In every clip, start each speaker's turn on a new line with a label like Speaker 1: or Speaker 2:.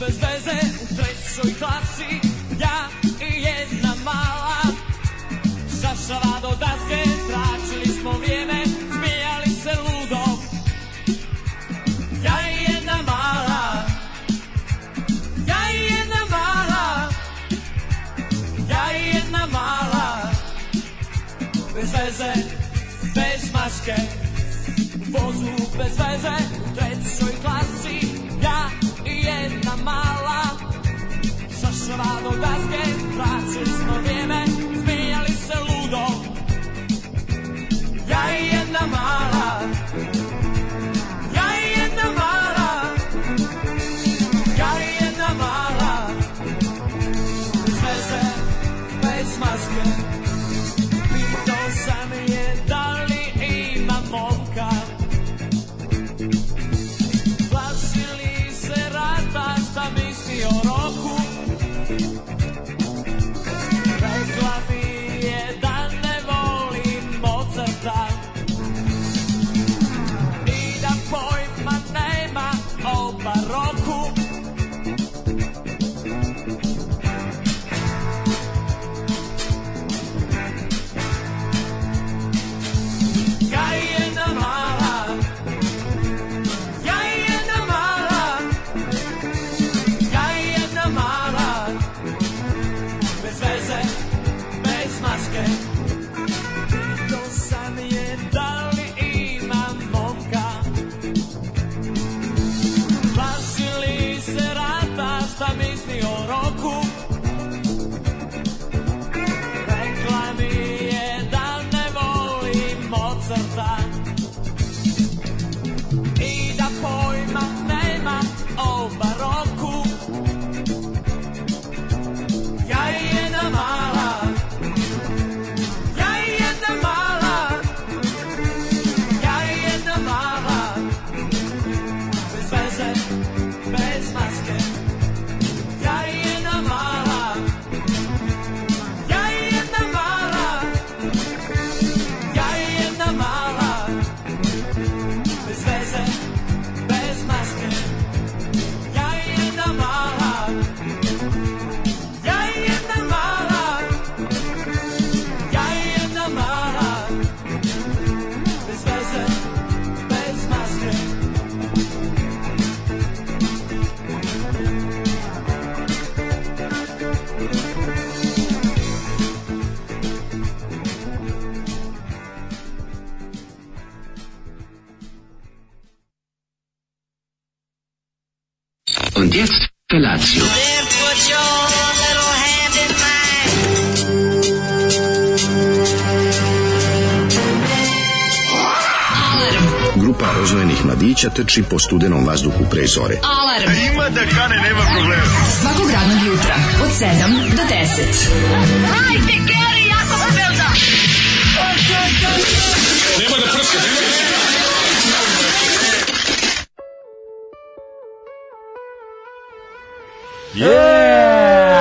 Speaker 1: bez veze U trećoj klasi Ja i jedna mala Šašava do daske Tračili smo vrijeme Smijali se ludo Ja i jedna mala Ja i jedna mala Ja i jedna mala Bez veze Bez maske U vozu bez veze U trećoj klasi Ja i jedna mala Šašava do daske Tračili smo vrijeme Smijali se ludo Ja i jedna mala Ja i jedna mala Ja i jedna mala Bez veze Bez maske Pitao sam je da li ima momka Plašili se rata šta misli o roku Rekla mi je da ne volim Mozarta I da pojma nema o baroku Ja i jedna mala ja i jedna mala, ja i jedna mala, bez veze, bez maske. Pitao sam je da li ima momka. Plašili se rata šta misli o roku. Rekla mi je da ne volim Mozarta. I da pojma nema o baroku Ja i jedna mala Ja i jedna mala Ja i jedna mala Bez veze, bez maske Ja i jedna mala Ja i jedna mala Ja i jedna mala bez veze, bez maske Ja i jedna mala Ja i jedna mala Ja i jedna mala Bez veze, bez maske
Speaker 2: Und jetzt Felatio.
Speaker 3: Then put your little hand in mine.
Speaker 4: Grupa rozvojenih mladića trči po studenom vazduhu pre zore.
Speaker 5: Alarm. A ima da kane, nema problema. Svakog radnog jutra, od 7 do 10. Hajde, Geri, jako se belda.
Speaker 6: Yeah!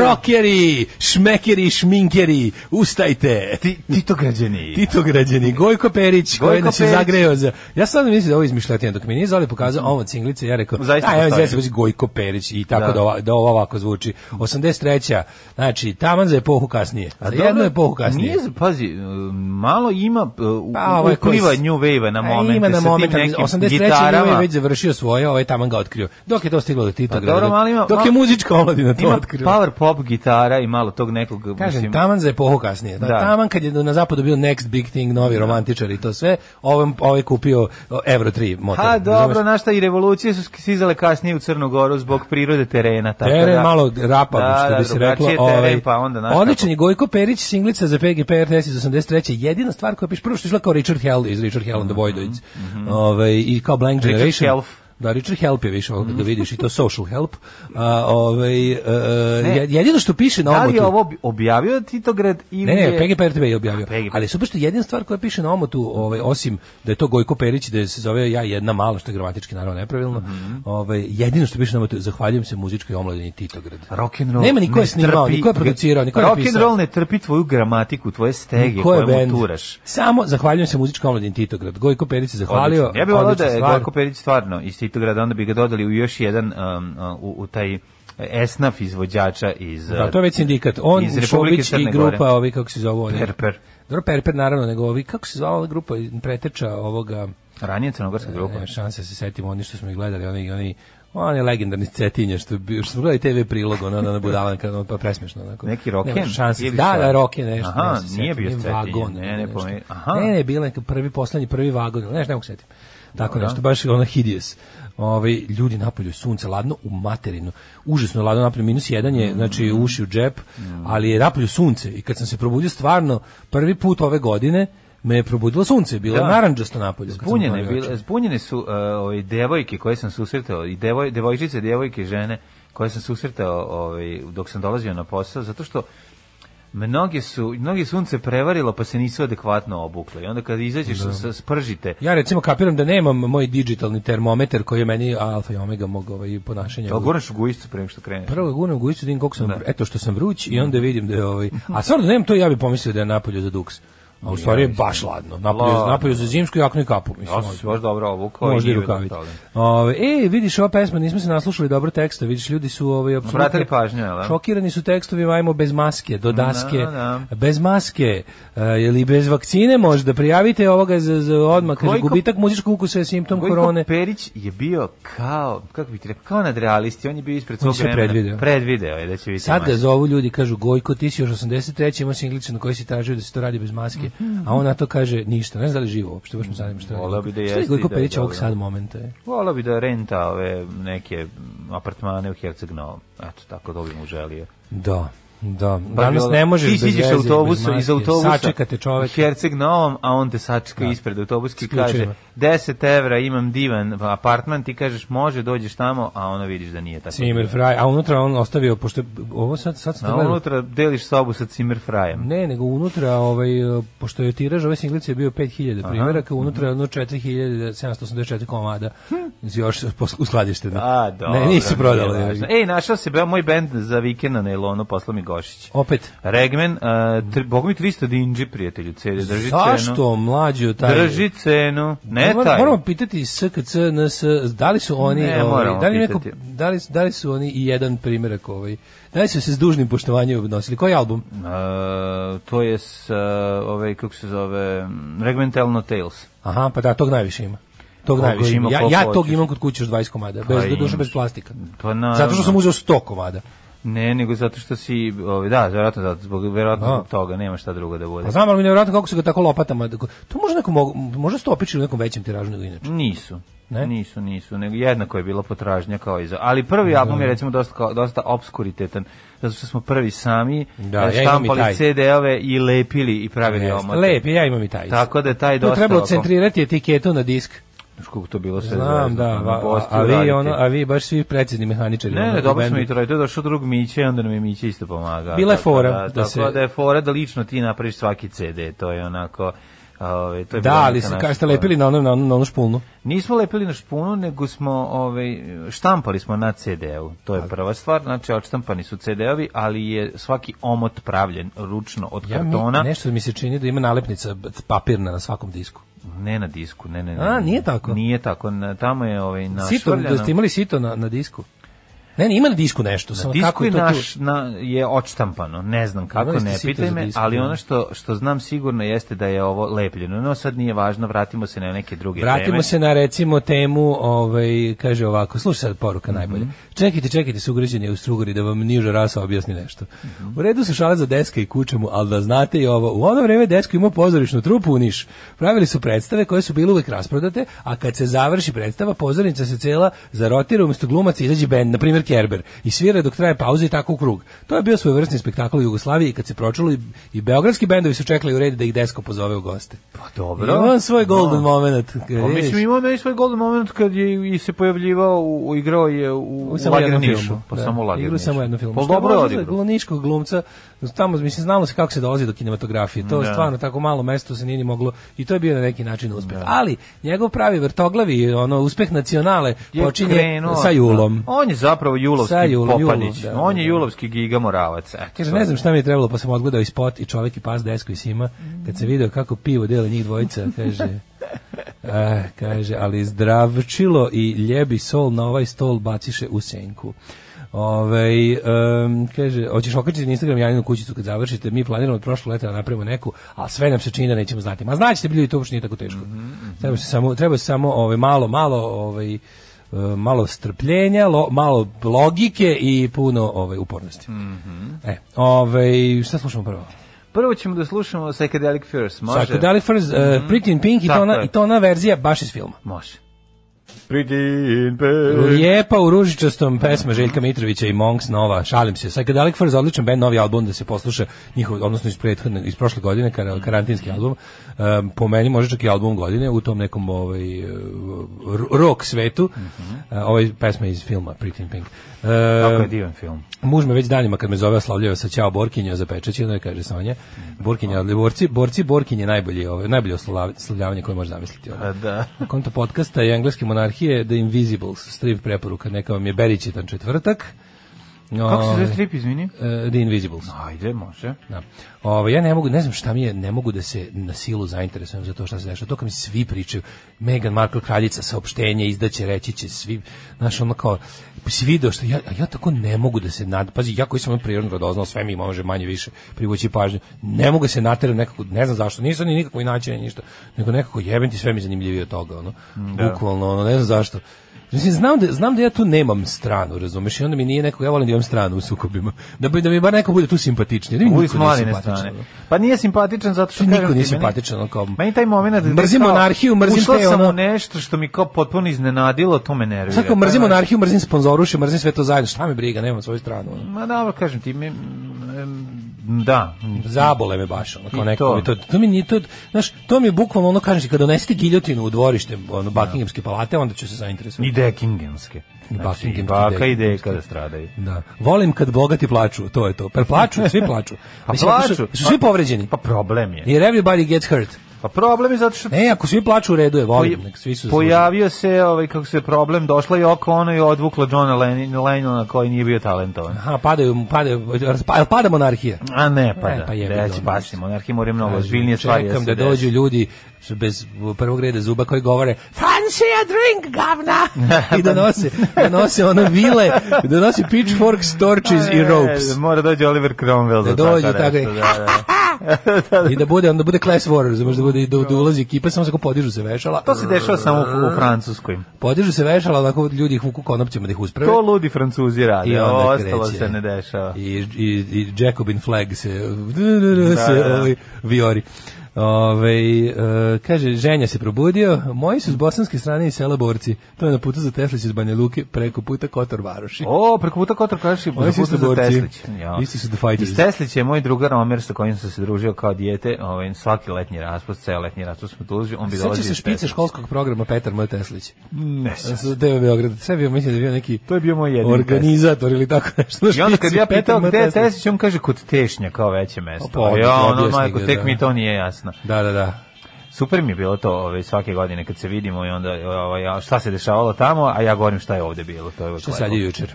Speaker 6: Rockeri, šmekeri, šminkeri, ustajte.
Speaker 7: Ti, Tito građani.
Speaker 6: Tito građani, Gojko Perić, koji
Speaker 7: Gojko
Speaker 6: nas je
Speaker 7: Perić.
Speaker 6: zagreo za... Ja sam mislim da ovo je izmišljotina, dok mi nije Zoli pokazao ovo od cinglice, ja rekao,
Speaker 7: Zaista
Speaker 6: a, evo,
Speaker 7: postoji.
Speaker 6: zaista zvuči Gojko Perić i tako da,
Speaker 7: Da.
Speaker 6: ova- da ovo ovako zvuči. 83. Znači, taman za epohu kasnije. A za jednu
Speaker 7: dobro,
Speaker 6: epohu kasnije.
Speaker 7: Nije, pazi, e, malo ima e, u,
Speaker 6: Pa,
Speaker 7: u,
Speaker 6: ovaj koji
Speaker 7: upliva
Speaker 6: s-
Speaker 7: New Wave-a na
Speaker 6: A,
Speaker 7: momente
Speaker 6: Ima na
Speaker 7: sa
Speaker 6: moment,
Speaker 7: tim nekim
Speaker 6: 83. New
Speaker 7: gitarama.
Speaker 6: Wave već završio svoje, ovaj taman ga otkrio. Dok je to stiglo do Tita
Speaker 7: Pa,
Speaker 6: Grada,
Speaker 7: dobro,
Speaker 6: dok-
Speaker 7: ali ima-
Speaker 6: dok je
Speaker 7: ma-
Speaker 6: muzička omladina to
Speaker 7: Ima pa,
Speaker 6: otkrio.
Speaker 7: power pop gitara i malo tog nekog,
Speaker 6: Kažem,
Speaker 7: mislim,
Speaker 6: taman za epohu kasnije. Da.
Speaker 7: Da.
Speaker 6: Taman kad je na zapadu bio next big thing, novi romantičar i to sve, ovaj, ovaj kupio o, Euro 3 motor.
Speaker 7: Ha, pa, dobro,
Speaker 6: Razumeš?
Speaker 7: znaš šta, i revolucije su skizale kasnije u Crnu Goru zbog prirode terena. Tako
Speaker 6: Teren
Speaker 7: da,
Speaker 6: malo rapa,
Speaker 7: da,
Speaker 6: što
Speaker 7: da,
Speaker 6: bi se reklo. ovaj,
Speaker 7: drugačiji je teren, pa onda, znaš
Speaker 6: odličan je Gojko Perić, singlica za PGP RTS iz 83. Jedina stvar koja piše, prvo što je izgleda kao Richard Hell iz Richard Hell and the Voidoids. Ovaj, I kao Blank
Speaker 7: Mhm, Richard
Speaker 6: Generation.
Speaker 7: Helf. Mhm.
Speaker 6: Da, Richard Help je više, ovdje ga vidiš, i to social help. A, ovaj, e, je- jedino što piše na
Speaker 7: Da li je
Speaker 6: omotu-
Speaker 7: ovo ob- objavio Titograd ili
Speaker 6: Ne, ne,
Speaker 7: je...
Speaker 6: PGP RTV je objavio.
Speaker 7: A, PGP.
Speaker 6: Ali super što jedina stvar koja piše na omotu, ovaj, osim da je to Gojko Perić, da se zove ja jedna mala, što je gramatički naravno nepravilno,
Speaker 7: Mhm.
Speaker 6: ovaj, jedino što piše na omotu, zahvaljujem se muzičkoj omladini Titograd.
Speaker 7: Rock and roll
Speaker 6: Nema ni ko je snimao, ni ko je producirao, ni ko je
Speaker 7: Rock and
Speaker 6: napisao.
Speaker 7: roll ne trpi tvoju gramatiku, tvoje stege
Speaker 6: Ko je
Speaker 7: koje
Speaker 6: bend?
Speaker 7: mu turaš.
Speaker 6: Samo zahvaljujem se muzičkom omladini Titograd. Gojko Perić se zahvalio.
Speaker 7: Odlično. Ja bih volao da
Speaker 6: odlična
Speaker 7: je
Speaker 6: stvar.
Speaker 7: Gojko Perić stvarno iz Titograda, onda bi ga dodali u još jedan, um, u, u taj esnaf izvođača iz...
Speaker 6: Da, to je već sindikat. On,
Speaker 7: iz Republike
Speaker 6: Šobić
Speaker 7: Crne
Speaker 6: i
Speaker 7: Gore.
Speaker 6: grupa, ovi, kako se zove? oni-
Speaker 7: Perper.
Speaker 6: Dobro, Perper, naravno, nego ovi, kako se zvala ova grupa, preteča ovoga...
Speaker 7: Ranije crnogorska grupa.
Speaker 6: Nema šanse da se setimo oni što smo ih gledali, oni oni oni legendarni cetinje što bi što smo gledali TV prilog, ono ona budala kad ono pa presmešno onako.
Speaker 7: Neki Roken?
Speaker 6: Nema šanse.
Speaker 7: Nije bio
Speaker 6: Da,
Speaker 7: Cetinje.
Speaker 6: da Roken nešto.
Speaker 7: Aha,
Speaker 6: ne se
Speaker 7: nije
Speaker 6: setim,
Speaker 7: bio
Speaker 6: ne,
Speaker 7: Cetinje,
Speaker 6: Vagon.
Speaker 7: ne,
Speaker 6: ili
Speaker 7: ne
Speaker 6: nešto.
Speaker 7: pomeni- aha.
Speaker 6: Ne, ne, bilo je neki prvi poslednji prvi vagon, ili nešto ne mogu se setiti. Tako nešto baš ono hideous. Ovaj ljudi napolju sunce ladno u materinu. Užasno je ladno napolju minus jedan je, znači
Speaker 7: Mm.
Speaker 6: uši u džep, ali je napolju sunce i kad sam se probudio stvarno prvi put ove godine me je probudilo sunce, bilo je
Speaker 7: Da.
Speaker 6: narandžasto napolju. kad sam
Speaker 7: Zbunjene,
Speaker 6: otvorio oči.
Speaker 7: bile, zbunjene su uh, ove devojke koje sam susretao, i devoj, devojčice, devojke, žene koje sam susretao ovaj, dok sam dolazio na posao, zato što mnoge su, mnogi sunce prevarilo pa se nisu adekvatno obukle. I onda kad izađeš, da. spržite.
Speaker 6: Ja recimo kapiram da nemam moj digitalni termometar koji je meni alfa i omega mog ovaj ponašanja.
Speaker 7: To gurneš u gujicu prema što kreneš.
Speaker 6: Prvo gurnam gujicu, da vidim koliko sam, eto što sam vruć i onda vidim da je ovaj... A stvarno da nemam to, ja bih pomislio da je napolju za duks. A u stvari je baš ladno. Napolju,
Speaker 7: Ladno.
Speaker 6: napolju za zimsku jaknu i kapu, mislim. ovaj.
Speaker 7: Ja sam se baš dobro obukao.
Speaker 6: Možda i
Speaker 7: nije
Speaker 6: rukavice.
Speaker 7: bilo toga.
Speaker 6: Ove, e, vidiš ova pesma, nismo se naslušali dobro teksta, vidiš, ljudi su ovaj, apsolutno-
Speaker 7: Obratili pažnju, jel da?
Speaker 6: Šokirani su tekstovima, ajmo bez maske, do daske,
Speaker 7: da.
Speaker 6: bez maske, e, ili bez vakcine možda, prijavite ovoga za, za odmah, kaže,
Speaker 7: Gojko-
Speaker 6: gubitak muzičkog ukusa je simptom
Speaker 7: Gojko
Speaker 6: korone.
Speaker 7: Perić je bio kao, kako bih ti rekao, kao nadrealisti, on je bio ispred
Speaker 6: On je
Speaker 7: svog
Speaker 6: sve
Speaker 7: vremena.
Speaker 6: predvideo.
Speaker 7: Predvideo je da će biti
Speaker 6: Sad ga
Speaker 7: maš.
Speaker 6: zovu ljudi, kažu, Gojko, ti si još 83. imao si Englicu na koji si tražio da se to radi bez maske, a on na to kaže, ništa, ne znam da li je živo uopšte, baš me zanima što radi.
Speaker 7: Voleo bi da
Speaker 6: Šta je
Speaker 7: jeste i
Speaker 6: Gojko
Speaker 7: da je
Speaker 6: Perić ovog
Speaker 7: dobro.
Speaker 6: sad momenta je.
Speaker 7: Volao bi da renta ove neke m, apartmane u Herceg Novom. Eto, tako da bi mu želio.
Speaker 6: Da, da. Danas
Speaker 7: Bilo-
Speaker 6: ne možeš
Speaker 7: Pa ono, Ti
Speaker 6: bez
Speaker 7: siđeš
Speaker 6: veze, bez
Speaker 7: autobusom,
Speaker 6: maske.
Speaker 7: iz autobusa.
Speaker 6: Sačekate čovek.
Speaker 7: U Herceg Novom, a on te sačeka ispred autobuski i kaže
Speaker 6: ključevima.
Speaker 7: 10 evra imam divan apartman, ti kažeš može, dođeš tamo, a ono vidiš da nije tako.
Speaker 6: Cimer Fraj, a unutra on ostavio, pošto je- ovo sad, sad sam to
Speaker 7: A
Speaker 6: gledao.
Speaker 7: unutra deliš sobu sa Cimer Frajem.
Speaker 6: Ne, nego unutra, ovaj, eh, pošto je tiraž ove singlice bio 5000 primjeraka,
Speaker 7: Mhm.
Speaker 6: unutra je ono 4784 komada još pos- uskladišteno.
Speaker 7: Hm. A, Pa, dobro.
Speaker 6: Ne, nisu prodali.
Speaker 7: nije važno. Ej, našao se moj bend za vikend na Nelonu, poslao mi Gošić.
Speaker 6: Opet,
Speaker 7: Regmen, uh, tri, bogu mi 300 dinđi, prijatelju, cede, drži cenu.
Speaker 6: zašto mlađo taj...
Speaker 7: Drži cenu. Ne
Speaker 6: Moramo-
Speaker 7: E, taj. uh,
Speaker 6: Moramo pitati SKC, NS, da li su oni...
Speaker 7: Ne,
Speaker 6: ovaj,
Speaker 7: moramo
Speaker 6: da li, neko,
Speaker 7: pitati.
Speaker 6: da, li, da li su oni i jedan primjerak ovaj? Da li su se s dužnim poštovanjem odnosili? Koji album?
Speaker 7: Uh, to je s, uh, ovaj, kako se zove, Regmentalno Tales.
Speaker 6: Aha, pa da, tog najviše ima. Tog
Speaker 7: Koliko
Speaker 6: najviše
Speaker 7: ima,
Speaker 6: ima. Ja,
Speaker 7: koliko
Speaker 6: ja tog
Speaker 7: hoćeš.
Speaker 6: imam kod kuće još 20 komada, bez
Speaker 7: Pa
Speaker 6: do duše
Speaker 7: imaš.
Speaker 6: bez plastika.
Speaker 7: Pa naravno.
Speaker 6: Zato što sam uzeo 100 komada.
Speaker 7: Ne, nego zato što si, ovaj, da, verovatno, zato, zbog, verovatno
Speaker 6: A.
Speaker 7: zbog toga, nema šta drugo da bude.
Speaker 6: Pa znam, ali mi je nevjerojatno kako su ga tako lopatama. To može neko mogu, može 100 opičili u nekom većem tiražu nego inače.
Speaker 7: Nisu.
Speaker 6: Ne?
Speaker 7: Nisu, nisu, nego jednako je bila potražnja kao i za. Ali prvi album je recimo dosta kao- dosta obskuritetan, zato što smo prvi sami eh,
Speaker 6: Da, ja imam i
Speaker 7: štampali
Speaker 6: taj.
Speaker 7: CD-ove i lepili i pravili
Speaker 6: Jeste.
Speaker 7: omote.
Speaker 6: Lep je, ja imam i taj.
Speaker 7: Tako da je taj
Speaker 6: To
Speaker 7: dosta.
Speaker 6: trebalo
Speaker 7: oko-
Speaker 6: centrirati etiketu na disk.
Speaker 7: Znaš koliko to bilo sve
Speaker 6: Znam,
Speaker 7: zvezno,
Speaker 6: da,
Speaker 7: ono,
Speaker 6: va- a,
Speaker 7: bosti
Speaker 6: a vi
Speaker 7: uraditi.
Speaker 6: ono, a vi baš svi precizni mehaničari.
Speaker 7: Ne,
Speaker 6: ono,
Speaker 7: ne,
Speaker 6: u
Speaker 7: dobro smo
Speaker 6: bendu.
Speaker 7: i trojili. To je došao drug Miće i onda nam je Miće isto pomagao.
Speaker 6: Bila je
Speaker 7: Tako
Speaker 6: fora
Speaker 7: Da,
Speaker 6: da
Speaker 7: da, tako
Speaker 6: se-
Speaker 7: da je fora da lično ti napraviš svaki CD. To je onako... Ove, to je
Speaker 6: Da,
Speaker 7: bila
Speaker 6: ali
Speaker 7: neka
Speaker 6: se
Speaker 7: naša
Speaker 6: kaže ste
Speaker 7: fora.
Speaker 6: lepili na onu na onu, na onu špulnu.
Speaker 7: Nismo lepili na špunu, nego smo ovaj, štampali smo na CD-u. To je prva stvar. Znači, odštampani su CD-ovi, ali je svaki omot pravljen ručno od
Speaker 6: Ja mi,
Speaker 7: kartona.
Speaker 6: nešto mi se čini da ima nalepnica b- papirna na svakom disku.
Speaker 7: Ne na disku, ne, ne, ne.
Speaker 6: A, nije tako?
Speaker 7: Nije tako. Na, tamo je ovaj,
Speaker 6: Sito,
Speaker 7: našvrljano.
Speaker 6: da ste imali sito na, na disku? Ne, ne, ima na disku nešto, samo
Speaker 7: Disku
Speaker 6: kako
Speaker 7: je
Speaker 6: je to
Speaker 7: naš
Speaker 6: tu?
Speaker 7: na, je odštampano, ne znam kako,
Speaker 6: Imali ste
Speaker 7: ne
Speaker 6: sito
Speaker 7: pitaj
Speaker 6: za
Speaker 7: me,
Speaker 6: disku,
Speaker 7: ali
Speaker 6: da.
Speaker 7: ono što što znam sigurno jeste da je ovo lepljeno. No sad nije važno, vratimo se na neke druge teme.
Speaker 6: Vratimo se na recimo temu, ovaj kaže ovako, slušaj sad poruka najbolje.
Speaker 7: Mhm.
Speaker 6: Čekajte, čekajte sugrađani u Strugori da vam niža rasa objasni nešto.
Speaker 7: Mhm.
Speaker 6: U redu su šale za deska i kučemu, ali da znate i ovo, u ono vreme desko imao pozorišnu trupu u Niš. Pravili su predstave koje su bile uvek rasprodate, a kad se završi predstava, pozornica se cela zarotira umesto glumaca izađe bend, na primjer Kerber, i svira dok traje pauza i tako u krug. To je bio svojevrsni spektakl u Jugoslaviji kad se pročulo i, i beogradski bendovi su čekali u red da ih desko pozove u goste.
Speaker 7: Pa dobro.
Speaker 6: Ima on svoj golden
Speaker 7: No.
Speaker 6: moment. kad
Speaker 7: Pa
Speaker 6: vidiš.
Speaker 7: mislim imao je svoj golden moment kad je i se pojavljivao u, u- igrao je u, u,
Speaker 6: U samo
Speaker 7: Lager
Speaker 6: jednom
Speaker 7: Nišu.
Speaker 6: filmu.
Speaker 7: Pa samo u Lager
Speaker 6: Igrao
Speaker 7: Nišu.
Speaker 6: samo u jednom filmu.
Speaker 7: Pa
Speaker 6: Što
Speaker 7: dobro je
Speaker 6: može za
Speaker 7: odigrao.
Speaker 6: Gluničkog glumca, tamo, mislim, znalo se kako se dolazi do kinematografije. To je
Speaker 7: Da.
Speaker 6: stvarno tako malo mesto se nije ni moglo i to je bio na neki način uspeh. Ali, njegov pravi vrtoglavi, ono, uspeh nacionale
Speaker 7: Je
Speaker 6: počinje
Speaker 7: krenuo-
Speaker 6: sa Julom.
Speaker 7: Da. On je zapravo Julovski
Speaker 6: Sa Julom,
Speaker 7: Popanić.
Speaker 6: Julom, da,
Speaker 7: on
Speaker 6: da,
Speaker 7: je
Speaker 6: da.
Speaker 7: Julovski giga Moravac. Eto,
Speaker 6: Kaže, ne znam šta mi je trebalo, pa sam odgledao i spot i čovek i pas desko i sima, kad se video kako pivo dele njih dvojica, kaže, Eh, kaže, ali zdravčilo i ljebi sol na ovaj stol baciše u senku. Ove, kaže, hoćeš okačiti na Instagram Janinu kućicu kad završite, mi planiramo od prošlog leta da napravimo neku, a sve nam se čini da nećemo znati. Ma znaćete, ljudi, to uopšte nije tako teško. Treba se samo, treba se samo ove, malo, malo, ovaj e, malo strpljenja, lo- malo logike i puno ovaj upornosti. E, ovaj šta slušamo prvo?
Speaker 7: Prvo ćemo da slušamo Psychedelic Furs, može? Mhm.
Speaker 6: Psychedelic Furs, e, Pretty in Pink i to,
Speaker 7: Tako
Speaker 6: ona,
Speaker 7: je.
Speaker 6: i to ona verzija baš iz filma.
Speaker 7: Može. Pretty in Pink.
Speaker 6: Lijepa u ružičastom pesma Željka Mitrovića i Monks Nova, šalim se. Psychedelic Furs, odličan band, novi album da se posluša njihov, odnosno iz, prethodne, iz prošle godine, kar, karantinski album. Um, po meni može čak i album godine u tom nekom ovaj, e, ro- rock svetu. E, ovaj pesma iz filma Pretty in Pink. E,
Speaker 7: Kako Mhm. je divan film.
Speaker 6: Muž me već danima kad me zove oslavljava sa ćao Borkinja za pečećinu, kaže Sonja. Borkinja, ali borci, borci Borkinje najbolje, ovaj, najbolje oslavljavanje koje može zamisliti. Ovaj.
Speaker 7: A, da.
Speaker 6: Na konto podcasta i engleske monarhije The Invisibles, strip preporuka, neka vam je beričitan četvrtak.
Speaker 7: Kako se
Speaker 6: Ove,
Speaker 7: zove strip, izvini?
Speaker 6: e, The Invisibles.
Speaker 7: Ajde, može.
Speaker 6: Da. Ove, ja ne mogu, ne znam šta mi je, ne mogu da se na silu zainteresujem za to šta se dešava. To kad mi svi pričaju, Meghan Markle kraljica saopštenje izdaće, reći će svi, znaš, ono kao, pa si video što ja, ja tako ne mogu da se nad... Pazi, ja koji sam ono prirodno radoznao, sve mi može manje više privući pažnju. Ne mogu da se nateram nekako, ne znam zašto, nisam ni nikako inače ni ništa, nego nekako jebem ti sve mi je zanimljivije od toga, ono, bukvalno, ono, ne znam zašto. Mislim, znam da, znam da ja tu nemam stranu, razumeš, i onda mi nije neko, ja volim da imam stranu u sukobima, da, bi, da mi bar neko bude tu simpatičnije, da mi
Speaker 7: Uli
Speaker 6: niko
Speaker 7: s
Speaker 6: nije
Speaker 7: mladine
Speaker 6: simpatičan,
Speaker 7: strane.
Speaker 6: ono.
Speaker 7: Pa nije simpatičan zato što...
Speaker 6: Što niko
Speaker 7: kažem ti,
Speaker 6: nije
Speaker 7: meni-
Speaker 6: simpatičan, ono kao-
Speaker 7: Meni taj moment... gde
Speaker 6: Mrzim
Speaker 7: kao,
Speaker 6: monarhiju, mrzim
Speaker 7: ušla
Speaker 6: te,
Speaker 7: sam
Speaker 6: ono-
Speaker 7: u nešto što mi kao potpuno iznenadilo, to me nervira.
Speaker 6: Sad kao mrzim
Speaker 7: Pa,
Speaker 6: monarhiju, mrzim sponzoruše, mrzim sve to zajedno, šta me briga, nemam svoju stranu. ono.
Speaker 7: Ma dobro, kažem ti, mi, em, da,
Speaker 6: Zabole me baš, ono, kao
Speaker 7: I
Speaker 6: neko
Speaker 7: to.
Speaker 6: mi to, to mi nije, to, znaš, to mi je bukvalno ono, kažeš, ti, kada donesete giljotinu u dvorište, ono, Buckinghamske palate, onda ću se zainteresovati.
Speaker 7: ni dekingenske.
Speaker 6: Buckinghamske,
Speaker 7: Znači, i baka i
Speaker 6: Dekingenske.
Speaker 7: deka da stradaju.
Speaker 6: Da. Volim kad bogati plaču, to je to. Per plaču, svi plaču.
Speaker 7: Pa
Speaker 6: Mislim, ako
Speaker 7: plaču.
Speaker 6: Su, su svi povređeni.
Speaker 7: Pa problem je.
Speaker 6: Jer everybody gets hurt.
Speaker 7: Pa problem je zato što
Speaker 6: Ne, ako svi plaču, u redu je, volim.
Speaker 7: Poj-
Speaker 6: e, nek svi su
Speaker 7: pojavio se ovaj kako se problem došla je oko ono i odvukla Johna Lennon- Lennona koji nije bio talentovan.
Speaker 6: zasluženi. Aha, padaju, padaju, raspa- jel pada monarhija.
Speaker 7: A ne, pa,
Speaker 6: E,
Speaker 7: da.
Speaker 6: pa
Speaker 7: Pa
Speaker 6: jebi ga,
Speaker 7: Reći
Speaker 6: ono,
Speaker 7: pasti, monarhije moraju mnogo
Speaker 6: Kažem,
Speaker 7: ozbiljnije stvari
Speaker 6: Čekam
Speaker 7: se
Speaker 6: da
Speaker 7: dese.
Speaker 6: dođu ljudi s- bez prvog reda zuba koji govore Francia drink gavna i da nose, da nose ono vile, da nose pitchforks, torches i
Speaker 7: E,
Speaker 6: ropes.
Speaker 7: Mora dođe Oliver Cromwell
Speaker 6: Da
Speaker 7: za
Speaker 6: dođe
Speaker 7: tako
Speaker 6: tako
Speaker 7: nešto,
Speaker 6: i-
Speaker 7: da, da.
Speaker 6: I da bude, onda bude class war, razumeš, da bude da, da ulazi ekipa, samo se kao podižu se vešala.
Speaker 7: To se dešava samo u, u Francuskoj.
Speaker 6: Podižu se vešala, onako ljudi ih vuku konopcima da ih usprave.
Speaker 7: To ludi Francuzi rade,
Speaker 6: E. I
Speaker 7: a
Speaker 6: onda
Speaker 7: ostalo
Speaker 6: kreće.
Speaker 7: se ne dešava.
Speaker 6: I, i, i Jacobin flag se, se
Speaker 7: da.
Speaker 6: ovaj, viori. Ove, e, kaže, ženja se probudio, moji su s bosanske strane i sela borci. To je na putu za Teslić iz Banja Luke, preko puta Kotor Varoši.
Speaker 7: O, preko puta Kotor Kaši,
Speaker 6: Oni
Speaker 7: preko
Speaker 6: su
Speaker 7: puta
Speaker 6: isto
Speaker 7: za
Speaker 6: borci.
Speaker 7: Teslić. Ja.
Speaker 6: Isti su the fighters.
Speaker 7: Iz Teslić je moj drugar Omer sa kojim sam se družio kao dijete, ovaj, svaki letnji raspust, ceo letnji raspust smo družili, on bi dolazio
Speaker 6: Sećaš
Speaker 7: iz
Speaker 6: se špice
Speaker 7: Teslića.
Speaker 6: školskog programa Petar Moj Teslić?
Speaker 7: Ne sećam se.
Speaker 6: Sa TV Beograd. Sve je bio, mislim da je bio neki
Speaker 7: To je bio moj jedini
Speaker 6: organizator ili tako nešto.
Speaker 7: I onda kad
Speaker 6: Špici
Speaker 7: ja
Speaker 6: Petar
Speaker 7: pitao
Speaker 6: M.
Speaker 7: gde je
Speaker 6: Teslić.
Speaker 7: Tesić, on kaže kod Tešnja kao veće mesto.
Speaker 6: Opa, odlično,
Speaker 7: ja, ono,
Speaker 6: objasni
Speaker 7: majko,
Speaker 6: ga,
Speaker 7: tek
Speaker 6: da.
Speaker 7: mi to nije jasno.
Speaker 6: Da, da, da.
Speaker 7: Super mi je bilo to ove, svake godine kad se vidimo i onda ovaj, a šta se dešavalo tamo, a ja govorim šta je ovde bilo. To je uvek
Speaker 6: Što
Speaker 7: lepo.
Speaker 6: sad je jučer?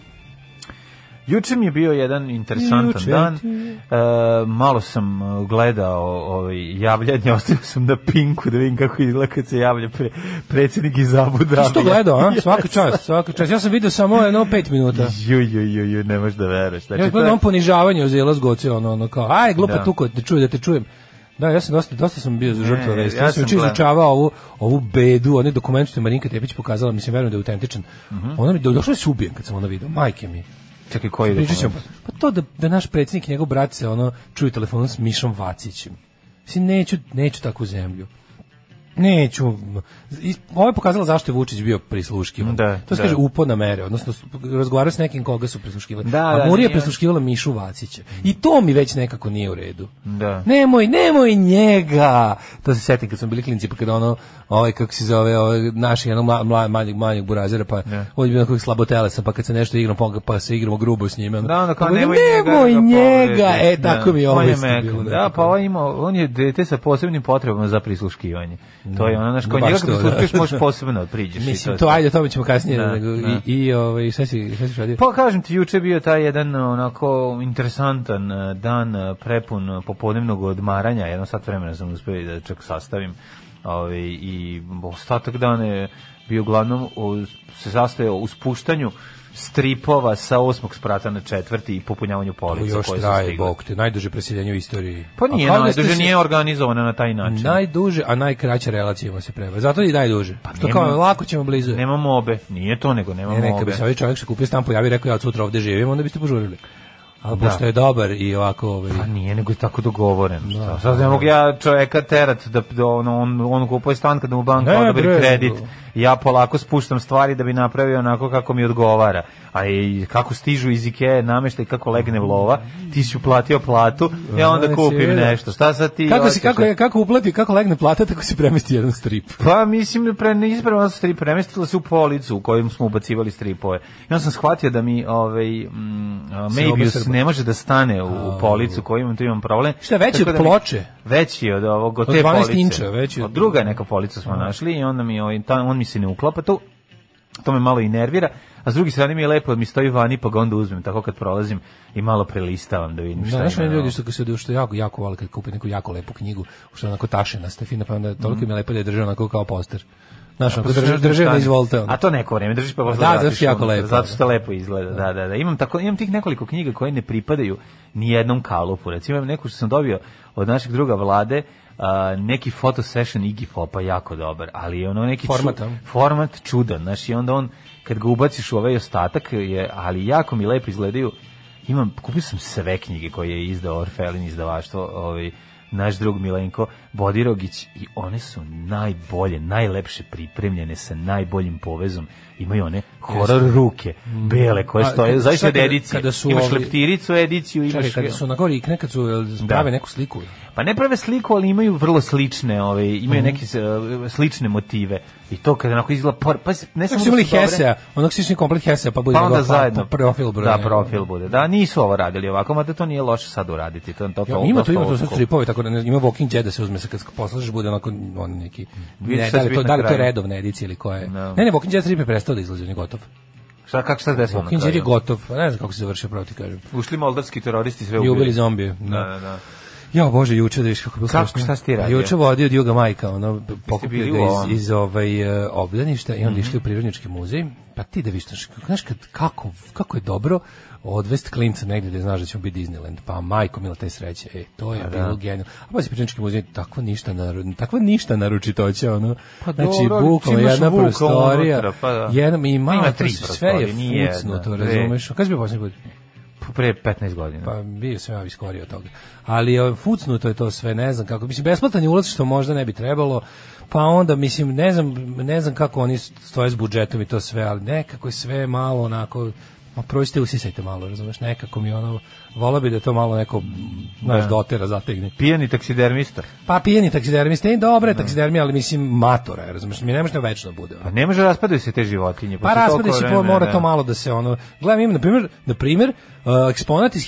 Speaker 7: Juče mi je bio jedan interesantan
Speaker 6: Juče
Speaker 7: dan.
Speaker 6: ti
Speaker 7: E, malo sam e, gledao ovaj, javljanje, ostavio sam na pinku da vidim kako izgleda kad se javlja pre, predsjednik iz Abu Dhabija.
Speaker 6: Isto gledao, a? Svaka čast, svaka čast. Ja sam vidio samo jedno pet minuta.
Speaker 7: Ju, ju, ju, ju, ne možeš da veruješ. Znači,
Speaker 6: Ja
Speaker 7: to je-
Speaker 6: gledam on ponižavanje uzela zgoce ono ono kao aj glupa
Speaker 7: Da.
Speaker 6: tuko da čujem da te čujem. Da, ja sam dosta, dosta sam bio
Speaker 7: Ne,
Speaker 6: žrtva vesti.
Speaker 7: ja
Speaker 6: Ja sam
Speaker 7: sam
Speaker 6: juče
Speaker 7: gledao.
Speaker 6: izučavao ovu, ovu bedu, onaj dokument što je Marinka Tepić pokazala, mislim, verujem da je autentičan.
Speaker 7: Mhm.
Speaker 6: Ona mi do- došla se ubijem kad sam ona vidio, majke mi.
Speaker 7: Čekaj, koji
Speaker 6: Pričat ćemo.
Speaker 7: dokument?
Speaker 6: Pa to da, da naš predsjednik i njegov brat se ono, čuju telefonom s Mišom Vacićem. Mislim, neću, neću takvu zemlju. Neću. I Ovo je pokazalo zašto je Vučić bio prisluškivan.
Speaker 7: Da,
Speaker 6: to se
Speaker 7: da.
Speaker 6: kaže upo na mere, odnosno s- razgovarao s nekim koga su prisluškivali.
Speaker 7: Da,
Speaker 6: A
Speaker 7: da,
Speaker 6: Murija je
Speaker 7: nije-
Speaker 6: prisluškivala Mišu Vacića. I to mi već nekako nije u redu.
Speaker 7: Da.
Speaker 6: Nemoj, nemoj njega. To se setim kad smo bili klinci, pa kad ono, ovaj kako se zove, ovaj naš jednog mla, mla, manjeg, manjeg burazera, pa
Speaker 7: Ne.
Speaker 6: on je bio onako slabotelesan, pa kad se nešto igram, pa, on ga- pa se igramo grubo s njime. ono,
Speaker 7: Da, onda kao
Speaker 6: pa
Speaker 7: nemoj
Speaker 6: ga,
Speaker 7: njega. da ga
Speaker 6: njega.
Speaker 7: povredi.
Speaker 6: E, tako mi je ovo
Speaker 7: on
Speaker 6: isto
Speaker 7: meko,
Speaker 6: bilo,
Speaker 7: Da, pa ovaj ima, on je dete sa posebnim potrebama za prisluškivanje. To je ono, znaš, kao
Speaker 6: baš
Speaker 7: njega kad
Speaker 6: to, da.
Speaker 7: prisluškiš možeš posebno priđeš. i
Speaker 6: Mislim,
Speaker 7: je
Speaker 6: to ajde, o tome ćemo kasnije.
Speaker 7: Da,
Speaker 6: nego,
Speaker 7: da.
Speaker 6: I, i ovaj, šta si, šta si radio?
Speaker 7: Pa kažem ti, juče je bio taj jedan onako interesantan eh, dan eh, prepun eh, popodnevnog odmaranja, jedno sat vremena sam uspio i da čak sastavim Ovaj, I ostatak dana je bio uglavnom o- se sastojao u spuštanju stripova sa osmog sprata na četvrti i popunjavanju
Speaker 6: To
Speaker 7: polica
Speaker 6: još
Speaker 7: koje su
Speaker 6: traje,
Speaker 7: stigle.
Speaker 6: bog te, najduže preseljenje u istoriji.
Speaker 7: Pa nije,
Speaker 6: A kao da
Speaker 7: najduže
Speaker 6: ste se-
Speaker 7: nije organizovana na taj način.
Speaker 6: Najduže, a najkraća relacija ima se preva. Zato i najduže. Pa što
Speaker 7: nema-
Speaker 6: kao, lako ćemo blizu. je.
Speaker 7: Nemamo obe, nije to nego nemamo
Speaker 6: Ne, neka bi
Speaker 7: obe.
Speaker 6: se ovaj čovjek što je kupio stan pojavi i rekao ja od sutra ovde živim, onda biste požurili. Ali pošto je dobar i ovako... Ovaj,
Speaker 7: Pa nije, nego je tako dogovoren. Da, Sad ne mogu ja čoveka terat da, da on, on, on kupuje stan kada mu banka
Speaker 6: Ne,
Speaker 7: odobri
Speaker 6: bre.
Speaker 7: kredit. Ja polako spuštam stvari da bi napravio onako kako mi odgovara. A i kako stižu iz Ikea nameštaj, kako legne lova, ti si uplatio platu, ja onda
Speaker 6: Znači,
Speaker 7: kupim
Speaker 6: vidi.
Speaker 7: nešto. Šta sad ti...
Speaker 6: kako, si,
Speaker 7: hoćeš?
Speaker 6: kako, je- kako uplati, kako legne plata, tako se premesti jedan strip.
Speaker 7: Pa mislim da pre neispravno su strip premestila se u policu u kojim smo ubacivali stripove. I onda sam shvatio da mi ovaj mm, a, Möbius
Speaker 6: obesrba.
Speaker 7: ne može da stane u, u policu koju imam, tu imam problem.
Speaker 6: Šta je veći
Speaker 7: Tako
Speaker 6: od
Speaker 7: da mi-
Speaker 6: ploče?
Speaker 7: Veći je od ovog od,
Speaker 6: Od
Speaker 7: te
Speaker 6: 12
Speaker 7: police.
Speaker 6: inča, veći od-
Speaker 7: od... druga je neka polica smo našli i onda mi ovaj ta, on mi se ne uklapa tu. To me malo i nervira, a s druge strane mi je lepo, mi stoji vani pa ga onda uzmem tako kad prolazim i malo prelistavam da vidim
Speaker 6: Da,
Speaker 7: šta
Speaker 6: znaš
Speaker 7: ima.
Speaker 6: oni ljudi što se što jako jako vole kad kupe neku jako lepu knjigu, što je onako tašina, stefina, pa onda
Speaker 7: Mhm.
Speaker 6: toliko im je lepo da je drži onako kao poster. Znaš,
Speaker 7: Pa
Speaker 6: onako drži, drži na izvolte. ono.
Speaker 7: A to neko vreme držiš pa posle
Speaker 6: Da,
Speaker 7: vratiš
Speaker 6: zato što je jako
Speaker 7: unutra,
Speaker 6: lepo.
Speaker 7: Zato što lepo izgleda. Da, da, da. Imam tako imam tih nekoliko knjiga koje ne pripadaju ni jednom kalupu. Recimo imam neku što sam dobio od našeg druga vlade a, neki foto session Iggy Popa jako dobar, ali je ono neki ču-
Speaker 6: Format, a?
Speaker 7: format čudan, znaš, i onda on kad ga ubaciš u ovaj ostatak je, ali jako mi lepo izgledaju. Imam, kupio sam sve knjige koje je izdao Orfelin izdavaštvo, ovaj naš drug Milenko Bodirogić i one su najbolje, najlepše pripremljene sa najboljim povezom. Imaju one horor ruke, bele koje
Speaker 6: A,
Speaker 7: stoje,
Speaker 6: kad-
Speaker 7: zaista
Speaker 6: šta
Speaker 7: od
Speaker 6: kada-
Speaker 7: edicije.
Speaker 6: kada su
Speaker 7: imaš
Speaker 6: ovi-
Speaker 7: leptiricu ediciju, imaš...
Speaker 6: Čekaj, kada su na gori i nekad su jel, prave neku sliku.
Speaker 7: Pa ne prave sliku, ali imaju vrlo slične, ovaj,
Speaker 6: Mhm.
Speaker 7: imaju neke eh, slične motive. I to kada onako izgleda... Por... Pa, se- ne
Speaker 6: Kako
Speaker 7: samo da
Speaker 6: su imali
Speaker 7: su dobre-
Speaker 6: Hesea, onog slični komplet Hesea, pa bude
Speaker 7: Pa onda
Speaker 6: njegov
Speaker 7: zajedno.
Speaker 6: profil broj.
Speaker 7: Da, profil bude. Da, nisu ovo radili ovako, mada to nije loše sad uraditi. To, to, to,
Speaker 6: Ja, ima to,
Speaker 7: dosta
Speaker 6: ima to
Speaker 7: old
Speaker 6: sa
Speaker 7: school.
Speaker 6: stripove, tako da ne, ima Walking Dead da se uzme sa kad poslažeš bude onako on neki
Speaker 7: Vidiš
Speaker 6: ne,
Speaker 7: šta
Speaker 6: da
Speaker 7: će
Speaker 6: li to
Speaker 7: biti
Speaker 6: da li
Speaker 7: na
Speaker 6: to
Speaker 7: kraju.
Speaker 6: redovna edicija ili koja je.
Speaker 7: Da.
Speaker 6: Ne, ne, Walking Dead strip je prestao da izlazi, on je gotov.
Speaker 7: Šta, kako šta se desilo na
Speaker 6: Walking Dead je
Speaker 7: kraju?
Speaker 6: gotov, pa ne znam kako se završio, pravo ti kažem.
Speaker 7: Ušli moldavski teroristi sve
Speaker 6: I
Speaker 7: ubili.
Speaker 6: ubili zombije. Da.
Speaker 7: Da, da, da.
Speaker 6: Ja, bože, juče da viš kako je bilo
Speaker 7: Kako,
Speaker 6: strašno.
Speaker 7: šta si ti radio?
Speaker 6: Juče vodio od Juga Majka, ono,
Speaker 7: bili
Speaker 6: pokupio
Speaker 7: u
Speaker 6: ga
Speaker 7: ovom? Mhm.
Speaker 6: iz, iz ovaj, e, obdaništa i onda išli u Prirodnički muzej. Pa ti da viš, znaš, znaš kad, kako, kako je dobro odvest klinca negdje gde znaš da će mu biti Disneyland. Pa majko, mila te sreće. E, to
Speaker 7: Pa
Speaker 6: je bilo genijalno. A pazi, Prirodnički muzej, takvo ništa, naru, takvo ništa naručitoće, ono.
Speaker 7: Pa
Speaker 6: znači,
Speaker 7: dobro, ali
Speaker 6: bukvalno
Speaker 7: imaš
Speaker 6: jedna
Speaker 7: vuka
Speaker 6: prostorija.
Speaker 7: unutra, pa da.
Speaker 6: Jedna, I malo,
Speaker 7: Ima
Speaker 6: to
Speaker 7: tri
Speaker 6: se- sve je
Speaker 7: prostorije, nije
Speaker 6: fucnuto,
Speaker 7: jedna.
Speaker 6: razumeš? Kada si bio posljednji put?
Speaker 7: Pre 15 godina.
Speaker 6: Pa bio sam ja iskorio od toga. Ali ovaj, fucnuto je to sve, ne znam kako. Mislim, besplatan je ulaz što možda ne bi trebalo, pa onda, mislim, ne znam, ne znam kako oni stoje s budžetom i to sve, ali nekako je sve malo onako, ma prođite, usisajte malo, razumeš, nekako mi ono, vola bi da to malo neko, znaš, dotera, zategne.
Speaker 7: Pijani taksidermista.
Speaker 6: Pa pijeni taksidermista, i dobre taksidermija, ali mislim, matora, je, razumeš, mi ne može da večno bude. ono.
Speaker 7: Pa ne može raspadaju se te životinje.
Speaker 6: Pa raspada se po, mora to malo da se ono... Gledam, imam, na primjer, na primjer uh, eksponat iz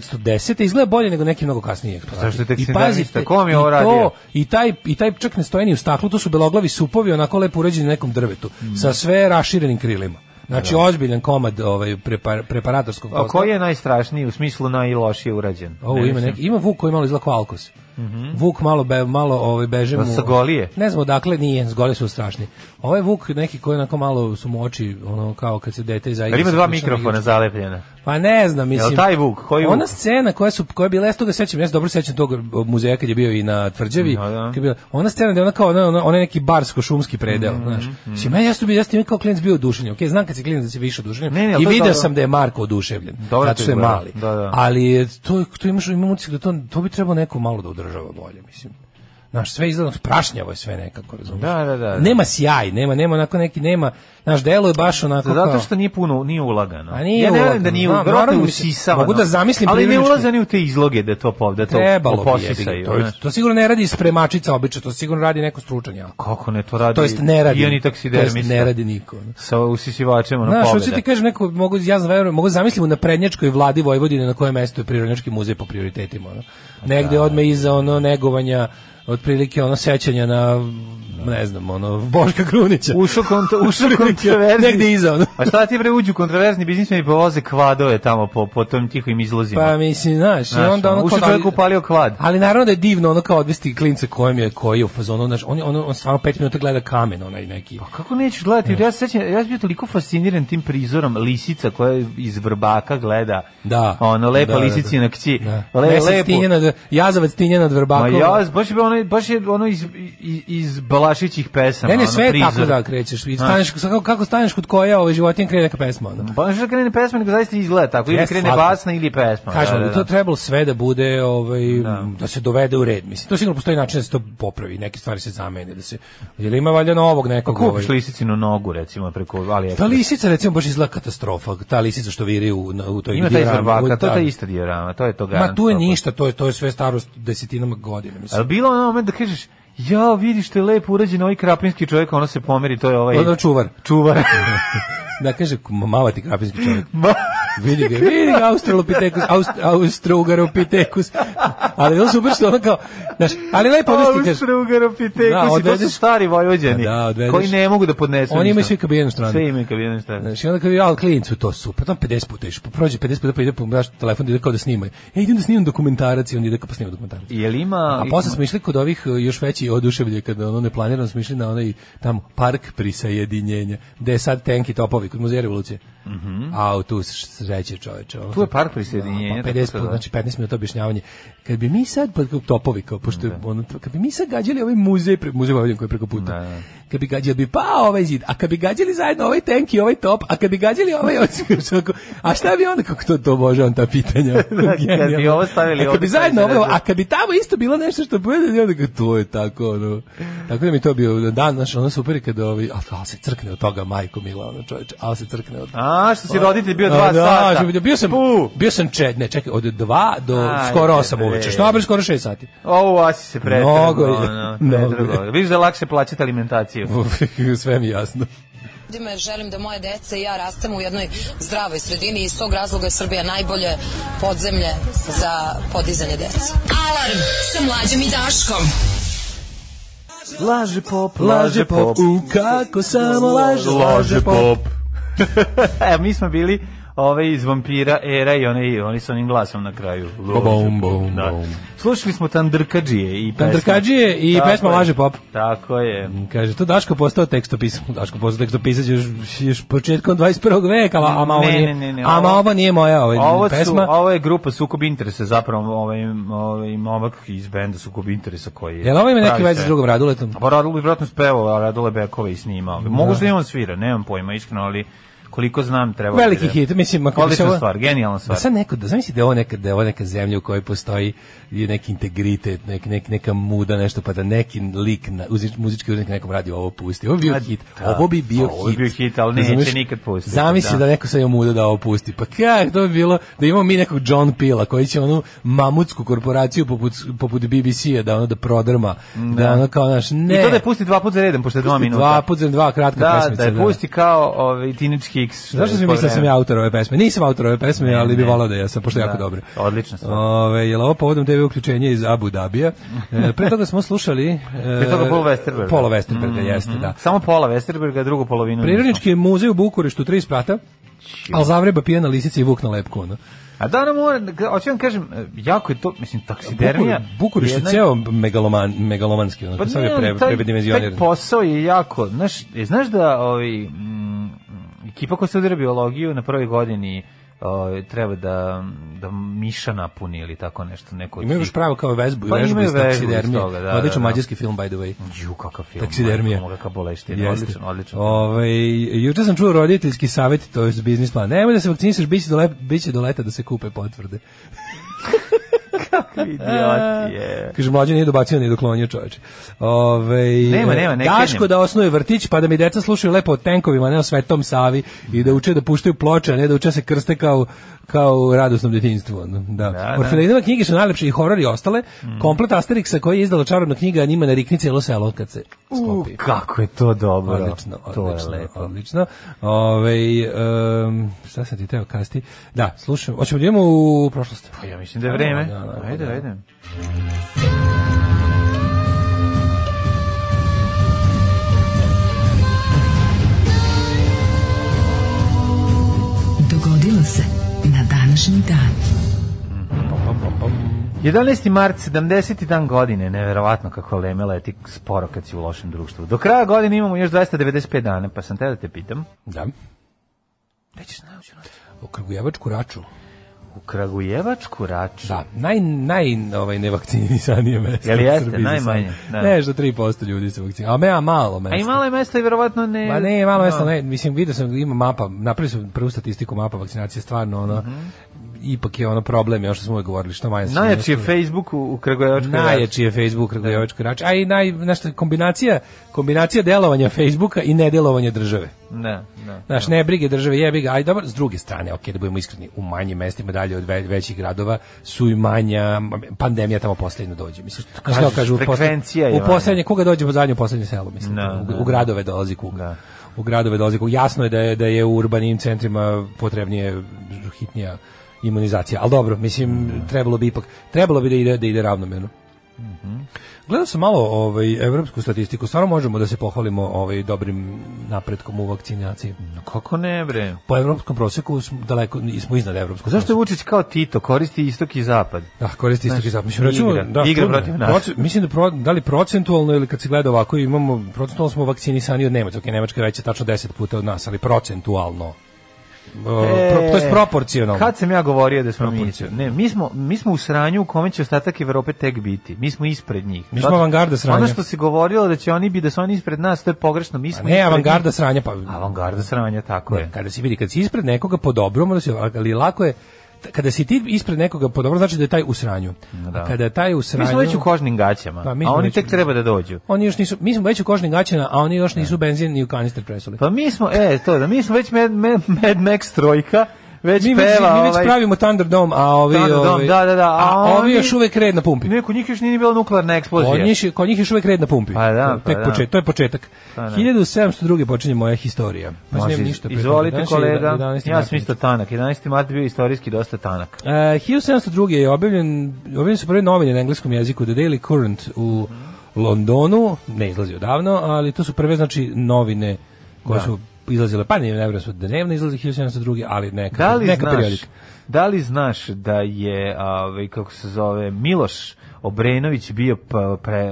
Speaker 6: 1910. izgleda bolje nego neki mnogo kasniji eksponati.
Speaker 7: Pa Zašto je tek
Speaker 6: I
Speaker 7: sindarista?
Speaker 6: pazite,
Speaker 7: Ko vam je
Speaker 6: i
Speaker 7: ovo
Speaker 6: to-
Speaker 7: radio?
Speaker 6: I taj, I taj čak ne stoji ni u staklu, to su beloglavi supovi, onako lepo uređeni na nekom drvetu,
Speaker 7: Mm.
Speaker 6: sa sve raširenim krilima. Znači, ozbiljan komad ovaj, prepar, preparatorskog
Speaker 7: A
Speaker 6: posla.
Speaker 7: koji Pa je najstrašniji, u smislu najlošije urađen?
Speaker 6: Pa Ovo
Speaker 7: Ne
Speaker 6: ima
Speaker 7: mislim.
Speaker 6: neki, ima Vuk koji malo izgleda kao Alkos. Vuk malo be, malo ovaj beže
Speaker 7: Da
Speaker 6: mu.
Speaker 7: sa golije?
Speaker 6: Ne znam odakle nije, s golije su strašni. Ovaj Vuk neki koji onako malo su mu oči ono kao kad se dete iza.
Speaker 7: Jel ima dva mikrofona zalepljena.
Speaker 6: Pa ne znam, mislim.
Speaker 7: Jel taj Vuk? Koji Vuk?
Speaker 6: Ona scena koja su koja je bila ja se toga sećam, ja se dobro sećam tog e, muzeja kad je bio i na tvrđavi.
Speaker 7: Da, da.
Speaker 6: Kad je bila, ona scena da je ona kao ona, ona, onaj neki barsko šumski predeo,
Speaker 7: Mhm,
Speaker 6: znaš. Mislim, ja sam bio ja sam kao klinac bio oduševljen. Okej, znam kad si klinac da si više oduševljen.
Speaker 7: Ne, ne, ali
Speaker 6: I
Speaker 7: to je
Speaker 6: video
Speaker 7: dobro.
Speaker 6: sam da je Marko oduševljen.
Speaker 7: Dobro
Speaker 6: zato
Speaker 7: to
Speaker 6: što je
Speaker 7: izgleda.
Speaker 6: mali.
Speaker 7: Da, da.
Speaker 6: Ali je to to imaš imam utisak da to to bi trebalo neko malo da održava bolje, mislim. Znaš, sve izgleda prašnjavo je sve nekako, razumiješ?
Speaker 7: Da, da, da.
Speaker 6: Nema sjaj, nema, nema onako neki, nema, znaš, delo je baš onako
Speaker 7: Zato
Speaker 6: Pa kao-
Speaker 7: što nije puno, nije ulagano.
Speaker 6: A nije
Speaker 7: ja ne
Speaker 6: ulagano,
Speaker 7: da nije
Speaker 6: znam,
Speaker 7: ulagano, verovatno je
Speaker 6: naravno, mislim,
Speaker 7: usisavano.
Speaker 6: mogu da zamislim
Speaker 7: Ali ne
Speaker 6: privremenički-
Speaker 7: ulaze ni u te izloge da to pov, da to
Speaker 6: trebalo bi jebi
Speaker 7: posisaju.
Speaker 6: ga, to, je-
Speaker 7: znaš.
Speaker 6: to sigurno ne radi spremačica obično, to sigurno radi neko stručan jako.
Speaker 7: Kako ne, to radi
Speaker 6: To jest ne radi.
Speaker 7: i oni
Speaker 6: To jest
Speaker 7: taksidermista
Speaker 6: ne radi niko.
Speaker 7: sa usisivačem ono, na
Speaker 6: Znaš, hoću
Speaker 7: pobeda.
Speaker 6: ti kažem, neko, mogu, ja znam, verujem, mogu zamislim u naprednjačkoj vladi Vojvodine na kojem mestu je Prirodnjački muzej po
Speaker 7: Pa
Speaker 6: prioritetima. Ono. Negde odme iza ono negovanja, otprilike ono sećanja na ne znam, ono, Boška Krunića.
Speaker 7: Ušao kontra, ušao kontroverzni.
Speaker 6: Negde iza, ono.
Speaker 7: Pa šta ti bre uđu kontroverzni biznismeni i povoze kvadove tamo po, po tom tihim izlozima.
Speaker 6: Pa mislim, znaš, i
Speaker 7: Znaš,
Speaker 6: onda ono...
Speaker 7: ono, ušao
Speaker 6: kao-
Speaker 7: čovjek upalio kvad.
Speaker 6: Ali naravno da je divno ono kao odvesti klinca kojem je, koji je u fazonu, znaš, on, je- ono, on, on stvarno pet minuta gleda kamen, onaj neki.
Speaker 7: Pa kako nećeš gledati? Ja se sećam, ja sam bio toliko fasciniran tim prizorom lisica koja iz vrbaka gleda.
Speaker 6: Da.
Speaker 7: Ono lepa
Speaker 6: Da, da,
Speaker 7: lisici
Speaker 6: da.
Speaker 7: na kći.
Speaker 6: Da.
Speaker 7: Le,
Speaker 6: Mesec
Speaker 7: Pa lepo.
Speaker 6: tinje nad, jazavac tinje nad
Speaker 7: Ma
Speaker 6: vrbakom.
Speaker 7: ja, baš je bio ono, baš je ono iz, iz, iz Balašićih pesama.
Speaker 6: Ne, ne,
Speaker 7: ono,
Speaker 6: sve je
Speaker 7: prizor.
Speaker 6: tako da krećeš. I
Speaker 7: Znaš.
Speaker 6: staneš, kako, kako staneš kod koja ove životinje krene neka pesma. Ono.
Speaker 7: Pa nešto da krene pesma, nego zaista izgleda tako. Ili
Speaker 6: Jeste,
Speaker 7: krene
Speaker 6: slatko.
Speaker 7: basna ili pesma.
Speaker 6: Kažemo,
Speaker 7: Pa da,
Speaker 6: da,
Speaker 7: da,
Speaker 6: to
Speaker 7: da.
Speaker 6: trebalo sve da bude, ovaj,
Speaker 7: Da.
Speaker 6: da. se dovede u red. Mislim, to sigurno postoji način da se to popravi, neke stvari se zamene, da se, jer ima valjda novog
Speaker 7: Pa
Speaker 6: nekog. ovaj-
Speaker 7: kupiš lisicinu nogu, recimo, preko AliExpress.
Speaker 6: Ta lisica, recimo, baš izgleda katastrofa. Ta lisica što viri u, na- u toj
Speaker 7: Ima taj iz
Speaker 6: diorami, u-
Speaker 7: vrbaka, to je
Speaker 6: da.
Speaker 7: ta ista diorama, to je to garant.
Speaker 6: Ma tu je
Speaker 7: toliko.
Speaker 6: ništa, to je, to je sve starost desetinama godina, mislim.
Speaker 7: Ali bilo ono moment da kažeš, ja, vidiš što je lepo urađen ovaj krapinski čovjek, ono se pomeri, to je ovaj...
Speaker 6: Ono čuvar.
Speaker 7: Čuvar.
Speaker 6: Da kaže, mama ti krapinski čovjek.
Speaker 7: Ma-
Speaker 6: Vidi ga, vidi ga, Australopithecus, Aust, Austraugaropithecus. Ali je bilo super što ono kao, znaš, ali lepo odvesti kaže.
Speaker 7: Austraugaropitekusi,
Speaker 6: Da,
Speaker 7: to su
Speaker 6: odvedeš-
Speaker 7: stari vojvođani,
Speaker 6: Da, odvedeš-
Speaker 7: koji ne mogu da podnesu
Speaker 6: Oni
Speaker 7: ništa.
Speaker 6: imaju svi kabinu stranu.
Speaker 7: Sve imaju kabinu stranu.
Speaker 6: Znaš, i onda kao, ja, ali klinicu, to super, tam 50 puta iš, prođe 50 puta, pa ide po naš telefon, ide kao da snima. Ja idem da snimam dokumentarac i on ide kao pa snima dokumentarac.
Speaker 7: Jel ima...
Speaker 6: A posle smo išli kod ovih uh, još veći oduševlje kada ono neplanirano smo išli na onaj tamo park prisajedinjenja, gde je sad tenki topovi kod muzeja revolucije. Mm A tu sreće čoveče. ono
Speaker 7: Mhm. Tu je
Speaker 6: sad-
Speaker 7: park prisjedinjenja.
Speaker 6: Da, pa
Speaker 7: tako
Speaker 6: 50
Speaker 7: to
Speaker 6: puta,
Speaker 7: da.
Speaker 6: znači 15 minuta objašnjavanje. Kad bi mi sad, pa kao topovi, kao, pošto, je ono, kad bi mi sad gađali ovaj muzej, pre, muzej Vojvodine koji je preko puta,
Speaker 7: Da, da.
Speaker 6: kad bi gađali, bi pao ovaj zid, a kad bi gađali zajedno ovaj tank i ovaj top, a kad bi gađali ovaj, ovaj a šta bi onda, kako to, to može on ta pitanja?
Speaker 7: kad bi ovo stavili pa
Speaker 6: a kad
Speaker 7: ovde, stavili
Speaker 6: bi zajedno ovaj
Speaker 7: se
Speaker 6: ovo,
Speaker 7: razred.
Speaker 6: a kad bi tamo isto bilo nešto što bude, i onda kao, to je tako, ono. Tako da mi je to bio dan, znaš, ono super je kada ovi, ali, ali se crkne od toga, majko mila, ono čoveče, ali se crkne od
Speaker 7: A, što si roditelj bio dva
Speaker 6: Pa- a, da,
Speaker 7: sata.
Speaker 6: što bi- bio sam,
Speaker 7: Pu.
Speaker 6: bio sam če, ne, čekaj, od 2 do
Speaker 7: Ajde,
Speaker 6: skoro 8
Speaker 7: bre.
Speaker 6: uveče. Što bre skoro 6 sati.
Speaker 7: Ovo asi se pretrgo.
Speaker 6: Mnogo je,
Speaker 7: ono,
Speaker 6: mnogo
Speaker 7: pretrgo.
Speaker 6: je.
Speaker 7: Vidiš da je lakše plaćati alimentaciju.
Speaker 6: Sve mi je jasno.
Speaker 8: ljudima jer želim da moje dece i ja rastemo u jednoj zdravoj sredini i iz tog razloga je Srbija najbolje podzemlje za podizanje dece. Alarm sa mlađom i Daškom.
Speaker 7: Laže pop,
Speaker 6: Laže pop, u kako samo laže,
Speaker 7: Laže pop. e, mi smo bili ove iz vampira era i oni, oni sa onim glasom na kraju. Laže
Speaker 6: Bom,
Speaker 7: pop,
Speaker 6: bom,
Speaker 7: da.
Speaker 6: bom.
Speaker 7: Slušali smo Tandrkađije i pesmu.
Speaker 6: Tandrkađije i
Speaker 7: Tako
Speaker 6: pesma
Speaker 7: je.
Speaker 6: Laže pop.
Speaker 7: Tako je.
Speaker 6: Kaže, to Daško postao tekstopisac. Daško postao tekstopisac još, još početkom 21. veka, a ama ovo
Speaker 7: Ne, ne,
Speaker 6: nije,
Speaker 7: ne, ne,
Speaker 6: ama
Speaker 7: ovo-
Speaker 6: ovo nije moja ovaj,
Speaker 7: Ovo, su,
Speaker 6: pesma.
Speaker 7: ovo je grupa Sukob interesa, zapravo ovaj, ovaj momak iz benda Sukob interesa koji je...
Speaker 6: Jel ovo ima neke
Speaker 7: pravi
Speaker 6: veze s
Speaker 7: sve.
Speaker 6: drugom raduletom?
Speaker 7: Pa Radul bi vjerojatno spevao, a Radule Bekove i snimao. Moguće da i on svira, nemam pojma, iskreno, ali koliko znam treba...
Speaker 6: Veliki hit, mislim, ako bi se
Speaker 7: Odlična
Speaker 6: ovo-
Speaker 7: stvar, genijalna
Speaker 6: Da
Speaker 7: stvar.
Speaker 6: sad neko, da zamisli da je ovo neka, da je ovo neka zemlja u kojoj postoji i neki integritet, nek, nek, neka muda, nešto, pa da neki lik, na, uzi- muzički uznik na nekom radiju ovo pusti. Ovo bi bio
Speaker 7: A,
Speaker 6: hit.
Speaker 7: da.
Speaker 6: Ovo bi bio
Speaker 7: Ovo bi bio hit, ali neće
Speaker 6: Razumeš?
Speaker 7: nikad pustiti, da.
Speaker 6: Zamisli da. neko sad ima muda da ovo pusti. Pa kak, to bi bilo da imamo mi nekog John Pila koji će onu mamutsku korporaciju poput, poput BBC-a da ono da prodrma. Da, ono kao, naš, ne.
Speaker 7: I to da je pusti dva puta za redom, pošto je dva minuta.
Speaker 6: Dva put za dva kratka
Speaker 7: da,
Speaker 6: pesmica.
Speaker 7: da je pusti kao ovaj, Teenage Hicks. što
Speaker 6: Zašto
Speaker 7: je
Speaker 6: sam mislio da sam
Speaker 7: po
Speaker 6: ja autor ove pesme? Nisam autor ove pesme, ali bi
Speaker 7: ne.
Speaker 6: volao da jesam, pošto je
Speaker 7: Da.
Speaker 6: jako dobro.
Speaker 7: Odlična stvar.
Speaker 6: Ove, jel ovo povodom TV uključenja iz Abu Dabija? E, pre toga smo slušali... E,
Speaker 7: Pre toga Mhm, Paul Westerberg.
Speaker 6: Paula Westerberga, jeste,
Speaker 7: vremenu.
Speaker 6: da.
Speaker 7: Samo pola Westerberga, drugu polovinu.
Speaker 6: Prirodnički muzej u Bukureštu, tri sprata, ali zavreba pije na lisici i vuk na lepku. Ono.
Speaker 7: nisam. A da nam mora, hoću vam kažem, jako je to, mislim, taksidermija.
Speaker 6: Bukur- Bukurešt je
Speaker 7: jedna-
Speaker 6: ceo megaloman, megalomanski, ono, sam
Speaker 7: ne,
Speaker 6: je
Speaker 7: ali
Speaker 6: pre,
Speaker 7: Pa taj-
Speaker 6: predimenzioniran.
Speaker 7: Taj posao je jako, znaš, e, znaš da ovi, mm, ekipa koja studira biologiju na prvoj godini o, treba da, da miša napuni ili tako nešto. Neko od
Speaker 6: Imaju
Speaker 7: tih-
Speaker 6: još pravo kao vezbu,
Speaker 7: Pa
Speaker 6: vežbu
Speaker 7: imaju
Speaker 6: iz
Speaker 7: vežbu iz
Speaker 6: taksidermije.
Speaker 7: toga, da, da,
Speaker 6: Odličan
Speaker 7: da.
Speaker 6: mađarski film, by the way.
Speaker 7: Ju, kakav film.
Speaker 6: Taksidermija.
Speaker 7: Moga ka boleština.
Speaker 6: Jeste.
Speaker 7: Odličan, odličan.
Speaker 6: Ovaj, juče sam čuo roditeljski savjet, to je biznis plan. Nemoj da se vakcinišeš, biće do, le, biće do leta da se kupe potvrde.
Speaker 7: Idiot je.
Speaker 6: Kaže, mlađe nije dobacio, nije doklonio čoveče. Ove,
Speaker 7: Nema, nema, ne
Speaker 6: Daško
Speaker 7: krenjem.
Speaker 6: da osnuje vrtić, pa da mi deca slušaju lepo o tenkovima, ne o svetom Savi, i da uče da puštaju ploče, a ne da uče se krste kao kao u radosnom detinjstvu. ono, Da.
Speaker 7: Da,
Speaker 6: da
Speaker 7: da.
Speaker 6: Orfelinove knjige su najlepše i horor i ostale. Komplet Asterixa koji je izdala čarobna knjiga, a njima narikni cijelo selo kad se
Speaker 7: U,
Speaker 6: sklopi.
Speaker 7: kako je to dobro.
Speaker 6: Odlično,
Speaker 7: To
Speaker 6: odlično,
Speaker 7: je lepo.
Speaker 6: odlično. Ove, um, šta sam ti teo kasti? Da, slušam. Hoćemo da idemo u prošlost.
Speaker 7: Pa ja mislim da je vreme.
Speaker 6: Da, da, da, da.
Speaker 7: Ajde, ajde.
Speaker 9: Rodilo se na današnji dan.
Speaker 7: 11. mart, 70. dan godine, neverovatno kako leme leti sporo kad si u lošem društvu. Do kraja godine imamo još 295 dana, pa sam te da te pitam.
Speaker 6: Da.
Speaker 7: Gde ćeš naći ono? u noć?
Speaker 6: U Kragujevačku raču.
Speaker 7: U Kragujevačku raču.
Speaker 6: Da, naj, naj ovaj, nevakcinisanije mesto.
Speaker 7: Jel
Speaker 6: u
Speaker 7: jeste?
Speaker 6: Srbiji
Speaker 7: Najmanje,
Speaker 6: sad.
Speaker 7: da.
Speaker 6: Nešto 3% ljudi se vakcinira. A me, a malo mesto.
Speaker 7: A i malo je mesta i verovatno ne...
Speaker 6: Ma ne, malo
Speaker 7: Da.
Speaker 6: mesto, ne, mislim, vidio sam, ima mapa, napravili su prvu statistiku mapa vakcinacije, stvarno, ono,
Speaker 7: Mhm.
Speaker 6: ipak je ono problem, još što smo uvijek govorili, što manje...
Speaker 7: Najjači je
Speaker 6: što-
Speaker 7: Facebook u, u Kragujevačku raču.
Speaker 6: Najjači je Facebook Kragujevački rač, a i naj, znaš šta, kombinacija, kombinacija delovanja Facebooka i nedelovanja države.
Speaker 7: Da, da.
Speaker 6: Znaš, ne brige države, jebi ga, aj dobro, s druge strane, ok, da budemo iskreni, u manjim mestima dalje od ve- većih gradova su i manja, pandemija tamo poslednja dođe, mislim. Znaš,
Speaker 7: kažeš,
Speaker 6: kao kažu, u posle-
Speaker 7: frekvencija je
Speaker 6: u
Speaker 7: ona.
Speaker 6: poslednje, koga dođe po zadnje, u poslednje selo, mislim,
Speaker 7: Da,
Speaker 6: u,
Speaker 7: da.
Speaker 6: u gradove dolazi kuga.
Speaker 7: Da.
Speaker 6: U gradove dolazi kuga. Jasno je da je, da je u urbanim centrima potrebnije, hitnija imunizacija, ali dobro, mislim, trebalo bi ipak, trebalo bi da ide, da ide ravnomjerno.
Speaker 7: Mhm.
Speaker 6: Gledao sam malo ovaj evropsku statistiku. Stvarno možemo da se pohvalimo ovaj dobrim napretkom u vakcinaciji.
Speaker 7: Kako ne, bre?
Speaker 6: Po evropskom proseku smo daleko smo iznad evropskog.
Speaker 7: Zašto je Vučić kao Tito, koristi istok i zapad?
Speaker 6: Da, koristi istok i zapad. Mislim, recimo,
Speaker 7: igra.
Speaker 6: da,
Speaker 7: Igra
Speaker 6: čudno je.
Speaker 7: protiv nas.
Speaker 6: Proce- mislim da, pro, da li procentualno ili kad se gleda ovako, imamo, procentualno smo vakcinisani od Nemačke. Ok, Nemačka je veća tačno 10 puta od nas, ali procentualno. E, pro, to je proporcionalno.
Speaker 7: Kad sam ja govorio da smo mi,
Speaker 6: Proporcionalno.
Speaker 7: ne, mi smo, mi smo u sranju u kome će ostatak Evrope tek biti. Mi smo ispred njih.
Speaker 6: Mi smo
Speaker 7: Zato-
Speaker 6: avangarda sranja.
Speaker 7: Ono što se govorilo da će oni biti da su oni ispred nas, to je pogrešno. Mi
Speaker 6: A
Speaker 7: smo
Speaker 6: ne,
Speaker 7: ispred
Speaker 6: avangarda
Speaker 7: njih.
Speaker 6: sranja, pa
Speaker 7: Avangarda sranja, tako
Speaker 6: Ne,
Speaker 7: je.
Speaker 6: kada si vidi, kada si ispred nekoga po dobrom, onda si, ali lako je, t- kada si ti ispred nekoga po dobrom, znači da je taj u sranju.
Speaker 7: da.
Speaker 6: A kada je taj u
Speaker 7: Mi
Speaker 6: sranju...
Speaker 7: smo već u kožnim gaćama,
Speaker 6: Pa, mi
Speaker 7: a
Speaker 6: smo
Speaker 7: oni
Speaker 6: već
Speaker 7: tek
Speaker 6: u-
Speaker 7: treba da dođu.
Speaker 6: Oni još nisu, mi smo već u kožnim gaćama, a oni još nisu benzin ni u kanister presuli.
Speaker 7: Pa mi smo, e, to da, mi smo već Mad, Mad, Mad Max trojka, već
Speaker 6: mi, već,
Speaker 7: peva
Speaker 6: mi već
Speaker 7: ovaj,
Speaker 6: pravimo Thunderdome, a ovi...
Speaker 7: Thunderdome,
Speaker 6: ovi-
Speaker 7: da, da, da,
Speaker 6: A,
Speaker 7: a
Speaker 6: ovi
Speaker 7: oni-
Speaker 6: još uvek red na pumpi.
Speaker 7: Neko njih još nije bila nuklearna eksplozija.
Speaker 6: Kod njih, kod njih još uvek red na pumpi.
Speaker 7: Pa da, pa
Speaker 6: Tek
Speaker 7: da.
Speaker 6: počet- to je početak.
Speaker 7: Pa da.
Speaker 6: 1702. počinje moja historija. Pa
Speaker 7: Može,
Speaker 6: nemam ništa prethodno.
Speaker 7: izvolite
Speaker 6: Danas je
Speaker 7: kolega,
Speaker 6: 11.
Speaker 7: ja sam
Speaker 6: mart.
Speaker 7: isto tanak, 11. mart bio istorijski dosta tanak.
Speaker 6: Uh, 1702. je objavljen, objavljen su prve novine na engleskom jeziku, The Daily Current u Londonu, ne izlazi odavno, ali to su prve, znači, novine koje su izlazile, pa ne, ne vjerujem su dnevno izlazi 1702. ali neka,
Speaker 7: Da li
Speaker 6: neka
Speaker 7: znaš,
Speaker 6: periodika.
Speaker 7: da li znaš da je, ovaj, kako se zove, Miloš Obrenović bio pa, pre,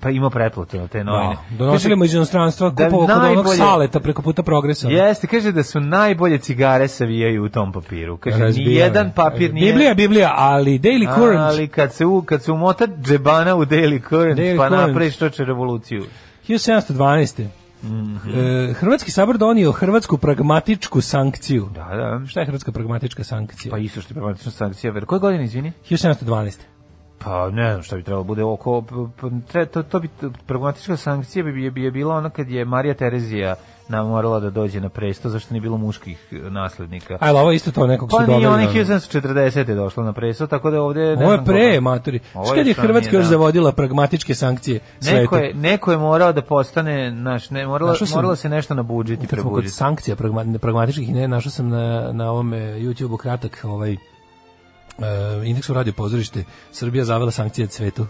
Speaker 7: pa imao pretplatu na te novine.
Speaker 6: Da, donosili mu iz inostranstva,
Speaker 7: Da
Speaker 6: kupovao kod onog
Speaker 7: najbolje-
Speaker 6: saleta preko puta progresa.
Speaker 7: Jeste, kaže da su najbolje cigare savijaju u tom papiru. Kaže,
Speaker 6: Razbijao
Speaker 7: ni
Speaker 6: je.
Speaker 7: jedan papir nije...
Speaker 6: Biblija, Biblija, ali Daily Current.
Speaker 7: Ali kad se, u, kad se umota džebana u Daily Current,
Speaker 6: Daily
Speaker 7: pa
Speaker 6: Current.
Speaker 7: napraviš to će revoluciju.
Speaker 6: 1712.
Speaker 7: Mhm.
Speaker 6: E, Hrvatski sabor donio hrvatsku pragmatičku sankciju.
Speaker 7: Da, da.
Speaker 6: Šta je hrvatska pragmatička sankcija?
Speaker 7: Pa isto što je problematična sankcija. ver- Koje godine, izvini?
Speaker 6: 1712.
Speaker 7: Pa ne znam šta bi trebalo bude oko p- p- tre- to, to bi to- problematička sankcija bi, bi, bi je bila ona kad je Marija Terezija nam morala da dođe na presto zašto nije bilo muških e, naslednika.
Speaker 6: Ajde, ovo je isto to nekog su
Speaker 7: Pa nije
Speaker 6: doveli,
Speaker 7: onih
Speaker 6: ono.
Speaker 7: 1740. je došla na presto, tako da ovde... ne
Speaker 6: Ovo je
Speaker 7: znam
Speaker 6: pre,
Speaker 7: koga-
Speaker 6: matori.
Speaker 7: Ovo
Speaker 6: Što kad je
Speaker 7: šta
Speaker 6: Hrvatska
Speaker 7: nije,
Speaker 6: još
Speaker 7: da.
Speaker 6: zavodila pragmatičke sankcije svetu?
Speaker 7: Neko je, neko je morao da postane, znaš, ne, morala,
Speaker 6: Našao sam-
Speaker 7: morala se nešto nabudžiti,
Speaker 6: Kad smo kod
Speaker 7: prebuditi.
Speaker 6: sankcija pragma, ne, pragmatičkih, ne, našao sam na, na ovome YouTube-u kratak ovaj e, indeksu radio pozorište Srbija zavela sankcije cvetu.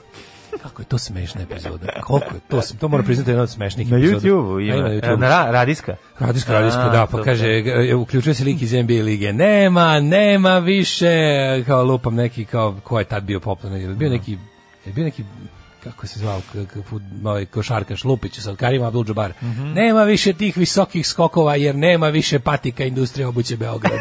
Speaker 6: Kako je to smešna epizoda. Koliko je to, to moram priznati da je jedna od smešnih
Speaker 7: Na
Speaker 6: epizoda.
Speaker 7: YouTube-u
Speaker 6: A,
Speaker 7: ima, E,
Speaker 6: na YouTube-u.
Speaker 7: na ra- radijska.
Speaker 6: Radijska, radijska,
Speaker 7: A,
Speaker 6: da, pa
Speaker 7: dobro.
Speaker 6: kaže, g- uključuje se lik iz NBA lige, nema, nema više, kao lupam neki, kao, ko je tad bio popularni, je li bio neki, je li bio neki, kako se zvao, k- k- fud- ovaj košarkaš Lupić sa Karim Abdul-Jabbar.
Speaker 7: Mhm.
Speaker 6: Nema više tih visokih skokova jer nema više patika industrije obuće Beograd.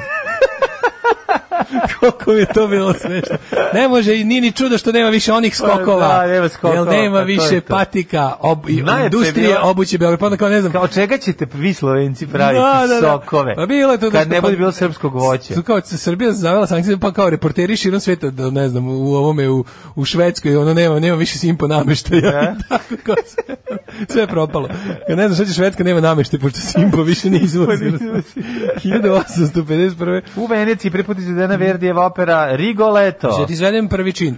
Speaker 6: Koliko mi je to bilo smešno. Ne može i nije ni čudo što nema više onih skokova.
Speaker 7: Pa da, nema skokova,
Speaker 6: Jer nema
Speaker 7: pa to je
Speaker 6: više
Speaker 7: to.
Speaker 6: patika ob, i-
Speaker 7: Najlepše je
Speaker 6: industrije
Speaker 7: bilo-
Speaker 6: obuće Beograd. Pa onda kao ne znam,
Speaker 7: Kao čega ćete vi Slovenci praviti
Speaker 6: Da, da, da.
Speaker 7: sokove?
Speaker 6: Pa bilo je to
Speaker 7: Kad
Speaker 6: nešto,
Speaker 7: ne
Speaker 6: pa-
Speaker 7: bude bilo srpskog voća.
Speaker 6: Tu kao se Srbija zavela sankcije, pa kao reporteri širom sveta, da ne znam, u ovome u, u Švedskoj, ono nema, nema više simpo nameštaja.
Speaker 7: E?
Speaker 6: Tako kao sve, sve je propalo. Ja ne znam šta će Švedska, nema nameštaja, pošto simpo više ne izvozi. 1851.
Speaker 7: U Veneciji preput izvedena Verdijeva opera Rigoletto.
Speaker 6: Što ti izvedem prvi čin.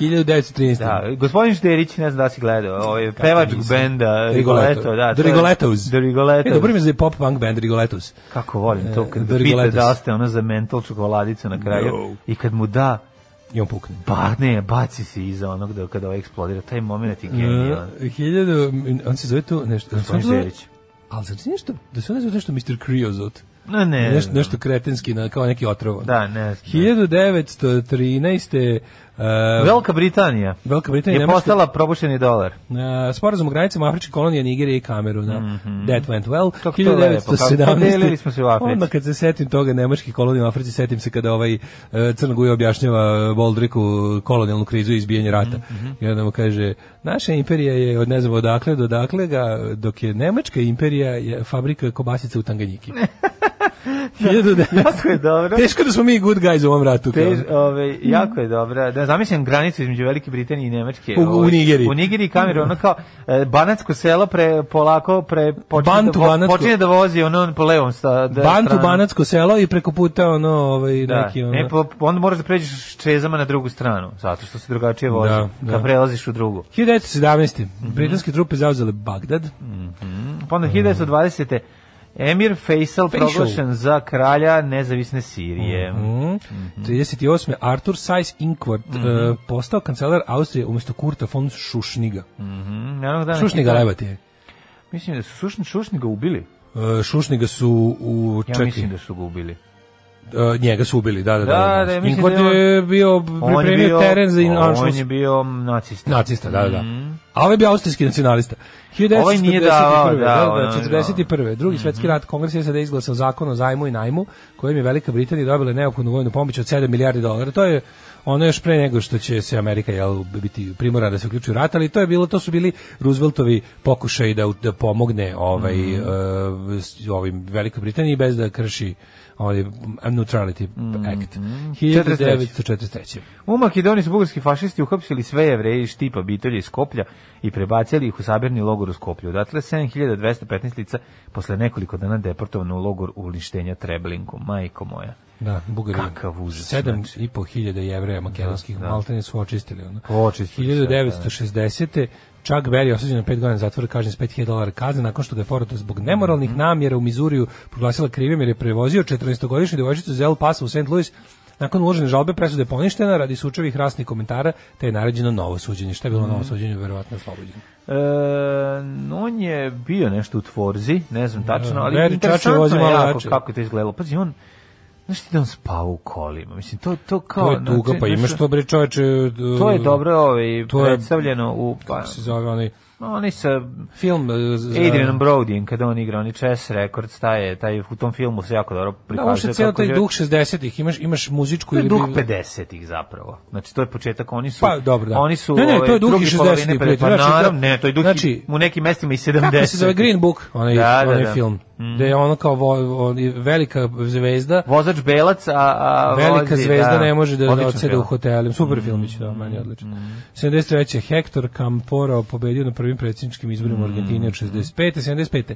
Speaker 6: 1913.
Speaker 7: Da, gospodin Šterić, ne znam da si gledao, ovaj pevač
Speaker 6: nisam.
Speaker 7: benda Rigoletto,
Speaker 6: Rigoletto,
Speaker 7: da.
Speaker 6: The
Speaker 7: to je-
Speaker 6: Rigolettos.
Speaker 7: The Rigolettos.
Speaker 6: E, dobro ime za pop punk band Rigolettos.
Speaker 7: Kako volim to, kad
Speaker 6: The
Speaker 7: ga pita
Speaker 6: Rigolettos.
Speaker 7: da ste ono za mental čokoladicu na kraju
Speaker 6: No.
Speaker 7: i kad mu da,
Speaker 6: I on pukne.
Speaker 7: ba, Pa, ne, baci se iza onog da kada ovaj eksplodira, taj moment je genijalan.
Speaker 6: Uh, hiljadu, on se zove tu nešto.
Speaker 7: Gospodin
Speaker 6: on se zove-
Speaker 7: Šterić.
Speaker 6: Ali znači nešto, da se on ne zove nešto Mr. Kriozot.
Speaker 7: Ne, ne
Speaker 6: nešto,
Speaker 7: znam.
Speaker 6: nešto kretenski, na, kao neki otrov.
Speaker 7: Da, ne znam.
Speaker 6: 1913. Uh,
Speaker 7: Velika Britanija
Speaker 6: Velika Britanija
Speaker 7: je
Speaker 6: Nemačka-
Speaker 7: postala probušeni dolar.
Speaker 6: na sporazum o granicama Afričke kolonije Nigerije i Kameruna. That went well.
Speaker 7: Mhm. Kako to lepo, kako podelili smo se u Africi.
Speaker 6: Onda kad se setim toga nemačkih kolonija u Africi, setim se kada ovaj Crnoguj objašnjava e, Boldriku kolonijalnu krizu i izbijanje rata.
Speaker 7: Mhm,
Speaker 6: I onda mu kaže, naša imperija je od ne znam odakle do dakle, ga, dok je nemačka imperija je fabrika kobasica u Tanganjiki. 1900
Speaker 7: Jako je dobro.
Speaker 6: Teško da smo mi good guys u ovom ratu. kao.
Speaker 7: Tež, ove, jako je dobra. Da, zamišljam granicu između Velike Britanije i Nemačke.
Speaker 6: U- u
Speaker 7: ovaj,
Speaker 6: Nigeriji.
Speaker 7: U Nigeriji kamer, ono kao e, banatsko selo pre, polako pre, počinje,
Speaker 6: Bantu
Speaker 7: da, vo-
Speaker 6: banatsko.
Speaker 7: počinje da vozi ono po levom sta, da,
Speaker 6: Bantu
Speaker 7: stranu.
Speaker 6: Banatsko selo i preko puta ono ovaj
Speaker 7: Da,
Speaker 6: neki ono
Speaker 7: e, po, onda moraš da pređeš s čezama na drugu stranu, zato što se drugačije vozi,
Speaker 6: Da,
Speaker 7: da,
Speaker 6: da.
Speaker 7: kad prelaziš u drugu.
Speaker 6: 1917.
Speaker 7: Mhm.
Speaker 6: Britanske trupe zauzele Bagdad.
Speaker 7: Pa onda 1920. Emir Faisal,
Speaker 6: Faisal.
Speaker 7: proglašen za kralja nezavisne Sirije.
Speaker 6: Mm. 38. Artur Sais Inkwart
Speaker 7: Mhm.
Speaker 6: e, postao kancelar Austrije umjesto Kurta von Šušniga.
Speaker 7: Mm, naravno da neki
Speaker 6: Šušniga
Speaker 7: dan-
Speaker 6: lebati je.
Speaker 7: Mislim da su Šušn, Šušniga ubili.
Speaker 6: E, Šušniga su u
Speaker 7: Ja
Speaker 6: čekaj,
Speaker 7: mislim da su ga ubili.
Speaker 6: e, njega su ubili, da, da, da.
Speaker 7: Da, da, mislim
Speaker 6: Inkwart
Speaker 7: da je
Speaker 6: je bio
Speaker 7: On je
Speaker 6: pripremio
Speaker 7: bio,
Speaker 6: teren za
Speaker 7: on
Speaker 6: Anschluss.
Speaker 7: je bio nacista.
Speaker 6: Nacista, da, da, da. A ovaj je bio austrijski nacionalista. 1941.
Speaker 7: Ovaj nije davao, da,
Speaker 6: da,
Speaker 7: ono, Mhm.
Speaker 6: da, 41. Drugi svetski rat, kongres je sada izglasao zakon o zajmu i najmu, kojim je Velika Britanija dobila neophodnu vojnu pomoć od 7 milijardi dolara. To je ono još pre nego što će se Amerika jel, biti primora da se uključi u rat, ali to je bilo, to su bili Rooseveltovi pokušaj da, u- da pomogne ovaj,
Speaker 7: Mhm.
Speaker 6: e, s- ovim Velikoj Britaniji bez da krši ovaj Neutrality Act.
Speaker 7: Mhm.
Speaker 6: 1943.
Speaker 7: U Makedoniji su bugarski fašisti uhapsili sve jevreje iz štipa Bitolje i Skoplja i prebacili ih u sabirni logor u Skoplju. Odatle 7215 lica posle nekoliko dana deportovano u logor uništenja Treblinku. Majko moja.
Speaker 6: Da, Bugari.
Speaker 7: Kakav užas,
Speaker 6: Sedam
Speaker 7: znači.
Speaker 6: i po hiljada jevreja makedonskih da, maltene su očistili. Ono.
Speaker 7: Očistili sve,
Speaker 6: 1960. Chuck Berry osuđen na pet godina zatvora kažnjen s 5000 dolara kazne nakon što ga je Forata zbog nemoralnih
Speaker 7: Mhm.
Speaker 6: namjera u Mizuriju proglasila krivim jer je prevozio 14-godišnju devojčicu iz El Pasa u St. Louis Nakon uložene žalbe presuda je poništena radi sučevih rasnih komentara, te je naređeno novo suđenje. Šta je
Speaker 7: Mhm.
Speaker 6: bilo novo suđenje, verovatno je oslobođen.
Speaker 7: E, on je bio nešto u tvorzi, ne znam tačno, ali
Speaker 6: Veri Čače
Speaker 7: interesantno
Speaker 6: vozi
Speaker 7: je
Speaker 6: malo
Speaker 7: jako
Speaker 6: jače.
Speaker 7: kako je to izgledalo. Pazi, on, znaš ti da on spava u kolima? Mislim, to, to kao...
Speaker 6: To je tuga,
Speaker 7: znači,
Speaker 6: pa
Speaker 7: znaš,
Speaker 6: imaš to, bre, čoveče...
Speaker 7: To je dobro ovaj,
Speaker 6: to je-
Speaker 7: predstavljeno u... Pa,
Speaker 6: Kako se zove onaj
Speaker 7: oni sa
Speaker 6: film... e, za-
Speaker 7: Adrianom Brodijem, kada on igra, oni Chess Records, taj, je- taj, u tom filmu se jako dobro
Speaker 6: Da, uopšte
Speaker 7: prikazuje.
Speaker 6: ceo
Speaker 7: kako
Speaker 6: taj
Speaker 7: je-
Speaker 6: duh 60-ih, imaš, imaš muzičku
Speaker 7: To je
Speaker 6: ili...
Speaker 7: duh
Speaker 6: bi-
Speaker 7: 50-ih zapravo. Znači to je početak, oni su
Speaker 6: Pa, dobro, da.
Speaker 7: oni su
Speaker 6: Ne, ne,
Speaker 7: ovaj,
Speaker 6: to je duh
Speaker 7: drugi
Speaker 6: iz
Speaker 7: polovine
Speaker 6: 60-ih,
Speaker 7: pre- pa
Speaker 6: prijatelj. Znači,
Speaker 7: naravno,
Speaker 6: da-
Speaker 7: ne, to je duh
Speaker 6: znači-
Speaker 7: i- u nekim mestima i 70.
Speaker 6: Kako se zove Green Book, onaj,
Speaker 7: Da, da,
Speaker 6: onaj
Speaker 7: da. Mhm.
Speaker 6: film, gde je ono kao vo, on, velika zvezda,
Speaker 7: Vozač Belac, a, a
Speaker 6: velika
Speaker 7: vozi,
Speaker 6: zvezda ne može da, da
Speaker 7: Odličan
Speaker 6: odsede
Speaker 7: film. Mhm.
Speaker 6: u hotelima. Super filmić, da, meni je odličan. 73. Hector Campora pobedio na prvim predsjedničkim izborima
Speaker 7: Mhm.
Speaker 6: u Argentini od 65. 75.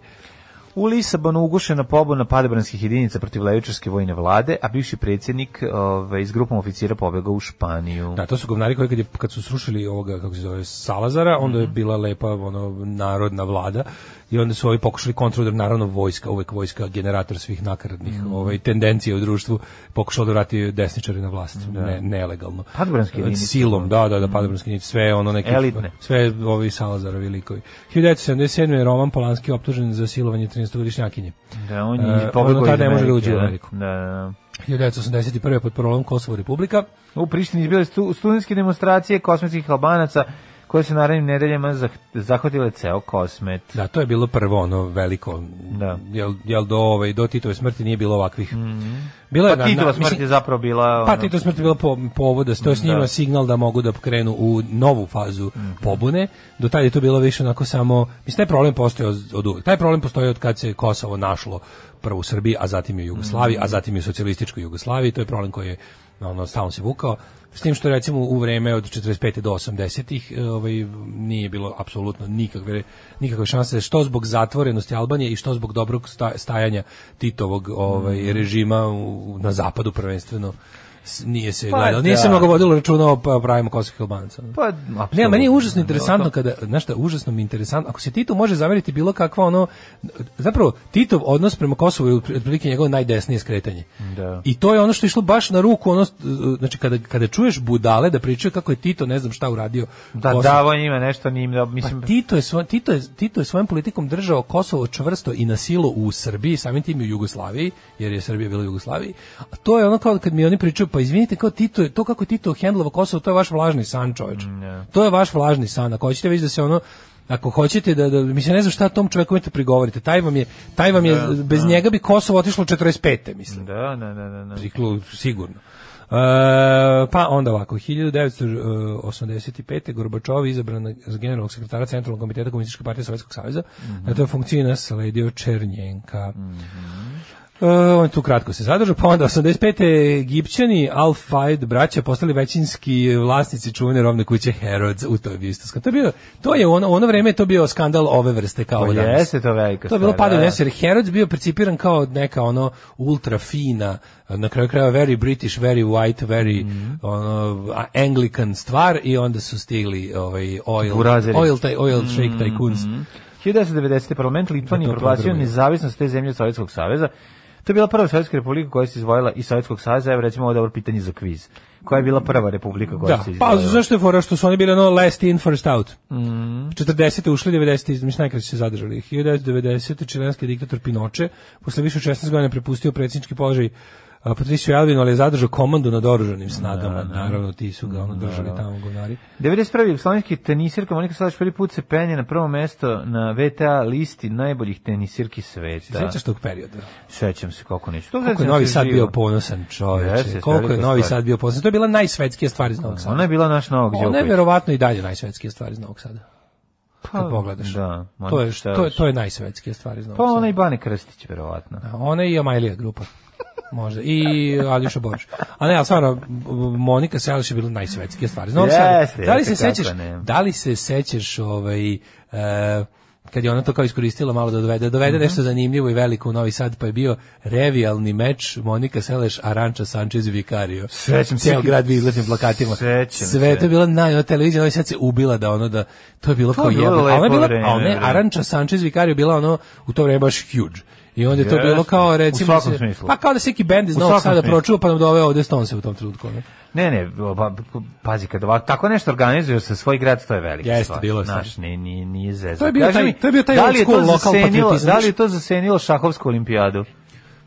Speaker 7: U Lisabonu ugušena pobuna padobranskih jedinica protiv levičarske vojne vlade, a bivši predsjednik ovaj, s grupom oficira pobegao u Španiju.
Speaker 6: Da, to su govnari koji kad, je, kad su srušili ovoga, kako se zove, Salazara, onda je
Speaker 7: Mhm.
Speaker 6: bila lepa ono, narodna vlada i onda su ovi pokušali kontrolodar, naravno vojska, uvek vojska, generator svih nakaradnih
Speaker 7: Mhm.
Speaker 6: ovaj, tendencija u društvu, pokušala da vrati desničare na vlast, ne, nelegalno.
Speaker 7: Padobranske
Speaker 6: Eh,
Speaker 7: jedinice.
Speaker 6: Silom, da, da, da, padobranske jedinice, sve ono neke...
Speaker 7: Mhm. Elitne.
Speaker 6: Sve ovi Salazarovi likovi. 1977. je Roman Polanski optužen za silovanje 13-godišnjakinje.
Speaker 7: Da, on
Speaker 6: E,
Speaker 7: je
Speaker 6: ono
Speaker 7: i pobegao
Speaker 6: tad
Speaker 7: iz
Speaker 6: ne može da
Speaker 7: Amerike,
Speaker 6: uđe u
Speaker 7: da.
Speaker 6: Ameriku.
Speaker 7: Da, da,
Speaker 6: 1981. pod parolom Kosovo Republika.
Speaker 7: da. U Prištini izbile stu, studentske demonstracije kosmetskih albanaca koje su narednim nedeljama zah, zahvatile ceo kosmet.
Speaker 6: Da, to je bilo prvo ono veliko.
Speaker 7: Da.
Speaker 6: Jel, jel do, ovaj, do Titove smrti nije bilo ovakvih. Bilo je
Speaker 7: Pa
Speaker 6: na- na-
Speaker 7: Titova
Speaker 6: mislim,
Speaker 7: smrt je zapravo bila...
Speaker 6: Pa
Speaker 7: ono,
Speaker 6: Titova smrt je bila po, povoda, to je s njima signal da mogu da krenu u novu fazu
Speaker 7: Mhm.
Speaker 6: pobune. Do tad je to bilo više onako samo... Mislim, taj problem postoji od, od uvek. Taj problem postoji od kad se Kosovo našlo prvo u Srbiji, a zatim i u Jugoslaviji,
Speaker 7: Mhm.
Speaker 6: a zatim i u socijalističkoj Jugoslaviji. To je problem koji je ono, stalno se vukao. S tim što recimo u vreme od 45. do 80. eh, ovaj, nije bilo apsolutno nikakve, nikakve šanse, što zbog zatvorenosti Albanije i što zbog
Speaker 7: Mm.
Speaker 6: dobrog sta- stajanja Titovog ovaj, režima u- na zapadu prvenstveno s- nije se
Speaker 7: Pa
Speaker 6: gledalo. Nije se
Speaker 7: da.
Speaker 6: mnogo vodilo računa o pa, pravima kosovskih albanca.
Speaker 7: Pa,
Speaker 6: ne,
Speaker 7: apsolutno.
Speaker 6: meni je užasno interesantno
Speaker 7: Da,
Speaker 6: kada, znaš šta, užasno mi je interesantno, ako se Tito može zameriti bilo kakva ono, zapravo Titov odnos prema Kosovu je otprilike njegovo najdesnije skretanje.
Speaker 7: Da.
Speaker 6: I to je ono što je išlo baš na ruku, ono, znači kada, kada čuješ budale da pričaju kako je Tito ne znam šta uradio
Speaker 7: Da,
Speaker 6: Kosovu.
Speaker 7: davo njima nešto njim, da, mislim,
Speaker 6: Pa Tito je, svoj, Tito, je, Tito je svojom politikom držao Kosovo čvrsto i na silu u Srbiji, samim tim i u Jugoslaviji, jer je Srbija bila u Jugoslaviji. A to je ono kao kad mi oni pričaju, pa izvinite, kao Tito, je- to kako je Tito hendlovo Kosovo, to je vaš vlažni san, čoveč. To je vaš vlažni san. Ako hoćete već da se ono, ako hoćete da, da mi se ne znam šta tom čoveku imate prigovorite, taj vam je, taj vam je, bez njega bi Kosovo otišlo 45. mislim
Speaker 7: da, da, da, da, da.
Speaker 6: priklu, sigurno. E, pa onda ovako, 1985. Gorbačov je izabran za generalnog sekretara Centralnog komiteta Komunističke partije Sovjetskog saveza.
Speaker 7: Mhm.
Speaker 6: Na toj funkciji nasledio Černjenka.
Speaker 7: Mhm.
Speaker 6: E, on je tu kratko se zadržao, pa onda 85. Egipćani Al Faid braća postali većinski vlasnici čuvene rovne kuće Herods u toj Bistoskom. To je bio, to je ono, ono vreme je to bio skandal ove vrste kao ovo
Speaker 7: Pa
Speaker 6: danas.
Speaker 7: jeste to velika
Speaker 6: To je bilo
Speaker 7: stvar,
Speaker 6: padanje
Speaker 7: da.
Speaker 6: nesreće, jer Herods bio percipiran kao neka ono ultra fina, na kraju kraja very British, very white, very
Speaker 7: Mhm.
Speaker 6: ono, a- Anglican stvar i onda su stigli ovaj oil,
Speaker 7: Burazeri. Mhm,
Speaker 6: oil, taj, oil shake tycoons.
Speaker 7: 1990. parlament Litvanije
Speaker 6: Da,
Speaker 7: je
Speaker 6: to
Speaker 7: proglasio
Speaker 6: pozdravljam.
Speaker 7: nezavisnost te zemlje od Sovjetskog saveza. To je bila prva Sovjetska republika koja se izdvojila iz Sovjetskog saveza, evo recimo ovo je dobro pitanje za kviz. Koja je bila prva republika koja
Speaker 6: Da,
Speaker 7: se izdvojila?
Speaker 6: pa zašto je fora što su oni bili ono last in first out.
Speaker 7: Mhm.
Speaker 6: 40. ušli, 90. iz- mislim najkraće se zadržali. 1990. čilenski diktator Pinoče posle više od 16 godina prepustio predsjednički položaj a, Patricio Elvinu, ali je zadržao komandu nad oruženim snagama. Naravno, ti su ga ono držali tamo govnari.
Speaker 7: 91. jugoslovenski tenisirka Monika Salaš prvi put se penje na prvo mesto na VTA listi najboljih tenisirki sveta.
Speaker 6: Sećaš tog perioda?
Speaker 7: Sećam se kako neću. To
Speaker 6: Koliko
Speaker 7: sećam
Speaker 6: je
Speaker 7: se
Speaker 6: Novi Sad
Speaker 7: živo.
Speaker 6: bio ponosan
Speaker 7: Jeste,
Speaker 6: čovječe.
Speaker 7: jeste,
Speaker 6: Koliko je
Speaker 7: velika
Speaker 6: Novi
Speaker 7: stvar.
Speaker 6: Sad bio ponosan. To je bila najsvetskija stvar iz Novog
Speaker 7: Ona
Speaker 6: Sada.
Speaker 7: je bila naš Novog
Speaker 6: Ona je
Speaker 7: Đoković.
Speaker 6: verovatno i dalje najsvetskija stvar iz Novog Sada. Kad pogledaš.
Speaker 7: Pa, Da. ma
Speaker 6: To je,
Speaker 7: šta
Speaker 6: to je,
Speaker 7: još.
Speaker 6: to je najsvetskija stvar iz Novog
Speaker 7: Pa
Speaker 6: Sada.
Speaker 7: ona i Bane Krstić, verovatno.
Speaker 6: A Ona i Amajlija grupa. Možda. I Aljoša Božić. A ne, ali stvarno, Monika Selaš je bila najsvetskija stvar. Znam
Speaker 7: Jeste,
Speaker 6: sad, da li se
Speaker 7: jeste, kako
Speaker 6: sećaš,
Speaker 7: ne.
Speaker 6: da li se sećaš ovaj, e, kad je ona to kao iskoristila malo da dovede, dovede
Speaker 7: Mhm.
Speaker 6: nešto zanimljivo i veliko u Novi Sad, pa je bio revijalni meč Monika Seleš, Aranča Sanchez i Vikario.
Speaker 7: Sećam se.
Speaker 6: Ceo grad bi izletnim plakatima.
Speaker 7: Sećam
Speaker 6: Sve
Speaker 7: se.
Speaker 6: to je bilo naj, ona televizija Novi Sad se ubila da ono da, to je bilo
Speaker 7: To je
Speaker 6: kao
Speaker 7: bilo
Speaker 6: jebno. A ona je
Speaker 7: lepo
Speaker 6: bila,
Speaker 7: vreme,
Speaker 6: a ona je
Speaker 7: bre.
Speaker 6: Aranča Sanchez Vikario bila ono, u to vreme baš huge. I onda je to
Speaker 7: Jeste.
Speaker 6: bilo kao
Speaker 7: U
Speaker 6: recimo
Speaker 7: svakom
Speaker 6: se-
Speaker 7: smislu.
Speaker 6: pa kao da se neki bend iz
Speaker 7: U
Speaker 6: Novog
Speaker 7: svakom
Speaker 6: Sada
Speaker 7: smislu.
Speaker 6: pročuo pa nam doveo ovde Stonse u tom trenutku. ono. Ne?
Speaker 7: Ne, ne, pa, pazi, kad ovako, tako nešto organizuje se svoj grad, to je velika
Speaker 6: Jeste,
Speaker 7: stvar.
Speaker 6: bilo je
Speaker 7: Znaš,
Speaker 6: stvar.
Speaker 7: nije, nije, nije zezno.
Speaker 6: To je bio taj- to je bio taj old school lokal patriotizam,
Speaker 7: Da li
Speaker 6: znaš.
Speaker 7: je to zasenilo šahovsku olimpijadu?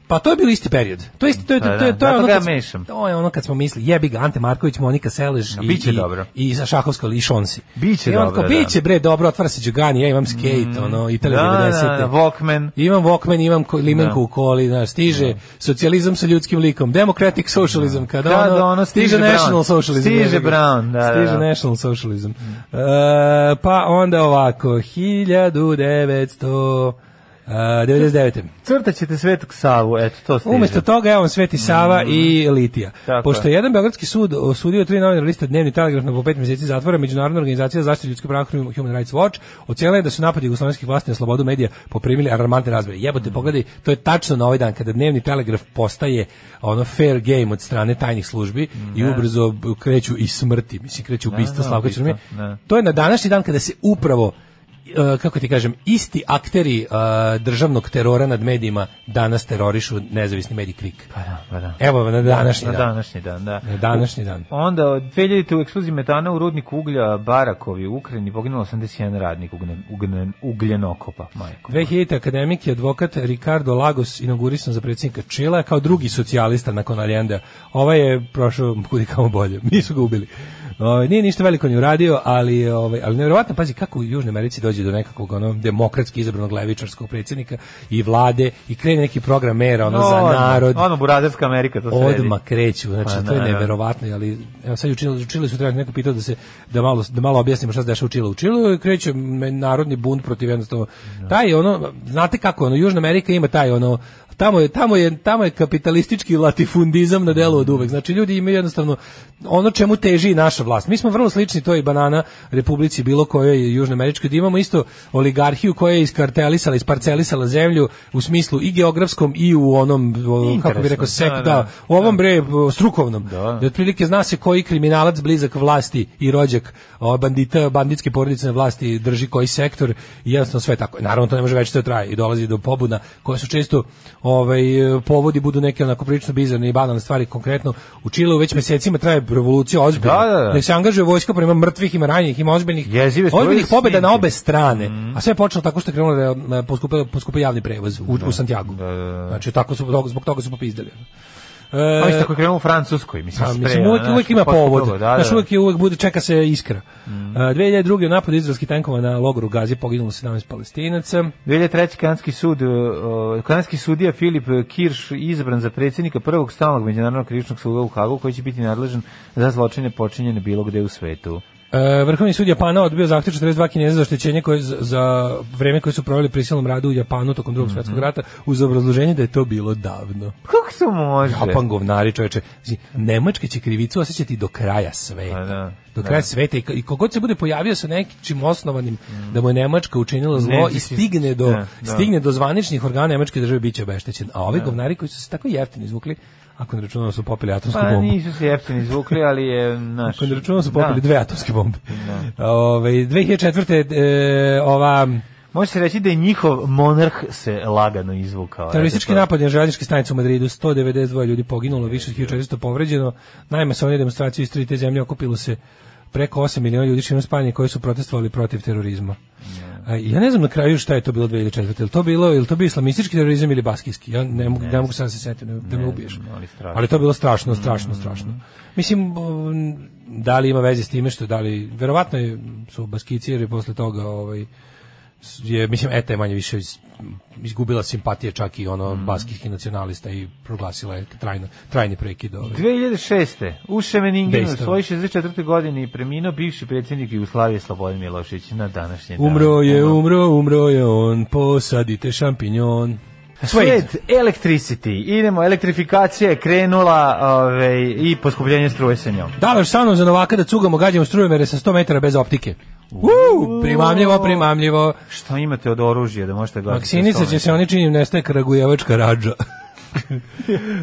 Speaker 6: Pa to je bio isti period. To je isti to je to,
Speaker 7: Pa
Speaker 6: je- to je
Speaker 7: da,
Speaker 6: to je
Speaker 7: zato
Speaker 6: ono
Speaker 7: ga ja
Speaker 6: kad,
Speaker 7: mešam.
Speaker 6: to je ono kad smo mislili jebi ga Ante Marković, Monika Selež i
Speaker 7: biće
Speaker 6: i,
Speaker 7: dobro.
Speaker 6: i za Šahovska i Šonsi.
Speaker 7: Biće
Speaker 6: I on
Speaker 7: dobro,
Speaker 6: kao,
Speaker 7: da. Mm,
Speaker 6: Biće bre dobro, otvara se Đugani, ja imam skate, ono Italija
Speaker 7: Da, da,
Speaker 6: 90.
Speaker 7: da, Walkman.
Speaker 6: Imam Walkman, imam ko- limenku u koli, znaš, stiže socijalizam sa ljudskim likom, democratic socialism, kada,
Speaker 7: Kada
Speaker 6: ono,
Speaker 7: ono
Speaker 6: stiže,
Speaker 7: stiže Brown.
Speaker 6: national socialism.
Speaker 7: Stiže
Speaker 6: jebi ga.
Speaker 7: Brown, da, da, Mm.
Speaker 6: Stiže
Speaker 7: da.
Speaker 6: national socialism. E, pa onda ovako, 1900... Uh, 99.
Speaker 7: Crta ćete svetog Savu, eto, to stiže.
Speaker 6: Umesto toga, evo vam Sveti Sava i Litija.
Speaker 7: Mhm. Tako
Speaker 6: Pošto je
Speaker 7: je.
Speaker 6: jedan beogradski sud osudio tri novinara lista Dnevni telegraf na po pet mjeseci zatvora, Međunarodna organizacija za zaštitu ljudskih prava Human Rights Watch ocijela je da su napadi jugoslovenskih vlasti na slobodu medija poprimili alarmantne razmere. Jebote,
Speaker 7: Mhm.
Speaker 6: pogledaj, to je tačno na ovaj dan kada Dnevni telegraf postaje ono fair game od strane tajnih službi i ubrzo b- kreću i smrti, mislim kreću ubistva
Speaker 7: Mhm. da,
Speaker 6: Slavka
Speaker 7: ubistva,
Speaker 6: Ćurmije.
Speaker 7: da.
Speaker 6: To je na današnji dan kada se upravo e, kako ti kažem, isti akteri e, državnog terora nad medijima danas terorišu nezavisni medij Krik.
Speaker 7: Pa da, pa da.
Speaker 6: Evo na današnji
Speaker 7: Na
Speaker 6: dan.
Speaker 7: današnji dan, da.
Speaker 6: Na današnji dan.
Speaker 7: Onda od 2000. u eksploziji metana u rudniku uglja Barakovi u Ukrajini poginulo 81 radnik ugljen, ugljen, ugljenokopa, majko.
Speaker 6: 2000. akademik i advokat Ricardo Lagos inaugurisan za predsjednika Čila kao drugi socijalista nakon Allende. Ovaj je prošao kudi kamo bolje. Nisu ga ubili. Ovaj, nije ništa veliko ni uradio, ali je, ovaj ali nevjerovatno pazi kako u Južnoj Americi dođe do nekakvog ono demokratski izabranog levičarskog predsjednika i vlade i krene neki program mera ono za
Speaker 7: Odmah,
Speaker 6: narod.
Speaker 7: Ono, burazerska Amerika to sredi.
Speaker 6: odmah kreću, znači
Speaker 7: Pa,
Speaker 6: to je
Speaker 7: naravno.
Speaker 6: neverovatno, ali evo sad učili, učili su treba neko pitao da se da malo da malo objasnimo šta se dešava u Čileu. U Čileu kreće me- narodni bunt protiv jednostavno taj ono znate kako ono Južna Amerika ima taj ono tamo je, tamo je, tamo je kapitalistički latifundizam na delu od uvek. Znači, ljudi imaju jednostavno ono čemu teži i naša vlast. Mi smo vrlo slični toj banana republici bilo kojoj južnoameričkoj, da imamo isto oligarhiju koja je iskartelisala, isparcelisala zemlju u smislu i geografskom i u onom, o, kako
Speaker 7: Interesno,
Speaker 6: bi rekao, sek,
Speaker 7: da,
Speaker 6: da,
Speaker 7: da.
Speaker 6: u ovom bre o, strukovnom.
Speaker 7: Da.
Speaker 6: Da. otprilike zna se koji kriminalac blizak vlasti i rođak o, bandita, banditske porodice na vlasti drži koji sektor i jednostavno sve tako. Naravno to ne može već to traje i dolazi do pobuna koje su često ovaj, povodi budu neke onako prilično bizarne i banalne stvari konkretno u Čileu već mesecima traje revolucija ozbiljna.
Speaker 7: Da, da, da.
Speaker 6: Nek se angažuje vojska prema mrtvih, ima ranjenih, ima ozbiljnih,
Speaker 7: Jezive struje
Speaker 6: ozbiljnih
Speaker 7: i
Speaker 6: pobeda na
Speaker 7: snimke.
Speaker 6: obe strane.
Speaker 7: Mhm.
Speaker 6: A sve je počelo tako što je krenulo da je poskupio, poskupio javni prevoz u, u Santiago. Znači tako su, zbog toga su popizdali.
Speaker 7: Pa mislim tako je krenuo u Francuskoj, mislim,
Speaker 6: E, Pa, mislim,
Speaker 7: sprejano,
Speaker 6: uvek,
Speaker 7: znaš,
Speaker 6: uvek ima
Speaker 7: potpuno
Speaker 6: povod.
Speaker 7: drugo,
Speaker 6: Da,
Speaker 7: Da, da, Mhm. da.
Speaker 6: uvek, je, uvek bude, čeka se iskra. Mm. 2002. u napadu izraelskih tenkova na logoru Gazi poginulo 17 palestinaca.
Speaker 7: 2003. kanadski sud, uh, kanadski sudija Filip Kirš izabran za predsjednika prvog stalnog međunarodnog krivičnog suda u Hagu koji će biti nadležan za zločine počinjene bilo gde u svetu.
Speaker 6: E, Vrhovni sud Japana odbio zahtjev 42 Kineza za oštećenje koje z- za vreme koje su proveli prisilnom radu u Japanu tokom
Speaker 7: Mhm.
Speaker 6: drugog svjetskog rata uz obrazloženje da je to bilo davno.
Speaker 7: Kako se može?
Speaker 6: Japan govnari čoveče. Znači, Nemačka će krivicu osjećati do kraja sveta.
Speaker 7: Pa da,
Speaker 6: do kraja sveta i, k- i kogod se bude pojavio sa nekim osnovanim da mu je Nemačka učinila zlo
Speaker 7: Nemci
Speaker 6: i
Speaker 7: si-
Speaker 6: stigne do,
Speaker 7: da, da.
Speaker 6: stigne do zvaničnih organa Nemačke države biće obeštećen. A ovi govnari koji su se tako jeftino izvukli, ako ne računamo su popili atomsku
Speaker 7: Pa
Speaker 6: bombu.
Speaker 7: nisu se jeftini izvukli, ali je naš...
Speaker 6: Ako Pa, ne računamo su
Speaker 7: Da.
Speaker 6: popili dve atomske bombe. Ove, 2004. E, ova
Speaker 7: Može se reći da je njihov monarh se lagano izvukao.
Speaker 6: Teroristički
Speaker 7: Eto to.
Speaker 6: napad na željeznički stanicu u Madridu, 192 ljudi poginulo, više od 1400 povređeno. Najmasovnije demonstracije iz tri te zemlje okupilo se preko 8 miliona ljudi širom Španije koji su protestovali protiv terorizma. A, Ja ne znam na kraju šta je to bilo 2004. Ili to bilo, ili to bio islamistički terorizam ili baskijski? Ja ne mogu, ne, mogu sad da se setim da- da me ubiješ.
Speaker 7: znam, ali strašno. Mm.
Speaker 6: Ali to je bilo strašno, strašno, strašno. Mislim, um, da li ima veze s time što da li, verovatno je, su baskici jer je posle toga ovaj, je mislim ETA je manje više iz- izgubila simpatije čak i ono baskijskih nacionalista i proglasila je trajno, trajni prekid ovaj.
Speaker 7: 2006. U Šemeninginu u
Speaker 6: Dejstvo.
Speaker 7: svojoj 64. godini preminuo bivši predsjednik Jugoslavije Slobodan Milošević na današnji dan.
Speaker 6: Umro je, umro, umro je on, posadite šampinjon. Sweet.
Speaker 7: Sled Electricity. Idemo, elektrifikacija je krenula ovaj, i poskupljenje struje sa njom.
Speaker 6: Dalaš sa mnom za Novaka da cugamo, gađamo strujomere sa 100 metara bez optike. Uuu, primamljivo, primamljivo.
Speaker 7: Šta imate od oružja da možete gledati?
Speaker 6: Maksinica će se oni činim nestaje Kragujevačka rađa.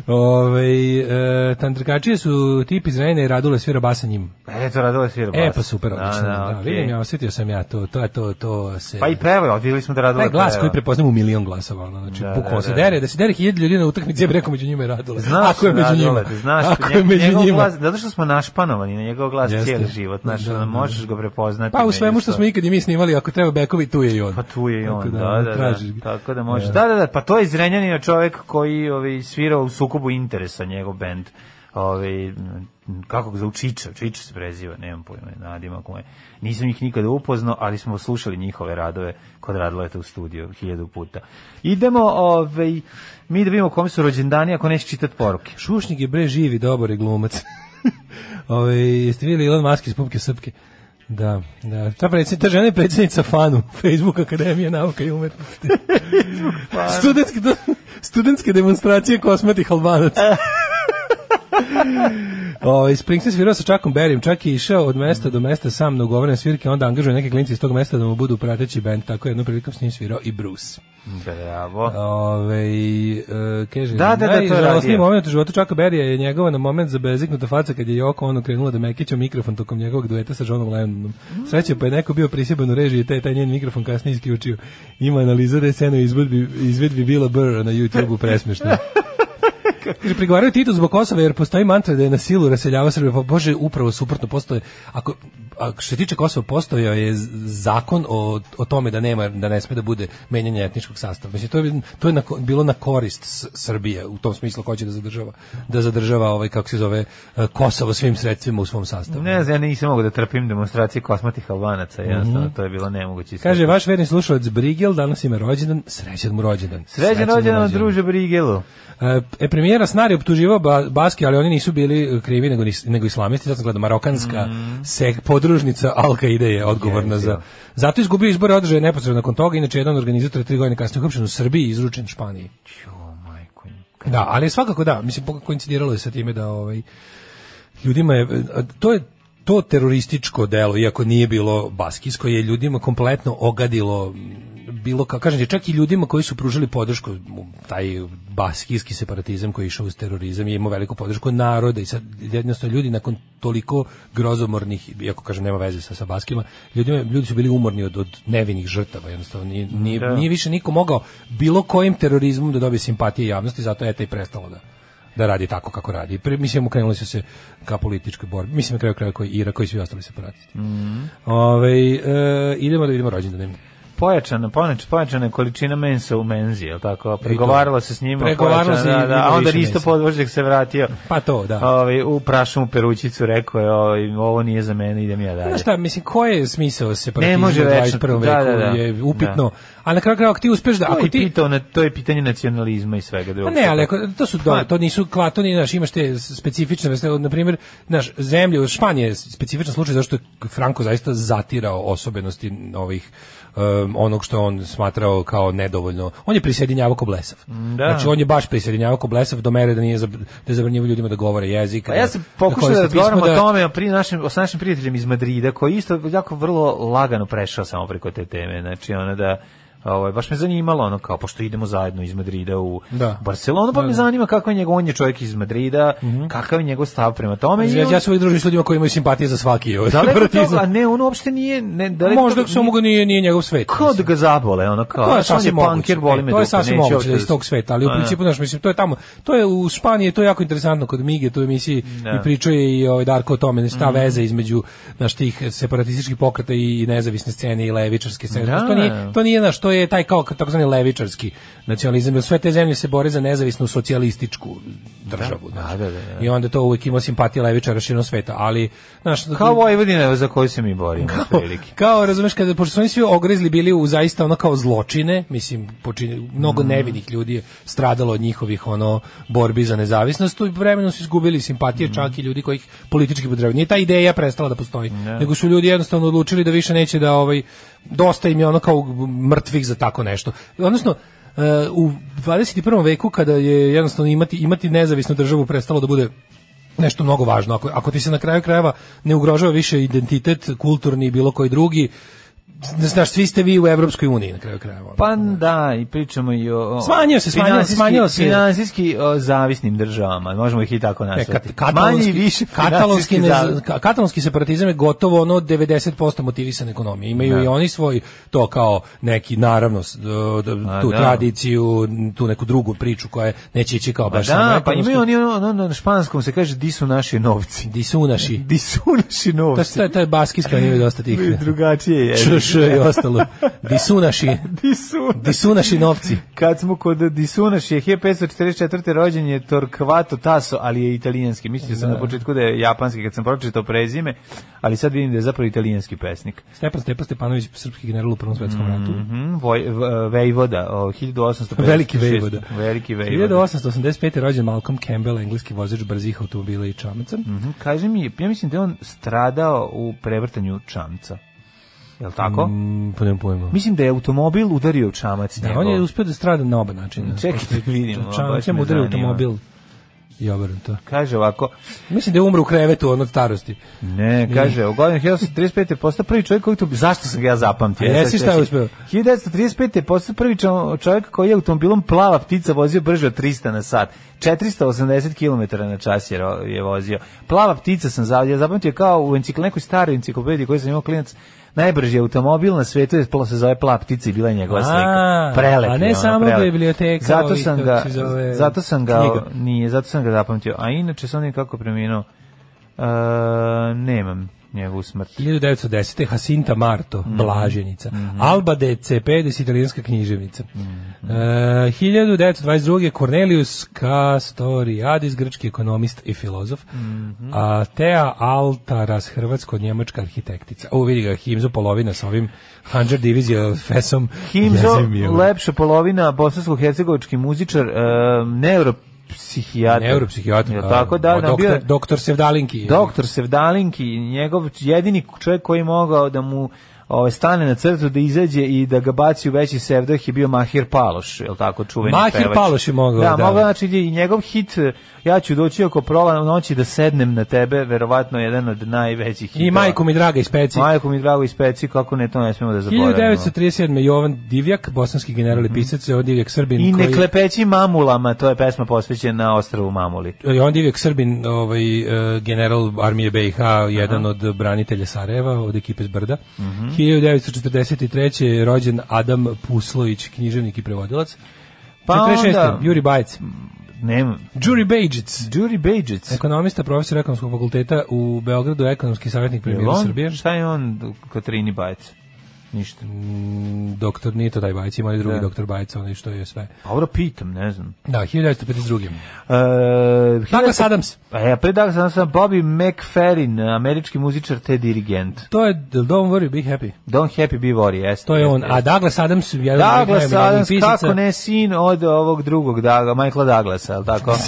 Speaker 6: Ove, e, tantrikačije su tip iz Rajne i Radule svira basa njim.
Speaker 7: E, to radila svira
Speaker 6: E,
Speaker 7: bas.
Speaker 6: pa super, odlično. Da,
Speaker 7: okej.
Speaker 6: vidim ja, osjetio sam ja to, to je to, to se...
Speaker 7: Pa i pevao, vidjeli smo da radila
Speaker 6: taj glas
Speaker 7: peva.
Speaker 6: koji prepoznamo u milion glasova, ono, znači
Speaker 7: Da, da,
Speaker 6: da, bukvalno se
Speaker 7: da.
Speaker 6: dere, da se dere hiljadu ljudi na utakmici, ja bih rekao među njima je Radule.
Speaker 7: Znaš,
Speaker 6: ako je među njima.
Speaker 7: Radule, ti znaš,
Speaker 6: ako je
Speaker 7: njegov-
Speaker 6: među
Speaker 7: njegov
Speaker 6: njima.
Speaker 7: Glas, zato što smo našpanovani na njegov glas
Speaker 6: Jeste.
Speaker 7: cijeli život, znaš,
Speaker 6: Da,
Speaker 7: ono,
Speaker 6: da, da.
Speaker 7: možeš ga prepoznati.
Speaker 6: Pa u svemu što
Speaker 7: međusobno.
Speaker 6: smo ikad i mi snimali, ako treba bekovi, tu je i on.
Speaker 7: Pa tu je i on,
Speaker 6: Tako
Speaker 7: da,
Speaker 6: da, ono,
Speaker 7: da, da,
Speaker 6: tražiš ga.
Speaker 7: Tako da može. Da, da, da, pa to je iz Zrenjanina čovjek koji ovaj, svirao u sukobu interesa njegov bend. Ovaj, m, kako ga zove, Čiča, Čiča se preziva, nemam pojma, nadima koje. Nisam ih nikada upoznao, ali smo slušali njihove radove kod Radleta u studiju hiljadu puta. Idemo, ovaj, mi da vidimo kome su rođendani ako neće čitati poruke.
Speaker 6: Šušnik je bre živi, dobar je glumac. Ove, jeste vidjeli Elon Musk iz Pupke Srpke? Da, da. Ta, predsjednica, ta žena je predsjednica FANU, Facebook Akademije nauka i umetnosti. studentske, studentske demonstracije kosmetih albanaca. O, Springsteen svirao sa Čakom Berim, čak je išao od mesta do mesta sam na ugovorene svirke, onda angažuje neke klinci iz tog mesta da mu budu prateći band, tako je jednom prilikom s njim svirao i Bruce.
Speaker 7: Bravo.
Speaker 6: Ove, e, kaže,
Speaker 7: Da, da, da, to je
Speaker 6: najžalosniji
Speaker 7: radio.
Speaker 6: moment u životu Čaka Berija je njegova na moment za beziknuta faca kad je Joko ono krenula da mekića mikrofon tokom njegovog dueta sa Johnom Lennonom. Sreće pa je neko bio prisjeban u režiji i taj, taj njen mikrofon kasnije isključio. Ima analiza da je scena u izvedbi, izvedbi Bila Burra na YouTube-u presmešno. Kaže, prigovaraju Titu zbog Kosova jer postoji mantra da je na silu raseljava Srbe. Pa bože, upravo suprotno postoje. Ako, a što se tiče Kosova, postojao je z- zakon o, o tome da nema, da ne sme da bude menjanje etničkog sastava. Mislim, to je, to je na ko- bilo na korist S- Srbije u tom smislu ko će da zadržava, da zadržava ovaj, kako se zove, e, Kosovo svim sredstvima u svom sastavu.
Speaker 7: Ne znam, ja nisam mogao da trpim demonstracije kosmatih albanaca, jednostavno, to je bilo nemoguće. iskupiti.
Speaker 6: Mhm. Kaže, vaš verni slušalac Brigel, danas ima rođendan, srećan mu rođendan.
Speaker 7: Sređen
Speaker 6: Srećan mu
Speaker 7: rođendan, druže Brigelu.
Speaker 6: E, E, premijera Snar je optuživao ba, Baske, ali oni nisu bili e, krivi nego, nis- nego islamisti, sad sam gledao, marokanska sek, podružnica Al-Qaide je odgovorna za... Zato je izgubio izbore održaje neposredno nakon toga, inače jedan organizator je tri godine kasnije uhapšen u Srbiji i izručen Španiji. Da, ali svakako da, mislim po- koincidiralo je sa time da ovaj ljudima je a to je to terorističko delo, iako nije bilo baskijsko, je ljudima kompletno ogadilo m, bilo kako kažem ti, čak i ljudima koji su pružili podršku mu, taj baskijski separatizam koji je išao uz terorizam je imao veliku podršku naroda i sad jednostavno ljudi nakon toliko grozomornih iako kažem nema veze sa, sa baskima ljudima, ljudi su bili umorni od, od nevinih žrtava jednostavno nije, nije,
Speaker 7: Da.
Speaker 6: nije više niko mogao bilo kojim terorizmom da dobije simpatije javnosti zato je ETA i prestalo da da radi tako kako radi. Pre, mislim, okrenuli su se ka političkoj borbi. Mislim, na kraju kraja koji Ira, koji svi ostali separatisti.
Speaker 7: Mhm.
Speaker 6: Mm. e, idemo da vidimo rođendan.
Speaker 7: Pojačana, poneč, pojačana je količina mensa u menzi, je li tako? Pregovarala se s njima,
Speaker 6: Pregovarala
Speaker 7: pojačana,
Speaker 6: se i
Speaker 7: da, da, a
Speaker 6: bilo
Speaker 7: onda
Speaker 6: više
Speaker 7: isto
Speaker 6: mesa.
Speaker 7: podvožnjak se vratio.
Speaker 6: Pa to, da.
Speaker 7: Ovaj, u prašumu perućicu rekao je, ovaj, ovo nije za mene, idem ja dalje.
Speaker 6: Znaš šta, mislim, ko je smisao separatizma
Speaker 7: Ne može
Speaker 6: u
Speaker 7: večno,
Speaker 6: 21.
Speaker 7: da,
Speaker 6: veku
Speaker 7: da, da.
Speaker 6: je upitno. Ali na kraju kraja, ako ti uspeš da...
Speaker 7: To,
Speaker 6: Ako
Speaker 7: je
Speaker 6: ti,
Speaker 7: pitao na, to je pitanje nacionalizma i svega
Speaker 6: Pa
Speaker 7: drugog.
Speaker 6: ne, ali ako, to su dobro,
Speaker 7: Pa-
Speaker 6: to nisu klatoni, znaš, imaš te specifične vrste, na primjer, znaš, zemlje, Španija je specifičan slučaj zašto je Franco zaista zatirao osobenosti ovih um, onog što je on smatrao kao nedovoljno. On je prisjedinjavao ko blesav.
Speaker 7: Mm, da.
Speaker 6: Znači, on je baš prisjedinjavao ko blesav do mere da nije zab, da je zabranjivao ljudima da govore jezik.
Speaker 7: Pa ja sam pokušao da
Speaker 6: koriste pismo,
Speaker 7: razgovaram o
Speaker 6: da-
Speaker 7: tome a pri našim, sa našim prijateljem iz Madrida, koji je isto jako vrlo lagano prešao samo preko te teme. Znači, ono da, ovaj, baš me zanimalo, ono kao, pošto idemo zajedno iz Madrida u
Speaker 6: Da. Mhm.
Speaker 7: Barcelonu, pa me zanima kakav je njegov, on je čovjek iz Madrida, kakav je njegov stav prema tome. i
Speaker 6: Ja,
Speaker 7: on-
Speaker 6: ja se uvijek družim s ljudima koji imaju simpatije za svaki ovaj
Speaker 7: daleko od toga,
Speaker 6: separatizam.
Speaker 7: a ne, on uopšte nije... Ne, daleko
Speaker 6: Možda
Speaker 7: od toga-
Speaker 6: samo ga nije, nije njegov svet.
Speaker 7: Kao da
Speaker 6: mislim.
Speaker 7: ga zabole, ono kao,
Speaker 6: to je
Speaker 7: znaš, on je
Speaker 6: sasvim moguće.
Speaker 7: punker, boli
Speaker 6: E,
Speaker 7: me
Speaker 6: To je
Speaker 7: dupe, neću
Speaker 6: sasvim moguće da
Speaker 7: uopšte
Speaker 6: iz tog sveta, ali u
Speaker 7: Pa, da.
Speaker 6: principu, znaš, mislim, to je tamo, to je u Španiji, to je jako interesantno kod Mige, tu emisiji i pričao je i ovaj Darko o tome, znaš,
Speaker 7: Mhm.
Speaker 6: ta veza između, znaš, tih separatističkih pokreta i nezavisne scene i levičarske scene.
Speaker 7: Da.
Speaker 6: Znaš, To nije, to nije, znaš, to je taj kao takozvani levičarski nacionalizam, jer sve te zemlje se bore za nezavisnu socijalističku državu, znaš.
Speaker 7: da, da, da.
Speaker 6: I onda to uvijek ima simpatija levičara širom sveta, ali, znaš,
Speaker 7: Kao Vojvodina za koju se mi borimo, otprilike.
Speaker 6: kao razumeš kada pošto su oni svi ogrizli bili u zaista ono kao zločine, mislim počini mnogo nevinih ljudi je stradalo od njihovih ono borbi za nezavisnost i vremenom su izgubili simpatije čak i ljudi kojih politički podržavaju. Nije ta ideja prestala da postoji, nego su ljudi jednostavno odlučili da više neće da ovaj dosta im je ono kao mrtvih za tako nešto. Odnosno e, u 21. veku kada je jednostavno imati imati nezavisnu državu prestalo da bude nešto mnogo važno. Ako, ako ti se na kraju krajeva ne ugrožava više identitet, kulturni i bilo koji drugi, znaš, svi ste vi u Evropskoj uniji na kraju krajeva. ono.
Speaker 7: Pa da, i pričamo i o... o
Speaker 6: Smanjio se, smanjio-
Speaker 7: finansijski-
Speaker 6: smanjio se.
Speaker 7: Finansijski o, zavisnim državama, možemo ih i tako
Speaker 6: Ne,
Speaker 7: nazvati.
Speaker 6: kat- katalonski,
Speaker 7: Manje i više
Speaker 6: katalonski,
Speaker 7: finansijski
Speaker 6: ne-
Speaker 7: zavis-
Speaker 6: ka- katalonski separatizam je gotovo ono 90% motivisan ekonomije. Imaju i oni svoj to kao neki naravno s- d- d-
Speaker 7: A,
Speaker 6: tu
Speaker 7: da.
Speaker 6: tradiciju, n- tu neku drugu priču koja je- neće ići kao
Speaker 7: Pa
Speaker 6: baš samo
Speaker 7: da, pa
Speaker 6: ekonomski.
Speaker 7: imaju oni ono, ono, na španskom se kaže di su naši novci.
Speaker 6: Di su naši?
Speaker 7: Di su naši
Speaker 6: To
Speaker 7: novci.
Speaker 6: je, to je baskijska, nije dosta tih.
Speaker 7: Drugačije je.
Speaker 6: š, š i ostalo. Di su naši?
Speaker 7: Di su
Speaker 6: Di su naši novci?
Speaker 7: Kad smo kod Disunaš je 544. rođen je Torquato Tasso, ali je italijanski. Mislio sam na početku da je japanski kad sam pročitao prezime, ali sad vidim da je zapravo italijanski pesnik.
Speaker 6: Stepan Stepa Stepanović, srpski general u Prvom svetskom ratu.
Speaker 7: Mhm, Voj, v- Vejvoda, o, 1856.
Speaker 6: Veliki Vejvoda.
Speaker 7: Veliki Vejvoda.
Speaker 6: 1885. je rođen Malcolm Campbell, engleski vozač brzih automobila i čamaca.
Speaker 7: Mhm, Kaži mi, ja mislim da je on stradao u prevrtanju čamca. Je li tako?
Speaker 6: Mm, pa nemam pojma.
Speaker 7: Mislim da je automobil udario u čamac
Speaker 6: Da,
Speaker 7: njegov.
Speaker 6: on je uspio da strada na oba načina.
Speaker 7: Čekaj da vidim, a, baš
Speaker 6: Čamac je
Speaker 7: me
Speaker 6: udario
Speaker 7: zanima.
Speaker 6: automobil. Ja verujem to.
Speaker 7: Kaže ovako,
Speaker 6: Mislim da je umro u krevetu on od starosti.
Speaker 7: ne, kaže, u godinu 1935. je postao prvi čovjek koji, to- zašto sam ga ja zapamtio?
Speaker 6: A jesi
Speaker 7: Sad
Speaker 6: šta je
Speaker 7: ćeš-
Speaker 6: uspeo?
Speaker 7: 1935. je postao prvi čo- čovjek koji je automobilom plava ptica vozio brže od 300 na sat. 480 km na čas je, ro- je vozio. Plava ptica sam zav- ja zapamtio kao u encikl, nekoj staroj enciklopediji koju sam imao klinac, najbrži automobil na svijetu je pla- se zove plava ptica i bila je njegova
Speaker 6: A,
Speaker 7: slika. Prelep
Speaker 6: a
Speaker 7: je,
Speaker 6: ne
Speaker 7: ono,
Speaker 6: samo
Speaker 7: prelep.
Speaker 6: biblioteka
Speaker 7: Zato
Speaker 6: ovih,
Speaker 7: sam
Speaker 6: kako
Speaker 7: ga,
Speaker 6: se zove,
Speaker 7: zato sam ga,
Speaker 6: knjiga.
Speaker 7: nije, zato sam ga zapamtio. A inače sam nekako preminuo. E, nemam njegovu smrt.
Speaker 6: 1910. Jacinta Marto,
Speaker 7: Mhm.
Speaker 6: Blaženica. Alba de Cepedes, italijanska književnica.
Speaker 7: Mhm.
Speaker 6: E, 1922. Cornelius Castoriadis, grčki ekonomist i filozof.
Speaker 7: Mhm.
Speaker 6: A Tea Altaras, hrvatsko-njemačka arhitektica. O, vidi ga, Himzo polovina sa ovim 100 divizija fesom.
Speaker 7: Himzo,
Speaker 6: Jezim je, bre.
Speaker 7: lepša polovina bosansko-hercegovički muzičar, e, neuropsihijatar.
Speaker 6: Neuropsihijatar.
Speaker 7: Jel
Speaker 6: a,
Speaker 7: tako da, da,
Speaker 6: a
Speaker 7: bio
Speaker 6: Doktor,
Speaker 7: je
Speaker 6: doktor Sevdalinki. je.
Speaker 7: doktor Sevdalinki, njegov jedini čovjek koji je mogao da mu ovaj, stane na crtu da izađe i da ga baci u veći sevdah je bio Mahir Paloš, je li tako, čuveni
Speaker 6: Mahir
Speaker 7: pevač.
Speaker 6: Paloš je mogao,
Speaker 7: Da,
Speaker 6: da.
Speaker 7: mogao, znači i njegov hit eh, Ja ću doći oko prola noći da sednem na tebe, verovatno jedan od najvećih hitova.
Speaker 6: I majku mi draga iz peci.
Speaker 7: Majku mi drago ispeci, kako ne, to ne smemo da zaboravimo.
Speaker 6: 1937. Jovan Divjak, bosanski general i pisac, Jovan Divjak Srbin.
Speaker 7: Mhm. I ne
Speaker 6: koji-
Speaker 7: klepeći mamulama, to je pesma posvećena ostravu Mamuli.
Speaker 6: Jovan Divjak Srbin, ovaj, e, general armije BiH, jedan od branitelja Sarajeva, od ekipe s Brda.
Speaker 7: Mhm.
Speaker 6: 1943. je rođen Adam Puslović, književnik i prevodilac.
Speaker 7: Pa
Speaker 6: 46.
Speaker 7: onda-
Speaker 6: Juri Bajec.
Speaker 7: Nema.
Speaker 6: Juri Bejđic,
Speaker 7: Jury Bejđic.
Speaker 6: ekonomista, profesor ekonomskog fakulteta u Beogradu, ekonomski savjetnik premijera Srbije.
Speaker 7: Šta je on u Katrini Bajec? Ništa.
Speaker 6: Mm. Doktor, nije to taj Bajec, ima i drugi
Speaker 7: Da.
Speaker 6: doktor Bajec, onaj što je sve.
Speaker 7: Pa dobro pitam, ne znam.
Speaker 6: Da, 1952.
Speaker 7: E, 1900
Speaker 6: Adams.
Speaker 7: Pa ja, pre Douglas Adams sam Bobby McFerrin, američki muzičar te dirigent.
Speaker 6: To je Don't Worry, Be Happy.
Speaker 7: Don't Happy Be Worry, jeste.
Speaker 6: To je
Speaker 7: jeste,
Speaker 6: on. A
Speaker 7: jeste.
Speaker 6: Douglas Adams, jedan od
Speaker 7: Douglas
Speaker 6: najmiljenijih
Speaker 7: Adams,
Speaker 6: pisaca.
Speaker 7: kako ne, sin od ovog drugog Daga, Michaela Douglasa, je li tako?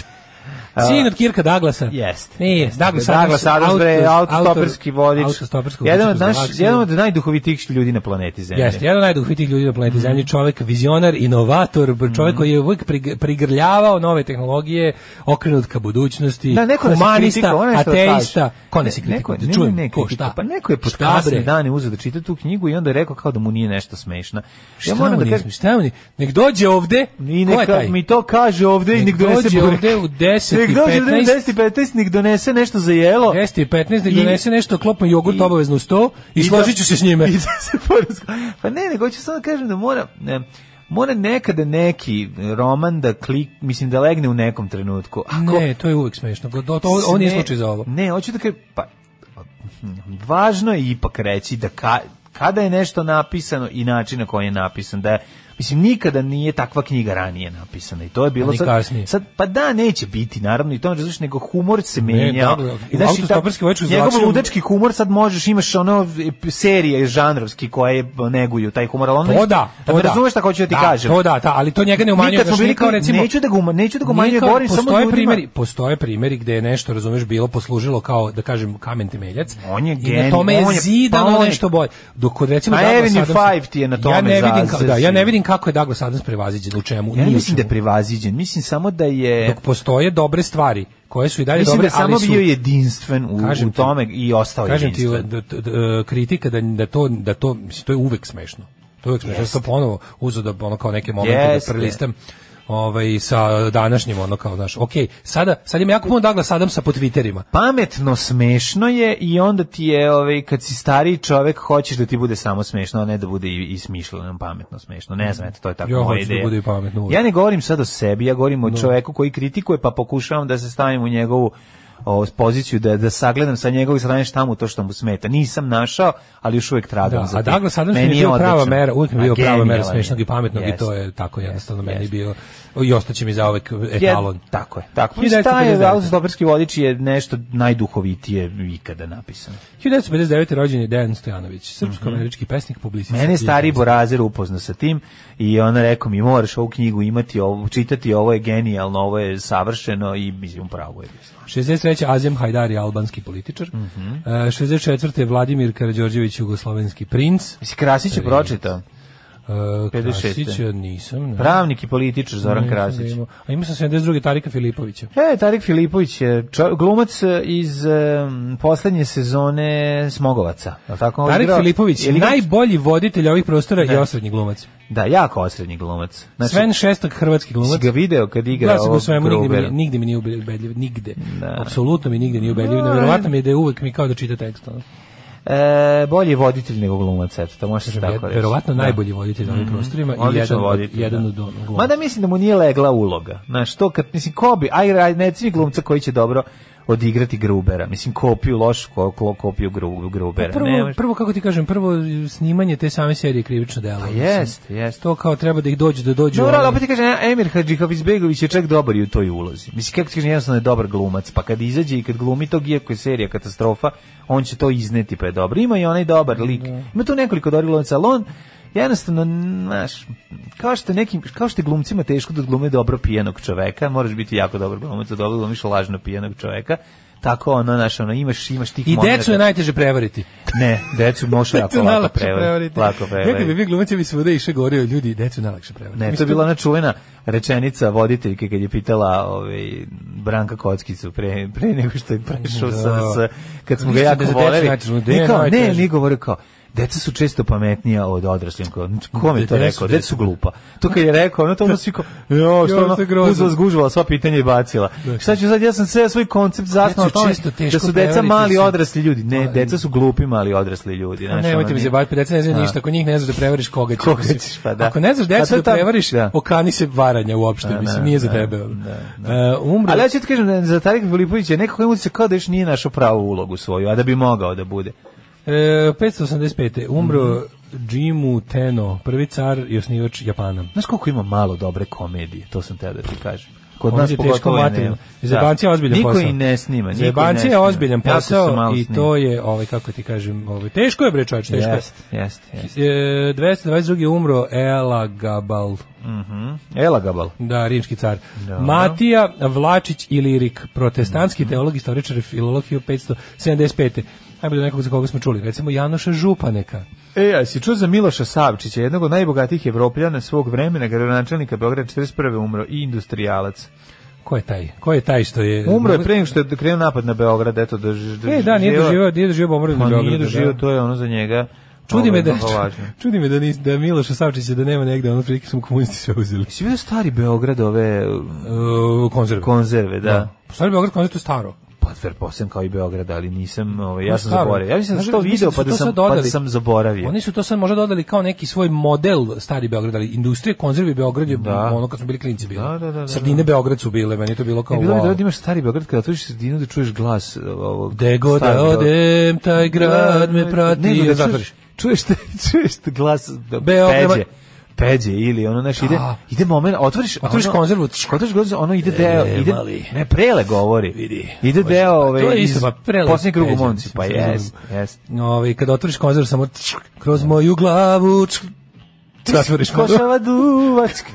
Speaker 6: Sin od Kirka Douglasa.
Speaker 7: Jeste.
Speaker 6: Nije, Douglas Adams.
Speaker 7: Douglas Adams, bre,
Speaker 6: autor-
Speaker 7: autostoperski vodič.
Speaker 6: Autostoperski vodič.
Speaker 7: Jedan od,
Speaker 6: kroz
Speaker 7: naš,
Speaker 6: galaksiju.
Speaker 7: jedan od najduhovitijih ljudi na planeti Zemlji.
Speaker 6: Jeste, jedan od najduhovitijih ljudi na planeti
Speaker 7: Mhm.
Speaker 6: Zemlji, čovjek vizionar, inovator, br- čovjek koji je uvijek prig- prigrljavao nove tehnologije, okrenut ka budućnosti,
Speaker 7: Da, neko
Speaker 6: humanista,
Speaker 7: ono
Speaker 6: ateista. Ko ne
Speaker 7: Kone
Speaker 6: si kritikuje? Da čujem, ko, šta?
Speaker 7: Pa neko je pod
Speaker 6: Šta,
Speaker 7: kasne
Speaker 6: bre?
Speaker 7: dane uzeo da čita tu knjigu i onda je rekao kao da mu nije nešto smešno.
Speaker 6: Šta mu nije smiješno? Šta mu nije? Nek dođe ovde,
Speaker 7: I
Speaker 6: ko je
Speaker 7: neka
Speaker 6: taj?
Speaker 7: mi to kaže ovde i
Speaker 6: Nek
Speaker 7: nek donese
Speaker 6: dođe
Speaker 7: burek.
Speaker 6: ovde u 10 i
Speaker 7: Nek dođe ovde u
Speaker 6: 15.
Speaker 7: 10 i 15, nek donese nešto za jelo.
Speaker 6: Jeste i 15, nek
Speaker 7: I-
Speaker 6: donese nešto, klopno jogurt
Speaker 7: i-
Speaker 6: obavezno u sto i,
Speaker 7: da-
Speaker 6: složit ću se s njime.
Speaker 7: I da se porazgo- Pa ne, nego hoću samo da kažem da mora... Ne, mora nekada neki roman da klik, mislim da legne u nekom trenutku. Ako
Speaker 6: Ne, to je uvek smešno. Do, to, ovo nije
Speaker 7: Ne,
Speaker 6: slučaj za ovo.
Speaker 7: Ne, hoću da kažem, pa, važno je ipak reći da ka, kada je nešto napisano i način na koji je napisan, da je, Mislim, nikada nije takva knjiga ranije napisana i to je bilo
Speaker 6: Ni
Speaker 7: sad,
Speaker 6: kasnije.
Speaker 7: sad, pa da, neće biti, naravno, i to ne razliš, nego humor se menja.
Speaker 6: dobro,
Speaker 7: I znaš, i ta-
Speaker 6: autostoperski vojački uz
Speaker 7: Njegov
Speaker 6: Laksiju-
Speaker 7: ludački humor sad možeš, imaš ono serije žanrovski koje neguju taj humor, ali ono...
Speaker 6: To da, to da.
Speaker 7: Razumeš šta hoću da ti
Speaker 6: da,
Speaker 7: kažem?
Speaker 6: To da, da, ali to njega
Speaker 7: Mi
Speaker 6: ne umanjuje.
Speaker 7: kad smo
Speaker 6: Znaš,
Speaker 7: bili
Speaker 6: nije kao
Speaker 7: kli-
Speaker 6: recimo,
Speaker 7: neću da ga uma- neću da ga
Speaker 6: nije
Speaker 7: umanjuje,
Speaker 6: kao-
Speaker 7: govorim samo
Speaker 6: postoje
Speaker 7: ljudima-
Speaker 6: primeri, postoje primeri gde je nešto, razumeš, bilo poslužilo kao da kažem kamen temeljac.
Speaker 7: On je
Speaker 6: I na
Speaker 7: genij,
Speaker 6: tome je
Speaker 7: on je-
Speaker 6: zidano
Speaker 7: pa on je-
Speaker 6: nešto bolje. Dok kod recimo
Speaker 7: Na
Speaker 6: Douglas
Speaker 7: Avenue
Speaker 6: Adamsa-
Speaker 7: Five ti je na
Speaker 6: ja
Speaker 7: tome
Speaker 6: ne vidim kako,
Speaker 7: zazir.
Speaker 6: da, ja ne vidim kako je Douglas Adams prevaziđen u čemu.
Speaker 7: Ja
Speaker 6: ni
Speaker 7: ne
Speaker 6: u
Speaker 7: mislim da je
Speaker 6: čemu.
Speaker 7: prevaziđen, mislim samo da je...
Speaker 6: Dok postoje dobre stvari koje su i dalje
Speaker 7: Mislim
Speaker 6: dobre,
Speaker 7: da je samo
Speaker 6: ali su
Speaker 7: bio jedinstven u,
Speaker 6: Kažem
Speaker 7: u
Speaker 6: ti-
Speaker 7: tome i ostao
Speaker 6: Kažem ti,
Speaker 7: jedinstven.
Speaker 6: da, da, da, kritika da, da to, da to, mislim, to je uvek smešno. To je uvek smešno. Ja sam ponovo uzeo da ono kao neke momente
Speaker 7: Jeste.
Speaker 6: da prelistam ovaj, sa današnjim ono kao, znaš, ok, sada, sad ima jako puno Douglas Adamsa po Twitterima.
Speaker 7: Pametno, smešno je i onda ti je, ovaj, kad si stariji čovek, hoćeš da ti bude samo smešno, a ne da bude i, i smišljeno pametno smešno. Ne znam, eto, to je tako
Speaker 6: Ja
Speaker 7: moja
Speaker 6: hoću da
Speaker 7: ideja.
Speaker 6: bude i pametno uvek.
Speaker 7: ja ne govorim sad o sebi, ja govorim o čoveku koji kritikuje, pa pokušavam da se stavim u njegovu o, poziciju, da, da sagledam sa njegovog strane šta mu to što mu smeta. Nisam našao, ali još uvek tragam
Speaker 6: Da,
Speaker 7: za
Speaker 6: a
Speaker 7: to.
Speaker 6: Douglas Adams mi je
Speaker 7: Meni
Speaker 6: bio prava
Speaker 7: odličan.
Speaker 6: mera, uvijek mi je
Speaker 7: A
Speaker 6: bio prava mera
Speaker 7: genijalan je.
Speaker 6: smešnog i pametnog i to
Speaker 7: Jeste.
Speaker 6: je tako jednostavno meni
Speaker 7: jeste.
Speaker 6: bio i ostaće mi zaovek
Speaker 7: Jed-
Speaker 6: etalon.
Speaker 7: tako je. Tako. Mislim, taj je
Speaker 6: 1959.
Speaker 7: autostoperski vodič je nešto najduhovitije ikada napisano.
Speaker 6: 1959. rođen je Dejan Stojanović, srpsko-američki pesnik, publicist.
Speaker 7: Mene je stari Borazer upoznao sa tim i on rekao mi moraš ovu knjigu imati, ovo, čitati, ovo je genijalno, ovo je savršeno i mislim pravo je. bio.
Speaker 6: 63. Azem Hajdari, albanski političar.
Speaker 7: Mhm.
Speaker 6: E, 64. Vladimir Karađorđević, jugoslovenski princ.
Speaker 7: Mislim, Krasić je pročitao.
Speaker 6: E,
Speaker 7: 56..
Speaker 6: Krasića nisam. Ne.
Speaker 7: Pravnik i političar Zoran
Speaker 6: Nisam ga
Speaker 7: Krasić.
Speaker 6: imao. A imao sam 72. Tarika Filipovića.
Speaker 7: E, Tarik Filipović je čo- glumac e, iz um, poslednje sezone Smogovaca. Je li Tako on
Speaker 6: Tarik
Speaker 7: igrao-
Speaker 6: Filipović,
Speaker 7: je li igrao-
Speaker 6: najbolji voditelj ovih prostora i osrednji glumac.
Speaker 7: Da, jako osrednji glumac. Znači,
Speaker 6: Sven Šestak, hrvatski
Speaker 7: si
Speaker 6: glumac.
Speaker 7: ga video kad igra
Speaker 6: Ja sam ga u
Speaker 7: ovog
Speaker 6: svemu, nigde mi,
Speaker 7: Grubera?
Speaker 6: nije- nigde mi nije ubedljiv, nigde. Apsolutno mi nigde nije ubedljiv, nevjerovatno mi je da je uvek mi kao da čita tekst. ono.
Speaker 7: E, bolji je voditelj nego glumac, eto, to možeš
Speaker 6: Vjer-
Speaker 7: tako reći. Mhm.
Speaker 6: Verovatno najbolji voditelj na ovim prostorima i
Speaker 7: Odličan
Speaker 6: jedan, od-
Speaker 7: voditelj,
Speaker 6: jedan
Speaker 7: da.
Speaker 6: od ono, glumaca.
Speaker 7: Mada mislim da mu nije legla uloga. Znaš, to kad, mislim, ko bi, aj, aj ne svi glumca koji će dobro odigrati Grubera. Mislim, kopiju lošu, ko, ko- kopiju gru, Grubera.
Speaker 6: Pa Prvo,
Speaker 7: Nemaš-
Speaker 6: prvo, kako ti kažem, prvo snimanje te same serije je krivično delo. mislim.
Speaker 7: jeste, jeste.
Speaker 6: To kao treba da ih dođu, da dođu...
Speaker 7: Dobro,
Speaker 6: ono-
Speaker 7: ali opet ti kažem, Emir Hadžihafizbegović je čak dobar i u toj ulozi. Mislim, kako ti kažem, jednostavno je dobar glumac, pa kad izađe i kad glumi tog, iako je serija katastrofa, on će to izneti, pa je dobro. Ima i onaj dobar lik. Ima tu nekoliko dobrih glumaca, ali on jednostavno, znaš, kao što nekim, kao što je glumcima teško da glume dobro pijenog čoveka, moraš biti jako dobar glumac da dobro glumiš lažno pijenog čoveka, tako ono, znaš, ono, imaš, imaš tih
Speaker 6: I decu
Speaker 7: momenata-
Speaker 6: je najteže prevariti.
Speaker 7: Ne, decu možeš jako
Speaker 6: Decu
Speaker 7: lako
Speaker 6: najlakše
Speaker 7: prevariti.
Speaker 6: prevariti.
Speaker 7: Lako prevariti.
Speaker 6: Nekad bi vi glumaci bi svuda išli govorio ljudi, decu je najlakše prevariti.
Speaker 7: Ne, to je
Speaker 6: Mislim,
Speaker 7: bila ona čuvena rečenica voditeljke kad je pitala ovaj, Branka Kockicu pre, pre nego što je prešao
Speaker 6: Da.
Speaker 7: sa, sa, kad smo ga
Speaker 6: Isto
Speaker 7: jako
Speaker 6: da za decu
Speaker 7: voleli.
Speaker 6: najteže, gde
Speaker 7: Ne,
Speaker 6: je
Speaker 7: kao, ne,
Speaker 6: najteže?
Speaker 7: ni govori kao, deca su često pametnija od odraslih. Kao, Ko mi je to
Speaker 6: Deca su
Speaker 7: rekao? Deca
Speaker 6: deca.
Speaker 7: su glupa. To kad je rekao, ono to ono svi kao, jo,
Speaker 6: Jo,
Speaker 7: što
Speaker 6: to je
Speaker 7: ono,
Speaker 6: grozno.
Speaker 7: uzela zgužvala, sva pitanja i bacila. Šta ću sad, ja sam sve svoj koncept zasnao
Speaker 6: Decu
Speaker 7: na
Speaker 6: često
Speaker 7: tome
Speaker 6: teško
Speaker 7: da su deca
Speaker 6: prevariti,
Speaker 7: mali
Speaker 6: mislim.
Speaker 7: odrasli ljudi. Ne,
Speaker 6: Ali-
Speaker 7: deca su glupi mali odrasli ljudi.
Speaker 6: Ne,
Speaker 7: znaš, ono,
Speaker 6: nemojte mi
Speaker 7: nije-
Speaker 6: zabaviti, pa deca ne znaju
Speaker 7: Da.
Speaker 6: ništa, ako njih ne znaš da prevariš koga ćeš.
Speaker 7: Koga
Speaker 6: mislim.
Speaker 7: ćeš, pa da.
Speaker 6: Ako ne znaš
Speaker 7: A to
Speaker 6: decu
Speaker 7: je
Speaker 6: da
Speaker 7: ta-
Speaker 6: prevariš,
Speaker 7: da.
Speaker 6: okani se varanja uopšte,
Speaker 7: da,
Speaker 6: mislim, nije za
Speaker 7: da,
Speaker 6: tebe. ono. E, umro-
Speaker 7: Ali ja ću ti kažem, da za Tarik Filipović je nekako imao se kao da još nije našao pravu ulogu svoju, a da bi mogao da bude.
Speaker 6: E, 585. Umro
Speaker 7: Mhm.
Speaker 6: Jimu Tenno, prvi car i osnivač Japana.
Speaker 7: Znaš koliko ima malo dobre komedije, to sam teo da ti kažem. Kod
Speaker 6: Ovdje
Speaker 7: nas
Speaker 6: je teško
Speaker 7: pogotovo i nema.
Speaker 6: materijalno. Zebanci je ozbiljan
Speaker 7: niko
Speaker 6: posao.
Speaker 7: i ne snima. niko i ne
Speaker 6: Zebanci je
Speaker 7: snima.
Speaker 6: ozbiljan
Speaker 7: Jako su
Speaker 6: posao
Speaker 7: malo
Speaker 6: i
Speaker 7: snima.
Speaker 6: to je, ovaj, kako ti kažem, ovaj, teško je bre čovječ, teško je.
Speaker 7: Jest, jest, jest.
Speaker 6: E, 222. umro Ela Gabal,
Speaker 7: Ela Gabal.
Speaker 6: da, rimski car. Matija Vlačić i Lirik, protestantski
Speaker 7: Mhm.
Speaker 6: teolog, istoričar i filolog 1575. Ajmo do nekog za koga smo čuli, recimo Janoša Županeka.
Speaker 7: E, a si čuo za Miloša Savčića, jednog od najbogatijih evropljana svog vremena, gradonačelnika Beograda 41. umro i industrijalac.
Speaker 6: Ko je taj? Ko je taj što je...
Speaker 7: Umro je pre nego što je krenuo napad na Beograd, eto da
Speaker 6: E, da, nije doživio, nije doživio bombardovanje
Speaker 7: Pa nije
Speaker 6: Beograda, da.
Speaker 7: doživio, to je ono za njega. ovaj,
Speaker 6: Čudi me da
Speaker 7: mnogo važno.
Speaker 6: čudi me da nis, da Miloša Savčića da nema negde, ono prilike su mu komunisti sve uzeli.
Speaker 7: Jesi vidio stari Beograd ove uh,
Speaker 6: Uh, konzerve.
Speaker 7: konzerve, da?
Speaker 6: Stari Beograd konzerve to je staro.
Speaker 7: Pa verovatno kao i Beograd, ali nisam, ovaj ja
Speaker 6: To je
Speaker 7: sam
Speaker 6: staro.
Speaker 7: zaboravio. Ja mislim da sam
Speaker 6: Znaš,
Speaker 7: to
Speaker 6: mislim
Speaker 7: video
Speaker 6: da su
Speaker 7: pa da
Speaker 6: to
Speaker 7: sam
Speaker 6: sad
Speaker 7: pa da
Speaker 6: dodali.
Speaker 7: sam zaboravio.
Speaker 6: Oni su to sad možda dodali kao neki svoj model Stari Beograd, ali industrije konzerve Beograd je
Speaker 7: Da.
Speaker 6: ono kad smo bili klinci bili.
Speaker 7: Da, da, da, da, da.
Speaker 6: Sredine Beograd su bile, meni je to bilo kao
Speaker 7: E, bilo bi
Speaker 6: wow.
Speaker 7: da imaš stari Beograd kada otvoriš sredinu da čuješ glas uh, ovog
Speaker 6: Gde god
Speaker 7: starog
Speaker 6: da
Speaker 7: Beograda.
Speaker 6: odem, taj grad me prati.
Speaker 7: Nego da
Speaker 6: Ja
Speaker 7: čuješ,
Speaker 6: zatvoriš.
Speaker 7: čuješ, čuješ glas da
Speaker 6: Beograd-
Speaker 7: peđe. Peđe ili ono naš ide
Speaker 6: Da.
Speaker 7: ide moment otvoriš
Speaker 6: Pa Otvoriš
Speaker 7: ono-
Speaker 6: konzervu.
Speaker 7: otvoriš konzervu ono ide deo
Speaker 6: E,
Speaker 7: ide
Speaker 6: mali.
Speaker 7: ne prele govori
Speaker 6: Vidi.
Speaker 7: ide
Speaker 6: Može,
Speaker 7: deo
Speaker 6: pa, to
Speaker 7: ovaj
Speaker 6: je isto,
Speaker 7: iz
Speaker 6: pa Prele
Speaker 7: poslednjeg kruga u
Speaker 6: Peđe,
Speaker 7: Monci
Speaker 6: mislim,
Speaker 7: pa
Speaker 6: se
Speaker 7: jest
Speaker 6: razumemo.
Speaker 7: jest
Speaker 6: Ovaj kad otvoriš konzervu samo tsk, kroz moju glavu tsk, zatvoriš konzervu.
Speaker 7: Košava duvačka.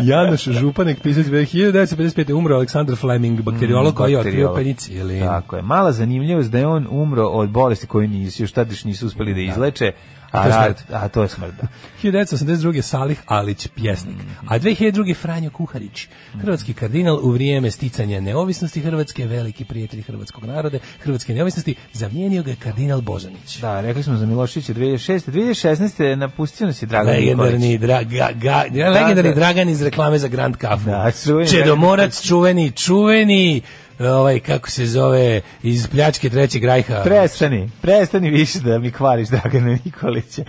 Speaker 6: Janoš Županek, pisac 1955. umro Aleksandar Fleming, bakteriolog koji je otkrio
Speaker 7: Mm, Bakteriolog.
Speaker 6: penicilin.
Speaker 7: Tako je. Mala zanimljivost da je on umro od bolesti koju nisu još tad još nisu uspeli da izleče, a,
Speaker 6: A to je
Speaker 7: rad-
Speaker 6: smrt.
Speaker 7: a to je smrt. da.
Speaker 6: 1982. Salih Alić, pjesnik.
Speaker 7: Mm.
Speaker 6: A 2002. Franjo Kuharić, hrvatski kardinal u vrijeme sticanja neovisnosti Hrvatske, veliki prijatelj hrvatskog naroda, hrvatske neovisnosti, zamijenio ga je kardinal Božanić.
Speaker 7: Da, rekli smo za Milošića 2006. 2016. je napustio nas je Dragan
Speaker 6: Legendarni,
Speaker 7: Nikolić.
Speaker 6: dra, ga, ga, legendarni Dragan iz reklame za Grand Kafu.
Speaker 7: Da, čuveni
Speaker 6: Čedomorac, čuveni, čuveni, ovaj, kako se zove, iz pljačke Trećeg rajha.
Speaker 7: Prestani, prestani više da mi kvariš Dragana Nikolića.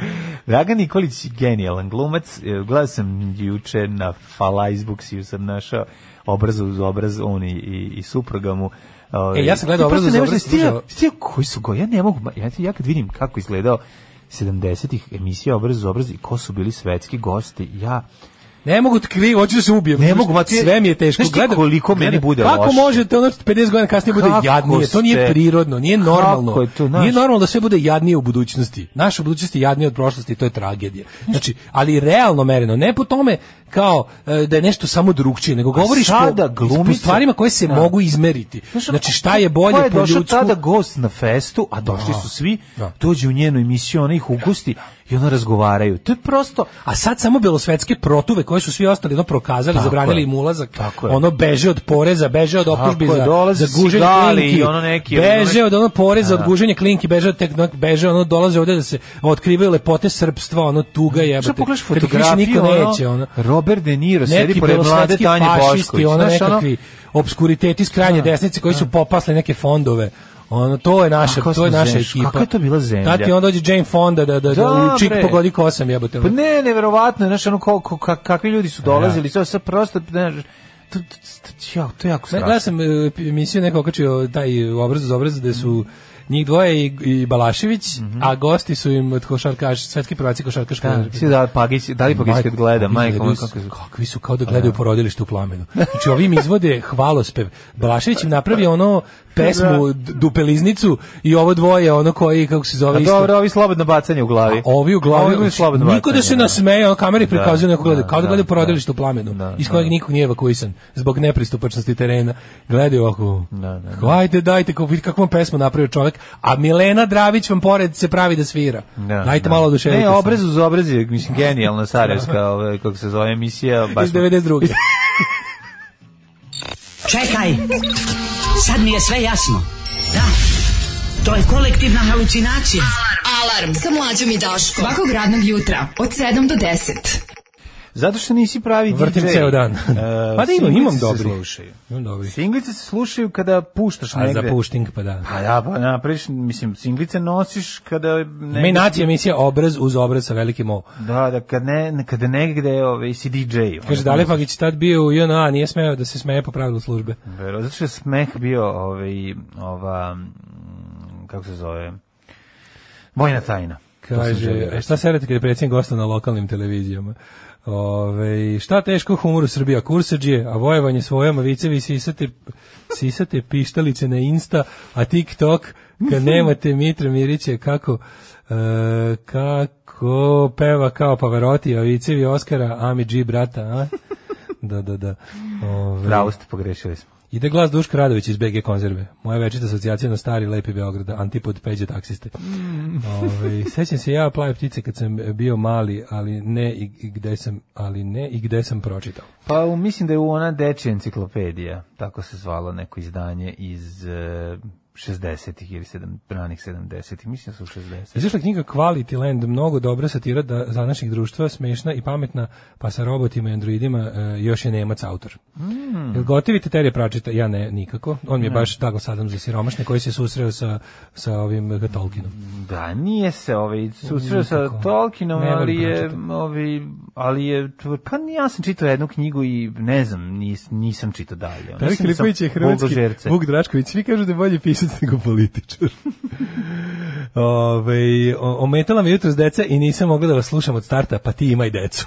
Speaker 7: Dragan Nikolić je genijalan glumac. E, Gledao sam juče na Falajzbuksiju sam našao obraz uz obraz, on i, i, i supruga mu. Ovaj,
Speaker 6: E, ja sam
Speaker 7: ti
Speaker 6: gledao obraz
Speaker 7: prosto
Speaker 6: uz
Speaker 7: ne možeš
Speaker 6: obraz,
Speaker 7: da stija-
Speaker 6: slušao.
Speaker 7: stija koji su go, ja ne mogu, ma, ja, ti- ja kad vidim kako izgledao 70-ih emisija obraz uz obraz i ko su bili svetski gosti, ja...
Speaker 6: Ne mogu ti krivo, hoću da se ubijem.
Speaker 7: Ne mogu, ma ti-
Speaker 6: sve mi je teško.
Speaker 7: Znaš ti koliko meni bude
Speaker 6: Kako
Speaker 7: loše?
Speaker 6: možete ono što 50 godina kasnije bude
Speaker 7: Kako
Speaker 6: jadnije? To nije
Speaker 7: ste-
Speaker 6: prirodno, nije
Speaker 7: Kako
Speaker 6: normalno.
Speaker 7: je to, znaš?
Speaker 6: nije normalno da sve bude jadnije u budućnosti. Naša budućnost je jadnija od prošlosti i to je tragedija. Znači, ali realno mereno, ne po tome kao e, da je nešto samo drugčije, nego govoriš
Speaker 7: sada
Speaker 6: po,
Speaker 7: glumica-
Speaker 6: po stvarima koje se
Speaker 7: Da.
Speaker 6: mogu izmeriti. Znači, šta je bolje
Speaker 7: ko je
Speaker 6: po
Speaker 7: došao
Speaker 6: ljudsku?
Speaker 7: tada gost na festu, a došli
Speaker 6: Da.
Speaker 7: su svi,
Speaker 6: Da.
Speaker 7: dođe u njenu emisiju, ona ih ugusti i ona razgovaraju. To je prosto,
Speaker 6: A sad samo belosvetske protuve koje su svi ostali ono prokazali,
Speaker 7: Tako
Speaker 6: zabranili
Speaker 7: je.
Speaker 6: im ulazak,
Speaker 7: Tako je.
Speaker 6: ono beže od poreza, beže od optužbi
Speaker 7: Tako je,
Speaker 6: za,
Speaker 7: dolaze
Speaker 6: za guženje
Speaker 7: sigali
Speaker 6: klinki,
Speaker 7: i ono neki-
Speaker 6: beže od ono poreza,
Speaker 7: Da.
Speaker 6: od guženja klinki, beže od tek, beže ono dolaze ovde da se otkrivaju lepote srpstva, ono tuga jebate.
Speaker 7: Šta pogledaš
Speaker 6: Kad ih više
Speaker 7: fotografiju,
Speaker 6: niko
Speaker 7: ono,
Speaker 6: neće, ono.
Speaker 7: Robert De Niro sedi
Speaker 6: Neki
Speaker 7: pored mlade
Speaker 6: belosvetski
Speaker 7: Tanje
Speaker 6: fašisti,
Speaker 7: Bošković.
Speaker 6: ono
Speaker 7: Znaš, ono,
Speaker 6: nekakvi obskuriteti s krajnje desnice koji su popasli neke fondove. Ono, to je naša,
Speaker 7: Kako
Speaker 6: to je
Speaker 7: smo
Speaker 6: naša
Speaker 7: zemlja,
Speaker 6: ekipa.
Speaker 7: kakva je to bila zemlja?
Speaker 6: Da ti onda dođe Jane Fonda da, da, da,
Speaker 7: Da,
Speaker 6: u čik
Speaker 7: bre.
Speaker 6: pogodi kosam jebote. ono.
Speaker 7: Pa ne, neverovatno, je, znaš, ono, ko, ko- ka- kakvi ljudi su dolazili, to je sad prosto, znaš, to, to, to, ja, to je jako
Speaker 6: Ne,
Speaker 7: strašno.
Speaker 6: gledao sam e, emisiju neko okačio taj obraz uz obraz gde su
Speaker 7: Mhm.
Speaker 6: njih dvoje i, i Balašević, a gosti su im od košarkaš, svetski prvaci košarkaške.
Speaker 7: Da, svi da, Pagić, da li Pagić kad gleda, majko, moja, kako Pa je-
Speaker 6: kakvi su kao da gledaju porodilište u plamenu. Znači ovim izvode hvalospev. Balašević im napravi ono pesmu d- Dupeliznicu i ovo dvoje, ono koji, kako se zove,
Speaker 7: A
Speaker 6: isto-
Speaker 7: dobro, ovi slobodno bacanje u glavi.
Speaker 6: A ovi u
Speaker 7: Znači, Ovi
Speaker 6: glavi,
Speaker 7: imaju slobodno bacanje.
Speaker 6: niko da se nasmeje, ono kameri prikazuje neko gleda, kao da gleda porodilište u plamenu,
Speaker 7: Da,
Speaker 6: iz kojeg
Speaker 7: da.
Speaker 6: nikog nije evakuisan, zbog nepristupačnosti terena. Gledaju ovako,
Speaker 7: Da, da,
Speaker 6: hajde, dajte, kako, vidite kakvu vam pesmu napravio čovjek, a Milena Dravić vam pored se pravi da svira.
Speaker 7: Da,
Speaker 6: dajte
Speaker 7: da.
Speaker 6: malo oduševite
Speaker 7: Ne,
Speaker 6: se.
Speaker 7: obrez uz obrez je, mislim, genijalna sarajevska, ove, kako se zove emisija. Baš
Speaker 6: Iz 92.
Speaker 5: Čekaj, sad mi je sve jasno. Da, to je kolektivna halucinacija.
Speaker 8: Alarm sa mlađom i Daškom.
Speaker 9: Svakog radnog jutra od 7 do 10.
Speaker 7: Zato što nisi pravi DJ.
Speaker 6: Vrtim ceo dan.
Speaker 7: E,
Speaker 6: Pa da imam,
Speaker 7: singlice
Speaker 6: imam
Speaker 7: se
Speaker 6: dobri.
Speaker 7: slušaju.
Speaker 6: Imam dobri.
Speaker 7: Singlice se slušaju kada puštaš
Speaker 6: A za
Speaker 7: negde.
Speaker 6: pušting, pa da.
Speaker 7: Pa da, pa napraviš, mislim, singlice nosiš kada... negde-
Speaker 6: Me nacija emisija obraz uz obraz sa velikim O.
Speaker 7: Da, da, kad ne, kada negde ovaj, si DJ.
Speaker 6: Kaže,
Speaker 7: Ono,
Speaker 6: Dalefagić tad bio u JNA, a nije smeo da se smeje po pravilu službe.
Speaker 7: Vero, zato što je smeh bio ovaj, ova, mm, kako se zove, vojna tajna. To sam želio
Speaker 6: Kaže,
Speaker 7: reći.
Speaker 6: a šta serete kada je predsjednik gosta na lokalnim televizijama? Ove, šta teško humoru Srbija kursađije, a vojevanje svojama vicevi sisate, sisate pištalice na Insta, a TikTok kad nemate Mitra Mirića kako e, kako peva kao Pavarotti, a vicevi Oskara, Ami G brata, a? Da, da, da. Ove,
Speaker 7: Pravo ste pogrešili smo.
Speaker 6: Ide glas Duška Radović iz BG konzerve. Moja večita asocijacija na stari lepi Beograd, antipod peđe taksiste. Ovaj, sećam se ja plave ptice kad sam bio mali, ali ne i, i gde sam, ali ne i gde sam pročitao.
Speaker 7: Pa u- mislim da je u ona dečja enciklopedija, tako se zvalo neko izdanje iz e, 60-ih ili sedam, ranih 70-ih, mislim da su 60-ih.
Speaker 6: Izašla je knjiga Quality Land, mnogo dobra satira da za naših društva, smešna i pametna, pa sa robotima i androidima e, još je Nemac autor. Jel gotivi te terje pračita? Ja ne, nikako. On mi je baš tako sadam za siromašne koji se susreo sa, sa ovim e, Tolkienom.
Speaker 7: Da, nije se ovaj susreo sa
Speaker 6: Nikako.
Speaker 7: Tolkienom,
Speaker 6: Ne
Speaker 7: ali
Speaker 6: volim
Speaker 7: je
Speaker 6: pročitati.
Speaker 7: ovaj ali je tv- pa ni- ja sam čitao jednu knjigu i ne znam, nis, nisam čitao dalje. Ono,
Speaker 6: Tarik
Speaker 7: mislim da sam
Speaker 6: Lipović je hrvatski
Speaker 7: buldožerce.
Speaker 6: Vuk Drašković. Svi kažu da je bolji pisac nego političar. Ove, o- ometala me jutro s deca i nisam mogla da vas slušam od starta, pa ti imaj decu.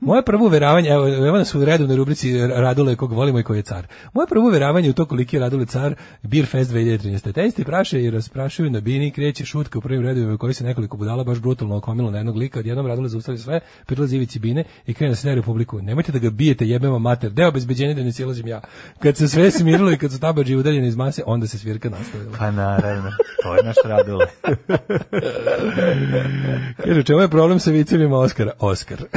Speaker 6: Moje prvo uveravanje, evo, evo nas u redu na rubrici Radule kog volimo i koji je car. Moje prvo uveravanje u to koliki je Radule car Beer Fest 2013. Testi praše i rasprašuju na bini, kreće šutka u prvim redovima koji se nekoliko budala baš brutalno okomilo na jednog lika, odjednom Radule zaustavi sve, prilazi ivici bine i krene da se dere u publiku. Nemojte da ga bijete, jebemo mater, deo obezbeđenja da ne silazim ja. Kad se sve smirilo i kad su tabađi udaljeni iz mase, onda se svirka nastavila.
Speaker 7: Pa naravno, to je naš radule.
Speaker 6: Kaže, u čemu je problem sa vicevima Oskara? Oskar.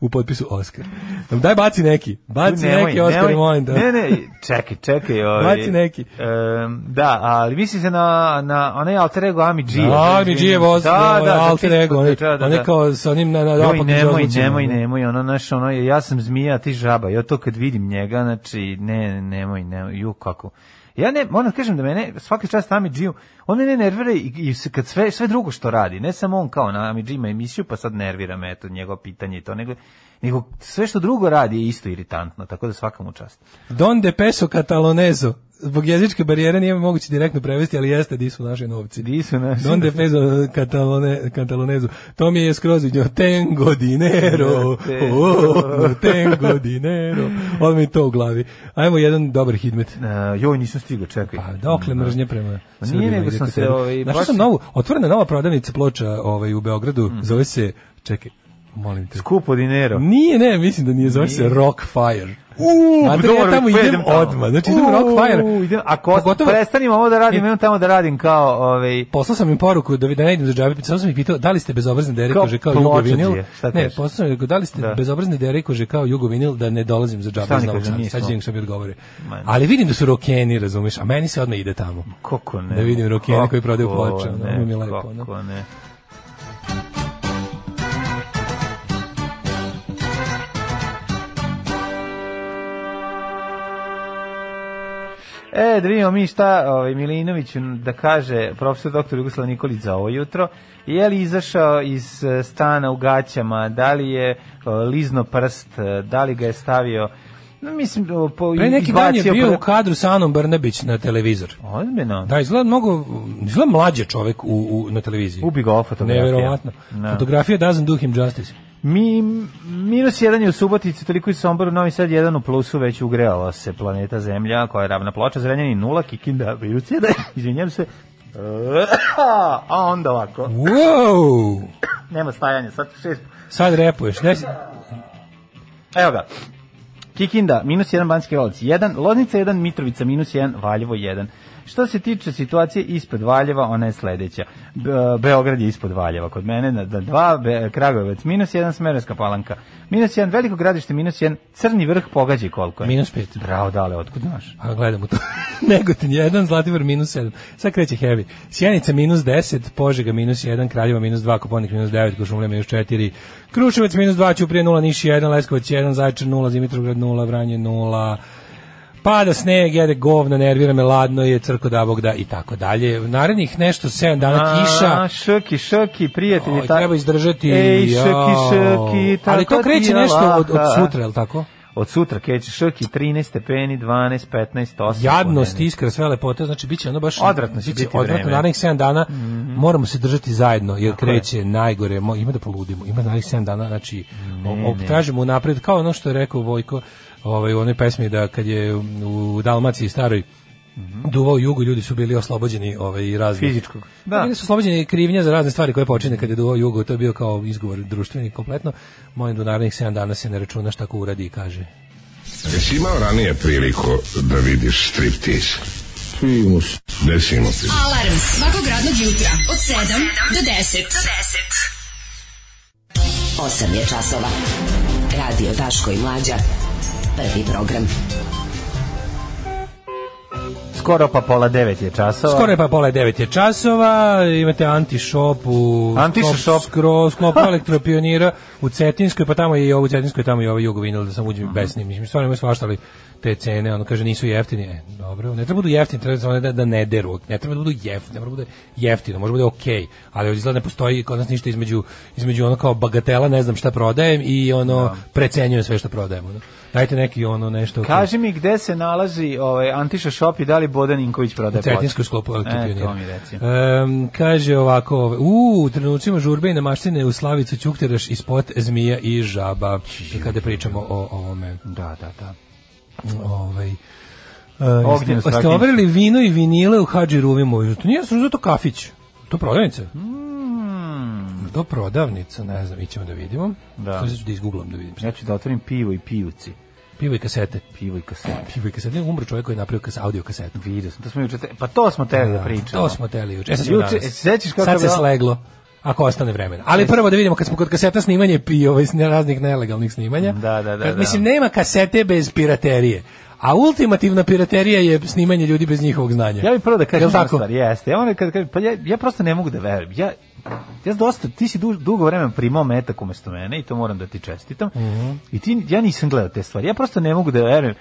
Speaker 6: u potpisu Oskar. Daj baci neki. Baci neki Oskar, molim te.
Speaker 7: Ne, ne, čekaj, čekaj. Ovaj,
Speaker 6: Baci neki.
Speaker 7: em, da, ali misli se na, na onaj alter ego Ami G.
Speaker 6: Da, mi G je voz, da, da, alter ego, on je, on je kao sa onim na, na
Speaker 7: Joj,
Speaker 6: napakim
Speaker 7: nemoj,
Speaker 6: želucima.
Speaker 7: nemoj, nemoj, ono, znaš, ono, je, ja sam zmija, a ti žaba, ja to kad vidim njega, znači, ne, nemoj, nemoj, ju, kako. Ja ne, moram da kažem da mene, svaki čast Ami G-u, on mene nervira i, i se kad sve, sve drugo što radi, ne samo on kao na Ami G ima emisiju, pa sad nervira me, eto, njegovo pitanje i to, nego, nego sve što drugo radi je isto iritantno, tako da svakamu čast.
Speaker 6: Don de peso catalonezo. Zbog jezičke barijere nije moguće direktno prevesti, ali jeste di su naši novci.
Speaker 7: Di su naši
Speaker 6: Don de peso catalone, catalonezo. To mi je skroz vidio. Tengo dinero.
Speaker 7: Te-
Speaker 6: Oh, tengo dinero. Odmah mi to u glavi. Ajmo jedan dobar hitmet.
Speaker 7: Uh, joj, nisam stigao, čekaj.
Speaker 6: Pa dokle mržnje prema
Speaker 7: Pa
Speaker 6: Srbima
Speaker 7: nije,
Speaker 6: i
Speaker 7: nego sam se,
Speaker 6: diktatorima.
Speaker 7: ovaj,
Speaker 6: Našao
Speaker 7: baš- Mhm.
Speaker 6: sam novu, otvorena nova prodavnica ploča ovaj, u Beogradu, zove se, čekaj, molim te.
Speaker 7: Skupo dinero.
Speaker 6: Nije, ne, mislim da nije, zove se Rockfire.
Speaker 7: Uuu,
Speaker 6: Mater, ja tamo idem odmah, znači idem Rockfire.
Speaker 7: Idem, ako
Speaker 6: Pogotovo-
Speaker 7: prestanim ovo da radim, idem tamo da radim kao, ovaj,
Speaker 6: Poslao sam im poruku da, vi- da ne idem za džabe, samo sam ih pitao da li ste bezobrazni deri
Speaker 7: Kao
Speaker 6: kože kao Jugo
Speaker 7: pločadžije,
Speaker 6: vinil.
Speaker 7: šta
Speaker 6: Ne,
Speaker 7: kažeš?
Speaker 6: poslao sam im rekao, da li ste
Speaker 7: Da.
Speaker 6: bezobrazni deri kože kao Jugo vinil da ne dolazim za
Speaker 7: Šta
Speaker 6: džabe
Speaker 7: oni
Speaker 6: iz Novog
Speaker 7: kažu,
Speaker 6: Sada.
Speaker 7: nismo.
Speaker 6: Sad ću da im se odgovore.
Speaker 7: Ma ne.
Speaker 6: Ali vidim da su rokeni, razumeš, a meni se odmah ide tamo.
Speaker 7: kako ne.
Speaker 6: Da vidim rokijene
Speaker 7: kako
Speaker 6: koji prodaju ploče, ono,
Speaker 7: ne,
Speaker 6: ono mi je lepo, ono.
Speaker 7: Kako ne. E, da vidimo mi šta ovaj, Milinoviću da kaže profesor doktor Jugoslav Nikolić za ovo jutro. Je li izašao iz eh, stana u gaćama, da li je eh, lizno prst, eh, da li ga je stavio, no, mislim, o, po,
Speaker 6: Pre neki dan je
Speaker 7: izbacio
Speaker 6: bio
Speaker 7: pr-
Speaker 6: u kadru sa Anom Brnabić na televizor.
Speaker 7: Ozbiljno?
Speaker 6: Da, izgleda mnogo, izgleda mlađe čovek u, u, na televiziji.
Speaker 7: Ubi ga ova fotografija.
Speaker 6: Neverovatno.
Speaker 7: Da.
Speaker 6: Fotografija doesn't do him justice.
Speaker 7: Mi, minus jedan je u Subotici, toliko i Somboru, Novi Sad jedan u plusu, već ugrejala se planeta Zemlja, koja je ravna ploča, Zrenjanin nula, Kikinda minus jedan, izvinjam se, a onda ovako,
Speaker 6: Wow!
Speaker 7: nema stajanja, sad šest,
Speaker 6: Sad repuješ. Ne, si-
Speaker 7: evo ga, Kikinda, minus 1, Banski Valac 1, Loznica 1, Mitrovica minus 1, Valjevo 1. Što se tiče situacije ispod Valjeva, ona je sledeća. Be- Beograd je ispod Valjeva kod mene, na 2, Be Kragovac minus 1, Smerovska palanka minus 1, Veliko gradište minus 1, Crni vrh pogađaj koliko je.
Speaker 6: Minus pet.
Speaker 7: Bravo, dale, otkud znaš?
Speaker 6: A gledamo Pa to. Negotin 1, Zlatibor minus 7. Sad kreće heavy. Sjenica minus 10, Požega minus 1, Kraljeva minus 2, Koponik minus 9, Košumlja minus 4, Kruševac minus 2, Ćuprije 0, Niš 1, Leskovac 1, Zaječar 0, Dimitrovgrad 0, Vranje 0, Pada sneg, jede govna, nervira me, ladno je, crko da bog da i tako dalje. Narednih nešto 7 dana kiša.
Speaker 7: A, šoki, šoki, prijatelji.
Speaker 6: Oj,
Speaker 7: ta-
Speaker 6: treba izdržati.
Speaker 7: Ej, šoki,
Speaker 6: jao.
Speaker 7: šoki.
Speaker 6: Ali
Speaker 7: tako
Speaker 6: to kreće
Speaker 7: ti je
Speaker 6: nešto od, od
Speaker 7: laka.
Speaker 6: sutra, je li tako?
Speaker 7: Od sutra kreće šoki, 13 stepeni, 12, 15, 8.
Speaker 6: jadnost, iskra, sve lepote, znači biće ono baš
Speaker 7: Odvratno će
Speaker 6: biće
Speaker 7: biti
Speaker 6: odvratno
Speaker 7: vreme. Mhm.
Speaker 6: narednih 7 dana. Moramo se držati zajedno jer
Speaker 7: je.
Speaker 6: kreće najgore, mo, ima da poludimo. Ima narednih 7 dana, znači o- o- tražimo unapred kao ono što je rekao Vojko, ovaj u onoj pesmi da kad je u Dalmaciji staroj duvao jugo, ljudi su bili oslobođeni ovaj razni
Speaker 7: Mhm. Fizičkog. Da.
Speaker 6: Da. Bili su oslobođeni krivnja za razne stvari koje počine kad je duvao jugo, to je bio kao izgovor društveni kompletno. Molim da u narednih 7 dana se ne računa šta ko uradi i kaže.
Speaker 10: Jesi imao ranije priliku da vidiš striptiz? Imao se. Gde si imao priliku?
Speaker 9: Alarm svakog radnog jutra od 7 do 10.
Speaker 8: 8 je časova. Radio Daško i Mlađa. Prvi program.
Speaker 7: Skoro pa pola devet je časova.
Speaker 6: Skoro je pa pola devet je časova, imate anti-shop u
Speaker 7: Anti-shop.
Speaker 6: sklopu- skro, sklopu elektropionira u Cetinskoj, pa tamo je i ovo u Cetinskoj, tamo je i ovo jugovinil, da sam
Speaker 7: Mhm.
Speaker 6: uđem besni. Mislim, stvarno imaju svašta, ali te cene, ono kaže, nisu jeftini. E, dobro, ne treba da budu jeftini, treba samo da, da ne deru, ne treba da budu jeftini, ne treba da bude jeftino, može da bude okej, ali ovdje izgleda ne postoji kod nas ništa između, između ono kao bagatela, ne znam šta prodajem i ono, precenjujem sve što prodajem. Ono. Dajte neki ono nešto. okej.
Speaker 7: Kaži mi gde se nalazi ovaj Antiša Shop i da li Bodan Inković prodaje ploče?
Speaker 6: Cetinskoj sklopu
Speaker 7: E,
Speaker 6: Elektropioniru.
Speaker 7: to mi reci.
Speaker 6: Em, kaže ovako, ove, u, u trenucima žurbe i namaštine u Slavicu Ćukteraš ispod zmija i žaba. Kada pričamo o ovome.
Speaker 7: Da, da, da. Mm.
Speaker 6: Ovaj, e,
Speaker 7: Ognjen
Speaker 6: jeste, ste
Speaker 7: Strahinjić.
Speaker 6: overili vino i vinile u Hadži Ruvimoviću? To nije sam zato kafić. To prodavnica. Jel To prodavnica, ne znam, ićemo da vidimo.
Speaker 7: Mm. Da.
Speaker 6: Sad ću da izgooglam da vidim.
Speaker 7: Ja ću da otvorim pivo i pijuci.
Speaker 6: Pivo i kasete.
Speaker 7: Pivo i kasete.
Speaker 6: Pivo i kasete. Umro čovjek koji je napravio kas, audio kasetu.
Speaker 7: Vidio sam, to smo juče, te- pa to smo teli da, pričamo.
Speaker 6: To smo teli juče. E, sad ćemo
Speaker 7: Juče,
Speaker 6: danas.
Speaker 7: e, sećaš kako je
Speaker 6: Sad se
Speaker 7: bilo?
Speaker 6: sleglo. Ako ostane vremena. Ali prvo da vidimo kad smo kod kaseta snimanje i ovaj sne- raznih nelegalnih snimanja.
Speaker 7: Da, da, da,
Speaker 6: Kad-
Speaker 7: da.
Speaker 6: Mislim nema kasete bez piraterije. A ultimativna piraterija je snimanje ljudi bez njihovog znanja.
Speaker 7: Ja bih prvo da kažem
Speaker 6: Jel
Speaker 7: jednu
Speaker 6: tako?
Speaker 7: stvar, jeste. Ja, moram kad, kažem, pa ja, ja prosto ne mogu da verujem. Ja, ja dosta, ti si duž, dugo vremena primao metak umesto mene i to moram da ti čestitam.
Speaker 6: Mhm.
Speaker 7: I ti, ja nisam gledao te stvari. Ja prosto ne mogu da verujem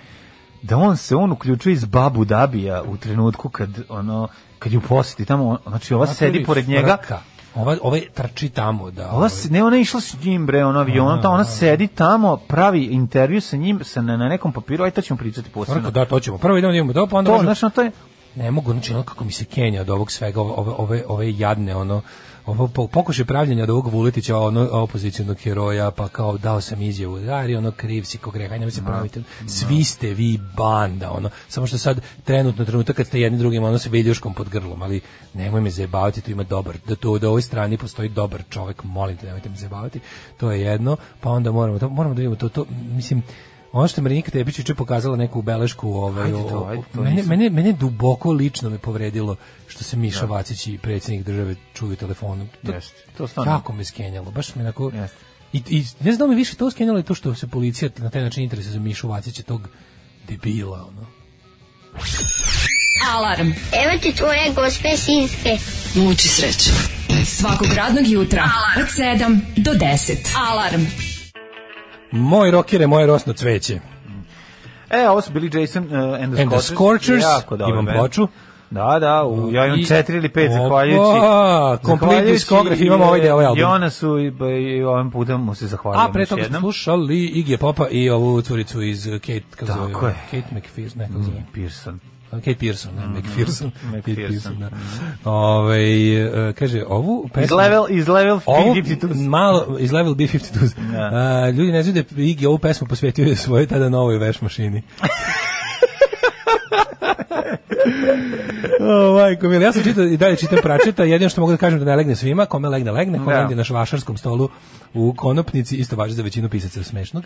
Speaker 7: da on se on uključuje iz Babu Dabija u trenutku kad ono kad ju posjeti tamo, on- znači ova sedi
Speaker 6: Napravi
Speaker 7: pored njega.
Speaker 6: frka. Ova, ovaj trči tamo da... ovaj,
Speaker 7: Ova se, ne, ona je išla s njim, bre, ono avionom, ta, ona sedi tamo, pravi intervju sa njim, sa, na, na nekom papiru, aj to ćemo pričati
Speaker 6: ovaj,
Speaker 7: posebno.
Speaker 6: frka, da, to ćemo. Prvo idemo da imamo to, pa onda
Speaker 7: To,
Speaker 6: možemo-
Speaker 7: znaš, ono, to je,
Speaker 6: ne mogu, znači ono kako mi se Kenja od ovog svega, ove, ove, ove, ove jadne, ono, ovo po- pokušaj pravljenja od ovog Vuletića, ono, opozicijnog heroja, pa kao dao sam izjavu, daj, ono, kriv si ko greha, nemoj se praviti, svi ste vi banda, ono, samo što sad trenutno trenutak kad ste jedni drugim, ono, se viljuškom pod grlom, ali nemoj me zajebavati, tu ima dobar, da tu da ovoj strani postoji dobar čovjek, molim te, nemojte me zajebavati, to je jedno, pa onda moramo, to, moramo da vidimo to, to, mislim, ono što je Marinika Tepić juče pokazala neku belešku ovaj,
Speaker 7: Ajde to,
Speaker 6: o- o-
Speaker 7: ajde to,
Speaker 6: mene,
Speaker 7: nisam-
Speaker 6: mene, mene duboko lično me povredilo što se Miša Vacić i predsjednik države čuju telefonom. To,
Speaker 7: Jeste, to stvarno.
Speaker 6: Jako me skenjalo, baš me onako...
Speaker 7: Jeste.
Speaker 6: I, I ne znam da li me više to skenjalo i to što se policija na taj način interesuje za Mišu Vacića, tog debila, ono.
Speaker 9: Alarm
Speaker 5: Evo ti tvoje gospe sinske.
Speaker 8: Muči sreće.
Speaker 9: svakog radnog jutra od 7 do 10. Alarm
Speaker 6: Moj rokire, moje rosno cveće.
Speaker 7: E, ovo su bili Jason uh, and the
Speaker 6: And the
Speaker 7: Scorchers.
Speaker 6: Scorchers,
Speaker 7: Jako dobar
Speaker 6: imam
Speaker 7: band.
Speaker 6: ploču.
Speaker 7: Da, da, u, ja imam
Speaker 6: I-
Speaker 7: četiri ili pet
Speaker 6: Opa,
Speaker 7: zahvaljujući.
Speaker 6: complete
Speaker 7: zahvaljujući
Speaker 6: discograph,
Speaker 7: i-
Speaker 6: imam ovaj deo, ovaj album.
Speaker 7: I ona su, i, i ovim putem mu se zahvaljujem.
Speaker 6: A pre toga
Speaker 7: još
Speaker 6: smo
Speaker 7: jednom.
Speaker 6: slušali Iggy Popa i ovu curicu iz Kate, kako
Speaker 7: Tako
Speaker 6: zove,
Speaker 7: je. Mm.
Speaker 6: Kate McPherson, nekako zove.
Speaker 7: Pearson.
Speaker 6: tako, Kate Pearson, ne, McPherson. Kate Pearson,
Speaker 7: McPherson,
Speaker 6: da. Ove, kaže, ovu pesmu...
Speaker 7: Iz level, iz level
Speaker 6: Ovo,
Speaker 7: 52.
Speaker 6: malo, iz level B-52. A, ljudi ne znaju da je Iggy ovu pesmu posvetio svoje tada novoj veš mašini. o, majko, mila, ja sam čitao i dalje čitam pračeta, jedino što mogu da kažem da ne legne svima, kome legne, legne, kome
Speaker 7: Da.
Speaker 6: legne na švašarskom stolu u konopnici, isto važi za većinu pisaca smešnog.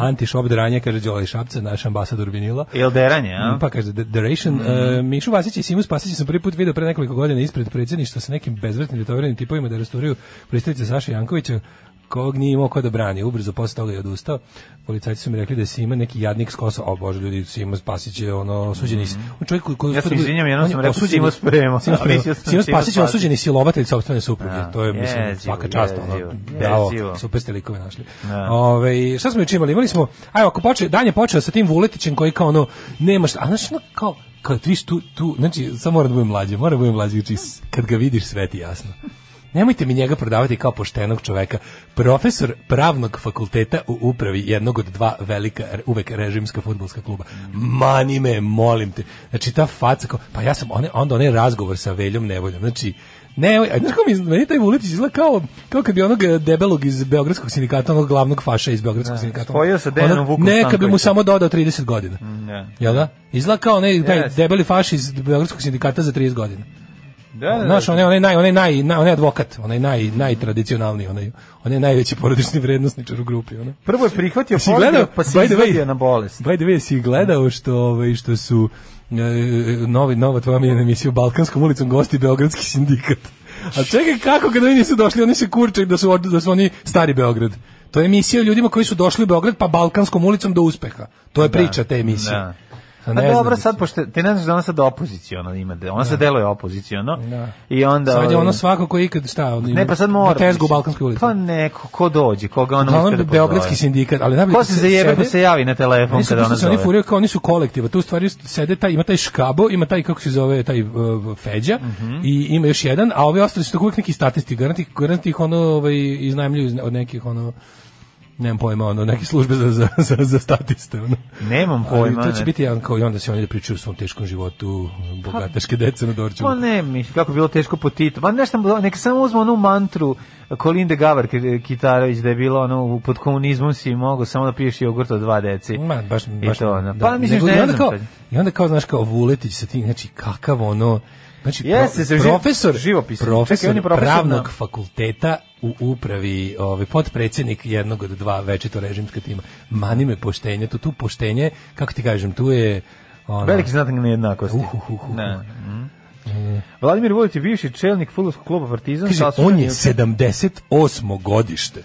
Speaker 6: Anti šop deranje, kaže Đolaj Šapca, naš ambasador vinila.
Speaker 7: Jel deranje, a? Mm.
Speaker 6: Pa kaže, The Duration, e, Mišu Vasić i Simu Spasić sam prvi put video pre nekoliko godina ispred predsjedništva sa nekim bezvrtnim detovirnim tipovima da restauriraju pristalice Saša Jankovića, kog nije imao ko da brani. Ubrzo posle toga je odustao. Policajci su mi rekli da je Sima neki jadnik s Kosova. O bože, ljudi, Sima Spasić je ono osuđeni. Mm. On čovjek koji, koji
Speaker 7: Ja se
Speaker 6: usput-
Speaker 7: izvinjam, jednom
Speaker 6: on je
Speaker 7: sam rekao
Speaker 6: osuđeni-
Speaker 7: Simo Spremo,
Speaker 6: Simo
Speaker 7: a
Speaker 6: Spremo.
Speaker 7: mislio sam Simo
Speaker 6: Simo Spasić je
Speaker 7: Spasić.
Speaker 6: osuđeni silovatelj sopstvene supruge.
Speaker 7: Da.
Speaker 6: to je, mislim,
Speaker 7: Jezivo,
Speaker 6: svaka čast. Ono,
Speaker 7: jezivo,
Speaker 6: bravo,
Speaker 7: jezivo.
Speaker 6: super ste likove našli.
Speaker 7: Da.
Speaker 6: Ove, šta smo još imali? Imali smo, ajde, ako poče, dan je počeo sa tim Vuletićem koji kao ono, nema šta, a znaš, ono, kao, kao, ti viš tu, tu, znači, samo mora da budem mlađe, mora da budem mlađe, znači, s- kad ga vidiš sve ti jasno. Nemojte mi njega prodavati kao poštenog čoveka. Profesor pravnog fakulteta u upravi jednog od dva velika, re- uvek režimska futbolska kluba. Mani me, molim te. Znači, ta faca, kao, pa ja sam, one, onda onaj razgovor sa Veljom Nevoljom, znači, ne, a znaš kako mi, meni taj Vuletić izgleda kao, kao kad bi onog eh, debelog iz Beogradskog sindikata, onog glavnog faša iz Beogradskog sindikata.
Speaker 7: spojio sa
Speaker 6: Ono-
Speaker 7: Dejanom Vukom
Speaker 6: Ne, kad bi mu
Speaker 7: Stankovićem.
Speaker 6: samo dodao 30 godina.
Speaker 7: Da.
Speaker 6: Jel da? Izgleda kao onaj taj
Speaker 7: Jeste.
Speaker 6: debeli faš iz Beogradskog sindikata za 30 godina.
Speaker 7: Da, da, da.
Speaker 6: Znaš, onaj, onaj, naj, onaj, naj, naj, onaj advokat, onaj naj, najtradicionalniji, onaj, onaj najveći porodični vrednostničar u grupi. Onaj.
Speaker 7: Prvo je prihvatio
Speaker 6: Si
Speaker 7: pogled,
Speaker 6: gledao,
Speaker 7: pa
Speaker 6: by
Speaker 7: se
Speaker 6: the way-
Speaker 7: izvadio na bolest.
Speaker 6: By the way, si gledao što, ovaj, što su e, novi, nova tvoja miljena emisija u Balkanskom ulicom gosti Beogradski sindikat. A čekaj, kako kada oni nisu došli, oni se kurče da su, od- da su oni stari Beograd. To je emisija o ljudima koji su došli u Beograd pa Balkanskom ulicom do uspeha. To je priča te emisije.
Speaker 7: da.
Speaker 6: A
Speaker 7: Pa
Speaker 6: ne
Speaker 7: dobro,
Speaker 6: znam,
Speaker 7: sad, pošto ti ne znaš da ona sad opoziciono ima, de- ona sad deluje opoziciono.
Speaker 6: Da.
Speaker 7: I onda...
Speaker 6: sad je
Speaker 7: ovaj,
Speaker 6: ono svako koji ikad šta, ono,
Speaker 7: Ne, pa sad mora.
Speaker 6: na tezgu u
Speaker 7: mislim.
Speaker 6: Balkanskoj ulici.
Speaker 7: Pa neko, ko dođe, koga ona uspije da
Speaker 6: Uglavnom,
Speaker 7: pozove.
Speaker 6: Beogradski sindikat, ali najbolje
Speaker 7: Ko
Speaker 6: kad
Speaker 7: se zajebe
Speaker 6: sede-
Speaker 7: pa se javi na telefon
Speaker 6: Oni su
Speaker 7: kada ona
Speaker 6: pošto se
Speaker 7: zove.
Speaker 6: oni furaju kao oni su kolektiva. Tu u stvari sede taj ima taj Škabo, ima taj kako se zove taj uh, Feđa
Speaker 7: Mhm.
Speaker 6: i ima još jedan, a ovi ostali su tako uvijek neki statisti, garanti garanti ih ono ovaj iznajmljuju iz ne- od nekih ono nemam pojma, ono, neke službe za, za, za, za statiste. Ono.
Speaker 7: Nemam
Speaker 6: Ali
Speaker 7: pojma.
Speaker 6: to će
Speaker 7: ne.
Speaker 6: biti jedan kao i onda se oni da pričaju o svom teškom životu, bogateške dece na Dorčevu.
Speaker 7: Pa ne, mislim, kako je bilo teško po Titu. Ma nešto, neka samo uzmu onu mantru Kolinde Gavar K- Kitarović da je bilo ono, u- pod komunizmom si mogao samo da piješ jogurt od dva deci.
Speaker 6: Ma, baš,
Speaker 7: I
Speaker 6: baš,
Speaker 7: to, ono.
Speaker 6: da.
Speaker 7: Pa mislim,
Speaker 6: Nego,
Speaker 7: ne
Speaker 6: i onda
Speaker 7: znam
Speaker 6: kao,
Speaker 7: sad.
Speaker 6: I onda kao, znaš, kao Vuletić sa tim, znači, kakav ono, znači,
Speaker 7: Jeste,
Speaker 6: pro,
Speaker 7: sa živ-
Speaker 6: profesor,
Speaker 7: živopisnik.
Speaker 6: profesor,
Speaker 7: Čekaj, on je profesor
Speaker 6: pravnog
Speaker 7: na-
Speaker 6: fakulteta u upravi, ovaj, potpredsjednik jednog od dva večito režimska tima. Mani me poštenje, tu, tu poštenje, kako ti kažem, tu je, ono,
Speaker 7: Veliki znak nejednakosti.
Speaker 6: Uh, uh, uh, uh.
Speaker 7: Ne. Mm. Vladimir Vujić je bivši čelnik futbolskog kluba Partizan.
Speaker 6: E. kaže,
Speaker 7: saslušan
Speaker 6: on je
Speaker 7: od-
Speaker 6: 78. godište.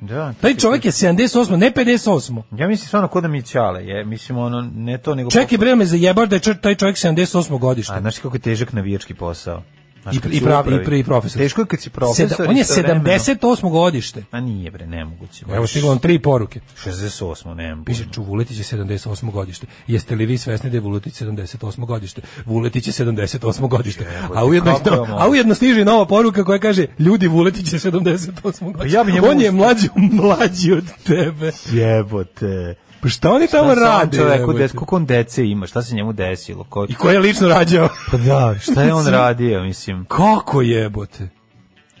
Speaker 7: Da,
Speaker 6: Taj čovjek je 78, ne 58.
Speaker 7: Ja mislim stvarno ko da mi ćale, je, mislim ono, ne to nego...
Speaker 6: Čekaj, bre, me zajebaš da je čo- taj čovjek 78. godište.
Speaker 7: A znaš kako je težak navijački posao? Znaš,
Speaker 6: I,
Speaker 7: kad
Speaker 6: i,
Speaker 7: si
Speaker 6: prav,
Speaker 7: upravi-
Speaker 6: i, pre- i profesor.
Speaker 7: Teško je kad si profesor.
Speaker 6: Seda- on je
Speaker 7: istovremeno-
Speaker 6: 78. godište.
Speaker 7: A nije bre, nemoguće.
Speaker 6: Evo stiglo vam tri poruke.
Speaker 7: 68, nemam.
Speaker 6: Piše Čuvuletić je 78. godište. Jeste li vi svesni da je Vuletić 78. godište? Vuletić je 78. godište. A ujedno,
Speaker 7: kako ono- je moguće?
Speaker 6: a ujedno stiže i nova poruka koja kaže ljudi Vuletić je 78. godište.
Speaker 7: Pa ja bi njemu
Speaker 6: On je
Speaker 7: usta-
Speaker 6: mlađi, mlađi od tebe.
Speaker 7: Jebote.
Speaker 6: Pa šta oni tamo
Speaker 7: Šta se on
Speaker 6: rade?
Speaker 7: čoveku
Speaker 6: jebote?
Speaker 7: des, koliko on dece ima, šta se njemu desilo? Ko,
Speaker 6: I ko je lično rađao?
Speaker 7: pa da, šta je on radio, mislim?
Speaker 6: Kako jebote?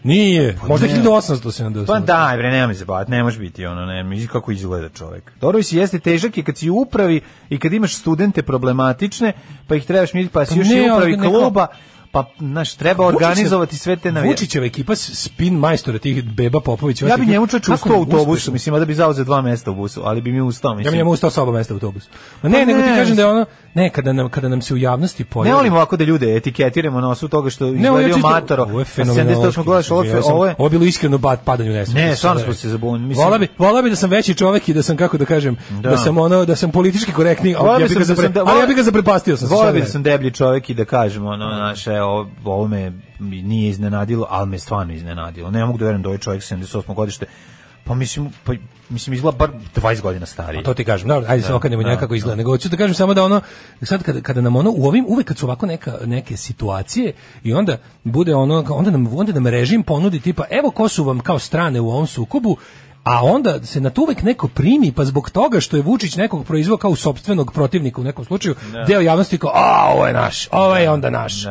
Speaker 6: Nije. Možda
Speaker 7: Pa ne.
Speaker 6: 1878.
Speaker 7: Pa daj bre, nema mi se bat, ne može biti ono, ne, mislim kako izgleda čovek. Dobro mislim, jeste težak je kad si u upravi i kad imaš studente problematične, pa ih trebaš miriti, pa si
Speaker 6: Pa
Speaker 7: još
Speaker 6: ne,
Speaker 7: i u upravi
Speaker 6: ali neko-
Speaker 7: kluba, pa, znaš, treba
Speaker 6: Vučićev-
Speaker 7: organizovati sve te navijače.
Speaker 6: Vučićeva ekipa s- spin majstora tih Beba Popović.
Speaker 7: Ja bi njemu čoveče
Speaker 6: Kako
Speaker 7: ustao u
Speaker 6: ne
Speaker 7: autobusu,
Speaker 6: uspešno?
Speaker 7: mislim, a da bi zauzeo dva mesta u busu, ali bi mi ustao,
Speaker 6: Ja
Speaker 7: mislim.
Speaker 6: bi njemu ustao sa oba mesta u autobusu. Ma ne,
Speaker 7: Pa
Speaker 6: nego ti
Speaker 7: ne,
Speaker 6: kažem da je ono, ne, kada nam, kada nam se u javnosti pojavi...
Speaker 7: Ne volim ovako da ljude etiketiramo na osnovu toga što
Speaker 6: Ne, ovo je
Speaker 7: izgledaju
Speaker 6: čisto-
Speaker 7: matoro. Pa
Speaker 6: Ovo je
Speaker 7: a
Speaker 6: fenomenološki,
Speaker 7: 78 gledaš, ovo,
Speaker 6: mislim,
Speaker 7: je-
Speaker 6: ja sam-
Speaker 7: ovo je...
Speaker 6: Ovo je bilo iskreno bad padanje u nesreću.
Speaker 7: Ne, stvarno
Speaker 6: Sada
Speaker 7: smo se
Speaker 6: je.
Speaker 7: zabunili. Mislim,
Speaker 6: Vola bi, vola bi da sam veći čovek i da sam, kako da kažem, da,
Speaker 7: Da.
Speaker 6: sam ono, da sam politički korektni,
Speaker 7: Vola
Speaker 6: ali ja
Speaker 7: bi
Speaker 6: bi ga,
Speaker 7: sam da
Speaker 6: zapre,
Speaker 7: sam da-
Speaker 6: ali ja bi ga zaprepastio sam. sa
Speaker 7: Volao
Speaker 6: sve
Speaker 7: bi da
Speaker 6: vreme.
Speaker 7: sam deblji čovjek i da kažem, ono, znaš, evo, ovo me nije iznenadilo, ali me stvarno iznenadilo. Ne mogu da verujem da ovaj čovjek 78. godište, pa mislim, pa, mislim izgleda bar 20 godina stariji.
Speaker 6: A to ti kažem, dobro, ajde se okanemo njega kako izgleda. Nego hoću da kažem samo da ono, sad kada, kada nam ono, u ovim, uvek kad su ovako neka, neke situacije i onda bude ono, onda nam, onda nam režim ponudi tipa, evo ko su vam kao strane u ovom sukobu, a onda se na to uvek neko primi, pa zbog toga što je Vučić nekog proizvao kao sopstvenog protivnika u nekom slučaju, deo javnosti kao, a, ovo je naš, ovo je onda naš.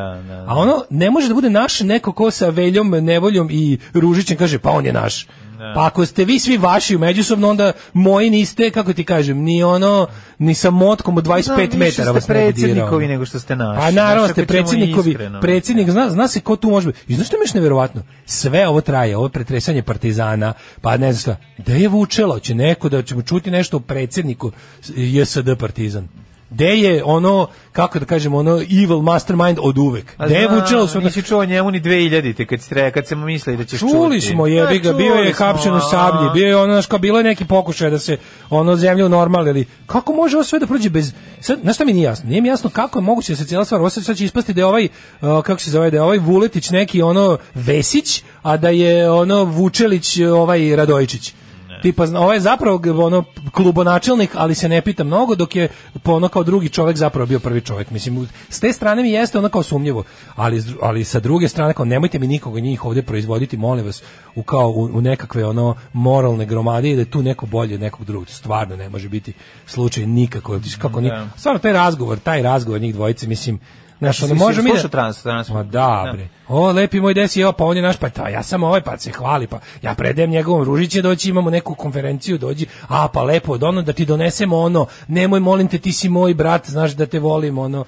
Speaker 6: A ono, ne može da bude naš neko ko sa veljom, nevoljom i ružićem kaže, pa on je naš. Pa ako ste vi svi vaši međusobno, onda moji niste, kako ti kažem, ni ono, ni sa motkom od 25
Speaker 7: Da, više
Speaker 6: metara
Speaker 7: ste
Speaker 6: vas ne bi dirao.
Speaker 7: predsjednikovi nego što ste naši.
Speaker 6: A naravno
Speaker 7: Znaš,
Speaker 6: ste
Speaker 7: ako ćemo
Speaker 6: predsjednikovi,
Speaker 7: iskreno.
Speaker 6: predsjednik, zna, zna se ko tu može biti. I znaš što mi je još nevjerovatno? Sve ovo traje, ovo pretresanje partizana, pa ne znam šta, da je vučelo, će neko da ćemo čuti nešto o predsjedniku JSD partizan. Gde je ono, kako da kažemo, ono evil mastermind od uvek?
Speaker 7: A
Speaker 6: Gde je
Speaker 7: znam,
Speaker 6: vučelo sve
Speaker 7: Nisi čuo njemu ni 2000-te kad, si treba- kad se mislili da ćeš
Speaker 6: Čuli
Speaker 7: čuti.
Speaker 6: smo jebi
Speaker 7: Da,
Speaker 6: ga, bio je
Speaker 7: čuli smo,
Speaker 6: hapšen u sablji,
Speaker 7: a.
Speaker 6: bio je ono, znaš, kao bilo je neki pokušaj da se ono zemlju normalili. Kako može ovo sve da prođe bez... Sad, znaš šta mi nije jasno? Nije mi jasno kako je moguće da se cijela stvar... Ovo sad sad će ispasti da je ovaj, uh, kako se zove, da je ovaj Vuletić neki ono Vesić, a da je ono Vučelić uh, ovaj Radojičić. Tipa, zna- ovaj je zapravo g- ono klubonačelnik, ali se ne pita mnogo, dok je po ono kao drugi čovjek zapravo bio prvi čovjek. Mislim, u- s te strane mi jeste ono kao sumnjivo, ali, s dru- ali sa druge strane, kao nemojte mi nikoga njih ovdje proizvoditi, molim vas, u kao u, u nekakve ono moralne gromade i da je tu neko bolje od nekog drugog. Stvarno ne može biti slučaj nikako. Jer ti Kako ni, stvarno taj razgovor, taj razgovor njih dvojice, mislim, Znaš, ono,
Speaker 7: Mislim,
Speaker 6: možemo mi da-
Speaker 7: slušao trans- trans-
Speaker 6: Ma da,
Speaker 7: Da.
Speaker 6: bre. O, lepi moj desi, evo, pa on je naš, pa ta, ja sam ovaj, pa se hvali, pa ja predajem njegovom ružiće, doći imamo neku konferenciju, dođi, a, pa lepo, od ono, da ti donesemo ono, nemoj, molim te, ti si moj brat, znaš da te volim, ono,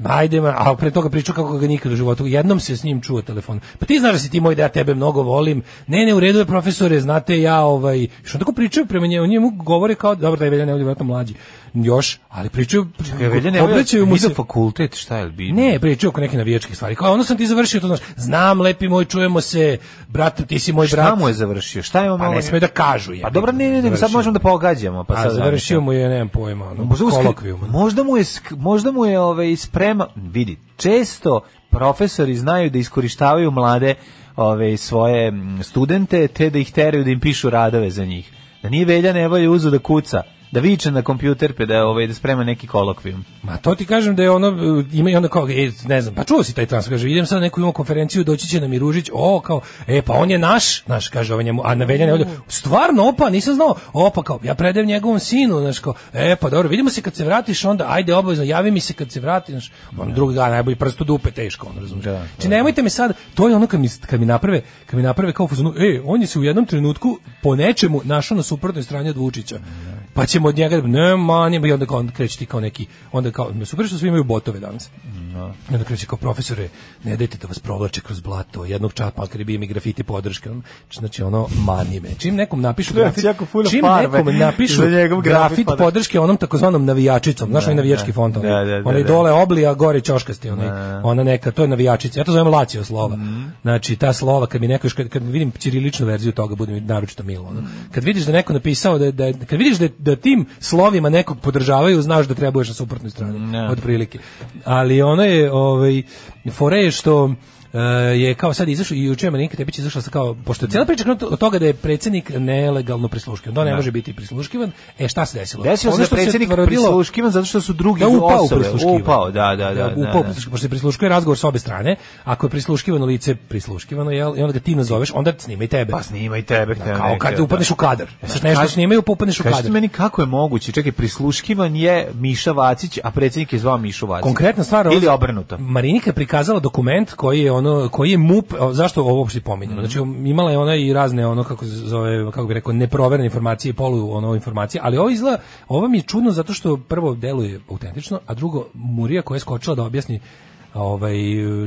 Speaker 6: Ma, Ajde, ma, a pre toga pričao kako ga nikad u životu. Jednom se s njim čuo telefon. Pa ti znaš da si ti moj da ja tebe mnogo volim. Ne, ne, u redu je profesore, znate ja ovaj što tako pričaju prema njemu, njemu govore kao dobro da je Velja Nevolja vjerojatno mlađi. Još, ali pričaju
Speaker 7: Čekaj, Velja Nevolja,
Speaker 6: obraćaju mu
Speaker 7: idu
Speaker 6: se
Speaker 7: fakultet, šta je li bi?
Speaker 6: ne, pričao oko neke navijačke stvari. Kao ono sam ti završio, to znaš. Znam, lepi moj, čujemo se, brate, ti si moj
Speaker 7: Šta
Speaker 6: brat.
Speaker 7: mu je završio? Šta je on
Speaker 6: Pa ne sme da kažu je.
Speaker 7: Pa dobro, ne, ne, nego sad možemo da pogađamo. Pa
Speaker 6: A
Speaker 7: sad
Speaker 6: završio mu je, nemam pojma, ono,
Speaker 7: Možda mu, skri-
Speaker 6: kolokvijum. ono.
Speaker 7: možda mu je, sk- možda mu je ovaj, sprema, vidi, često profesori znaju da iskorištavaju mlade ove, svoje mm, studente, te da ih teraju da im pišu radove za njih. Da nije Velja Nevolja uzeo da kuca, da viče na kompjuter, pa da, ovaj, da sprema neki kolokvijum.
Speaker 6: Ma to ti kažem da je ono, e, ima i onda kao, e, ne znam, pa čuo si taj trans, kaže, idem sad na neku imamo konferenciju, doći će nam i Ružić, o, kao, e, pa on je naš, naš, kaže ovaj njemu, a na Velja Nevolja,
Speaker 7: Mm.
Speaker 6: stvarno, opa, nisam znao, opa, kao, ja predajem njegovom sinu, znaš, kao, e, pa dobro, vidimo se kad se vratiš, onda, ajde, obavezno, javi mi se kad se vratiš, znaš, on drugi dan, najbolji prst u dupe, teško, on razumije.
Speaker 7: Da,
Speaker 6: Znači, nemojte mi sad, to je ono kad mi, kad mi naprave, kad mi naprave kao u fazonu, e, on je se u jednom trenutku po nečemu našao na suprotnoj strani od Vučića. Pa ćemo od njega, da- ne, manje, i onda kao, onda kreće ti kao neki, onda kao, super što svi imaju botove danas. I onda kreće kao, profesore, ne dajte da vas provlače kroz blato, jednog čapa, kad je bio mi grafiti podrške. Znači, ono, mani me. Čim nekom napišu
Speaker 7: Znači,
Speaker 6: grafit,
Speaker 7: jako puno
Speaker 6: čim
Speaker 7: farbe
Speaker 6: nekom napišu
Speaker 7: za njegov grafit
Speaker 6: grafit
Speaker 7: podrške.
Speaker 6: podrške onom takozvanom navijačicom, znaš onaj navijački
Speaker 7: da.
Speaker 6: font, onaj,
Speaker 7: Da, da, da,
Speaker 6: onaj
Speaker 7: da.
Speaker 6: dole obli, a gore ćoškasti, onaj, ona neka, to je navijačica, ja to zovem Lacio slova.
Speaker 7: Mhm.
Speaker 6: Znači, ta slova, kad mi neko, još- kad, kad vidim ćiriličnu verziju toga, bude mi naročito milo. ono. Kad vidiš da je neko napisao, da, je- da, je- kad vidiš da, je- da tim slovima nekog podržavaju, znaš da treba budeš na suprotnoj strani, otprilike. Ali ono je, ovaj, fora je što e, je kao sad izašao i juče je Marinika Tepić izašla sa kao pošto je cijela priča krenula od toga da je predsjednik nelegalno prisluškivan, da on ne može biti prisluškivan. E šta se desilo?
Speaker 7: Desilo se
Speaker 6: Ono
Speaker 7: da
Speaker 6: što
Speaker 7: predsjednik
Speaker 6: tvrdilo-
Speaker 7: prisluškivan zato što su drugi
Speaker 6: da upao u
Speaker 7: osobe.
Speaker 6: prisluškivanje.
Speaker 7: Upao, da, da, da. da,
Speaker 6: upao
Speaker 7: da.
Speaker 6: u prisluškivanje, pošto se prisluškuje razgovor sa obe strane, ako je prisluškivano lice prisluškivano, jel, i onda ga ti nazoveš, onda snima i tebe.
Speaker 7: Pa snima i tebe.
Speaker 6: Da,
Speaker 7: hteo
Speaker 6: kao
Speaker 7: neki,
Speaker 6: kad
Speaker 7: da.
Speaker 6: upadneš u kadar. Sad nešto
Speaker 7: kaži-
Speaker 6: snimaju, pa upadneš u
Speaker 7: Kažite
Speaker 6: kadar.
Speaker 7: meni kako je moguće, čekaj, prisluškivan je Miša Vacić, a predsjednik je zvao Mišu Vacić.
Speaker 6: Konkretna stvar
Speaker 7: Ili
Speaker 6: ovo-
Speaker 7: obrnuto.
Speaker 6: Marinika je prikazala dokument koji je ono koji je MUP o, zašto ovo uopšte
Speaker 7: Mhm.
Speaker 6: pominjemo. Znači imala je ona i razne ono kako se zove kako bi rekao neproverene informacije, polu ono informacije, ali ovo izgleda ovo mi je čudno zato što prvo deluje autentično, a drugo Murija koja je skočila da objasni ovaj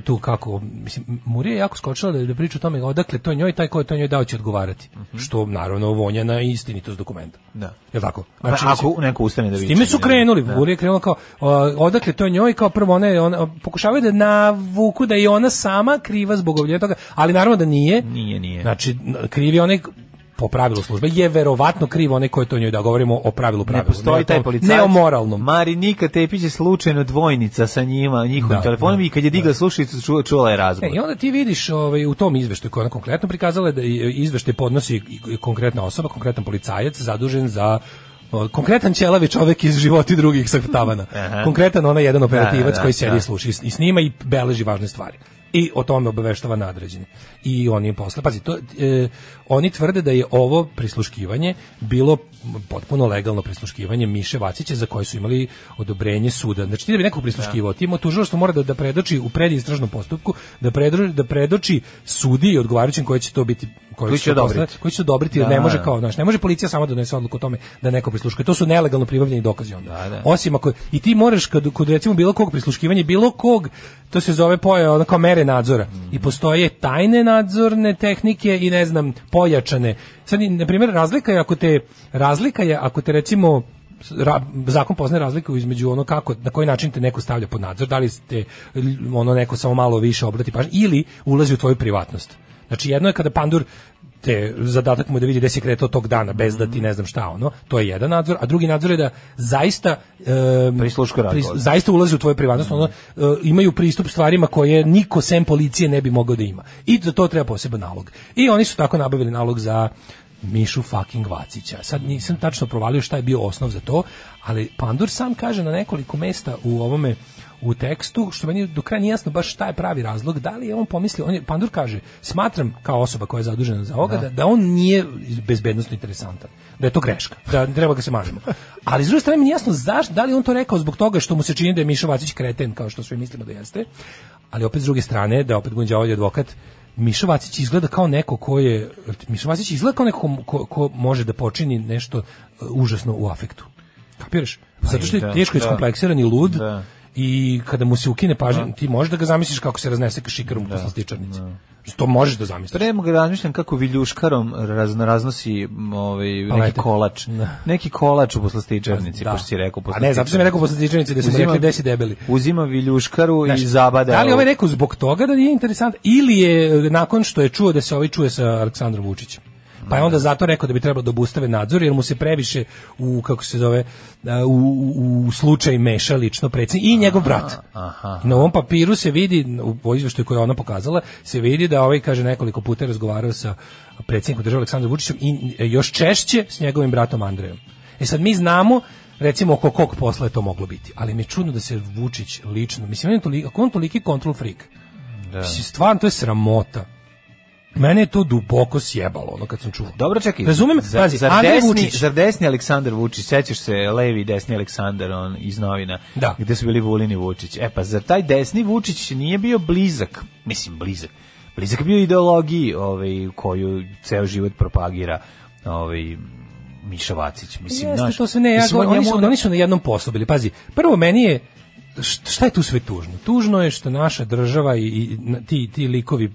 Speaker 6: tu kako mislim Murija je jako skočila da, da priča o tome odakle to njoj taj ko je to njoj dao će odgovarati što naravno vonja na istinitost dokumenta.
Speaker 7: Mhm. Da.
Speaker 6: Je tako? Znači,
Speaker 7: Pa,
Speaker 6: mislim-
Speaker 7: ako neko ustane da
Speaker 6: s
Speaker 7: viče.
Speaker 6: time su
Speaker 7: ne?
Speaker 6: krenuli,
Speaker 7: Da.
Speaker 6: da. je krenula kao, o, odakle to njoj, kao prvo ona, je- ona pokušavaju da navuku da je ona sama kriva zbog ovdje toga, ali naravno da nije.
Speaker 7: Nije, nije.
Speaker 6: Znači, n- kriv je onaj k- po pravilu službe, je verovatno kriv onaj ko je to njoj da govorimo o pravilu pravilu.
Speaker 7: Ne postoji
Speaker 6: o
Speaker 7: taj
Speaker 6: tom-
Speaker 7: policajac.
Speaker 6: Ne o moralnom.
Speaker 7: Marinika Tepić je slučajno dvojnica sa njima, njihovim
Speaker 6: Da,
Speaker 7: telefonom
Speaker 6: da,
Speaker 7: i kad je digla slušalicu ču- čula je
Speaker 6: E,
Speaker 7: razgovor.
Speaker 6: I onda ti vidiš ovaj, u tom izveštaju koja je ona konkretno prikazala je da je izveštaj podnosi i- i konkretna osoba, konkretan policajac zadužen za o, konkretan ćelavi čovek iz životi drugih sa tavana. konkretan onaj jedan operativac
Speaker 7: da,
Speaker 6: koji sedi
Speaker 7: da.
Speaker 6: i sluša i s- i snima i beleži važne stvari. i o tome obaveštava nadređeni. I oni im posle, pazi, to, e, oni tvrde da je ovo prisluškivanje bilo potpuno legalno prisluškivanje Miše Vacića za koje su imali odobrenje suda. Znači ti da bi neko prisluškivao, ti ima tužilaštvo mora da, da predoči u predistražnom postupku, da, predru, da predoči sudi i odgovarajućim koji će to biti koji
Speaker 7: Koji
Speaker 6: će,
Speaker 7: će
Speaker 6: to posle-
Speaker 7: odobrit.
Speaker 6: koji će to odobriti jer
Speaker 7: Da,
Speaker 6: ne
Speaker 7: da,
Speaker 6: može
Speaker 7: da.
Speaker 6: kao znaš, ne može policija sama da donese odluku o tome da neko prisluškuje. To su nelegalno pribavljeni dokazi onda. Osim ako i ti moraš kad kod recimo bilo kog prisluškivanja, bilo kog to se zove poje ono kao mere nadzora. I postoje tajne nadzorne tehnike i ne znam, pojačane. Sad na primjer razlika je ako te razlika je ako te recimo ra- zakon poznaje razliku između ono kako na koji način te neko stavlja pod nadzor, da li ste l- ono neko samo malo više obrati pažnju ili ulazi u tvoju privatnost. Znači jedno je kada pandur te zadatak mu je da vidi gde se kretao tog dana bez da ti ne znam šta ono to je jedan nadzor a drugi nadzor je da zaista em,
Speaker 7: Prisluškuje
Speaker 6: pris-
Speaker 7: razgovor.
Speaker 6: zaista ulazi u tvoju privatnost ono e, imaju pristup stvarima koje niko sem policije ne bi mogao da ima i za to treba poseban nalog i oni su tako nabavili nalog za Mišu fucking Vacića. Sad nisam tačno provalio šta je bio osnov za to, ali Pandur sam kaže na nekoliko mesta u ovome u tekstu, što meni do kraja nije jasno baš šta je pravi razlog, da li je on pomislio, on je, Pandur kaže, smatram kao osoba koja je zadužena za ovoga, da, da on nije bezbednostno interesantan, da je to greška, da treba ga se manimo. Ali s druge strane mi nije jasno zašto, da li je on to rekao zbog toga što mu se čini da je Miša Vacić kreten, kao što svi mislimo da jeste, ali opet s druge strane, da opet Gunđa je advokat, Miša Vacić izgleda kao neko ko je, Miša Vacić izgleda kao neko ko- ko, ko može da počini nešto e, užasno u afektu. Kapiraš? Zato što je
Speaker 7: Pa da,
Speaker 6: teško
Speaker 7: da.
Speaker 6: iskompleksiran i lud,
Speaker 7: Da.
Speaker 6: i kada mu se ukine pažnja, ti možeš da ga zamisliš kako se raznese šikarom da, posle stičarnice. Znači, To možeš da zamisliš.
Speaker 7: Prema ga razmišljam kako viljuškarom raz, raznosi m, ovaj, neki
Speaker 6: Palete.
Speaker 7: kolač.
Speaker 6: Pa Da.
Speaker 7: Neki kolač u poslastičarnici, pošto si rekao.
Speaker 6: A ne, zato
Speaker 7: poslastičarnici.
Speaker 6: sam mi rekao posle stičarnice da sam
Speaker 7: Uzima-
Speaker 6: rekli da si debeli.
Speaker 7: Uzima viljuškaru i zabada.
Speaker 6: Da li je
Speaker 7: u-
Speaker 6: ovaj rekao zbog toga da nije interesant ili je e, nakon što je čuo da se ovaj čuje sa Aleksandrom Vučićem? Pa je onda zato rekao da bi trebalo da obustave nadzor jer mu se previše u kako se zove e, u, u, u slučaj meša lično predsjednik i njegov brat. I Na ovom papiru se vidi u po izveštaju koji je ona pokazala se vidi da ovaj kaže nekoliko puta je razgovarao sa predsjednikom države Aleksandrom Vučićem i e, još češće s njegovim bratom Andrejom. E sad mi znamo recimo oko kog posla je to moglo biti. Ali mi je čudno da se Vučić lično, mislim, on je toliki, ako je on toliki control freak, mislim, stvarno to je sramota. Mene je to duboko sjebalo, ono kad sam čuo.
Speaker 7: Dobro, čekaj.
Speaker 6: Razumem,
Speaker 7: zar,
Speaker 6: pazi,
Speaker 7: zar,
Speaker 6: Andrej
Speaker 7: desni,
Speaker 6: Vučić-
Speaker 7: zar desni Aleksandar Vučić, sećaš se levi i desni Aleksandar on iz novina,
Speaker 6: Da.
Speaker 7: gde su bili Vulin i Vučić. E pa, zar taj desni Vučić nije bio blizak, mislim blizak, blizak je bio ideologiji ovaj, koju ceo život propagira ovaj, Miša Vacić. Mislim,
Speaker 6: Jeste,
Speaker 7: znaš,
Speaker 6: to sve ne, ja
Speaker 7: mislim, on
Speaker 6: govorim, oni,
Speaker 7: njemu-
Speaker 6: su, ono- oni su na jednom poslu bili. Pazi, prvo meni je, št- šta je tu sve tužno? Tužno je što naša država i, i na- ti, ti likovi,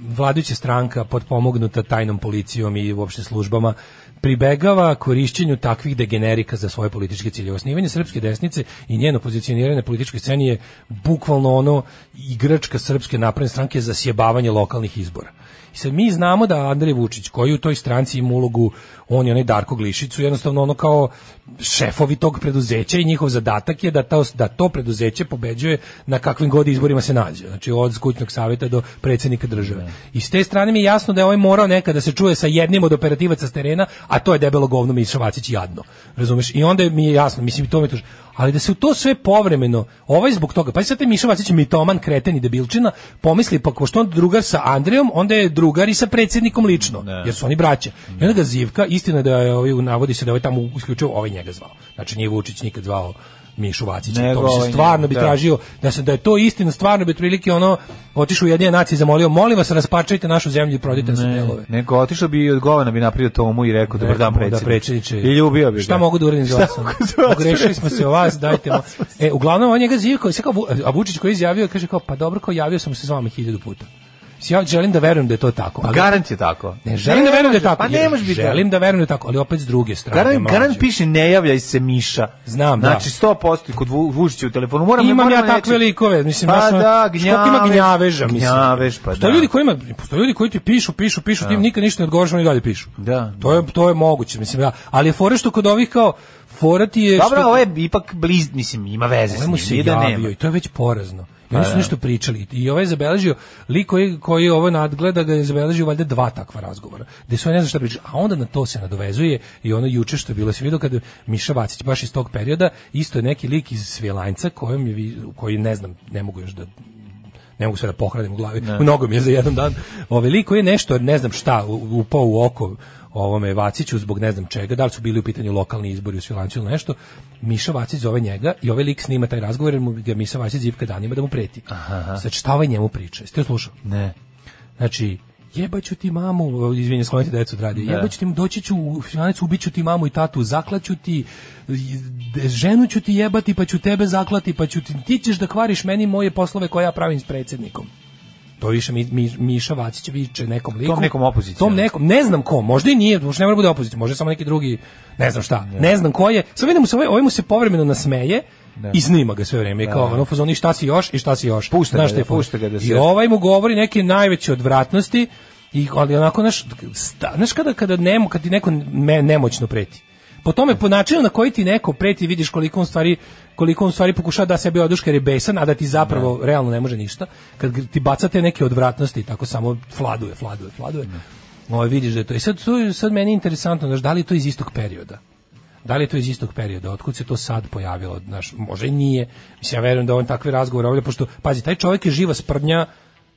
Speaker 6: vladajuća stranka potpomognuta tajnom policijom i uopšte službama, pribegava korišćenju takvih degenerika za svoje političke cilje. Osnivanje srpske desnice i njeno pozicioniranje na političkoj sceni je bukvalno ono igračka srpske napredne stranke za sjebavanje lokalnih izbora. I sad mi znamo da Andrej Vučić, koji u toj stranci ima ulogu, on je onaj Darko Glišicu, jednostavno ono kao šefovi tog preduzeća i njihov zadatak je da to, da to preduzeće pobeđuje na kakvim god izborima se nađe. Znači od skućnog savjeta do predsjednika države. I s te strane mi je jasno da je ovaj morao nekada se čuje sa jednim od operativaca s terena, a to je debelo govno Miša Vacić jadno. Razumeš? I onda mi je jasno, mislim i to mi je tužno. Ali da se u to sve povremeno, ovaj zbog toga, pa sad te Miša Vacić mitoman, kreten i debilčina, pomisli pa pošto on drugar sa Andrejom, onda je drugar i sa predsjednikom lično, jer su oni braća. I onda ga zivka, istina je da je ovaj, navodi se da je ovaj tamo isključio, ovaj njega zvao. Znači nije Vučić nikad zvao Mišu Vacića,
Speaker 7: Nego
Speaker 6: to bi se
Speaker 7: ovaj
Speaker 6: stvarno
Speaker 7: njega,
Speaker 6: bi
Speaker 7: da.
Speaker 6: tražio tražio da se da je to istina stvarno bi otprilike ono otišao u jedne nacije i zamolio molim vas raspačajte našu zemlju i prodajte nas u delove.
Speaker 7: Nego otišao bi i odgovorno bi napravio tomu i rekao, dobar dan
Speaker 6: Rekao
Speaker 7: predsjedniče.
Speaker 6: mu, Da predsjedniče.
Speaker 7: I ljubio bi
Speaker 6: Šta
Speaker 7: ga.
Speaker 6: mogu da uradim za
Speaker 7: Šta
Speaker 6: vas? ono?
Speaker 7: mogu za vas?
Speaker 6: Pogrešili smo se o vas, dajte vam. E, uglavnom on njega zivio, kao- sad kao Vu- a Vučić koji je izjavio, kaže kao, pa dobro, kao javio sam se s vama hiljadu puta. Mislim, Ja želim da verujem da je to tako. ali-
Speaker 7: Pa Garant je tako.
Speaker 6: ne, želim da verujem da je
Speaker 7: može,
Speaker 6: tako.
Speaker 7: Pa ne
Speaker 6: jer
Speaker 7: može biti.
Speaker 6: Želim da verujem da je tako, ali opet s druge strane.
Speaker 7: Garan,
Speaker 6: mlađe.
Speaker 7: Garan piše ne javljaj se Miša.
Speaker 6: Znam, da.
Speaker 7: znači, 100% kod Vu- Vučića u telefonu. Moram,
Speaker 6: imam
Speaker 7: moram
Speaker 6: ja
Speaker 7: reći-
Speaker 6: takve likove, mislim,
Speaker 7: Pa
Speaker 6: ja sam,
Speaker 7: da,
Speaker 6: što ti ima
Speaker 7: gnjaveš,
Speaker 6: gnjaveža, mislim.
Speaker 7: gnjaveš, pa
Speaker 6: Postoje
Speaker 7: da.
Speaker 6: ljudi koji ima, postoje ljudi koji ti pišu, pišu, pišu, tim nikad ništa ne odgovaraš, oni dalje pišu.
Speaker 7: Da.
Speaker 6: To je, to je moguće, mislim, da. Ali je fora što kod ovih kao, fora ti je...
Speaker 7: Dobro,
Speaker 6: što-
Speaker 7: ovo je ipak bliz, mislim, ima veze
Speaker 6: Ovaj mu
Speaker 7: s
Speaker 6: se
Speaker 7: njim. nije Da
Speaker 6: javio
Speaker 7: nema. Pa
Speaker 6: i to je već porazno. I oni su nešto pričali. I ovaj je zabeležio, lik koji, koji ovo nadgleda ga je zabeležio valjda dva takva razgovora. Gde su oni ne znam šta pričali. A onda na to se nadovezuje i ono juče što je bilo se vidio kada Miša Vacić baš iz tog perioda, isto je neki lik iz Svijelanjca kojem je, vi- koji ne znam, ne mogu još da ne mogu sve da pohranim u glavi. Mnogo mi je za jedan dan. Ove liko je nešto, ne znam šta, u- upao u oko ovome Vaciću zbog ne znam čega, da li su bili u pitanju lokalni izbori u Svilancu ili nešto, Miša Vacić zove njega i ovaj lik snima taj razgovor jer mu ga Miša Vacić zivka danima da mu preti. Znači, šta ovaj njemu priča? Jeste joj slušali?
Speaker 7: Ne.
Speaker 6: Znači, jebaću ti mamu, izvinite, sklonite decu od radija, jebaću ti, doći ću u Finanac, ubiću ti mamu i tatu, zaklaću ti, de- ženu ću ti jebati, pa ću tebe zaklati, pa ću ti, ti ćeš da kvariš meni moje poslove koje ja pravim s predsjednikom. To više mi, mi, Miša Vacić viče nekom liku.
Speaker 7: Tom nekom opozicijom.
Speaker 6: Tom nekom, ne znam ko, možda i nije, možda ne mora bude opozicija, možda je samo neki drugi, ne znam šta, ne znam ko je. Samo vidim mu se, ovaj, ovaj mu se povremeno nasmeje, I snima ga sve vreme, i kao ono fazoni šta si još i šta si još.
Speaker 7: Pušta ga
Speaker 6: Znaš
Speaker 7: da-
Speaker 6: šta je fora?
Speaker 7: pušta ga da
Speaker 6: I
Speaker 7: se-
Speaker 6: ovaj mu govori neke najveće odvratnosti i ali onako naš znaš kada kada nemo kad ti neko me, nemoćno preti. Po tome po načinu na koji ti neko preti vidiš koliko on stvari koliko on stvari pokušava da sebi oduška jer je besan, a da ti zapravo realno ne može ništa. Kad gr- ti bacate neke odvratnosti i tako samo fladuje, fladuje, fladuje. Ovaj vidiš da je to. I sad to je sad meni interesantno, znaš, da li je to iz istog perioda. Da li je to iz istog perioda? Otkud se to sad pojavilo? Znaš, možda i nije. Mislim, ja verujem da on takve razgovore obavlja, pošto, pazi, taj čovjek je živa sprdnja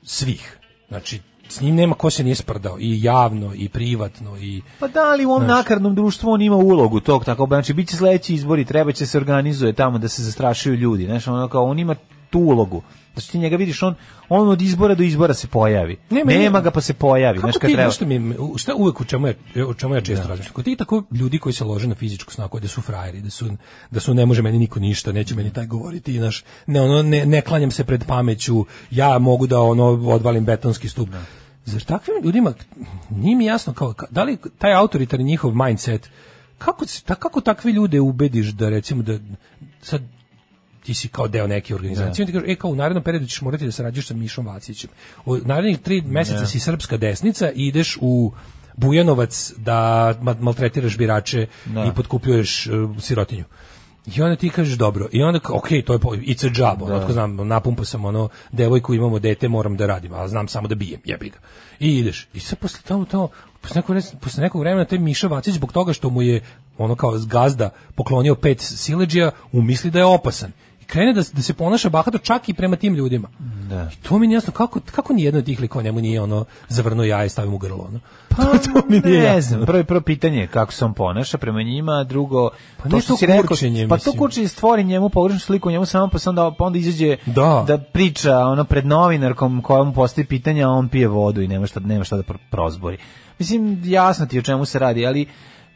Speaker 6: svih. Znači, s njim nema ko se nije sprdao. I javno, i privatno, i...
Speaker 7: Pa da li u ovom nakarnom društvu on ima ulogu tog tako, znači bit će sledeći izbori, treba će se organizuje tamo da se zastrašuju ljudi, znaš, ono kao on ima tu ulogu. Znači ti njega vidiš, on, on od izbora do izbora se pojavi.
Speaker 6: Nema-
Speaker 7: Nema, ga pa se pojavi,
Speaker 6: Kako
Speaker 7: znaš kad
Speaker 6: ti,
Speaker 7: treba.
Speaker 6: znaš šta mi, je- šta uvek u čemu ja, o čemu ja često razmišljam? Kod ti tako ljudi koji se lože na fizičku snagu, da su frajeri, da su, da su ne može meni niko ništa, neće meni taj govoriti, znaš, ne, ono, ne, ne klanjam se pred pameću, ja mogu da ono odvalim betonski stup. Zar takvim ljudima, nije mi jasno, kao, ka- da li taj autoritarni njihov mindset, kako, se- ta, kako takve ljude ubediš da recimo da sad ti si kao deo neke organizacije. Oni ti kažu, e, kao u narednom periodu ćeš morati da sarađuješ sa Mišom Vacićem. U narednih tri meseca si srpska desnica i ideš u Bujanovac da ma- maltretiraš birače i potkupljuješ e, sirotinju. I onda ti kažeš dobro. I onda, ok, to je, po- it's a job. Ono, otko znam, napumpo sam ono, devojku imamo dete, moram da radim, ali znam samo da bijem, jebi ga. I ideš. I sad posle tamo to, posle nekog, vremena- posle nekog vremena taj Miša Vacić zbog toga što mu je ono kao gazda poklonio pet sileđija, umisli da je opasan i krene da, da se ponaša bahato čak i prema tim ljudima. Da. I to mi nije jasno kako kako ni jedno od tih likova njemu nije ono zavrnuo jaje i stavio mu u grlo ono. Pa to mi nije
Speaker 7: Ne
Speaker 6: jasno.
Speaker 7: znam, prvo, prvo pitanje je kako se on ponaša prema njima, drugo,
Speaker 6: Pa nije to
Speaker 7: pa
Speaker 6: kurčenje,
Speaker 7: to
Speaker 6: mislim.
Speaker 7: kurčenje stvori njemu pogrešnu sliku, o njemu samo pa se onda, pa onda izađe
Speaker 6: Da.
Speaker 7: priča ono, pred novinarkom koja mu postoji pitanja, a on pije vodu i nema šta, nema šta da pr- prozbori. Mislim, jasno ti je o čemu se radi, ali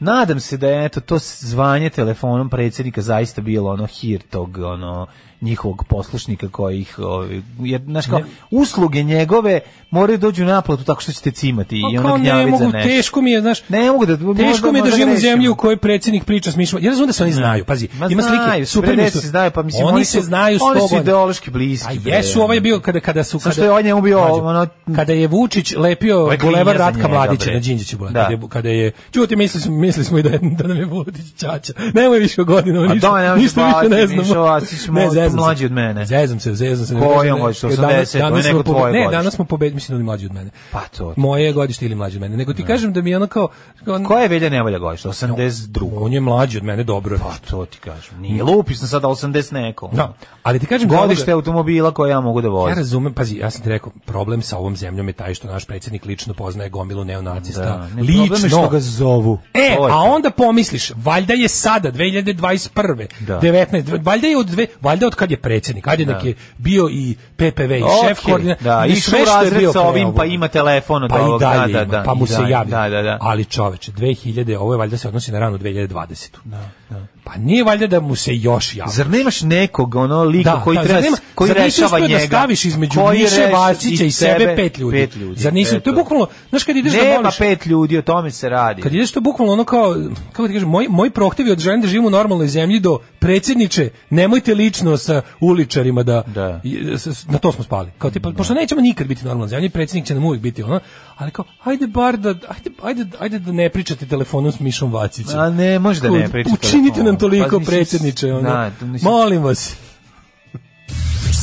Speaker 7: nadam se da je eto, to zvanje telefonom predsjednika zaista bilo ono hir tog ono, njihovog poslušnika koji ih, ovi, jer, znaš kao, usluge njegove moraju dođu u naplatu tako što ćete cimati i
Speaker 6: Pa kao
Speaker 7: ono
Speaker 6: ne
Speaker 7: gnjavit za
Speaker 6: mogu,
Speaker 7: nešto.
Speaker 6: teško mi je, znaš,
Speaker 7: Ne mogu da
Speaker 6: Teško mi je da živim u zemlji u
Speaker 7: zemlju
Speaker 6: kojoj predsjednik priča s Mišom. Ja razumijem da se oni znaju, pazi,
Speaker 7: Ma
Speaker 6: ima slike.
Speaker 7: znaju,
Speaker 6: super mi je
Speaker 7: bre,
Speaker 6: što-
Speaker 7: se znaju, pa mislim,
Speaker 6: oni,
Speaker 7: oni
Speaker 6: se
Speaker 7: su-
Speaker 6: znaju
Speaker 7: oni su
Speaker 6: sto godina.
Speaker 7: ideološki bliski,
Speaker 6: A
Speaker 7: bre,
Speaker 6: jesu,
Speaker 7: ono.
Speaker 6: ovaj je bio kada kada su
Speaker 7: Samo
Speaker 6: kada
Speaker 7: što je ovaj njemu bio,
Speaker 6: Mlađo,
Speaker 7: ono-
Speaker 6: kada je Vučić lepio
Speaker 7: Ovaj klinja
Speaker 6: bulevar
Speaker 7: za
Speaker 6: Ratka
Speaker 7: njega,
Speaker 6: Mladića
Speaker 7: bre.
Speaker 6: na Đinđiću bulevar.
Speaker 7: Da.
Speaker 6: Kada je, kada je čuti mislili smo mislili smo i da je, da nam je Vučić ćaća. Nemoj više o godinama
Speaker 7: A
Speaker 6: ništa.
Speaker 7: da, nemoj se
Speaker 6: ništa više ne
Speaker 7: baviti,
Speaker 6: znamo.
Speaker 7: Mišo Vacić, mo-
Speaker 6: zezam se.
Speaker 7: mlađi od mene.
Speaker 6: Zezam se, zezam se. ne
Speaker 7: Kojom
Speaker 6: možem, ne.
Speaker 7: godište,
Speaker 6: Jer danas-
Speaker 7: 80,
Speaker 6: danas
Speaker 7: to je
Speaker 6: smo
Speaker 7: neko
Speaker 6: pobe-
Speaker 7: tvoje
Speaker 6: Ne,
Speaker 7: godište.
Speaker 6: danas smo pobedili, mislim da on je mlađi od mene.
Speaker 7: Pa to.
Speaker 6: Moje je godište ili mlađi od mene. Nego ti kažem da mi je ono kao... kao-
Speaker 7: Koja je Velja Nevolja godišta? 82.
Speaker 6: On je mlađi od mene, dobro je.
Speaker 7: Pa to ti kažem. Nije lupi sam sada 80 neko.
Speaker 6: Da, ali ti kažem... za ovoga-
Speaker 7: Godište automobila koje ja mogu da
Speaker 6: Ja
Speaker 7: vozim.
Speaker 6: razumem, pazi, ja sam ti rekao, problem sa ovom zemljom je taj što naš predsjednik lično poznaje gomilu neonacista.
Speaker 7: Da, ne,
Speaker 6: lično.
Speaker 7: problem je što ga zovu.
Speaker 6: E,
Speaker 7: To je
Speaker 6: a
Speaker 7: to.
Speaker 6: onda pomisliš, valjda je sada, 2021.
Speaker 7: Da.
Speaker 6: 19, dv- valjda je od dve, valjda od kad je predsjednik, ajde nek je bio i PPV i šef
Speaker 7: Okej,
Speaker 6: koordina,
Speaker 7: Da,
Speaker 6: i
Speaker 7: išao u
Speaker 6: sve što je
Speaker 7: razred
Speaker 6: bio
Speaker 7: sa
Speaker 6: pre
Speaker 7: ovim, pa
Speaker 6: ovoga.
Speaker 7: ima telefon od
Speaker 6: pa i
Speaker 7: ovog. da,
Speaker 6: dalje
Speaker 7: da,
Speaker 6: ima,
Speaker 7: da,
Speaker 6: pa mu
Speaker 7: i
Speaker 6: se
Speaker 7: dalje,
Speaker 6: javi.
Speaker 7: Da, da, da.
Speaker 6: Ali čoveče, 2000, ovo je valjda se odnosi na ranu 2020. Da, da. Pa nije valjda da mu se još javi.
Speaker 7: Zar nemaš nekog ono lika
Speaker 6: Da,
Speaker 7: koji
Speaker 6: da,
Speaker 7: treba
Speaker 6: zar nema-
Speaker 7: koji
Speaker 6: zar nisi
Speaker 7: rešava
Speaker 6: uspeo
Speaker 7: njega?
Speaker 6: da staviš između
Speaker 7: Koji
Speaker 6: Miše
Speaker 7: reši-
Speaker 6: Vacića i sebe pet ljudi.
Speaker 7: Pet ljudi.
Speaker 6: Zar nisi, to je
Speaker 7: eto.
Speaker 6: bukvalno, znaš kad ideš da
Speaker 7: Nema
Speaker 6: voliš,
Speaker 7: pet ljudi, o tome se radi.
Speaker 6: kad ideš to bukvalno ono kao, kako ti kažem, moj, moj prohtivi od žene da živimo u normalnoj zemlji do predsjedniče, nemojte lično sa uličarima da,
Speaker 7: Da.
Speaker 6: i- s- s- na to smo spali. Kao tipa, pošto nećemo nikad biti normalna zemlja, predsjednik će nam uvijek biti ono, ali kao, ajde bar da, ajde, ajde, ajde da ne pričate telefonom s Mišom Vacićem.
Speaker 7: A ne, može da ne
Speaker 6: Kao,
Speaker 7: priča
Speaker 6: Učinite
Speaker 7: telefonom.
Speaker 6: nam toliko,
Speaker 7: Pa, mislim,
Speaker 6: predsjedniče, ono,
Speaker 7: da, to mislim-
Speaker 6: molim vas.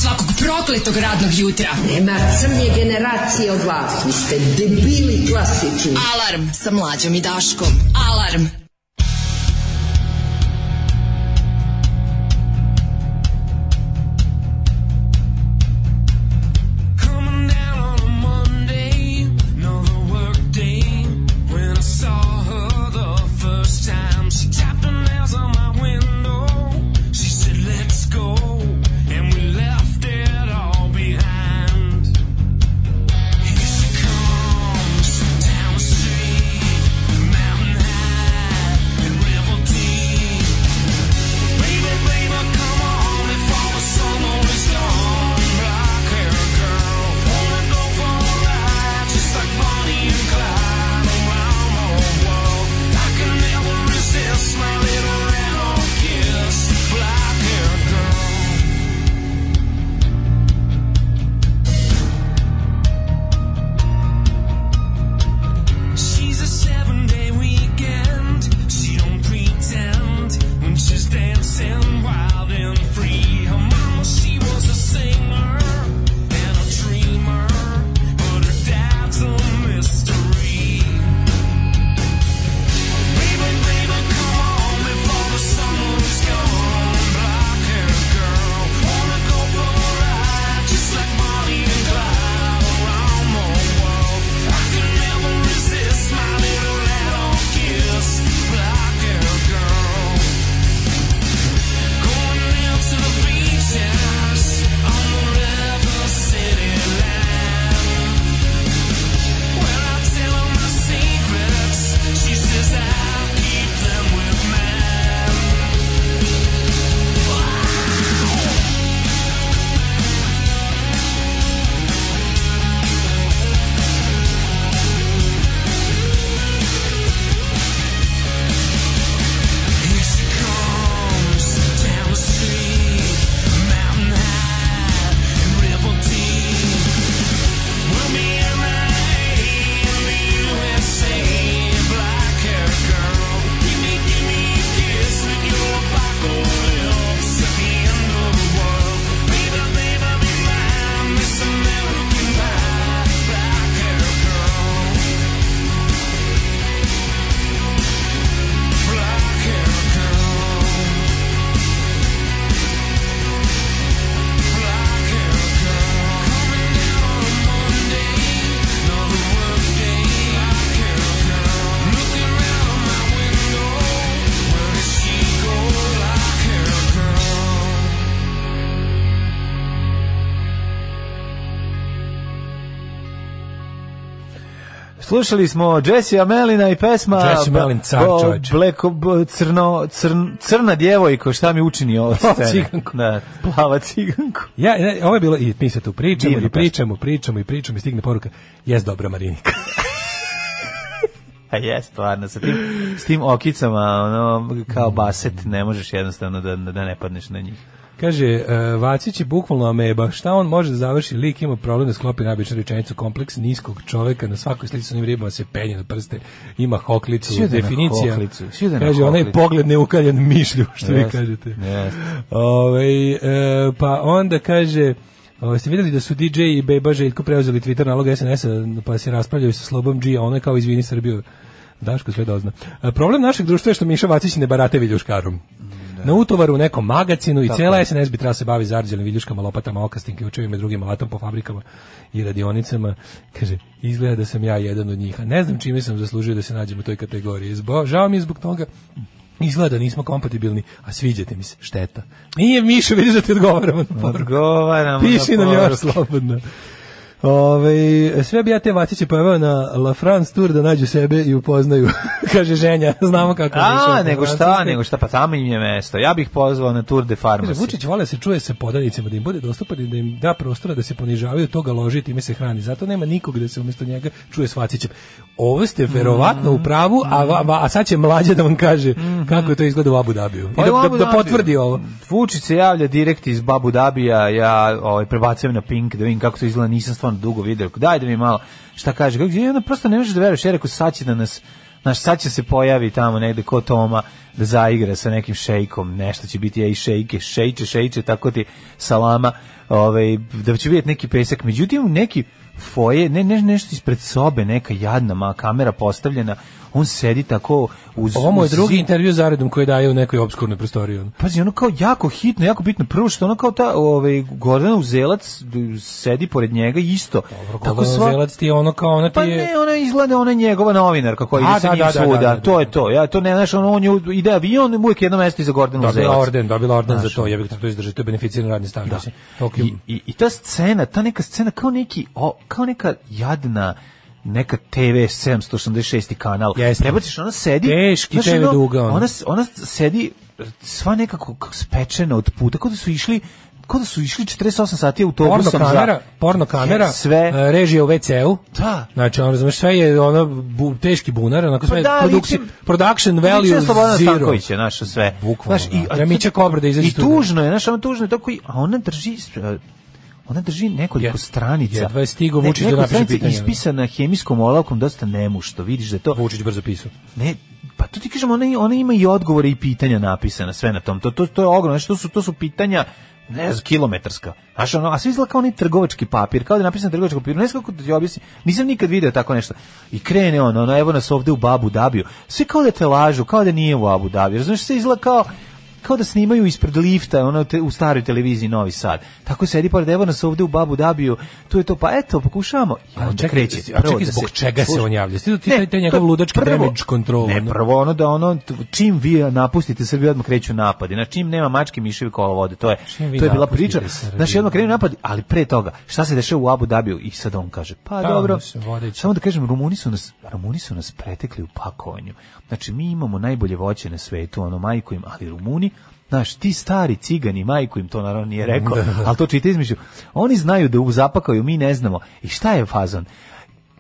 Speaker 9: Svakog prokletog radnog jutra.
Speaker 11: Nema crnje generacije od vas. Vi ste debili klasični.
Speaker 9: Alarm sa mlađom i Daškom. Alarm.
Speaker 7: Slušali smo Jesse Amelina i pesma
Speaker 6: Jesse Amelin, car,
Speaker 7: Bo-
Speaker 6: čoveče.
Speaker 7: Bleko, b- crno, crn, crna djevojko, šta mi učini ovo
Speaker 6: Plava
Speaker 7: scene?
Speaker 6: ciganko.
Speaker 7: Da, plava ciganko.
Speaker 6: Ja, ne, ovo je bilo, i mi se tu pričamo,
Speaker 7: Divna
Speaker 6: i pričamo, pričamo, i pričamo, i stigne poruka, jes dobra Marinika.
Speaker 7: A je, stvarno, sa tim, s tim okicama, ono, kao baset, ne možeš jednostavno da, da ne padneš na njih.
Speaker 6: Kaže, e, Vacić je bukvalno ameba, šta on može da završi, lik ima problem da sklopi najbolju rečenicu, kompleks niskog čoveka, na svakoj slici sa onim ribama se penje na prste, ima hoklicu,
Speaker 7: Svi ide na
Speaker 6: definicija,
Speaker 7: hoklicu, svi ide na
Speaker 6: kaže, onaj
Speaker 7: hoklicu.
Speaker 6: pogled neukaljen mišlju, što vi
Speaker 7: Jeste,
Speaker 6: kažete.
Speaker 7: jeste.
Speaker 6: Ovaj, e, pa onda kaže, Ovaj ste videli da su DJ i Beba Željko preuzeli Twitter nalog SNS-a pa se raspravljaju sa Slobom G, a ono je kao izvini Srbiju. Daško sve dozna. E, Problem našeg društva je što Miša Vacić ne barate viljuškarom. Na utovaru u nekom magacinu i cela SNS bi trebala se bavi zarđelim viljuškama, lopatama, okastim ključevima i drugim alatom po fabrikama i radionicama. Kaže, izgleda da sam ja jedan od njih, a ne znam čime sam zaslužio da se nađem u toj kategoriji. Zbo, žao mi je zbog toga Izgleda da nismo kompatibilni, a sviđate mi se, šteta. Nije Miša, vidiš da ti odgovaramo na poruku.
Speaker 7: Odgovaramo
Speaker 6: Piši
Speaker 7: na
Speaker 6: nam
Speaker 7: poruke.
Speaker 6: još slobodno. Ove, sve bi ja te Vaciće pojavao na La France Tour da nađu sebe i upoznaju, kaže ženja, znamo kako je išao
Speaker 7: A,
Speaker 6: po
Speaker 7: nego šta,
Speaker 6: Francuskoj.
Speaker 7: nego šta, pa tamo im je mesto. Ja bih pozvao na Tour de
Speaker 6: Kaže,
Speaker 7: Pharmacy.
Speaker 6: Vučić vole da se čuje sa podanicima, da im bude dostupan i da im da prostora da se ponižavaju, toga loži i time se hrani. Zato nema nikog da se umjesto njega čuje s Vacićem. Ovo ste verovatno
Speaker 7: Mm.
Speaker 6: u pravu, a, va- va- a sad će mlađe da vam kaže kako je to izgleda u Abu Dhabiju. I
Speaker 7: Mhm. Pa
Speaker 6: da,
Speaker 7: u Abu
Speaker 6: da, da
Speaker 7: Dhabiju.
Speaker 6: potvrdi ovo.
Speaker 7: Vučić se javlja direkt iz Babu Dabija, ja ovaj, prebacujem na Pink da vidim kako to izgleda, nisam stvarno dugo vidio. Rekao, Daj da mi malo šta kaže. Kako, I onda prosto ne možeš da veruješ, ja rekao sad će da nas, naš, sad će se pojavi tamo negde ko Toma da zaigra sa nekim šejkom, nešto će biti ej šejke, šejče, šejče, tako ti salama, ovaj, da će vidjeti neki pesak. Međutim, neki foje, ne, ne, nešto ispred sobe, neka jadna ma, kamera postavljena, on sedi tako uz,
Speaker 6: Ovo mu je
Speaker 7: uz
Speaker 6: drugi
Speaker 7: zid.
Speaker 6: intervju zaredom koji daje u nekoj obskurnoj prostoriji. ono.
Speaker 7: Pazi, ono kao jako hitno, jako bitno. Prvo što ono kao ta ovaj, Gordana Uzelac sedi pored njega isto.
Speaker 6: Tako Uzelac ti je ono kao ona ti
Speaker 7: Pa
Speaker 6: je...
Speaker 7: ne, ona izgleda, ona je njegova novinarka koja
Speaker 6: A,
Speaker 7: ide sa
Speaker 6: da,
Speaker 7: njim
Speaker 6: da, da,
Speaker 7: svuda.
Speaker 6: da, da,
Speaker 7: To je to. Ja to ne, znaš, ono, on je u- ide avion i uvijek jedno mesto iza Gordana
Speaker 6: Dobila
Speaker 7: Uzelac.
Speaker 6: orden, dobila orden
Speaker 7: ono Znaš, ono.
Speaker 6: za to, jebik, to izdrži, to je beneficiran radni staž. mislim. Toliko je-
Speaker 7: I, i, I ta scena, ta neka scena kao neki, o, kao neka jadna neka TV 786 kanal.
Speaker 6: Jeste.
Speaker 7: Prebaciš, ona sedi...
Speaker 6: Teški
Speaker 7: znaš,
Speaker 6: TV
Speaker 7: ono,
Speaker 6: duga, ono.
Speaker 7: Ona, s- ona sedi sva nekako k- spečena od puta, kao da su išli kao da su išli 48 sati
Speaker 6: Porno
Speaker 7: autobusom
Speaker 6: kamera,
Speaker 7: za...
Speaker 6: porno kamera,
Speaker 7: Sve.
Speaker 6: e, režija u WC-u.
Speaker 7: Da.
Speaker 6: Znači, ono, razumeš, sve je ono bu, teški bunar, onako sve
Speaker 7: Pa
Speaker 6: je
Speaker 7: da,
Speaker 6: produksi-
Speaker 7: liči-
Speaker 6: production
Speaker 7: Liči
Speaker 6: value
Speaker 7: na Slobodana
Speaker 6: zero.
Speaker 7: Stankovića, naša sve.
Speaker 6: Bukvalno,
Speaker 7: Znaš,
Speaker 6: da.
Speaker 7: a-
Speaker 6: Ramića Kobra da izađe
Speaker 7: I
Speaker 6: iz studija.
Speaker 7: tužno je, znaš, ono tužno je tako, i- a ona drži, e, ona drži nekoliko
Speaker 6: Je-
Speaker 7: stranica.
Speaker 6: jedva je stigao
Speaker 7: Ne-
Speaker 6: Vučić da
Speaker 7: nekoliko
Speaker 6: napiše
Speaker 7: stranica
Speaker 6: pitanje, ono.
Speaker 7: Ispisana hemijskom olavkom dosta nemušto, vidiš da je to...
Speaker 6: Vučić brzo pisao.
Speaker 7: Ne, pa to ti kažem, ona, i- ona ima i odgovore i pitanja napisana, sve na tom. To, to, to je ogromno, znači, to su, to su pitanja ne znam, kilometarska. Znaš, ono, a sve izgleda kao onaj trgovački papir, kao da je napisan trgovački papir, ne znam kako da ti objasnim, nisam nikad video tako nešto. I krene ono, ono, evo nas ovde u Babu Dabiju, sve kao da te lažu, kao da nije u Abu Dabiju, razumiješ, sve izgleda kao, kao da snimaju ispred lifta ono te, u staroj televiziji Novi Sad. Tako sedi pored evo nas ovde u Babu Dabiju, tu je to, pa eto, pokušavamo. I
Speaker 6: A
Speaker 7: onda
Speaker 6: čekaj,
Speaker 7: kreće.
Speaker 6: a
Speaker 7: prvo
Speaker 6: čekaj,
Speaker 7: da
Speaker 6: zbog čega se
Speaker 7: Slušaj,
Speaker 6: on javlja? Ti, ti,
Speaker 7: ne,
Speaker 6: taj, taj
Speaker 7: to
Speaker 6: njegov
Speaker 7: je
Speaker 6: ludački
Speaker 7: prvo-
Speaker 6: damage control.
Speaker 7: Ne,
Speaker 6: ono.
Speaker 7: prvo ono da ono, t- čim vi napustite Srbiju, odmah kreću napadi. Znači, čim nema mačke, miševi kola vode. To je,
Speaker 6: Čim vi
Speaker 7: to je bila
Speaker 6: napustite
Speaker 7: priča.
Speaker 6: Srbiju.
Speaker 7: Znači, odmah krenu napadi, ali pre toga, šta se dešava u Abu Dhabiju? I sad on kaže, pa
Speaker 6: Tamo
Speaker 7: dobro,
Speaker 6: se vodeći.
Speaker 7: samo da kažem, Rumuni su, nas, Rumuni su nas pretekli u pakovanju. Znači, mi imamo najbolje voće na svetu, ono, majku im, ali Rumuni, Znaš, ti stari cigani, majku im to naravno nije rekao, ali to čita izmišlju. Oni znaju da uzapakaju, mi ne znamo. I šta je fazon?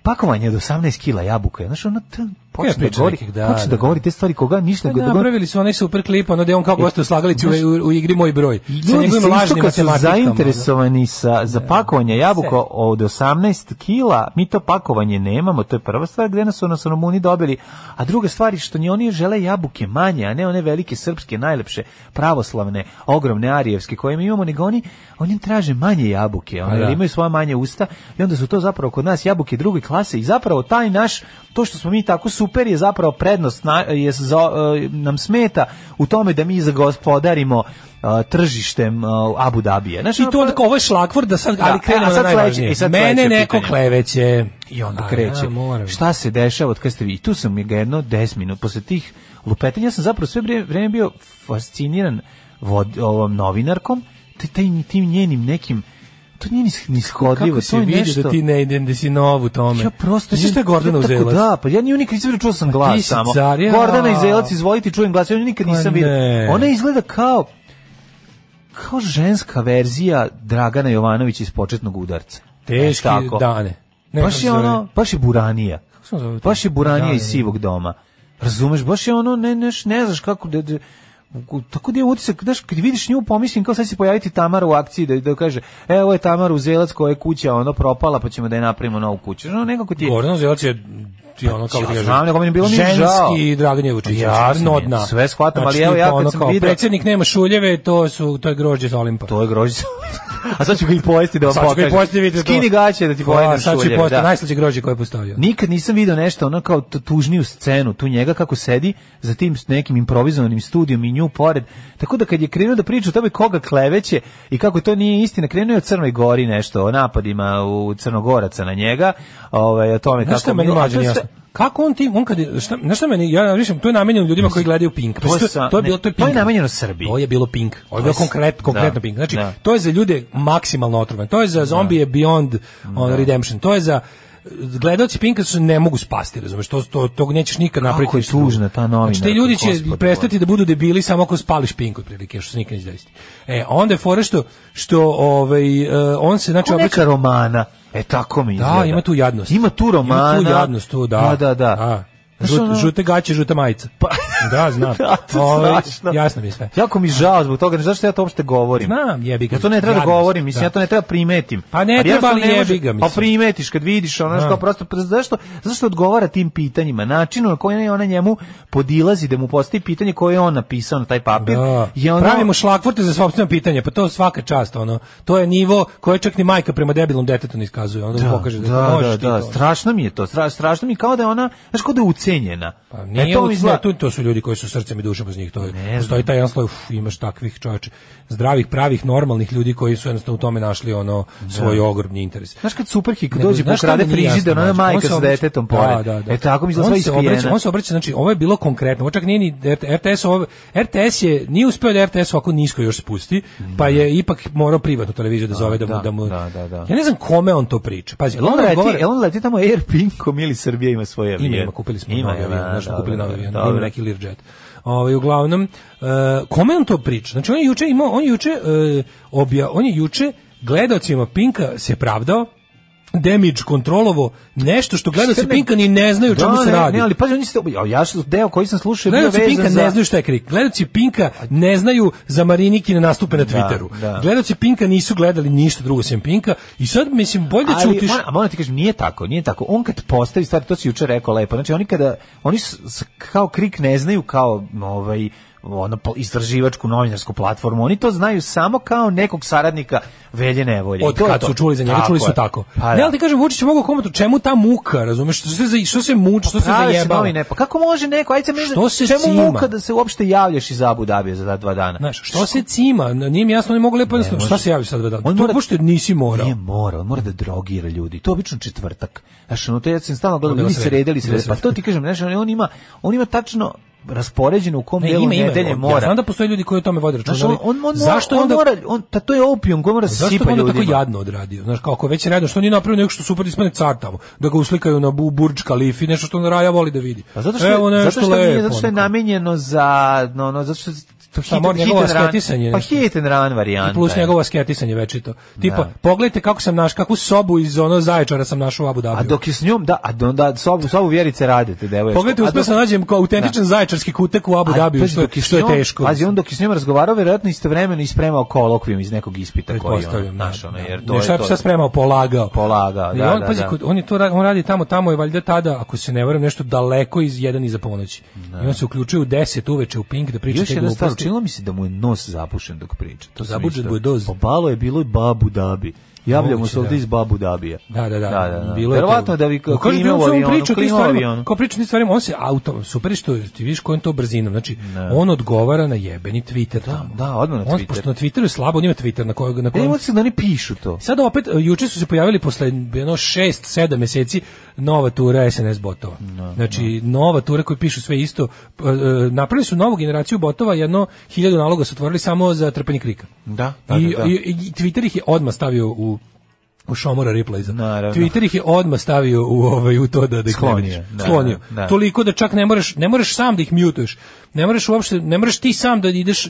Speaker 7: Pakovanje od 18 kila jabuka. Znaš, ono, t- počne da
Speaker 6: priča
Speaker 7: govori,
Speaker 6: nekih, da,
Speaker 7: počne
Speaker 6: da. Pa
Speaker 7: da govori te stvari koga ništa.
Speaker 6: Da,
Speaker 7: da govori-
Speaker 6: napravili su onaj super klip, ono gde on kao gostu u slagalici u, u, u igri Moj broj. Sa
Speaker 7: Ljudi
Speaker 6: njegovim
Speaker 7: se
Speaker 6: lažnim
Speaker 7: istoka su
Speaker 6: matematikama. ono.
Speaker 7: zainteresovani sa, za pakovanje jabuka
Speaker 6: Sve.
Speaker 7: od 18 kila. Mi to pakovanje nemamo, to je prva stvar gde nas ono su Rumuni dobili. A druga stvar je što ni oni žele jabuke manje, a ne one velike srpske, najlepše, pravoslavne, ogromne arijevske koje mi imamo, nego oni, oni traže manje jabuke, ono,
Speaker 6: A da.
Speaker 7: jer imaju svoje manje usta i onda su to zapravo kod nas jabuke druge klase i zapravo taj naš, to što smo mi tako super je zapravo prednost, na, je za, e, nam smeta u tome da mi zagospodarimo e, tržištem e, Abu Dabija. Znaš,
Speaker 6: I
Speaker 7: ono,
Speaker 6: to onda
Speaker 7: pa-
Speaker 6: kao, ovo je šlagvord da sad,
Speaker 7: Da, e,
Speaker 6: ali
Speaker 7: a
Speaker 6: krenemo na
Speaker 7: sad sledeće-
Speaker 6: najvažnije.
Speaker 7: i sad
Speaker 6: Mene
Speaker 7: sledeće
Speaker 6: neko
Speaker 7: pitanje.
Speaker 6: kleveće.
Speaker 7: I onda
Speaker 6: A,
Speaker 7: kreće.
Speaker 6: ja, moram.
Speaker 7: Šta se dešava od kad ste vi? I tu sam ga jedno 10 minut posle tih lupetenja ja sam zapravo sve vrijeme, vrijeme bio fasciniran vod, ovom novinarkom, te- taj- tim njenim nekim to nije ni, ni shodljivo,
Speaker 6: Kako
Speaker 7: to
Speaker 6: si
Speaker 7: je
Speaker 6: vidio
Speaker 7: nešto-
Speaker 6: da ti ne idem, da si nov u tome?
Speaker 7: Ja prosto...
Speaker 6: Znaš šta je Gordana
Speaker 7: ja tako
Speaker 6: Uzelac?
Speaker 7: Da, pa ja ni nikad nisam vidio, čuo sam
Speaker 6: ti
Speaker 7: glas
Speaker 6: si
Speaker 7: samo.
Speaker 6: car, ja.
Speaker 7: Gordana Uzelac, izvolite, čujem glas, ja nju nikad
Speaker 6: Pa
Speaker 7: nisam vidio.
Speaker 6: ne.
Speaker 7: Ona izgleda kao kao ženska verzija Dragana Jovanovića iz početnog udarca.
Speaker 6: Teški
Speaker 7: Znaš E, tako?
Speaker 6: dane. Ne, kako
Speaker 7: baš
Speaker 6: se
Speaker 7: je
Speaker 6: zove?
Speaker 7: ono, baš je Buranija.
Speaker 6: se on zove?
Speaker 7: Baš je Buranija
Speaker 6: Da,
Speaker 7: iz
Speaker 6: da, da.
Speaker 7: sivog doma. Razumeš, baš je ono, ne, ne, ne znaš kako, da, da, u- tako da je utisak, znaš, kad vidiš nju, pomislim kao sad će se pojaviti Tamara u akciji da, da kaže, e, ovo je Tamara Uzelac koja je kuća, ono, propala, pa ćemo da je napravimo novu kuću. No, nekako ti je...
Speaker 6: Gordana Uzelac je ti ono kao
Speaker 7: Ja
Speaker 6: ti kažem,
Speaker 7: znam, nego meni je bilo mi žao.
Speaker 6: ženski Dragan Jevučić znači,
Speaker 7: Jasno mi je,
Speaker 6: dna Znači,
Speaker 7: sve shvatam, ali evo ja kad sam video-
Speaker 6: predsjednik nema šuljeve to su to je grožđe sa Olimpa
Speaker 7: To je grožđe. sa- A sad ću ga i pojesti da vam
Speaker 6: sad Pa ću ga i
Speaker 7: pokažem.
Speaker 6: poslije vidjeti to.
Speaker 7: Pa Skini gaće da ti pojedem
Speaker 6: A, sad ću
Speaker 7: šuljevi,
Speaker 6: poslije
Speaker 7: da.
Speaker 6: najslađe grožđe koje je postavio
Speaker 7: Nikad nisam video nešto ono kao tu- tužniju scenu, tu njega kako sedi za tim s nekim improvizovanim studijom i nju pored. Tako da kad je krenuo da priča o tome koga kleveće i kako to nije istina, krenuo je o Crnoj Gori nešto, o napadima u Crnogoraca na njega, ovaj, o tome
Speaker 6: Znaš
Speaker 7: kako...
Speaker 6: šta je meni
Speaker 7: bilo- a to
Speaker 6: mlađe
Speaker 7: je sve-
Speaker 6: jasno? Kako on tim, on kad, je- šta, znaš šta meni, ja više, to je namenjeno ljudima koji gledaju Pink.
Speaker 7: To je
Speaker 6: Mislim,
Speaker 7: sa-
Speaker 6: to je
Speaker 7: ne,
Speaker 6: bilo, to je
Speaker 7: to je
Speaker 6: Pink.
Speaker 7: namenjeno Srbiji.
Speaker 6: To je bilo Pink. Ovo je bilo
Speaker 7: s-
Speaker 6: konkret, konkretno
Speaker 7: da,
Speaker 6: Pink. Znači,
Speaker 7: da.
Speaker 6: to je za ljude maksimalno otrovan. To je za zombije Beyond on Redemption. To je za gledaoci Pinka se ne mogu spasti, razumeš? To to tog nećeš nikad napraviti.
Speaker 7: je
Speaker 6: ništa drugo.
Speaker 7: tužna ta novinarka,
Speaker 6: Znači, ti ljudi će
Speaker 7: gospode
Speaker 6: prestati da budu debili samo ako spališ Pink otprilike, što se nikad neće desiti. E, a onda je fora što što ovaj e, on se znači
Speaker 7: Ko
Speaker 6: obraća
Speaker 7: neka romana. E tako mi izgleda.
Speaker 6: da, ima tu jadnost.
Speaker 7: Ima tu romana.
Speaker 6: Ima tu jadnost, tu, da.
Speaker 7: Da, da, da. Znaš,
Speaker 6: Žut-
Speaker 7: ono-
Speaker 6: Žute gaće, žuta majica.
Speaker 7: Pa-
Speaker 6: Da, znam.
Speaker 7: Da, to je
Speaker 6: Ovaj,
Speaker 7: strašno.
Speaker 6: Jasno mi je sve.
Speaker 7: Jako mi žao zbog toga, ne znaš zašto ja to uopšte govorim.
Speaker 6: Znam, jebi ga.
Speaker 7: Ja to ne treba da
Speaker 6: Jadnost,
Speaker 7: govorim, mislim,
Speaker 6: da.
Speaker 7: ja to ne treba primetim.
Speaker 6: Pa ne
Speaker 7: Ali
Speaker 6: treba,
Speaker 7: jednostavno
Speaker 6: ali
Speaker 7: ne može-
Speaker 6: jebi ga,
Speaker 7: Pa
Speaker 6: mislim.
Speaker 7: primetiš kad vidiš ono što
Speaker 6: Da.
Speaker 7: prosto, pa zašto, zašto odgovara tim pitanjima, načinu na koji ona njemu podilazi da mu postavi pitanje koje je on napisao na taj papir.
Speaker 6: Da.
Speaker 7: Je ono,
Speaker 6: Pravimo šlakvorte za svopstveno pitanje, pa to svaka čast, ono. To je nivo koje čak ni majka prema debilom detetu ne iskazuje. Onda mu pokaže da,
Speaker 7: da,
Speaker 6: možeš
Speaker 7: da,
Speaker 6: ti
Speaker 7: da,
Speaker 6: to.
Speaker 7: strašno mi je to, stra- strašno mi je kao da je ona, znaš, kao da je ucenjena.
Speaker 6: Pa nije
Speaker 7: e, to
Speaker 6: to,
Speaker 7: mi izgleda-
Speaker 6: to, to su ljudi koji su srcem i dušom uz njih. To je, postoji taj jedan sloj, uf, imaš takvih čovječe, zdravih, pravih, normalnih ljudi koji su jednostavno u tome našli ono svoj ogromni interes.
Speaker 7: Znaš kad superhik
Speaker 6: Nego,
Speaker 7: dođe
Speaker 6: znaš šta
Speaker 7: pokrade
Speaker 6: mi nije jasno,
Speaker 7: frižider, ona
Speaker 6: znači,
Speaker 7: majka
Speaker 6: on se
Speaker 7: sa
Speaker 6: obraća-
Speaker 7: detetom
Speaker 6: Da,
Speaker 7: pored.
Speaker 6: Da, da.
Speaker 7: E tako mi izgleda
Speaker 6: On
Speaker 7: sve
Speaker 6: se obraća-
Speaker 7: ispijena.
Speaker 6: On se obraća, znači, ovo je bilo konkretno. Ovo čak nije ni RTS, ovo, RTS je, nije uspeo da RTS ovako nisko još spusti, pa je ipak morao privatnu televiziju da zove da, mu...
Speaker 7: da,
Speaker 6: Da, mu
Speaker 7: da, da, da.
Speaker 6: Ja ne znam kome on to priča. Pazi,
Speaker 7: Jel on,
Speaker 6: on
Speaker 7: leti,
Speaker 6: odgovara-
Speaker 7: jel on leti tamo Airpinkom ili Srbija ima svoje avion?
Speaker 6: ima, ima, kupili smo
Speaker 7: Ima
Speaker 6: novi
Speaker 7: ga,
Speaker 6: avion,
Speaker 7: da,
Speaker 6: znaš,
Speaker 7: da,
Speaker 6: kupili
Speaker 7: da,
Speaker 6: novi avion,
Speaker 7: da,
Speaker 6: ima
Speaker 7: da.
Speaker 6: neki Learjet. Ovaj uglavnom e, kome on to priča? Znači on je juče imao, on je juče e, obja, on je juče gledaocima Pinka se pravdao damage kontrolovo nešto što gledaoci
Speaker 7: Šta ne-
Speaker 6: Pinka ni ne znaju o čemu
Speaker 7: Da,
Speaker 6: se
Speaker 7: ne,
Speaker 6: radi.
Speaker 7: Ne, ali pazi, oni ste, ja, ja sam deo koji sam slušao je bio
Speaker 6: Gledaoci
Speaker 7: vezan
Speaker 6: Pinka
Speaker 7: za...
Speaker 6: ne znaju šta je krik. Gledaoci Pinka ne znaju za Marinikine nastupe na Twitteru.
Speaker 7: da.
Speaker 6: Gledaoci Pinka nisu gledali ništa drugo sem Pinka i sad mislim bolje
Speaker 7: Ali,
Speaker 6: ćutiš.
Speaker 7: moram- a moram ti kažem, nije tako, nije tako. On kad postavi stvari, to si juče rekao lepo, znači oni kada, oni s, s- kao krik ne znaju kao, ovaj, ono, po- istraživačku novinarsku platformu, oni to znaju samo kao nekog saradnika velje nevolje. I
Speaker 6: Od
Speaker 7: to je
Speaker 6: kad
Speaker 7: to.
Speaker 6: su čuli za njega, čuli su
Speaker 7: je.
Speaker 6: tako.
Speaker 7: Pa
Speaker 6: Ne,
Speaker 7: da.
Speaker 6: ali ti kažem, Vučić je mogao komatu, čemu ta muka, razumeš? Što se, za- što se muči, što se
Speaker 7: Prave se
Speaker 6: zajebao?
Speaker 7: novine, pa kako može neko, ajde se meni,
Speaker 6: Što se
Speaker 7: čemu
Speaker 6: cima?
Speaker 7: muka da se uopšte javljaš iz Abu Dabija za ta dva dana?
Speaker 6: Znaš, što se cima? Nije mi jasno, oni mogu lepo jednostavno, šta se javi sad da
Speaker 7: On
Speaker 6: To
Speaker 7: mora-
Speaker 6: pošto nisi morao.
Speaker 7: Nije morao, on mora da drogira ljudi. To je obično četvrtak. Znaš, ono, to ja sam stalno gledao,
Speaker 6: Onda
Speaker 7: ljudi
Speaker 6: vas
Speaker 7: se
Speaker 6: redi.
Speaker 7: redeli, se
Speaker 6: Onda vas
Speaker 7: redeli. Pa
Speaker 6: redi.
Speaker 7: to ti kažem, znaš, on on ima, on ima tačno raspoređeno u kom
Speaker 6: Ne,
Speaker 7: delu
Speaker 6: ima, ima.
Speaker 7: nedelje
Speaker 6: Ja znam
Speaker 7: mora.
Speaker 6: da postoje ljudi koji o tome vode računa.
Speaker 7: Znaš, on,
Speaker 6: ali
Speaker 7: on, on, mora-
Speaker 6: zašto je
Speaker 7: on
Speaker 6: onda
Speaker 7: mora, on, ta, to je opijum koji mora da
Speaker 6: Zašto
Speaker 7: sipa
Speaker 6: je onda
Speaker 7: ljudima.
Speaker 6: tako jadno odradio? Znaš, kako već je redno, što nije napravio nešto što super ispane car tamo, da ga uslikaju na bu, Burj Khalifi, nešto što na raja voli da vidi.
Speaker 7: Pa zato što,
Speaker 6: Evo
Speaker 7: je,
Speaker 6: nešto
Speaker 7: zato što, nije,
Speaker 6: lepo.
Speaker 7: zato što je
Speaker 6: onako.
Speaker 7: namenjeno za, no, no, zato što to
Speaker 6: Šta, mora njegovo asketisanje,
Speaker 7: pa
Speaker 6: nešto.
Speaker 7: hit and run varijanta.
Speaker 6: I plus
Speaker 7: je.
Speaker 6: njegovo asketisanje večito. Tipa,
Speaker 7: Da.
Speaker 6: pogledajte kako sam naš, kakvu sobu iz ono zaječara sam našao u Abu Dhabiju.
Speaker 7: A dok je s njom, da, a onda sobu, sobu vjerice radite, devoječko.
Speaker 6: Pogledajte,
Speaker 7: A
Speaker 6: uspio
Speaker 7: dok-
Speaker 6: sam nađem kao autentičan zaječarski kutak u Abu
Speaker 7: A,
Speaker 6: Dhabiju,
Speaker 7: pazi,
Speaker 6: što,
Speaker 7: dok
Speaker 6: je- što je
Speaker 7: s njom-
Speaker 6: teško.
Speaker 7: Pazi, on dok je s njom razgovarao, verovatno istovremeno ispremao kolokvijum iz nekog ispita koji je on,
Speaker 6: Pretpostavljam,
Speaker 7: znaš,
Speaker 6: da,
Speaker 7: ono,
Speaker 6: da.
Speaker 7: jer
Speaker 6: Ne,
Speaker 7: to
Speaker 6: šta
Speaker 7: je
Speaker 6: bi sad
Speaker 7: to.
Speaker 6: spremao, polagao.
Speaker 7: Polagao,
Speaker 6: Ne,
Speaker 7: da,
Speaker 6: on,
Speaker 7: da,
Speaker 6: pazi,
Speaker 7: da.
Speaker 6: kod- on, je to, ra- on radi tamo, tamo je valjda tada, ako se ne varam, nešto daleko iz jedan iza ponoći. I on se uključuje u 10 uveče u Pink da priča
Speaker 7: Još
Speaker 6: te
Speaker 7: jedna stvar,
Speaker 6: gluposti.
Speaker 7: činilo mi se da mu je nos zapušen dok priča. To sam
Speaker 6: Zabuđen
Speaker 7: isto-
Speaker 6: mu je doz.
Speaker 7: Pobalo je bilo i Babu Dabi. Javljamo
Speaker 6: Moguće,
Speaker 7: se ovde
Speaker 6: da.
Speaker 7: iz Babu Dabija.
Speaker 6: Da, da, da.
Speaker 7: da, da, da.
Speaker 6: Bilo je
Speaker 7: Verovatno
Speaker 6: to.
Speaker 7: da vi kao
Speaker 6: Kaže,
Speaker 7: klima
Speaker 6: on
Speaker 7: u
Speaker 6: samo
Speaker 7: avionu,
Speaker 6: priča o tim
Speaker 7: klima u
Speaker 6: stvarima,
Speaker 7: avionu.
Speaker 6: Kao priča o tim stvarima, on se auto, super je što je, ti vidiš kojom to brzinom. Znači, on odgovara na jebeni Twitter tamo.
Speaker 7: da, odmah na
Speaker 6: On,
Speaker 7: Twitter.
Speaker 6: pošto na Twitteru je slabo, on ima Twitter na kojeg, na
Speaker 7: Ne,
Speaker 6: kojem
Speaker 7: ima se E, da oni pišu to.
Speaker 6: Sada opet, e, juče su se pojavili posle jedno 6-7 meseci nova tura SNS botova. znači, nova tura koji pišu sve isto. P- e, Napravili su novu generaciju botova, jedno hiljadu naloga su otvorili samo za trpanje krika.
Speaker 7: Da,
Speaker 6: I, i, i Twitter ih je odmah stavio u u Šomora Ripleyza. Twitter ih je odmah stavio u ovaj u to da da ih ne
Speaker 7: Sklonio,
Speaker 6: vidiš.
Speaker 7: da,
Speaker 6: Sklonio.
Speaker 7: da.
Speaker 6: Toliko da čak ne moraš ne moraš sam da ih mutuješ. Ne moraš uopšte, ne moraš ti sam da ideš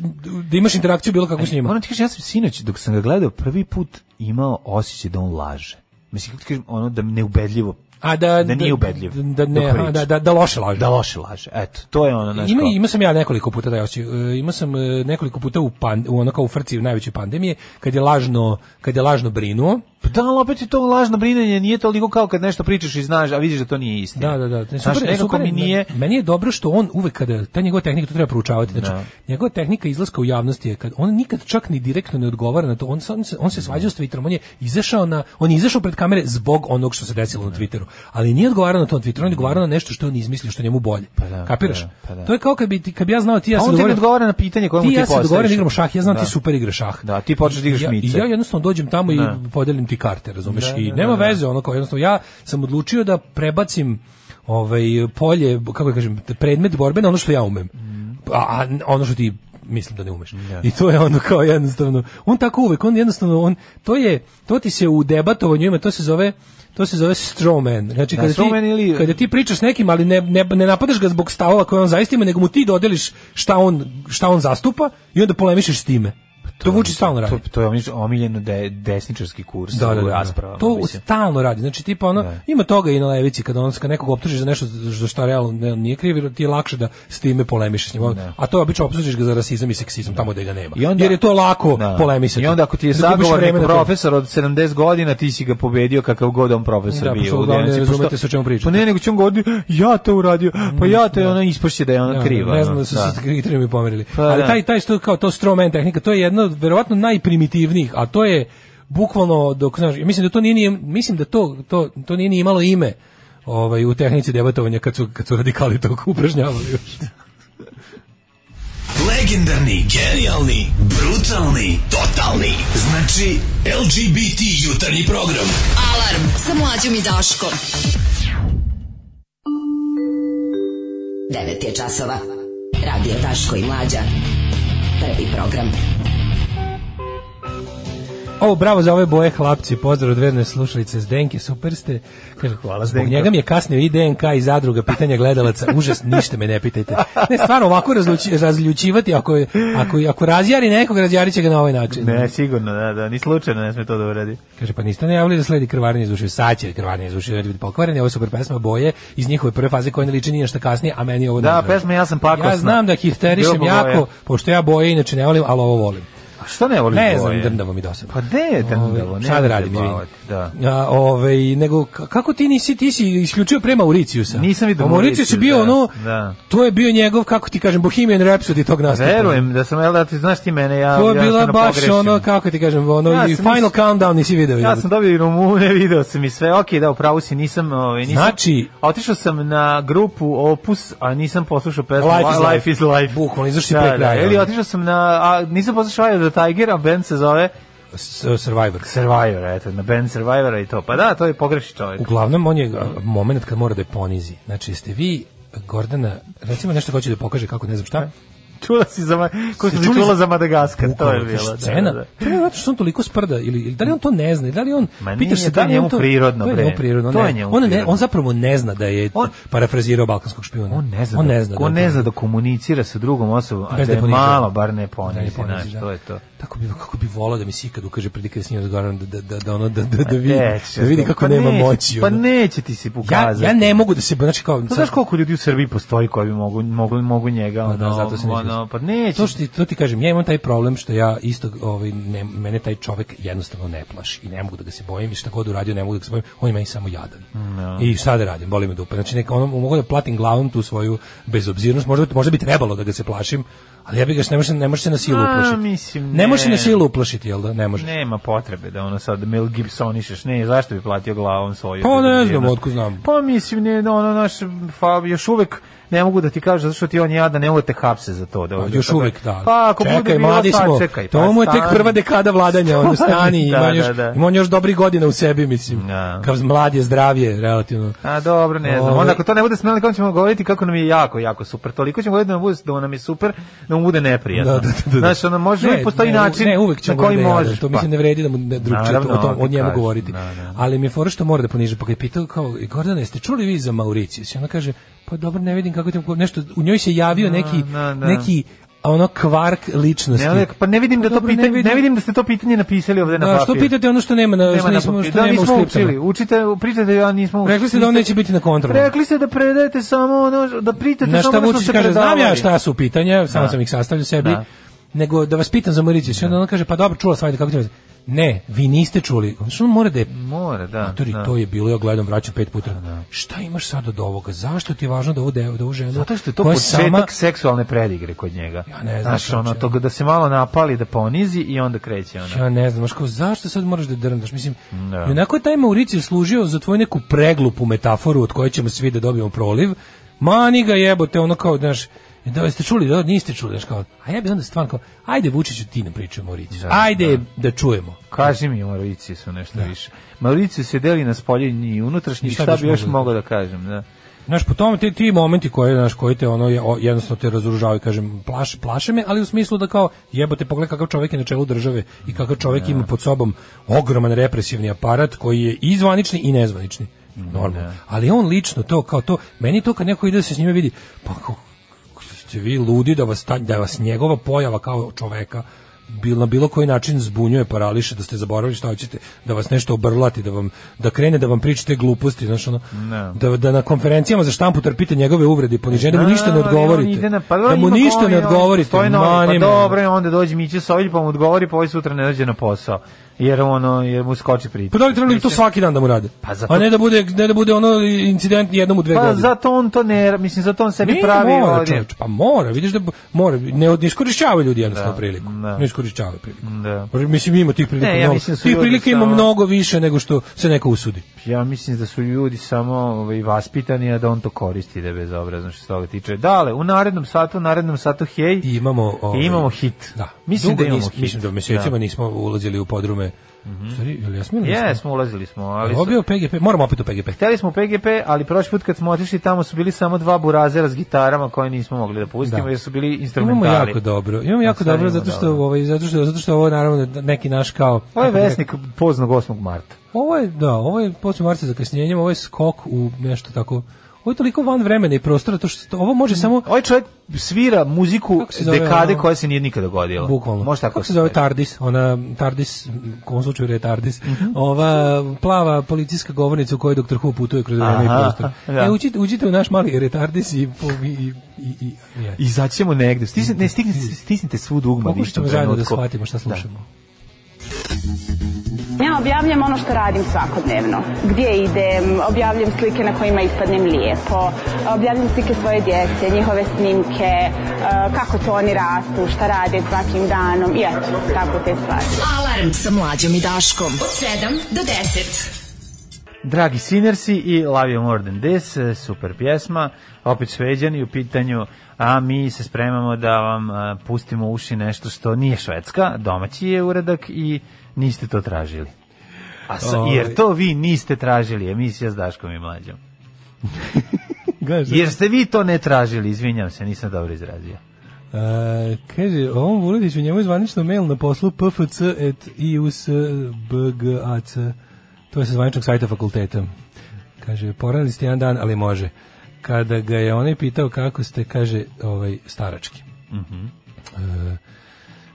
Speaker 6: da imaš interakciju bilo kako s njima.
Speaker 7: Moram ti kažem, ja sam sinoć, dok sam ga gledao, prvi put imao osjećaj da on laže. Mislim, kako ti kažem, ono da neubedljivo
Speaker 6: A da
Speaker 7: da nije ubedljiv.
Speaker 6: Da, da ne,
Speaker 7: dok
Speaker 6: aha,
Speaker 7: priča.
Speaker 6: da, da, da loše laže.
Speaker 7: Da loše laže. Eto, to je ono naš.
Speaker 6: Ima, ima sam ja nekoliko puta taj osjećaj. E, Ima sam e, nekoliko puta u, pan, u ono kao u frci u najvećoj pandemije kad je lažno kad je lažno brinuo.
Speaker 7: pa Da, ali opet je to lažno brinanje, nije toliko kao kad nešto pričaš i znaš, a vidiš da to nije istina.
Speaker 6: Da, da, da.
Speaker 7: Znaš, nekako mi nije...
Speaker 6: Meni je dobro što on uvek kada ta njegova tehnika to treba proučavati. Znači,
Speaker 7: Da.
Speaker 6: njegova tehnika izlaska u javnosti je kad on nikad čak ni direktno ne odgovara na to. On, sam se, on se svađao s Twitterom, on je izašao na on je izašao pred kamere zbog onog što se desilo na Twitteru. Ali nije odgovarao na to na Twitteru, on je odgovarao na nešto što on izmislio, što je njemu bolje.
Speaker 7: da,
Speaker 6: Kapiraš?
Speaker 7: pa da, pa da.
Speaker 6: To je kao kad bi ti- kad bi ja znao ti i ja
Speaker 7: A
Speaker 6: se
Speaker 7: on ti ne
Speaker 6: dogovorim-
Speaker 7: odgovara na pitanje koje mu
Speaker 6: ti
Speaker 7: ti
Speaker 6: i ja se
Speaker 7: postaviš.
Speaker 6: dogovorim da igramo šah, ja znam
Speaker 7: Da.
Speaker 6: ti super igraš šah.
Speaker 7: Da, ti počneš da igraš
Speaker 6: ja,
Speaker 7: mice.
Speaker 6: Ja jednostavno dođem tamo i
Speaker 7: Da.
Speaker 6: podelim ti karte, razumeš?
Speaker 7: Da,
Speaker 6: I
Speaker 7: da,
Speaker 6: nema
Speaker 7: da, da.
Speaker 6: veze, ono kao jednostavno ja sam odlučio da prebacim ovaj polje, kako da kažem, predmet borbe na ono što ja umem.
Speaker 7: Mm.
Speaker 6: A, a ono što ti mislim da ne umeš. I to je ono kao jednostavno, on tako uvek, on jednostavno, on, to je, to ti se u debatovanju ima, to se zove, to se zove strawman. Znači,
Speaker 7: Da,
Speaker 6: kada,
Speaker 7: strawman
Speaker 6: ti,
Speaker 7: ili-
Speaker 6: kada ti pričaš s nekim, ali ne, ne, ne napadaš ga zbog stavova koje on zaista ima, nego mu ti dodeliš šta on, šta on zastupa i onda polemišeš s time. To, vuči stalno radi.
Speaker 7: Pa To, to je omiljen- omiljen de, desničarski kurs
Speaker 6: Da, da, da,
Speaker 7: u
Speaker 6: da.
Speaker 7: raspravama.
Speaker 6: To
Speaker 7: mislim.
Speaker 6: stalno radi. Znači tipa ono
Speaker 7: Da.
Speaker 6: ima toga i na levici kad on kad nekog optužiš za nešto za što realno ne, nije kriv, jer ti je lakše da s time polemišeš s njim. A to obično optužiš ga za rasizam i seksizam tamo gde ga nema.
Speaker 7: I onda-
Speaker 6: jer je to lako
Speaker 7: Da.
Speaker 6: polemisati.
Speaker 7: I onda ako ti je
Speaker 6: Jer gubiš
Speaker 7: sagovornik
Speaker 6: vreme na to.
Speaker 7: profesor od 70 godina, ti si ga pobedio kakav god on profesor
Speaker 6: Da,
Speaker 7: bio.
Speaker 6: pošto
Speaker 7: u
Speaker 6: uglavnom ne
Speaker 7: Dnevnici, pošto-
Speaker 6: razumete sa čemu pričate. Mm,
Speaker 7: Pa ne, nego ću on govoriti, ja to uradio, pa ja to, ona ispašće da je ona
Speaker 6: Da,
Speaker 7: kriva.
Speaker 6: Ne
Speaker 7: ono,
Speaker 6: znam da su
Speaker 7: da.
Speaker 6: se kriterijumi pomerili.
Speaker 7: Pa,
Speaker 6: Ali
Speaker 7: da.
Speaker 6: taj taj što kao to strawman tehnika, to je jedno od verovatno najprimitivnijih, a to je bukvalno dok znaš, ja mislim da to nije, ni- mislim da to to to nije ni imalo ime. Ovaj u tehnici debatovanja kad su kad su radikali to upražnjavali još.
Speaker 2: Legendarni, genijalni, brutalni, totalni. Znači, LGBT jutarnji program.
Speaker 9: Alarm sa mlađom i Daškom.
Speaker 11: 9 je časova. Radio Daško i Mlađa. Prvi program.
Speaker 6: O, bravo za ove boje hlapci, pozdrav od verne slušalice Zdenke, super ste. Kaže, hvala Zbog
Speaker 7: Zdenko.
Speaker 6: njega mi je kasnio i DNK i zadruga, pitanja gledalaca, užas, ništa me ne pitajte. Ne, stvarno, ovako razluči, razljučivati, ako, je- ako, ako razjari nekog, razjarit će ga na ovaj način.
Speaker 7: Ne, sigurno, da, da, ni slučajno ne sme to da uradi.
Speaker 6: Kaže, pa niste najavili da sledi krvarenje iz ušiju, sad će krvarenje iz ušiju, da će biti pokvareni, ovo je super pesma boje iz njihove prve faze koje ne liči ni nešto kasnije, a meni je ovo
Speaker 7: Da,
Speaker 6: najdraže.
Speaker 7: pesma ja sam pakosna.
Speaker 6: Ja znam da histerišem
Speaker 7: Ljubo
Speaker 6: jako,
Speaker 7: Boje.
Speaker 6: pošto ja boje inače ne volim, ali ovo volim.
Speaker 7: A Šta ne voliš
Speaker 6: Ne
Speaker 7: boje?
Speaker 6: znam, drndavo mi dosadno.
Speaker 7: Pa gde je drndavo?
Speaker 6: Ove,
Speaker 7: Ne
Speaker 6: Šta da
Speaker 7: znam
Speaker 6: radim, izvini.
Speaker 7: zabavati, Da.
Speaker 6: A, ovaj, nego, ka- kako ti nisi, ti si isključio pre Mauricijusa?
Speaker 7: Nisam vidio
Speaker 6: A Mauricius je
Speaker 7: Mauricius,
Speaker 6: bio
Speaker 7: da,
Speaker 6: ono,
Speaker 7: da.
Speaker 6: to je bio njegov, kako ti kažem, Bohemian Rhapsody tog nastupa.
Speaker 7: Verujem da sam, jel da ti znaš ti mene, ja
Speaker 6: To je
Speaker 7: ja
Speaker 6: bila
Speaker 7: stvarno
Speaker 6: baš
Speaker 7: pogrešim.
Speaker 6: ono, kako ti kažem, ono,
Speaker 7: Ja
Speaker 6: i
Speaker 7: sam
Speaker 6: Final
Speaker 7: mis-
Speaker 6: Countdown nisi video.
Speaker 7: Ja
Speaker 6: jebote.
Speaker 7: sam dobio i Rumune, video sam i sve. Okej, da, upravo si, nisam... Ovaj, nisam
Speaker 6: Znači-
Speaker 7: Otišao sam na grupu Opus, a nisam poslušao pesmu
Speaker 6: Life is
Speaker 7: Li-
Speaker 6: Life.
Speaker 7: is Life.
Speaker 6: Bukvalno, izašli pre kraja,
Speaker 7: Ili
Speaker 6: ono.
Speaker 7: otišao sam na... A, nisam poslušao Eye of the Tiger, a band se zove
Speaker 6: S- Survivor.
Speaker 7: Survivor, eto, na band Survivora i to. Pa da, to je pogreši čovjek.
Speaker 6: Uglavnom, on je moment kad mora da je ponizi. Znači, jeste vi, Gordana, recimo nešto hoće da pokaže kako, ne znam šta,
Speaker 7: Čula si za... Ma- Ko
Speaker 6: Ste
Speaker 7: si
Speaker 6: čuli
Speaker 7: čula
Speaker 6: za-
Speaker 7: za Madagaskar, to je
Speaker 6: Bukvalno,
Speaker 7: bilo.
Speaker 6: Scena.
Speaker 7: Da, da, da.
Speaker 6: To je zato što on toliko sprda ili, ili da li on to ne zna, ili da li on
Speaker 7: Ma nije,
Speaker 6: pitaš
Speaker 7: to
Speaker 6: se da
Speaker 7: je
Speaker 6: li on
Speaker 7: njemu
Speaker 6: to
Speaker 7: prirodno,
Speaker 6: to je
Speaker 7: bre.
Speaker 6: njemu prirodno.
Speaker 7: To
Speaker 6: ne.
Speaker 7: je njemu
Speaker 6: on ne,
Speaker 7: prirodno.
Speaker 6: on zapravo ne zna da je
Speaker 7: On-
Speaker 6: parafrazirao balkanskog špijuna.
Speaker 7: On ne zna,
Speaker 6: on
Speaker 7: da,
Speaker 6: ne zna.
Speaker 7: on
Speaker 6: je
Speaker 7: ne
Speaker 6: to-
Speaker 7: zna da komunicira sa drugom osobom, a
Speaker 6: Bez
Speaker 7: da
Speaker 6: da je
Speaker 7: je
Speaker 6: ponižava.
Speaker 7: malo, bar ne
Speaker 6: da ne
Speaker 7: ponizi,
Speaker 6: ponizi,
Speaker 7: znaš,
Speaker 6: da.
Speaker 7: to je to.
Speaker 6: Tako bi kako bi volao da mi se ikad ukaže prilike da s njim razgovaram da da da da ono da da, da vidi
Speaker 7: Neće,
Speaker 6: da vidi kako
Speaker 7: pa
Speaker 6: nema
Speaker 7: neće,
Speaker 6: moći.
Speaker 7: Pa
Speaker 6: ono.
Speaker 7: neće ti se
Speaker 6: Ja,
Speaker 7: pokazati.
Speaker 6: ja ne mogu da se znači kao
Speaker 7: Pa znaš koliko ljudi u Srbiji postoji koji bi mogu, mogu, mogu njega,
Speaker 6: Pa
Speaker 7: ono,
Speaker 6: da, zato se ne
Speaker 7: ono,
Speaker 6: smislim.
Speaker 7: pa neće.
Speaker 6: To što ti, to ti kažem, ja imam taj problem što ja isto, ovaj, ne, mene taj čovek jednostavno ne plaši i ne mogu da ga se bojim i šta god uradio ne mogu da ga se bojim, on je meni samo jadan. I šta da radim, boli me dupe. Znači, neka, ono, mogu da platim glavom tu svoju bezobzirnost, možda, bi- možda bi trebalo da ga se plašim, ali ja bih ga se- ne može, ne može se na silu
Speaker 7: A,
Speaker 6: uplašiti.
Speaker 7: mislim,
Speaker 6: ne može se
Speaker 7: ne.
Speaker 6: na silu uplašiti, jel da? Ne može.
Speaker 7: Nema potrebe da ono sad Mel Gibsonišeš, ne, zašto bi platio glavom svoju?
Speaker 6: Pa ne
Speaker 7: bezobzirnost?
Speaker 6: znam, otkud znam.
Speaker 7: Pa mislim, ne, ono naš, fa, još uvek ne mogu da ti kažu zato što ti on jadan, ne mogu da te hapse za to. Da,
Speaker 6: Pa,
Speaker 7: da-
Speaker 6: još
Speaker 7: da-
Speaker 6: uvek da.
Speaker 7: Pa, ako
Speaker 6: čekaj,
Speaker 7: bude bilo,
Speaker 6: mladi
Speaker 7: sad
Speaker 6: smo.
Speaker 7: čekaj,
Speaker 6: to
Speaker 7: pa
Speaker 6: mu je tek
Speaker 7: stani.
Speaker 6: prva dekada vladanja, ono stani,
Speaker 7: Da,
Speaker 6: ima
Speaker 7: da,
Speaker 6: još,
Speaker 7: da.
Speaker 6: ima on još dobrih godina u sebi, mislim. Kao mlad je zdravije, relativno.
Speaker 7: A dobro, ne znam.
Speaker 6: Ovaj-
Speaker 7: Onda ako to ne bude smeli, kako ćemo govoriti kako nam je jako, jako super. Toliko ćemo govoriti da nam, bude, da nam je super, da nam bude neprijatno.
Speaker 6: Da, da, da, da.
Speaker 7: Znaš, ono, može, uvijek postoji
Speaker 6: ne, u-
Speaker 7: način
Speaker 6: ne, uvek ćemo
Speaker 7: na koji
Speaker 6: da jadan,
Speaker 7: možeš. pa.
Speaker 6: To mislim ne vredi da mu ne drugčije
Speaker 7: Naravno,
Speaker 6: o tom, o
Speaker 7: ovdje
Speaker 6: njemu
Speaker 7: kažem,
Speaker 6: govoriti.
Speaker 7: da, da.
Speaker 6: Ali mi je fora što mora da poniže, pa ga je pitao kao Gordana, jeste čuli vi za Mauricijus? I ona kaže, pa dobro, ne vidim kako tamo nešto u njoj se javio
Speaker 7: Da,
Speaker 6: neki
Speaker 7: da, da.
Speaker 6: neki a ono kvark ličnosti.
Speaker 7: Ne, ali, pa ne vidim da to
Speaker 6: Dobro, ne
Speaker 7: pitanje, ne
Speaker 6: vidim.
Speaker 7: vidim da ste to pitanje napisali ovde na
Speaker 6: Da,
Speaker 7: papiru.
Speaker 6: što pitate ono što nema na što
Speaker 7: na
Speaker 6: nismo
Speaker 7: papiru.
Speaker 6: što
Speaker 7: da,
Speaker 6: nema u
Speaker 7: nismo
Speaker 6: skriptama.
Speaker 7: učili. Učite, pričate, ja nismo učili.
Speaker 6: Rekli ste da on
Speaker 7: Niste-
Speaker 6: neće biti na kontrolu.
Speaker 7: Rekli ste da predajete samo ono, da pitate
Speaker 6: Na
Speaker 7: samo
Speaker 6: šta
Speaker 7: ono što
Speaker 6: Vučić
Speaker 7: ste
Speaker 6: kaže,
Speaker 7: predavali.
Speaker 6: znam ja šta su pitanja, samo
Speaker 7: Da.
Speaker 6: sam ih sastavljao sebi,
Speaker 7: Da.
Speaker 6: nego da vas pitam za Mauriciju. I onda on kaže, pa dobro, čula sam, ajde, kako ti vas- Ne, vi niste čuli. Što on mora da je...
Speaker 7: Mora, da.
Speaker 6: Matori,
Speaker 7: da.
Speaker 6: to je bilo, ja gledam, vraćam pet puta. Šta imaš sad od ovoga? Zašto ti je važno da ovu, devu, da ovu ženu...
Speaker 7: Zato što je to
Speaker 6: koja
Speaker 7: početak
Speaker 6: sama-
Speaker 7: seksualne predigre kod njega.
Speaker 6: Ja ne znam
Speaker 7: Znaš,
Speaker 6: šta
Speaker 7: ono,
Speaker 6: će.
Speaker 7: to da se malo napali, da ponizi i onda kreće ono.
Speaker 6: Ja ne znam, znaš kao, zašto sad moraš da drndaš? Mislim,
Speaker 7: Da.
Speaker 6: i onako je taj Mauricio služio za tvoju neku preglupu metaforu od koje ćemo svi da dobijemo proliv. Mani ga jebote, ono kao, znaš, da jeste čuli, da niste čuli, znaš kao, a ja bi onda stvarno kao, ajde Vučiću ti nam pričaj o Mauriciju,
Speaker 7: Da,
Speaker 6: ajde da. čujemo.
Speaker 7: Kaži mi, Mauricije su nešto više. Mauricije se deli na spoljenji i unutrašnji,
Speaker 6: I šta
Speaker 7: šta
Speaker 6: biš
Speaker 7: bi još
Speaker 6: mogao da-
Speaker 7: mogao da kažem, da.
Speaker 6: Znaš, po tome ti, ti momenti koje, znaš, koji te ono, je- o- jednostavno te razoružavaju, kažem, plaše, plaše me, ali u smislu da kao, jebote, pogledaj kakav čovjek je na čelu države i kakav čovjek ima pod sobom ogroman represivni aparat koji je i zvanični i nezvanični. Normalno. Ali on lično to, kao to, meni to kad neko ide da se s njime vidi, pa kao, ste vi ludi da vas, ta- da vas njegova pojava kao čoveka bil, na bilo koji način zbunjuje, parališe, da ste zaboravili šta hoćete, da vas nešto obrlati, da vam da krene da vam pričate gluposti, znaš ono,
Speaker 7: Ne.
Speaker 6: da, da na konferencijama za štampu trpite njegove uvrede i poniženje, da mu
Speaker 7: Da,
Speaker 6: ništa ne
Speaker 7: ali on
Speaker 6: odgovorite.
Speaker 7: ide na- pa
Speaker 6: Da mu
Speaker 7: ima
Speaker 6: ništa
Speaker 7: govori,
Speaker 6: ne
Speaker 7: on
Speaker 6: odgovorite.
Speaker 7: stoji na ovoj,
Speaker 6: mani
Speaker 7: Pa
Speaker 6: me. ono.
Speaker 7: dobro, i onda dođe Miće Sovilj pa mu odgovori, pa ovaj sutra ne dođe na posao. Jer ono, jer mu skoči pritisak.
Speaker 6: Pa da li trebali bi to svaki dan da mu rade?
Speaker 7: Pa zato-
Speaker 6: A ne da bude, ne da bude ono incident jednom u dve
Speaker 7: Pa
Speaker 6: godine.
Speaker 7: zato on to ne, mislim, zato on sebi
Speaker 6: Ne,
Speaker 7: pravi
Speaker 6: mora,
Speaker 7: ovdje.
Speaker 6: čoveče, pa mora, vidiš da mora, ne, od- ne iskorišćavaju ljudi jednostavno
Speaker 7: Da,
Speaker 6: priliku.
Speaker 7: da.
Speaker 6: Ne iskorišćavaju priliku.
Speaker 7: Da.
Speaker 6: Pa Mislim ima tih prilika
Speaker 7: Ne, ja
Speaker 6: mnogo.
Speaker 7: mislim da su
Speaker 6: tih
Speaker 7: ljudi
Speaker 6: prilika ima
Speaker 7: samo-
Speaker 6: mnogo više nego što se neko usudi.
Speaker 7: Ja mislim da su ljudi samo ovaj, vaspitani, a da on to koristi da je bezobrazno što se toga tiče. Dale, u narednom satu, u narednom satu, hej,
Speaker 6: I imamo ovaj,
Speaker 7: imamo hit.
Speaker 6: Da.
Speaker 7: Mislim
Speaker 6: Dugo
Speaker 7: da imamo
Speaker 6: nis-
Speaker 7: hit.
Speaker 6: Mislim da mesecima
Speaker 7: Da. Mhm.
Speaker 6: nismo ulazili u podrume. Mm Sorry, jel jesmo ili nismo?
Speaker 7: Jesmo, ulazili smo, ali...
Speaker 6: Jel Obio PGP, moramo opet u PGP.
Speaker 7: Hteli smo u PGP, ali prošli put kad smo otišli tamo su bili samo dva burazera s gitarama koje nismo mogli da pustimo
Speaker 6: Da.
Speaker 7: jer su bili
Speaker 6: Imamo
Speaker 7: instrumentali.
Speaker 6: jako dobro. Imamo jako
Speaker 7: sad
Speaker 6: dobro
Speaker 7: imamo
Speaker 6: zato što
Speaker 7: dobro.
Speaker 6: ovaj zato što zato što ovo naravno neki naš kao
Speaker 7: Ovo je
Speaker 6: kako bi rekao,
Speaker 7: vesnik poznog 8. marta.
Speaker 6: Ovo je, da, ovo je počne marca za kasnjenjem, ovo je skok u nešto tako, ovo je toliko van vremena i prostora, to što ovo može samo,
Speaker 7: Ovaj čovjek svira muziku
Speaker 6: Kako se zove
Speaker 7: dekade
Speaker 6: ono?
Speaker 7: koja se nije nikada dogodila.
Speaker 6: bukvalno,
Speaker 7: Može tako
Speaker 6: kako se zove Tardis, ona Tardis, u ovom slučaju je Tardis,
Speaker 7: Mhm.
Speaker 6: ova plava policijska govornica u kojoj doktor Hu putuje kroz vreme i
Speaker 7: Aha,
Speaker 6: prostor.
Speaker 7: da.
Speaker 6: E, uđite, uđite u naš mali retardis i... po- i, i, i, i je.
Speaker 7: Izaći ćemo negde. Stisnite, ne, stisnite, stisnite svu dugma.
Speaker 6: Pokušat ćemo
Speaker 7: u istom
Speaker 6: zajedno da
Speaker 7: trenutku.
Speaker 6: shvatimo šta slušamo.
Speaker 12: Ja objavljam ono što radim svakodnevno. Gdje idem, objavljam slike na kojima ispadnem lijepo, objavljam slike svoje djece, njihove snimke, eh, kako to oni rastu, šta rade svakim danom i eto, tako te stvari.
Speaker 9: Alarm sa mlađom i Daškom. Od 7 do 10.
Speaker 7: Dragi Sinersi i Love You More Than This, eh, super pjesma, opet šveđani u pitanju, a mi se spremamo da vam eh, pustimo u uši nešto što nije švedska, domaći je uradak i niste to tražili. A sa,
Speaker 6: Ovaj.
Speaker 7: jer to vi niste tražili, emisija s Daškom i Mlađom. Jer ste vi to ne tražili, izvinjam se, nisam dobro izrazio.
Speaker 6: E, kaže, ovom Vuletiću njemu je zvanično mail na poslu pfc.ius.bgac. To je sa zvaničnog sajta fakulteta. Kaže, poranili ste jedan dan, ali može. Kada ga je onaj pitao kako ste, kaže, ovaj, starački. E,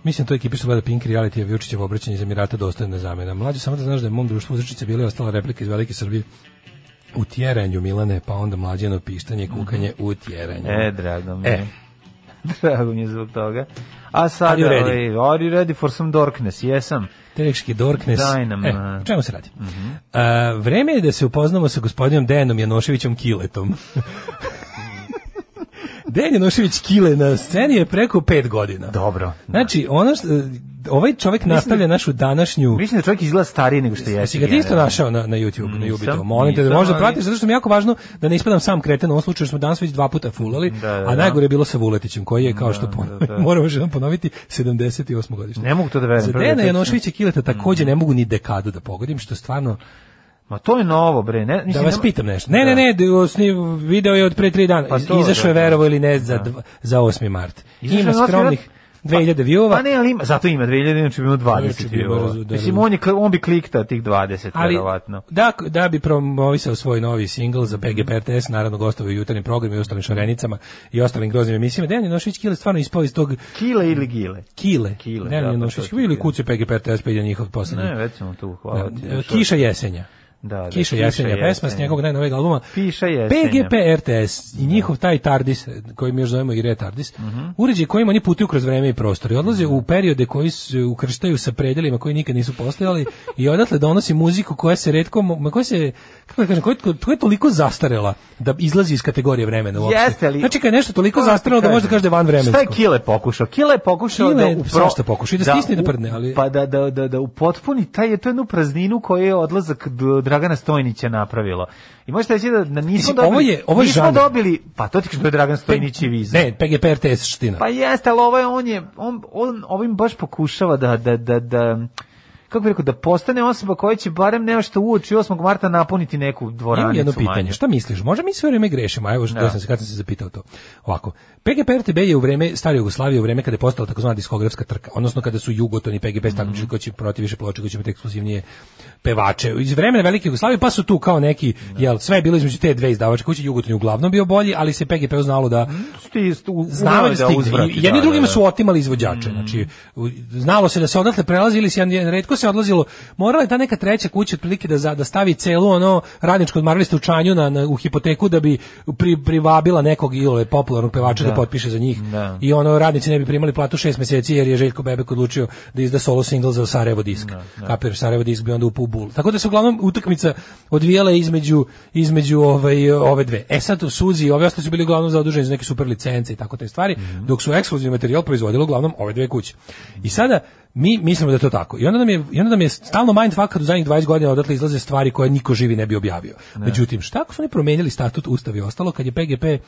Speaker 6: Mislim, to je ekipi što gleda Pink Reality, a Vučićevo obraćanje iz Emirata dostojna zamena. Mlađe, samo da znaš da je mom društvu uzrečice bila i ostala replika iz Velike Srbije u tjeranju Milane, pa onda mlađeno pištanje, kukanje u tjeranju.
Speaker 7: E, drago mi je.
Speaker 6: E.
Speaker 7: Drago mi je zbog toga. A sada,
Speaker 6: Are you ready?
Speaker 7: ovaj, are you ready for some darkness? Jesam.
Speaker 6: Tereški Dorknes.
Speaker 7: Daj nam,
Speaker 6: E,
Speaker 7: a.
Speaker 6: o čemu se radi?
Speaker 7: Mhm.
Speaker 6: A, vreme je da se upoznamo sa gospodinom Dejanom Janoševićem Kiletom. Dejan Janošević Kile na sceni je preko pet godina.
Speaker 7: Dobro.
Speaker 6: Znači, ono što, ovaj čovjek nastavlja našu današnju...
Speaker 7: Mislim da čovjek izgleda stariji nego što jeste.
Speaker 6: Jesi ga ti isto našao na, na YouTube, na Jubito? Molim te da
Speaker 7: nisam,
Speaker 6: možda
Speaker 7: ali-
Speaker 6: pratiš, zato što mi je jako važno da ne ispadam sam kreten, u ovom slučaju smo danas već dva puta fulali,
Speaker 7: da,
Speaker 6: a
Speaker 7: da.
Speaker 6: najgore je bilo sa Vuletićem, koji je, kao što ponavljam,
Speaker 7: da, da.
Speaker 6: moramo još jednom ponoviti, 78. godište.
Speaker 7: Ne mogu to da verujem.
Speaker 6: Za
Speaker 7: prvo da Mhm.
Speaker 6: Dejana
Speaker 7: to-
Speaker 6: Janoševića Kileta takođe ne mogu ni dekadu da pogodim, što stvarno...
Speaker 7: Ma to je novo, bre. Ne,
Speaker 6: da
Speaker 7: mislim,
Speaker 6: vas
Speaker 7: nema-
Speaker 6: pitam nešto. Ne, ne, ne, da je osni- video je od pre tri dana.
Speaker 7: Pa to,
Speaker 6: Izašao je
Speaker 7: da, da.
Speaker 6: verovo ili ne za, dva- za 8. mart.
Speaker 7: Izašao je
Speaker 6: Ima
Speaker 7: na osmi
Speaker 6: skromnih 2000 viewova. Pa
Speaker 7: Pa ne, ali ima, zato ima 2000, inače bi imao 20
Speaker 6: bi imao
Speaker 7: viewova.
Speaker 6: razu- da,
Speaker 7: Mislim,
Speaker 6: da.
Speaker 7: on, je, kl- on bi kliktao tih 20,
Speaker 6: Ali,
Speaker 7: verovatno.
Speaker 6: da, da bi promovisao svoj novi singl za PGP RTS, naravno gostove u jutarnjim programima i ostalim šarenicama i ostalim groznim emisijama. Dejan Janošević Kile stvarno ispao iz tog
Speaker 7: Kile ili gile?
Speaker 6: Kile.
Speaker 7: Kile,
Speaker 6: Dejan
Speaker 7: da, pa
Speaker 6: Janošević
Speaker 7: to je to.
Speaker 6: ili kuće PGP RTS pa ide njihov poslednji.
Speaker 7: Ne, već sam tu, hvala ti.
Speaker 6: Da, e, Kiša jesenja.
Speaker 7: Da, da,
Speaker 6: Kiša jesenja, pesma s njegovog najnovijeg albuma.
Speaker 7: Piša jesenja.
Speaker 6: PGP RTS i njihov taj TARDIS, koji mi još zovemo i retardis,
Speaker 7: Mhm.
Speaker 6: uređaj kojim oni putuju kroz vreme i prostor i odlaze u periode koji se ukrštaju sa predelima koji nikad nisu postojali i odatle donosi muziku koja se redko, mo- ma koja se, kako da kažem, koja, je- koja je toliko zastarela da izlazi iz kategorije vremena uopšte.
Speaker 7: Jeste li?
Speaker 6: Znači kad je nešto toliko zastarelo da možda kaže da je van
Speaker 7: Šta je
Speaker 6: vremensko.
Speaker 7: Kile pokušao? Kile je pokušao
Speaker 6: Kile
Speaker 7: da
Speaker 6: je svašta pokušao, i da stisne i da
Speaker 7: u-
Speaker 6: prdne, ali-
Speaker 7: Pa da, da, da, da upotpuni taj, je to jednu prazninu koju je odlazak d- Dragana Stojnića napravilo. I možete reći da, da nismo
Speaker 6: Mislim,
Speaker 7: dobili...
Speaker 6: ovo je- ovo je
Speaker 7: nismo
Speaker 6: žanr.
Speaker 7: dobili... Pa to ti kažem da je Dragan Stojnić i viza.
Speaker 6: Ne, PGP RTS ština.
Speaker 7: Pa jeste, ali ovo je, on je, on, on ovim baš pokušava da, da, da, da, kako bih rekao, da postane osoba koja će barem nešto uoči 8. marta napuniti neku dvoranicu.
Speaker 6: Imam jedno pitanje.
Speaker 7: manju.
Speaker 6: Šta misliš? Možda mi sve vreme grešimo. a Evo što
Speaker 7: Da.
Speaker 6: sam se kad sam se zapitao to. Ovako. PGP RTB je u vreme stare Jugoslavije, u vreme kada je postala takozvana diskografska trka, odnosno kada su Jugoton i PGP
Speaker 7: Mhm.
Speaker 6: mm -hmm. koji će protiv više ploče, koji će imati ekskluzivnije pevače. Iz vremena Velike Jugoslavije pa su tu kao neki, jel, sve je bilo između te dve izdavačke kuće, Jugoton je uglavnom bio bolji, ali se PGP znalo da
Speaker 7: Mhm. Sti, stu, umeo
Speaker 6: znao
Speaker 7: je
Speaker 6: da
Speaker 7: da uzvrati,
Speaker 6: stigne. I Jedni
Speaker 7: da,
Speaker 6: drugima
Speaker 7: da,
Speaker 6: su otimali izvođače. Znači, u- znalo se da se odatle prelazi ili se jedan- redko se odlazilo. Morala je ta neka treća kuća otprilike da, za- da stavi celu ono radničko odmaralište u Čanju na, na- u hipoteku da bi pri, privabila nekog ili popularnog pevača da.
Speaker 7: Da.
Speaker 6: potpiše za njih.
Speaker 7: Da.
Speaker 6: I ono radnici ne bi primali platu šest mjeseci jer je Željko Bebek odlučio da izda solo single za Sarajevo disk. Kapiraš, Sarajevo disk bi onda upao u bul. Tako da se uglavnom utakmica odvijala između između ovaj ove dve. E sad u Suzi ove ostale su bili uglavnom zaduženi za neke super licence i tako te stvari,
Speaker 7: Mhm.
Speaker 6: dok su ekskluzivni materijal proizvodile uglavnom ove dve kuće. I sada mi mislimo da je to tako. I onda nam je, i onda nam je stalno mindfuck kad u zadnjih 20 godina odatle izlaze stvari koje niko živi ne bi objavio. Međutim, šta ako su oni promijenili statut, ustav i ostalo, kad je PGP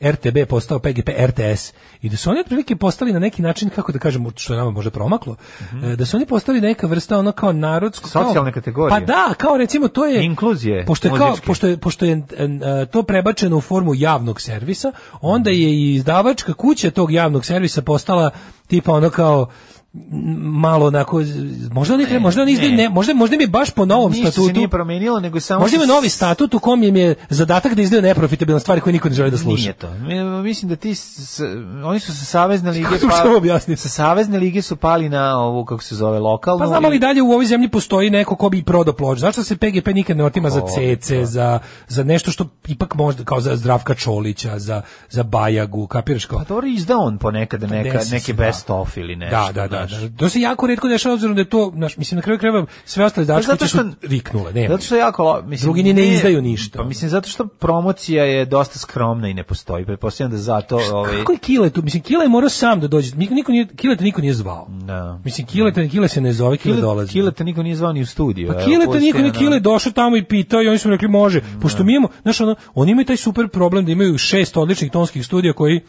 Speaker 6: RTB je postao PGP RTS i da su oni otprilike postali na neki način kako da kažemo što je nama možda promaklo e, da su oni postali neka vrsta ono kao narodsko kao-
Speaker 7: Mhm. Socijalne kategorije.
Speaker 6: pa da kao recimo to je
Speaker 7: Inkluzije
Speaker 6: E, pošto je, kao,
Speaker 7: muzičke.
Speaker 6: pošto je, pošto je en, e, to prebačeno u formu javnog servisa onda je i izdavačka kuća tog javnog servisa postala tipa ono kao m, malo onako z- možda oni možda oni izdaju ne, možda možda im je baš po novom
Speaker 7: Ništa se
Speaker 6: statutu
Speaker 7: nije promenilo, nego samo...
Speaker 6: možda ima
Speaker 7: se-
Speaker 6: novi statut u kom im je zadatak da izdaju neprofitabilne stvari koje niko ne želi da sluša
Speaker 7: Nije to. Mi- Mislim da ti s, s- oni su sa savezne lige pa-
Speaker 6: Kako to što objasniti?
Speaker 7: sa savezne lige su pali na ovu kako se zove lokalnu.
Speaker 6: Pa znamo
Speaker 7: i-
Speaker 6: li dalje u ovoj zemlji postoji neko ko bi i prodao ploče? Zašto se PGP nikad ne otima za CC, za, za nešto što ipak možda, kao za Zdravka Čolića, za, za Bajagu, kapiraš kao?
Speaker 7: Pa dobro izda on ponekad neka,
Speaker 6: Pa Desi se,
Speaker 7: neke
Speaker 6: da.
Speaker 7: best of ili nešto.
Speaker 6: Da, da, da,
Speaker 7: znaš.
Speaker 6: da. To se jako redko dešava, obzirom da je to, znaš, mislim, na kraju krajeva sve ostale
Speaker 7: Pa
Speaker 6: dačke su riknule, nema.
Speaker 7: Zato što je jako, lo- mislim,
Speaker 6: Drugi ni ne
Speaker 7: nije-
Speaker 6: izdaju ništa. ono.
Speaker 7: Pa mislim zato što promocija je dosta skromna i ne postoji. Pretpostavljam da zato ovaj
Speaker 6: Pa Kako je Kile tu? Mislim, Kile je morao sam da dođe. Niko, niko nije, Kile te niko nije zvao.
Speaker 7: da.
Speaker 6: Mislim, Kile, te, Kile se ne zove, Kile,
Speaker 7: Kile,
Speaker 6: dolazi.
Speaker 7: Kile te niko nije zvao ni u studiju.
Speaker 6: Pa
Speaker 7: evo,
Speaker 6: Kile to
Speaker 7: pusti,
Speaker 6: niko ni
Speaker 7: ono.
Speaker 6: Kile je došao tamo i pitao i oni su mu rekli može. Pošto mi imamo, znaš, ono, oni imaju taj super problem da imaju šest odličnih tonskih studija koji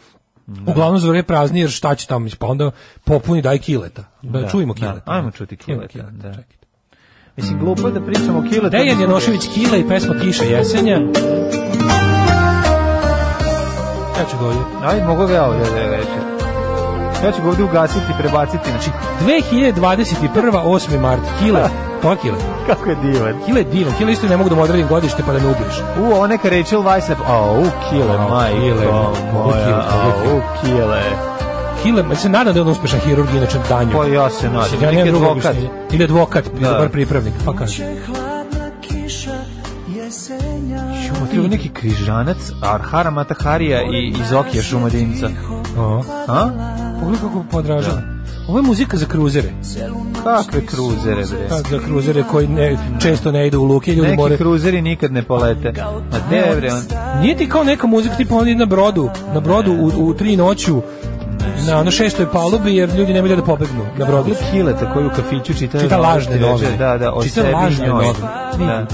Speaker 6: uglavnom zvore prazni jer šta će tamo, pa onda popuni daj kileta. Da, čujemo
Speaker 7: da.
Speaker 6: kileta.
Speaker 7: Ajmo čuti
Speaker 6: Čujemo
Speaker 7: Kileta, da.
Speaker 6: čekaj.
Speaker 7: Mislim glupo je da pričamo o Kile.
Speaker 6: Dejan Janošević Kile i pesma Kiša jesenja. Ja ću ga ovdje.
Speaker 7: Aj, mogu ga ja ovdje da rečem. Ja ću ga ovdje ugasiti i prebaciti. Znači,
Speaker 6: 2021. 8. mart. Kile. To je Kile.
Speaker 7: kako je divan.
Speaker 6: Kile je divan. Kile isto ne mogu da mu odredim godište pa da me ubiješ.
Speaker 7: U, ovo neka Rachel Weiss. O, u, Kile,
Speaker 6: Au,
Speaker 7: majko
Speaker 6: Kile,
Speaker 7: moja.
Speaker 6: au, Kile.
Speaker 7: O, u, Kile.
Speaker 6: Kile, ma se nadam da je on uspešan hirurg, inače danju.
Speaker 7: Pa ja se nadam.
Speaker 6: Ja
Speaker 7: Neki
Speaker 6: nemam drugog
Speaker 7: advokat.
Speaker 6: objašnjenja. Ili advokat, ili
Speaker 7: Da.
Speaker 6: dobar pripravnik, pa kaže.
Speaker 7: Čumo, treba neki križanac, Arhara Mataharija i, i Zokija Šumadinca.
Speaker 6: O,
Speaker 7: A?
Speaker 6: pogledaj kako podražava. Ovo je muzika za kruzere.
Speaker 7: Kakve kruzere, bre?
Speaker 6: Kako za kruzere koji ne, često ne idu u luke, ljudi
Speaker 7: Neki
Speaker 6: moraju...
Speaker 7: kruzeri nikad ne polete. Ma de, bre, on...
Speaker 6: Nije ti kao neka muzika tipa oni na brodu, na brodu u, u tri noću, na ono šestoj palubi, jer ljudi nemaju gde da pobegnu na brodu.
Speaker 7: Hileta koji u kafiću čita...
Speaker 6: Čita lažne novine.
Speaker 7: Da, da, o
Speaker 6: Čita
Speaker 7: sebi i
Speaker 6: lažne
Speaker 7: njoj.
Speaker 6: novine.
Speaker 7: Da.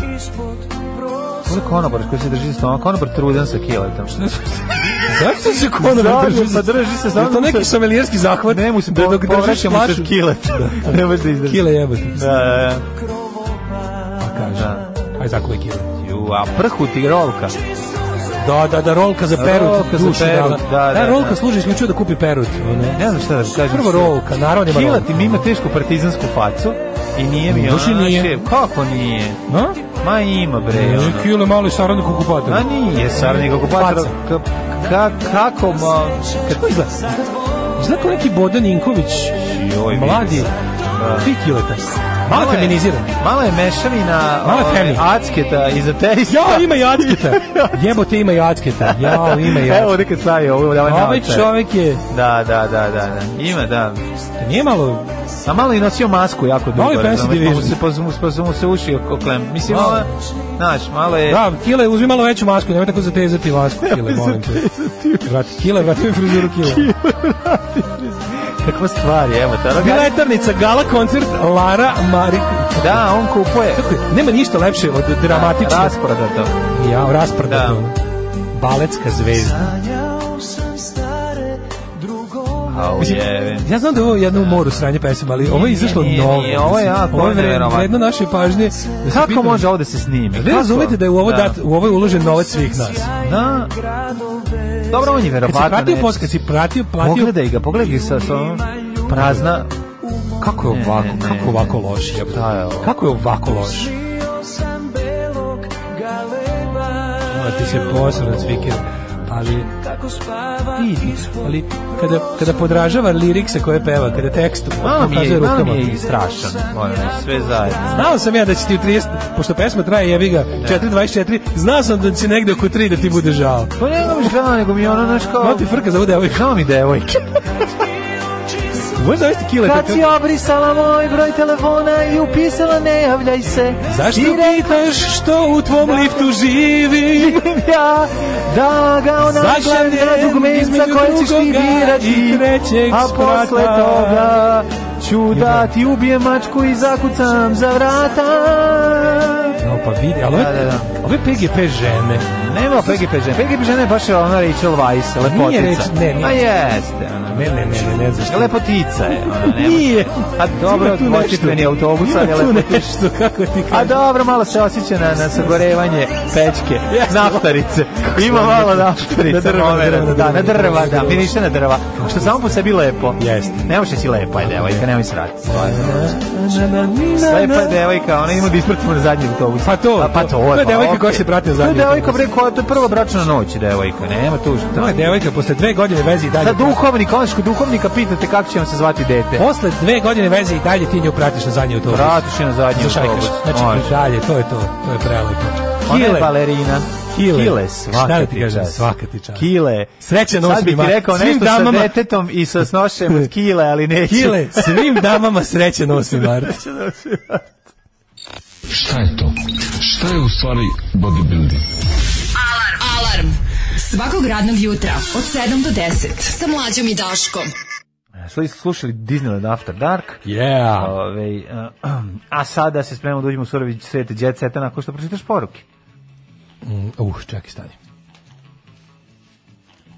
Speaker 7: Ovo je konobar koji se drži za stomak, konobar trudan sa kiletom.
Speaker 6: Zašto se konobar drži?
Speaker 7: Pa drži se
Speaker 6: Je
Speaker 7: samo...
Speaker 6: to neki somelijerski zahvat?
Speaker 7: Ne, mu se
Speaker 6: da
Speaker 7: po-
Speaker 6: dok držiš
Speaker 7: povraća mu se
Speaker 6: flašu...
Speaker 7: kilet. Ne možeš da izdrži.
Speaker 6: Kile jebati.
Speaker 7: Da, da,
Speaker 6: Pa kaže.
Speaker 7: da.
Speaker 6: Aj zakuvaj kile.
Speaker 7: Ju, a prhu ti rolka.
Speaker 6: Da, da, da, rolka za perut.
Speaker 7: Rolka za
Speaker 6: duši
Speaker 7: perut,
Speaker 6: dala.
Speaker 7: da, da,
Speaker 6: E, rolka
Speaker 7: da.
Speaker 6: služi isključivo da kupi perut. ono.
Speaker 7: Ne znam šta da kažem.
Speaker 6: Prvo rolka, narodima rolka.
Speaker 7: Kilat im ima tešku partizansku facu i nije mi
Speaker 6: Duši
Speaker 7: ono
Speaker 6: nije.
Speaker 7: šef. Kako nije?
Speaker 6: A?
Speaker 7: Ma ima bre.
Speaker 6: E,
Speaker 7: ono.
Speaker 6: kile malo i saradnik okupatora.
Speaker 7: A nije, sarni kako patra.
Speaker 6: Faca.
Speaker 7: Ka, ka, kako ma...
Speaker 6: Kako izgleda? Izgleda kao neki Bodan Inković.
Speaker 7: Joj, vidi
Speaker 6: Mladi.
Speaker 7: se. Da.
Speaker 6: Tri kileta. Malo
Speaker 7: je-
Speaker 6: feminiziran.
Speaker 7: Malo je mešavina
Speaker 6: Malo je
Speaker 7: ove,
Speaker 6: femi.
Speaker 7: acketa iz ateista.
Speaker 6: Ja, ima i acketa. Jebote, ima i acketa. Ja, ima i
Speaker 7: Evo
Speaker 6: acketa.
Speaker 7: ovdje kad staje ovo, da ovaj
Speaker 6: Ovaj
Speaker 7: naočar.
Speaker 6: čovek je,
Speaker 7: Da, da, da, da, da. Ima, da.
Speaker 6: nije malo,
Speaker 7: A malo je nosio masku jako dugo.
Speaker 6: Malo je Fancy
Speaker 7: razumeš, pa mu
Speaker 6: Division.
Speaker 7: se, pa, mu, pa mu se uši oklem. Mislim,
Speaker 6: Malo.
Speaker 7: malo, znaš, malo je...
Speaker 6: da, Kile, uzmi malo veću masku, nemoj tako zatezati masku, Kile, molim te. Vrati, Kile, vrati mi frizuru Kile.
Speaker 7: Kakva stvar je, evo, ta
Speaker 6: Bila je tarnica, gala koncert, Lara Mari...
Speaker 7: Da, on kupuje.
Speaker 6: Kako je, Nema ništa lepše od dramatične.
Speaker 7: Rasproda to.
Speaker 6: Ja, rasprda.
Speaker 7: Da.
Speaker 6: Baletska zvezda.
Speaker 7: Au,
Speaker 6: Mislim,
Speaker 7: jeve.
Speaker 6: ja znam da je ovo jedno u moru sranje pesama, ali ovo je izašlo
Speaker 7: nije,
Speaker 6: novo.
Speaker 7: nije, ovo je
Speaker 6: mislim.
Speaker 7: jako
Speaker 6: ovo je vre-
Speaker 7: neverovatno.
Speaker 6: vredno naše pažnje. Da se
Speaker 7: Kako
Speaker 6: pitam-
Speaker 7: može ovde se snimi?
Speaker 6: Vi
Speaker 7: Kako?
Speaker 6: razumete da je u ovo, dat, u ovo je uložen novac svih nas.
Speaker 7: Da. Dobro, on je
Speaker 6: Kad si
Speaker 7: verovatno.
Speaker 6: pratio
Speaker 7: ne-
Speaker 6: fos, kad si pratio, platio...
Speaker 7: Pogledaj ga, pogledaj ga sa, sa ovom prazna.
Speaker 6: Kako je ovako,
Speaker 7: ne,
Speaker 6: kako
Speaker 7: ne.
Speaker 6: je ovako loš? jebote?
Speaker 7: Šta je ovo?
Speaker 6: Kako je ovako loš? Ma, ti se posranac vikir. Ali, vidi, ali kada, kada podražava lirikse koje peva, kada tekst
Speaker 7: Malo mi je,
Speaker 6: pokazuje
Speaker 7: malo mi
Speaker 6: rukama.
Speaker 7: je i strašan. moram reći, Sve zajedno.
Speaker 6: Znao sam ja da će ti u 30, pošto pesma traje jebi ga 4.24, znao sam da će negde oko 3 da ti bude žao.
Speaker 7: Pa ne znam žao, nego mi je ono, znaš kao...
Speaker 6: Malo ti frka za ovu devojku.
Speaker 7: Žao mi devojke.
Speaker 6: Možeš zavesti kile?
Speaker 7: Kad si obrisala moj broj telefona i upisala ne javljaj se
Speaker 6: Zašto
Speaker 7: I
Speaker 6: pitaš što u tvom liftu živi?
Speaker 7: reknem ja da ga ona
Speaker 6: Zašto
Speaker 7: gleda
Speaker 6: ne
Speaker 7: dugmenca
Speaker 6: između
Speaker 7: koje ćeš ti
Speaker 6: drugoga i
Speaker 7: birati
Speaker 6: trećeg
Speaker 7: A posle
Speaker 6: sprata?
Speaker 7: toga ću da ti ubijem mačku i zakucam za vrata
Speaker 6: No pa vidi, ali ove,
Speaker 7: Da, da, da.
Speaker 6: ove PGP žene.
Speaker 7: Nema PGP žene. PGP žene je baš ona Rachel Weiss, lepotica.
Speaker 6: reč- ne, nije.
Speaker 7: A jeste. ona.
Speaker 6: Ne, ne, ne, ne, ne znaš.
Speaker 7: Lepotica je. Ona, nema.
Speaker 6: Nije.
Speaker 7: A dobro,
Speaker 6: Ima tu
Speaker 7: dvočepljeni
Speaker 6: nešto.
Speaker 7: autobus, ali je
Speaker 6: Ima tu
Speaker 7: lepotica.
Speaker 6: nešto, kako ti
Speaker 7: A
Speaker 6: kažem.
Speaker 7: dobro, malo se osjeća na, na sagorevanje pečke, naftarice. Ima malo naftarice.
Speaker 6: Na drva, na
Speaker 7: momenta.
Speaker 6: drva, na
Speaker 7: da, na
Speaker 6: drva.
Speaker 7: drva, da, miriše na drva. Što samo po sebi lepo.
Speaker 6: Jeste.
Speaker 7: Ne možeš si lepa je devojka, nemoj se raditi.
Speaker 6: Na, na, na,
Speaker 7: Lepa
Speaker 6: na.
Speaker 7: je devojka, ona ima da ispratimo na zadnji autobus.
Speaker 6: Pa to,
Speaker 7: A, pa to,
Speaker 6: to je
Speaker 7: pa
Speaker 6: devojka
Speaker 7: okej.
Speaker 6: koja se prati na
Speaker 7: To je
Speaker 6: zadnji
Speaker 7: devojka,
Speaker 6: autobus.
Speaker 7: bre, koja, to je prva bračna noć, devojka, nema tu šta.
Speaker 6: To je devojka, posle dve godine veze i dalje.
Speaker 7: Sad duhovnik, onaj što duhovnika pitate kako će vam se zvati dete.
Speaker 6: Posle dve godine veze i dalje ti nju pratiš na zadnji autobus.
Speaker 7: Vratiš je na zadnji
Speaker 6: Zašajkaš.
Speaker 7: autobus.
Speaker 6: Znači,
Speaker 7: Može. Pa
Speaker 6: dalje, to je to. To je prelepo.
Speaker 7: Ona je
Speaker 6: Kile.
Speaker 7: balerina.
Speaker 6: Kile.
Speaker 7: Kile,
Speaker 6: Šta
Speaker 7: svaka
Speaker 6: da ti
Speaker 7: ti
Speaker 6: kažem,
Speaker 7: čast.
Speaker 6: svaka ti čast.
Speaker 7: Kile.
Speaker 6: Srećan
Speaker 7: Sad
Speaker 6: osmi
Speaker 7: bi ti
Speaker 6: mart.
Speaker 7: rekao
Speaker 6: Svim
Speaker 7: nešto sa
Speaker 6: damama-
Speaker 7: detetom i sa snošem od kile, ali neću.
Speaker 6: Kile, svim damama srećan 8. mart.
Speaker 10: Šta je to? Šta je u stvari bodybuilding?
Speaker 9: Alarm. Svakog radnog jutra od 7 do 10.
Speaker 8: Sa mlađom i Daškom.
Speaker 7: Sli- Slušali Disneyland After Dark.
Speaker 6: Yeah.
Speaker 7: Ove, a sada se spremamo da uđemo u surovi svete jet seta nakon što pročitaš poruke.
Speaker 6: Uh, čekaj, stani.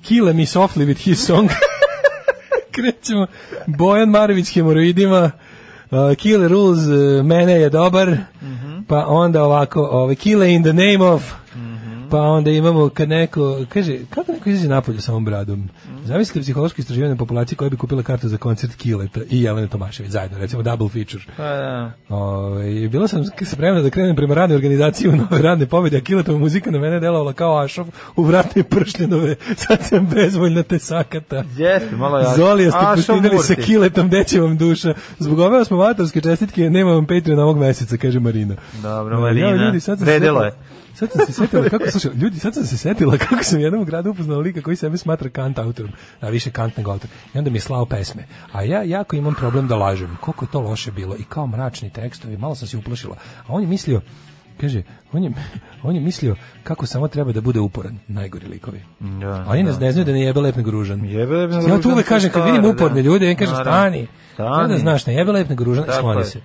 Speaker 6: Kile me softly with his song. Krećemo. Bojan Marović hemoroidima. Uh, Kile rules, uh, mene je dobar. Pa onda ovako, ovaj, Kile in the name of. Pa onda imamo kad neko, kaže, kako neko izađe napolje sa ovom bradom? Zamisli psihološko istraživanje populacije koja bi kupila kartu za koncert Kileta i Jelene Tomašević zajedno, recimo double feature. Ove, bila sam spremna da krenem prema radnoj organizaciji u nove radne pobjede, a Kiletova muzika na mene delovala kao ašov u vratne pršljenove, sad sam bezvoljna te sakata.
Speaker 7: Jeste, malo je...
Speaker 6: Zolija ste
Speaker 7: A, što
Speaker 6: pustinili sa
Speaker 7: murti?
Speaker 6: kiletom, deće vam duša. Zbog ove osmovatorske čestitke nema vam Patreon ovog meseca, kaže Marina.
Speaker 7: Dobro,
Speaker 6: Ja,
Speaker 7: Marina.
Speaker 6: ljudi, sad sam
Speaker 7: Vredelo
Speaker 6: sve-
Speaker 7: je.
Speaker 6: Sad sam se setila kako, slušaj, ljudi, sad sam se setila kako sam jednom u gradu upoznao lika koji sebe smatra kant autorom, a više kant nego autor. I onda mi je slao pesme. A ja jako imam problem da lažem. Koliko je to loše bilo i kao mračni tekstovi, malo sam se uplašila. A on je mislio, kaže, on je, on je mislio kako samo treba da bude uporan, najgori likovi.
Speaker 7: Da,
Speaker 6: Oni nas ne znaju da ne jebe lep nego ružan.
Speaker 7: Jebe lep nego
Speaker 6: Ja tu
Speaker 7: ružan,
Speaker 6: uvek
Speaker 7: to je
Speaker 6: kažem, kad
Speaker 7: stvar,
Speaker 6: vidim uporne
Speaker 7: da.
Speaker 6: ljude, ja im kažem,
Speaker 7: Naravno.
Speaker 6: stani.
Speaker 7: Stani.
Speaker 6: Onda znaš, ne jebe lep nego ružan,
Speaker 7: Tako
Speaker 6: skloni
Speaker 7: je.
Speaker 6: se.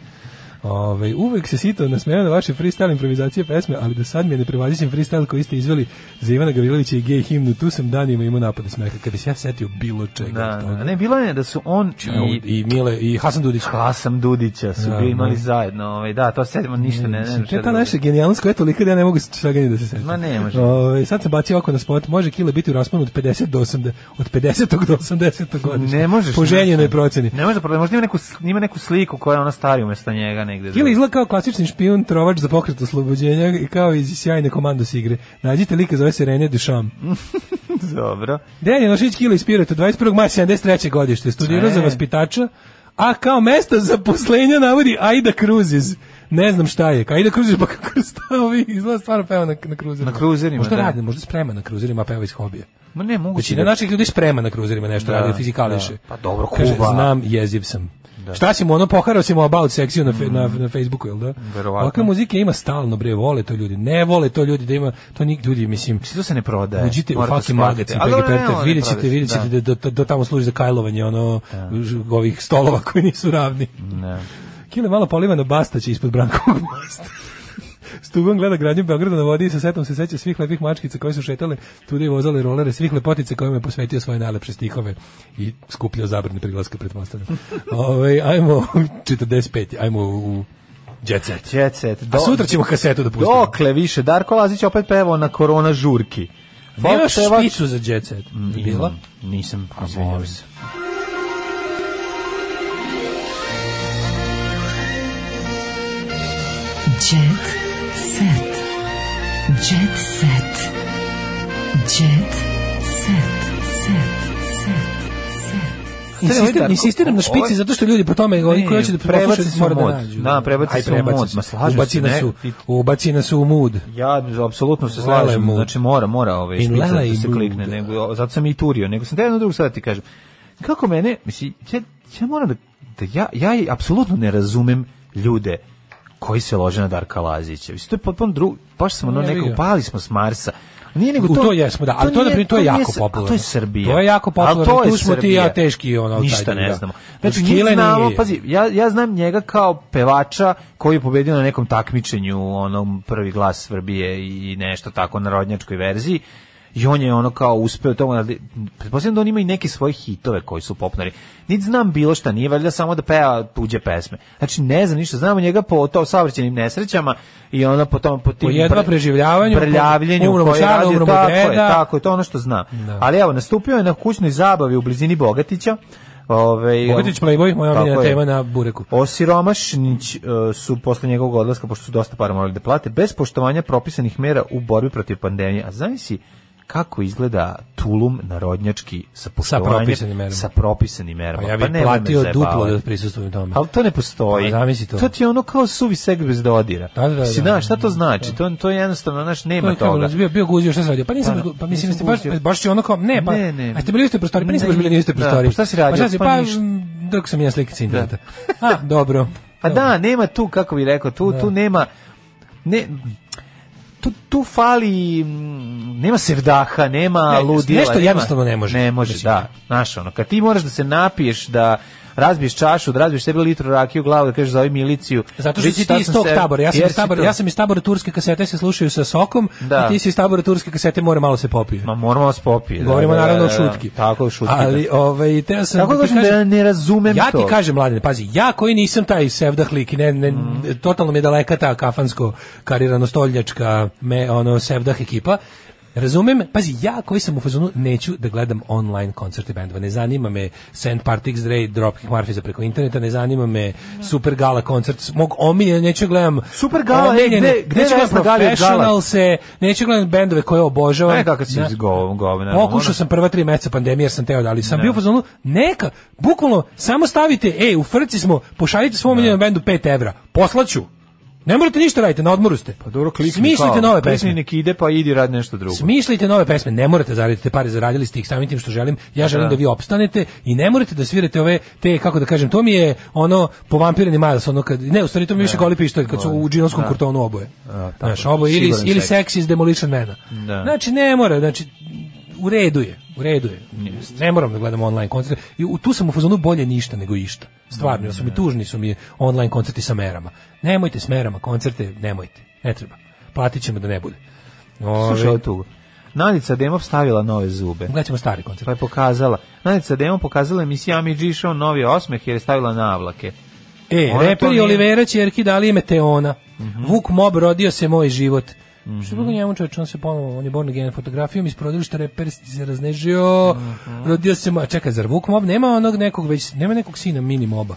Speaker 6: Ove, uvek se sito nasmejao na vaše freestyle improvizacije pesme, ali do sad mi je neprevazićen freestyle koji ste izveli za Ivana Gavrilovića i gej himnu. Tu sam danima imao napade smeha kada se ja setio bilo čega.
Speaker 7: Da, da,
Speaker 6: od toga.
Speaker 7: ne, bilo je da su on i,
Speaker 6: I, Mile, i Hasan Dudić.
Speaker 7: Hasan Dudića su
Speaker 6: Da,
Speaker 7: bili imali
Speaker 6: da.
Speaker 7: zajedno, ovaj, da, to sedmo ništa ne, ne,
Speaker 6: Mislim,
Speaker 7: znam
Speaker 6: to
Speaker 7: šta
Speaker 6: je ta
Speaker 7: drugo.
Speaker 6: naša genijalnost koja je tolika da ja ne mogu svega ni da se setim.
Speaker 7: Ma ne može.
Speaker 6: Ovaj, sad sam bacio oko na spot, može kila biti u rasponu od 50 do 80, od 50. do 80. godišta.
Speaker 7: Ne možeš.
Speaker 6: Po ženjenoj proceni.
Speaker 7: Ne možeš da prodaje, možda ima neku, s- ima neku sliku koja je ona stari umesto njega negde.
Speaker 6: Kila izgleda kao klasični špijun, trovač za pokret oslobođenja i kao iz sjajne komandos igre. Nađite lika, zove se Renje Dušam.
Speaker 7: Dobro.
Speaker 6: Dejan Janošić Kila iz Pirota, 21. maja 73. godište, studirao
Speaker 7: E.
Speaker 6: za vaspitača, a kao mesto zaposlenja navodi Aida Cruises. Ne znam šta je. Aida Cruises pa kako stavi, izgleda stvarno peva na, na kruzerima.
Speaker 7: Na kruzerima,
Speaker 6: možda
Speaker 7: da.
Speaker 6: radi, možda sprema na kruzerima, a peva iz hobija.
Speaker 7: Ma ne, moguće.
Speaker 6: Većina naših ljudi sprema Znači, na kruzerima nešto,
Speaker 7: Da,
Speaker 6: radi fizikališe.
Speaker 7: da. Pa dobro,
Speaker 6: Kaže,
Speaker 7: kuva.
Speaker 6: znam, jeziv sam. Šta si mu ono, poharao si mu about sekciju na, fe- na, na Facebooku, jel da?
Speaker 7: Mm. Verovatno.
Speaker 6: Ovakve muzike ima stalno, bre, vole to ljudi. Ne vole to ljudi da ima, to nik ljudi, mislim.
Speaker 7: To se ne prodaje.
Speaker 6: Uđite u
Speaker 7: Morate
Speaker 6: fucking
Speaker 7: shvatiti.
Speaker 6: magazin,
Speaker 7: Ali
Speaker 6: Peggy
Speaker 7: dobro, ne,
Speaker 6: Perter,
Speaker 7: ono ne
Speaker 6: vidjet ćete,
Speaker 7: prodaje se,
Speaker 6: vidjet ćete da, da, da tamo služi za kajlovanje ono, ž- ovih stolova koji nisu ravni.
Speaker 7: Ne.
Speaker 6: Kile malo polivano bastaće ispod Brankovog mosta. Stugom gleda gradnju Beograda na vodi i sa setom se seća svih lepih mačkica koje su šetale tude i vozale rolere, svih lepotica kojima je posvetio svoje najlepše stihove i skupljao zabrane priglaske, pretpostavljam. Ove, Ovaj, ajmo u 45. Ajmo u Jet Set.
Speaker 7: Jet set.
Speaker 6: A sutra ćemo kasetu da pustimo.
Speaker 7: Dokle više, Darko Lazić je opet pevao na korona žurki.
Speaker 6: Nemaš
Speaker 7: Folk pevač-
Speaker 6: špicu za Jet Set?
Speaker 7: Mm,
Speaker 6: Bila?
Speaker 7: Imam. Nisam, izvinjavam se.
Speaker 9: Jet set. Jet set. Jet set. Set. Set. Set.
Speaker 6: Insistiram,
Speaker 7: Darko,
Speaker 6: insistiram na špici
Speaker 7: ovo-
Speaker 6: zato što ljudi po tome oni koji hoće da
Speaker 7: prebaci
Speaker 6: prebace
Speaker 7: se u
Speaker 6: mora da
Speaker 7: mod.
Speaker 6: nađu.
Speaker 7: Da, prebaci
Speaker 6: Aj,
Speaker 7: se u mod, ma slažem
Speaker 6: Ubaci
Speaker 7: se,
Speaker 6: nas
Speaker 7: ne?
Speaker 6: u ubaci nas u mood.
Speaker 7: Ja apsolutno se
Speaker 6: Lele
Speaker 7: slažem,
Speaker 6: mu.
Speaker 7: znači mora, mora ove
Speaker 6: In
Speaker 7: špica
Speaker 6: lele
Speaker 7: da
Speaker 6: i
Speaker 7: se
Speaker 6: blue,
Speaker 7: klikne,
Speaker 6: da.
Speaker 7: nego, zato sam i turio, nego sam te jednu drugu sada ti kažem. Kako mene, mislim, ja, ja moram da, da ja, ja i apsolutno ne razumem ljude koji se lože na Darka Lazića. Mislim, to je potpuno drugo, baš sam ono
Speaker 6: Ne,
Speaker 7: neko,
Speaker 6: vidio.
Speaker 7: pali smo s Marsa. Nije nego
Speaker 6: U
Speaker 7: to,
Speaker 6: to jesmo, da, ali to,
Speaker 7: nije-
Speaker 6: naprimjer, to je
Speaker 7: nije
Speaker 6: jako
Speaker 7: s- a
Speaker 6: popularno.
Speaker 7: To je Srbija.
Speaker 6: To je jako popularno,
Speaker 7: Ali to je
Speaker 6: tu smo ti i
Speaker 7: Srbija.
Speaker 6: ja teški, ono,
Speaker 7: Ništa
Speaker 6: outsideri,
Speaker 7: ne
Speaker 6: da.
Speaker 7: znamo.
Speaker 6: Uz
Speaker 7: Znači, mi
Speaker 6: Kile
Speaker 7: znamo,
Speaker 6: nije.
Speaker 7: pazi, ja, ja znam njega kao pevača koji je pobedio na nekom takmičenju u onom prvi glas Srbije i nešto tako narodnjačkoj verziji i on je ono kao uspeo u tomu da pretpostavljam da on ima i neke svoje hitove koji su popnari. Niti znam bilo šta, nije valjda samo da peva tuđe pesme. Znači ne znam ništa, znamo njega po to saobraćajnim nesrećama i ona po tom po tim
Speaker 6: Po jedva
Speaker 7: pre-
Speaker 6: preživljavanju, po
Speaker 7: prljavljenju,
Speaker 6: umremo
Speaker 7: koje je
Speaker 6: sada,
Speaker 7: radio,
Speaker 6: umremo
Speaker 7: tako je,
Speaker 6: deda.
Speaker 7: tako je, to je ono što znam.
Speaker 6: Da.
Speaker 7: Ali evo, nastupio je na kućnoj zabavi u blizini Bogatića. Ove,
Speaker 6: Bogatić Playboy, moja
Speaker 7: Tako
Speaker 6: omiljena
Speaker 7: je.
Speaker 6: tema na bureku.
Speaker 7: Osiromašnić e, su posle njegovog odlaska, pošto su dosta para morali da plate, bez poštovanja propisanih mera u borbi protiv pandemije. A zamisli kako izgleda Tulum narodnjački sa poštovanjem,
Speaker 6: propisanim merama.
Speaker 7: Sa propisanim merama.
Speaker 6: Pa ja bih
Speaker 7: nemoj me
Speaker 6: platio duplo
Speaker 7: zajebavati.
Speaker 6: da prisustvujem tome.
Speaker 7: Ali to ne postoji.
Speaker 6: Pa zamisli to.
Speaker 7: to ti je ono kao suvi seg bez dodira.
Speaker 6: Da, da, da,
Speaker 7: Si,
Speaker 6: da.
Speaker 7: znaš, šta to znači? To, to je jednostavno, znaš, nema
Speaker 6: Pa je
Speaker 7: toga.
Speaker 6: kao, Bio, bio guzio, šta se radio? Pa nisam,
Speaker 7: Pa,
Speaker 6: pa, pa
Speaker 7: nisam
Speaker 6: mislim, jeste baš,
Speaker 7: guzio.
Speaker 6: baš je ono kao, ne, pa,
Speaker 7: Ne, ne.
Speaker 6: a ste bili u istoj prostori, pa niste baš bili u istoj
Speaker 7: Da,
Speaker 6: prostori.
Speaker 7: pa šta si radio?
Speaker 6: Pa šta si,
Speaker 7: Pa
Speaker 6: pa,
Speaker 7: ništa.
Speaker 6: m, dok sam ja slikice interneta. A, dobro.
Speaker 7: Pa da, nema tu, kako bi rekao, tu, tu nema... Ne, tu, tu fali, mm, nema sevdaha, nema
Speaker 6: Ne,
Speaker 7: ludila.
Speaker 6: nešto
Speaker 7: nema-
Speaker 6: jednostavno ne može.
Speaker 7: Ne može, da. Znaš, ono, kad ti moraš da se napiješ, da razbiješ čašu, da razbiješ sebi litru rakiju u glavu, da kažeš zove miliciju.
Speaker 6: Zato što
Speaker 7: reći
Speaker 6: si
Speaker 7: šta
Speaker 6: ti iz
Speaker 7: sam
Speaker 6: tog
Speaker 7: se-
Speaker 6: tabora. Ja sam
Speaker 7: jer
Speaker 6: iz
Speaker 7: si
Speaker 6: tabora,
Speaker 7: to-
Speaker 6: ja sam iz tabora turske kasete se slušaju sa sokom,
Speaker 7: Da.
Speaker 6: a ti si iz tabora turske kasete mora malo se popije.
Speaker 7: Ma moramo vas popiti.
Speaker 6: Govorimo
Speaker 7: da, da,
Speaker 6: naravno o
Speaker 7: da, da.
Speaker 6: šutki.
Speaker 7: Tako, o šutki.
Speaker 6: Ali, ovaj, teo sam
Speaker 7: Tako
Speaker 6: da ti
Speaker 7: kažem da
Speaker 6: kažem-
Speaker 7: ja ne razumem
Speaker 6: ja
Speaker 7: to.
Speaker 6: ti kažem, mladine, pazi, ja koji nisam taj sevdah lik, i ne, ne, totalno mi je daleka ta kafansko karirano stoljačka me, ono, sevdah ekipa, Razumem, pazi, ja koji sam u fazonu neću da gledam online koncerte bendova. Ne zanima me Sand Partix Dre, Dropkick Murphys preko interneta, ne zanima me Super Gala koncert, mog omiljen, neću gledam
Speaker 7: Super Gala, ej,
Speaker 6: omiljene,
Speaker 7: gde- gde
Speaker 6: neću gledam
Speaker 7: Vesna Galić Gala?
Speaker 6: Professionalse, neću gledam bendove koje obožavam.
Speaker 7: Ne, E, kako si ono-
Speaker 6: Ne.
Speaker 7: iz govna.
Speaker 6: Pokušao sam prva tri meseca pandemije jer sam teo da, ali sam bio u fazonu, neka, bukvalno, samo stavite, ej, u frci smo, pošaljite svom miljenom bendu 5 evra, poslaću. Ne morate ništa raditi, na odmoru ste. Pa
Speaker 7: dobro, klikni
Speaker 6: Smišljite
Speaker 7: kao,
Speaker 6: nove
Speaker 7: klikni
Speaker 6: pesme.
Speaker 7: nek ide, pa idi radi nešto drugo.
Speaker 6: Smišljite nove pesme, ne morate zaraditi te pare, zaradili ste ih samim tim što želim. Ja želim
Speaker 7: Da.
Speaker 6: da, vi opstanete i ne morate da svirate ove te kako da kažem, to mi je ono povampirani Miles, ono kad ne, u stvari to mi je više goli pištolj kad su u džinovskom
Speaker 7: Da.
Speaker 6: kurtonu oboje.
Speaker 7: A, tako,
Speaker 6: Znaš, oboje ili
Speaker 7: siguran
Speaker 6: ili
Speaker 7: seks.
Speaker 6: sex iz Demolition Mana.
Speaker 7: Da.
Speaker 6: Znači ne mora, znači u redu je, u redu je. Ne moram da gledam online koncerte. I u- tu sam u fazonu bolje ništa nego išta. Stvarno, jer su mi tužni su mi online koncerti sa merama. Nemojte s merama koncerte, nemojte. Ne treba. Platit ćemo da ne bude.
Speaker 7: Slušaj
Speaker 6: Ove-
Speaker 7: ovo tu. Nadica Demov stavila nove zube.
Speaker 6: Gledat ćemo stari koncert.
Speaker 7: Pa je pokazala. Nadica Demov pokazala emisiji Ami G Show novi osmeh jer je stavila navlake.
Speaker 6: E,
Speaker 7: Ona to
Speaker 6: reper i
Speaker 7: nije- Mhm.
Speaker 6: Olivera Ćerki dali je Meteona. Vuk Mob rodio se moj život. Što je bilo njemu čovječ, on se ponovo, on je born again fotografijom iz prodilišta reper se raznežio,
Speaker 7: Mhm.
Speaker 6: rodio se moj, čekaj, zar Vuk Mob nema onog nekog već, nema nekog sina mini moba?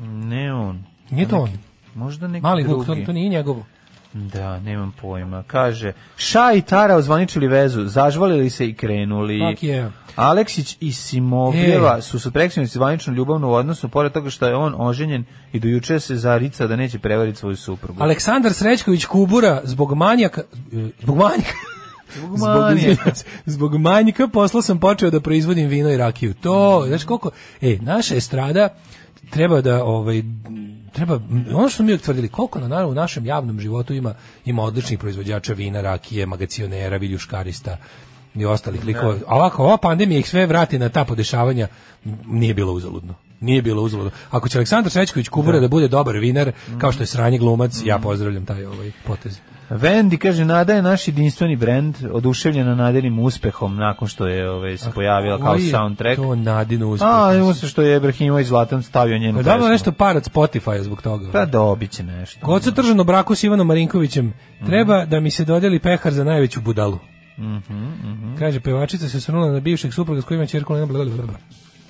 Speaker 7: Ne on.
Speaker 6: Nije to on?
Speaker 7: Možda neki
Speaker 6: Mali
Speaker 7: drugi.
Speaker 6: Vuk, to, to nije njegovo.
Speaker 7: Da, nemam pojma. Kaže, Ša i Tara ozvaničili vezu, zažvalili se i krenuli.
Speaker 6: Fuck yeah.
Speaker 7: Aleksić i Simovljeva
Speaker 6: E.
Speaker 7: su su preksinovi zvanično ljubavno u odnosu, pored toga što je on oženjen i dojuče se zarica da neće prevariti svoju suprugu.
Speaker 6: Aleksandar Srećković Kubura zbog manjaka, e, zbog manjaka,
Speaker 7: Zbog
Speaker 6: Zbog,
Speaker 7: manije.
Speaker 6: izvinjam se, zbog manjka posla sam počeo da proizvodim vino i rakiju. To, znaš koliko, e, naša estrada treba da, ovaj, treba, ono što smo mi uvijek tvrdili, koliko na, naravno, u našem javnom životu ima, ima odličnih proizvođača vina, rakije, magacionera, viljuškarista i ostalih likova. A ovako, ova pandemija ih sve vrati na ta podešavanja, m, nije bilo uzaludno. Nije bilo uzaludno. Ako će Aleksandar Šećković Kubura da. bude dobar vinar, kao
Speaker 7: Mm.
Speaker 6: što je sranji glumac, ja pozdravljam taj ovaj potez.
Speaker 7: Vendi kaže Nada je naš jedinstveni brend, oduševljena nadinim uspehom nakon što je ovaj se pojavila kao
Speaker 6: Koji je
Speaker 7: soundtrack.
Speaker 6: To Nadino uspeh.
Speaker 7: A, uspeh što je Ibrahimović Zlatan stavio njenu
Speaker 6: Pa dobro
Speaker 7: pesmu.
Speaker 6: nešto par od Spotify zbog toga.
Speaker 7: Pa dobit će nešto.
Speaker 6: Kod se tržano braku s Ivanom Marinkovićem, treba da mi se dodeli pehar za najveću budalu. Mhm, Kaže, pevačica se srnula na bivšeg supruga s kojima je čerko Lena blablabla.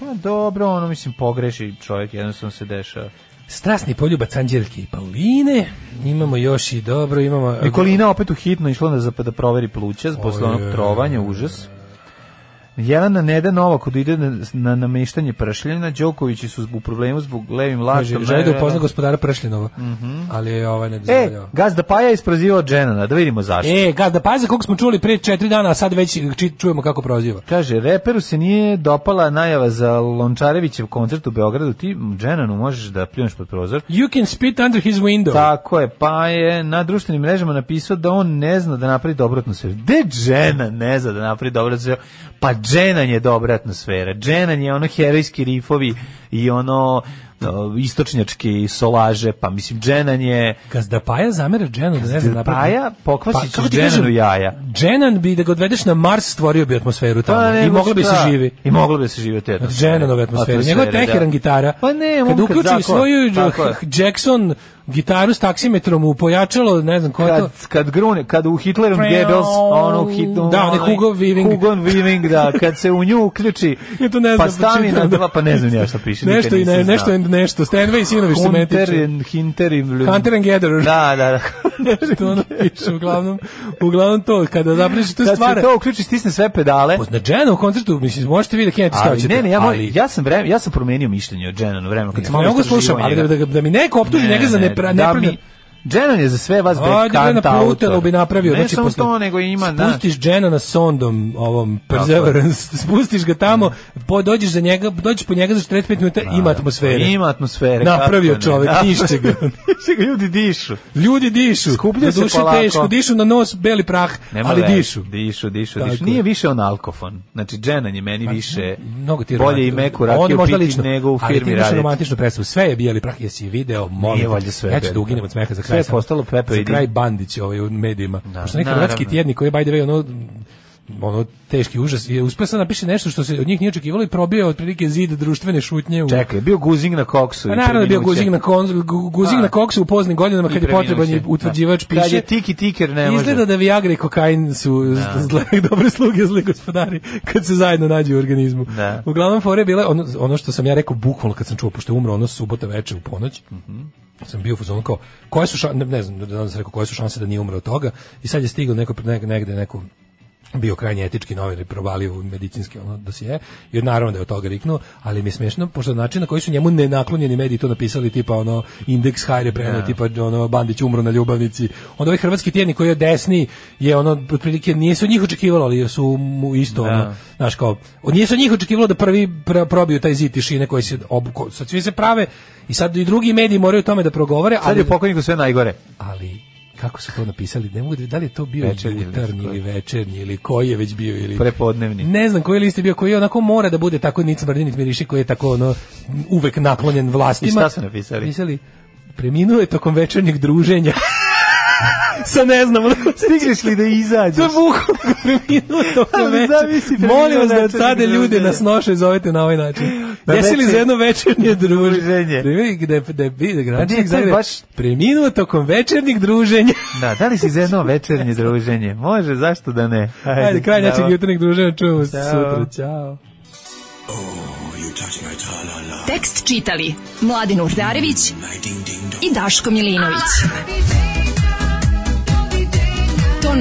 Speaker 7: Pa dobro, ono mislim pogreši čovjek, jednostavno se dešava.
Speaker 6: Strasni poljubac Anđelke i Pauline. Imamo još i dobro, imamo...
Speaker 7: Nikolina opet u hitno išla da, zap- da proveri pluća posle onog trovanja, užas. Jelena Neda Novak od ide na, na nameštanje pršljena, Đokovići su u problemu zbog levim
Speaker 6: Kaže,
Speaker 7: laštom.
Speaker 6: želi da upozna
Speaker 7: najvjerojatno-
Speaker 6: gospodara Pršlinova, ali je ovaj ne
Speaker 7: E,
Speaker 6: dozvoljava.
Speaker 7: Gazda Paja je isprozivao Dženana, da vidimo zašto.
Speaker 6: E, gazda, pazi koliko smo čuli prije četiri dana, a sad već či- čujemo kako proziva.
Speaker 7: Kaže, reperu se nije dopala najava za Lončarevićev koncert u Beogradu, ti Dženanu možeš da pljuneš pod prozor.
Speaker 6: You can spit under his window.
Speaker 7: Tako je, pa je na društvenim mrežama napisao da on ne zna da napravi dobru atmosferu. Gde Džena ne zna da napravi dobru atmosferu? Pa Dženan je dobra atmosfera. Dženan je ono herojski rifovi i ono o, istočnjački solaže, pa mislim Dženan je
Speaker 6: Gazda Paja zamera Dženu da ne zna napraviti.
Speaker 7: Paja pokvasić
Speaker 6: Pa kako ti
Speaker 7: Dženanu
Speaker 6: kažem,
Speaker 7: jaja.
Speaker 6: Dženan bi da ga odvedeš na Mars stvorio bi atmosferu tamo Pa
Speaker 7: Pa
Speaker 6: i moglo bi se živi.
Speaker 7: I moglo bi se živi od te atmosfere.
Speaker 6: Dženanove atmosfere.
Speaker 7: Atmosfere,
Speaker 6: Njegov Teheran
Speaker 7: da.
Speaker 6: gitara.
Speaker 7: Pa ne,
Speaker 6: Kad
Speaker 7: momka,
Speaker 6: uključi
Speaker 7: zakon.
Speaker 6: svoju
Speaker 7: Tako je.
Speaker 6: Jackson gitaru s taksimetrom u pojačalo, ne znam ko je to.
Speaker 7: kad, kad grune, kad u Hitlerom Goebbels, ono hitno...
Speaker 6: Da, onaj Hugo Weaving.
Speaker 7: Hugo Weaving, da, kad se u nju uključi,
Speaker 6: Ja to ne znam,
Speaker 7: pa stavi na
Speaker 6: pročitam, da.
Speaker 7: dva, pa ne znam ja šta piše,
Speaker 6: Nešto i
Speaker 7: nikad
Speaker 6: ne,
Speaker 7: nisam
Speaker 6: nešto i nešto. Stanway i Sinović se
Speaker 7: Hunter,
Speaker 6: metiče.
Speaker 7: and- Hunter, i-
Speaker 6: Hunter and Gatherer.
Speaker 7: Da, da, da.
Speaker 6: Nešto ono piše, uglavnom, uglavnom to, kada zapriši tu
Speaker 7: Kad
Speaker 6: stvar.
Speaker 7: se to uključi, stisne sve pedale.
Speaker 6: Na Dženu u koncertu, mislim, možete vidjeti da kenjate šta
Speaker 7: Ali,
Speaker 6: hoćete.
Speaker 7: ne, ne, ja, moj-
Speaker 6: ali-
Speaker 7: ja sam vreme, ja sam promenio mišljenje o Jennanu vremenu kad sam
Speaker 6: Ne
Speaker 7: malo
Speaker 6: mogu slušam,
Speaker 7: istraživao
Speaker 6: ali da,
Speaker 7: njega.
Speaker 6: da, da mi neko optuži njega za
Speaker 7: da
Speaker 6: nepra, nepravda-
Speaker 7: mi- Dženan je za sve vas
Speaker 6: Ajde, bre, na
Speaker 7: bekanta
Speaker 6: Plutelu
Speaker 7: autor.
Speaker 6: bi napravio.
Speaker 7: Ne
Speaker 6: znači,
Speaker 7: samo
Speaker 6: posle-
Speaker 7: to, nego ima... na-
Speaker 6: Spustiš Džena na sondom, ovom Perseverance, spustiš ga tamo, po, dođeš, za njega, dođeš po njega za 45 minuta, ima atmosfere.
Speaker 7: Pa Ima atmosfere.
Speaker 6: Napravio
Speaker 7: kako ne.
Speaker 6: čovek,
Speaker 7: Napravio-
Speaker 6: nišće ga.
Speaker 7: Nišće ga, ljudi dišu.
Speaker 6: Ljudi dišu,
Speaker 7: Skupljaju se
Speaker 6: Doduše
Speaker 7: polako.
Speaker 6: teško, dišu na nos, beli prah,
Speaker 7: Nema
Speaker 6: ali
Speaker 7: veze.
Speaker 6: dišu.
Speaker 7: Dišu, dišu,
Speaker 6: Tako
Speaker 7: dišu.
Speaker 6: je.
Speaker 7: Nije više on alkofon. Znači, Dženan je meni više
Speaker 6: Mnogo ti je
Speaker 7: bolje i
Speaker 6: romantično.
Speaker 7: meku
Speaker 6: On
Speaker 7: rakiju
Speaker 6: možda
Speaker 7: piti
Speaker 6: lično,
Speaker 7: nego u
Speaker 6: ali ti
Speaker 7: firmi
Speaker 6: imaš
Speaker 7: raditi.
Speaker 6: romantičnu predstavu. Sve je bijeli prah, jesi je video, molim.
Speaker 7: Nije
Speaker 6: te.
Speaker 7: valjda sve
Speaker 6: Ja ću da
Speaker 7: bijeli
Speaker 6: uginem
Speaker 7: prah.
Speaker 6: od smeha za kraj.
Speaker 7: Sve je postalo Pepe
Speaker 6: Za
Speaker 7: i
Speaker 6: kraj
Speaker 7: Dim.
Speaker 6: Bandić ovaj, u medijima.
Speaker 7: Da,
Speaker 6: Pošto neki
Speaker 7: naravno.
Speaker 6: hrvatski tjednik koji je by the way ono ono teški užas je uspeo sad da napiše nešto što se od njih nije očekivalo i probio je otprilike zid društvene šutnje u
Speaker 7: Čekaj, bio guzing na koksu.
Speaker 6: Pa
Speaker 7: i
Speaker 6: naravno da je bio
Speaker 7: preminuće.
Speaker 6: guzing na, kon, gu- guzing
Speaker 7: Da.
Speaker 6: na koksu u poznim godinama
Speaker 7: Pa. I
Speaker 6: kad je potreban je
Speaker 7: preminuće.
Speaker 6: utvrđivač
Speaker 7: Da. Kad
Speaker 6: piše.
Speaker 7: je tiki tiker, ne može.
Speaker 6: Izgleda da Viagra i kokain su
Speaker 7: Da.
Speaker 6: da. zle, dobre sluge, zli gospodari, kad se zajedno nađu u organizmu.
Speaker 7: Da.
Speaker 6: Uglavnom, fore je bila ono, ono što sam ja rekao bukvalno kad sam čuo, pošto je umro ono subota veče u ponoć,
Speaker 7: Mhm.
Speaker 6: sam bio u fazonu kao, koje su šanse, ne, ne znam, da li sam rekao, koje su šanse da nije umro od toga, i sad je stiglo neko, neg, negde neko bio krajnje etički novinar i provalio u medicinski ono dosije, jer naravno da je od toga riknuo, ali mi je smešno, pošto način na koji su njemu nenaklonjeni mediji to napisali, tipa ono, indeks hajre preno,
Speaker 7: Da.
Speaker 6: tipa ono, Bandić umro na ljubavnici, onda ovaj hrvatski tjednik koji je desni, je ono, otprilike, nije se od njih očekivalo, ali su mu isto,
Speaker 7: Da.
Speaker 6: ono, znaš kao, od nije se od njih očekivalo da prvi pr- probiju taj zid tišine koji se, ob, ko- sad svi se prave, i sad i drugi mediji moraju o tome da progovore,
Speaker 7: Sad
Speaker 6: ali
Speaker 7: je pokojniku sve najgore.
Speaker 6: ali kako su to napisali, ne mogu da, da li je to bio
Speaker 7: Večernji list,
Speaker 6: jutarnji ili večernji ili koji je već bio ili
Speaker 7: Prepodnevni.
Speaker 6: ne znam koji list je bio koji je onako mora da bude tako nic mrdi nit miriši koji je tako ono uvek naklonjen vlastima.
Speaker 7: I šta su napisali?
Speaker 6: Napisali preminuo je tokom večernjeg druženja. Sa ne znam, ono, onako
Speaker 7: Stigneš li da izađeš?
Speaker 6: to je bukvalno preminuo je tokom
Speaker 7: Ali zamisli
Speaker 6: večernja.
Speaker 7: preminuo
Speaker 6: Molim vas da od
Speaker 7: večernjeg
Speaker 6: sada ljude
Speaker 7: druženja.
Speaker 6: nas noše zovete na ovaj način.
Speaker 7: Na
Speaker 6: Jesi li
Speaker 7: večer-
Speaker 6: za jedno večernje druženje?
Speaker 7: Pa Druženje.
Speaker 6: Preminuo je- Da je, da je, da je
Speaker 7: to je
Speaker 6: gradonačelnik Zagreba
Speaker 7: baš-
Speaker 6: preminuo tokom večernjeg druženja.
Speaker 7: Da, da li si za jedno večernje druženje? Može, zašto da ne?
Speaker 6: Ajde, kraj
Speaker 7: bravo.
Speaker 6: našeg jutarnjeg druženja, čujemo se
Speaker 7: Ćao.
Speaker 6: sutra, čao.
Speaker 9: Tekst čitali Mladin Urdarević i Daško Milinović. Ton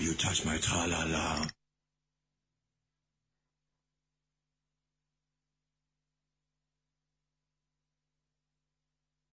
Speaker 2: You touch my tra-la-la.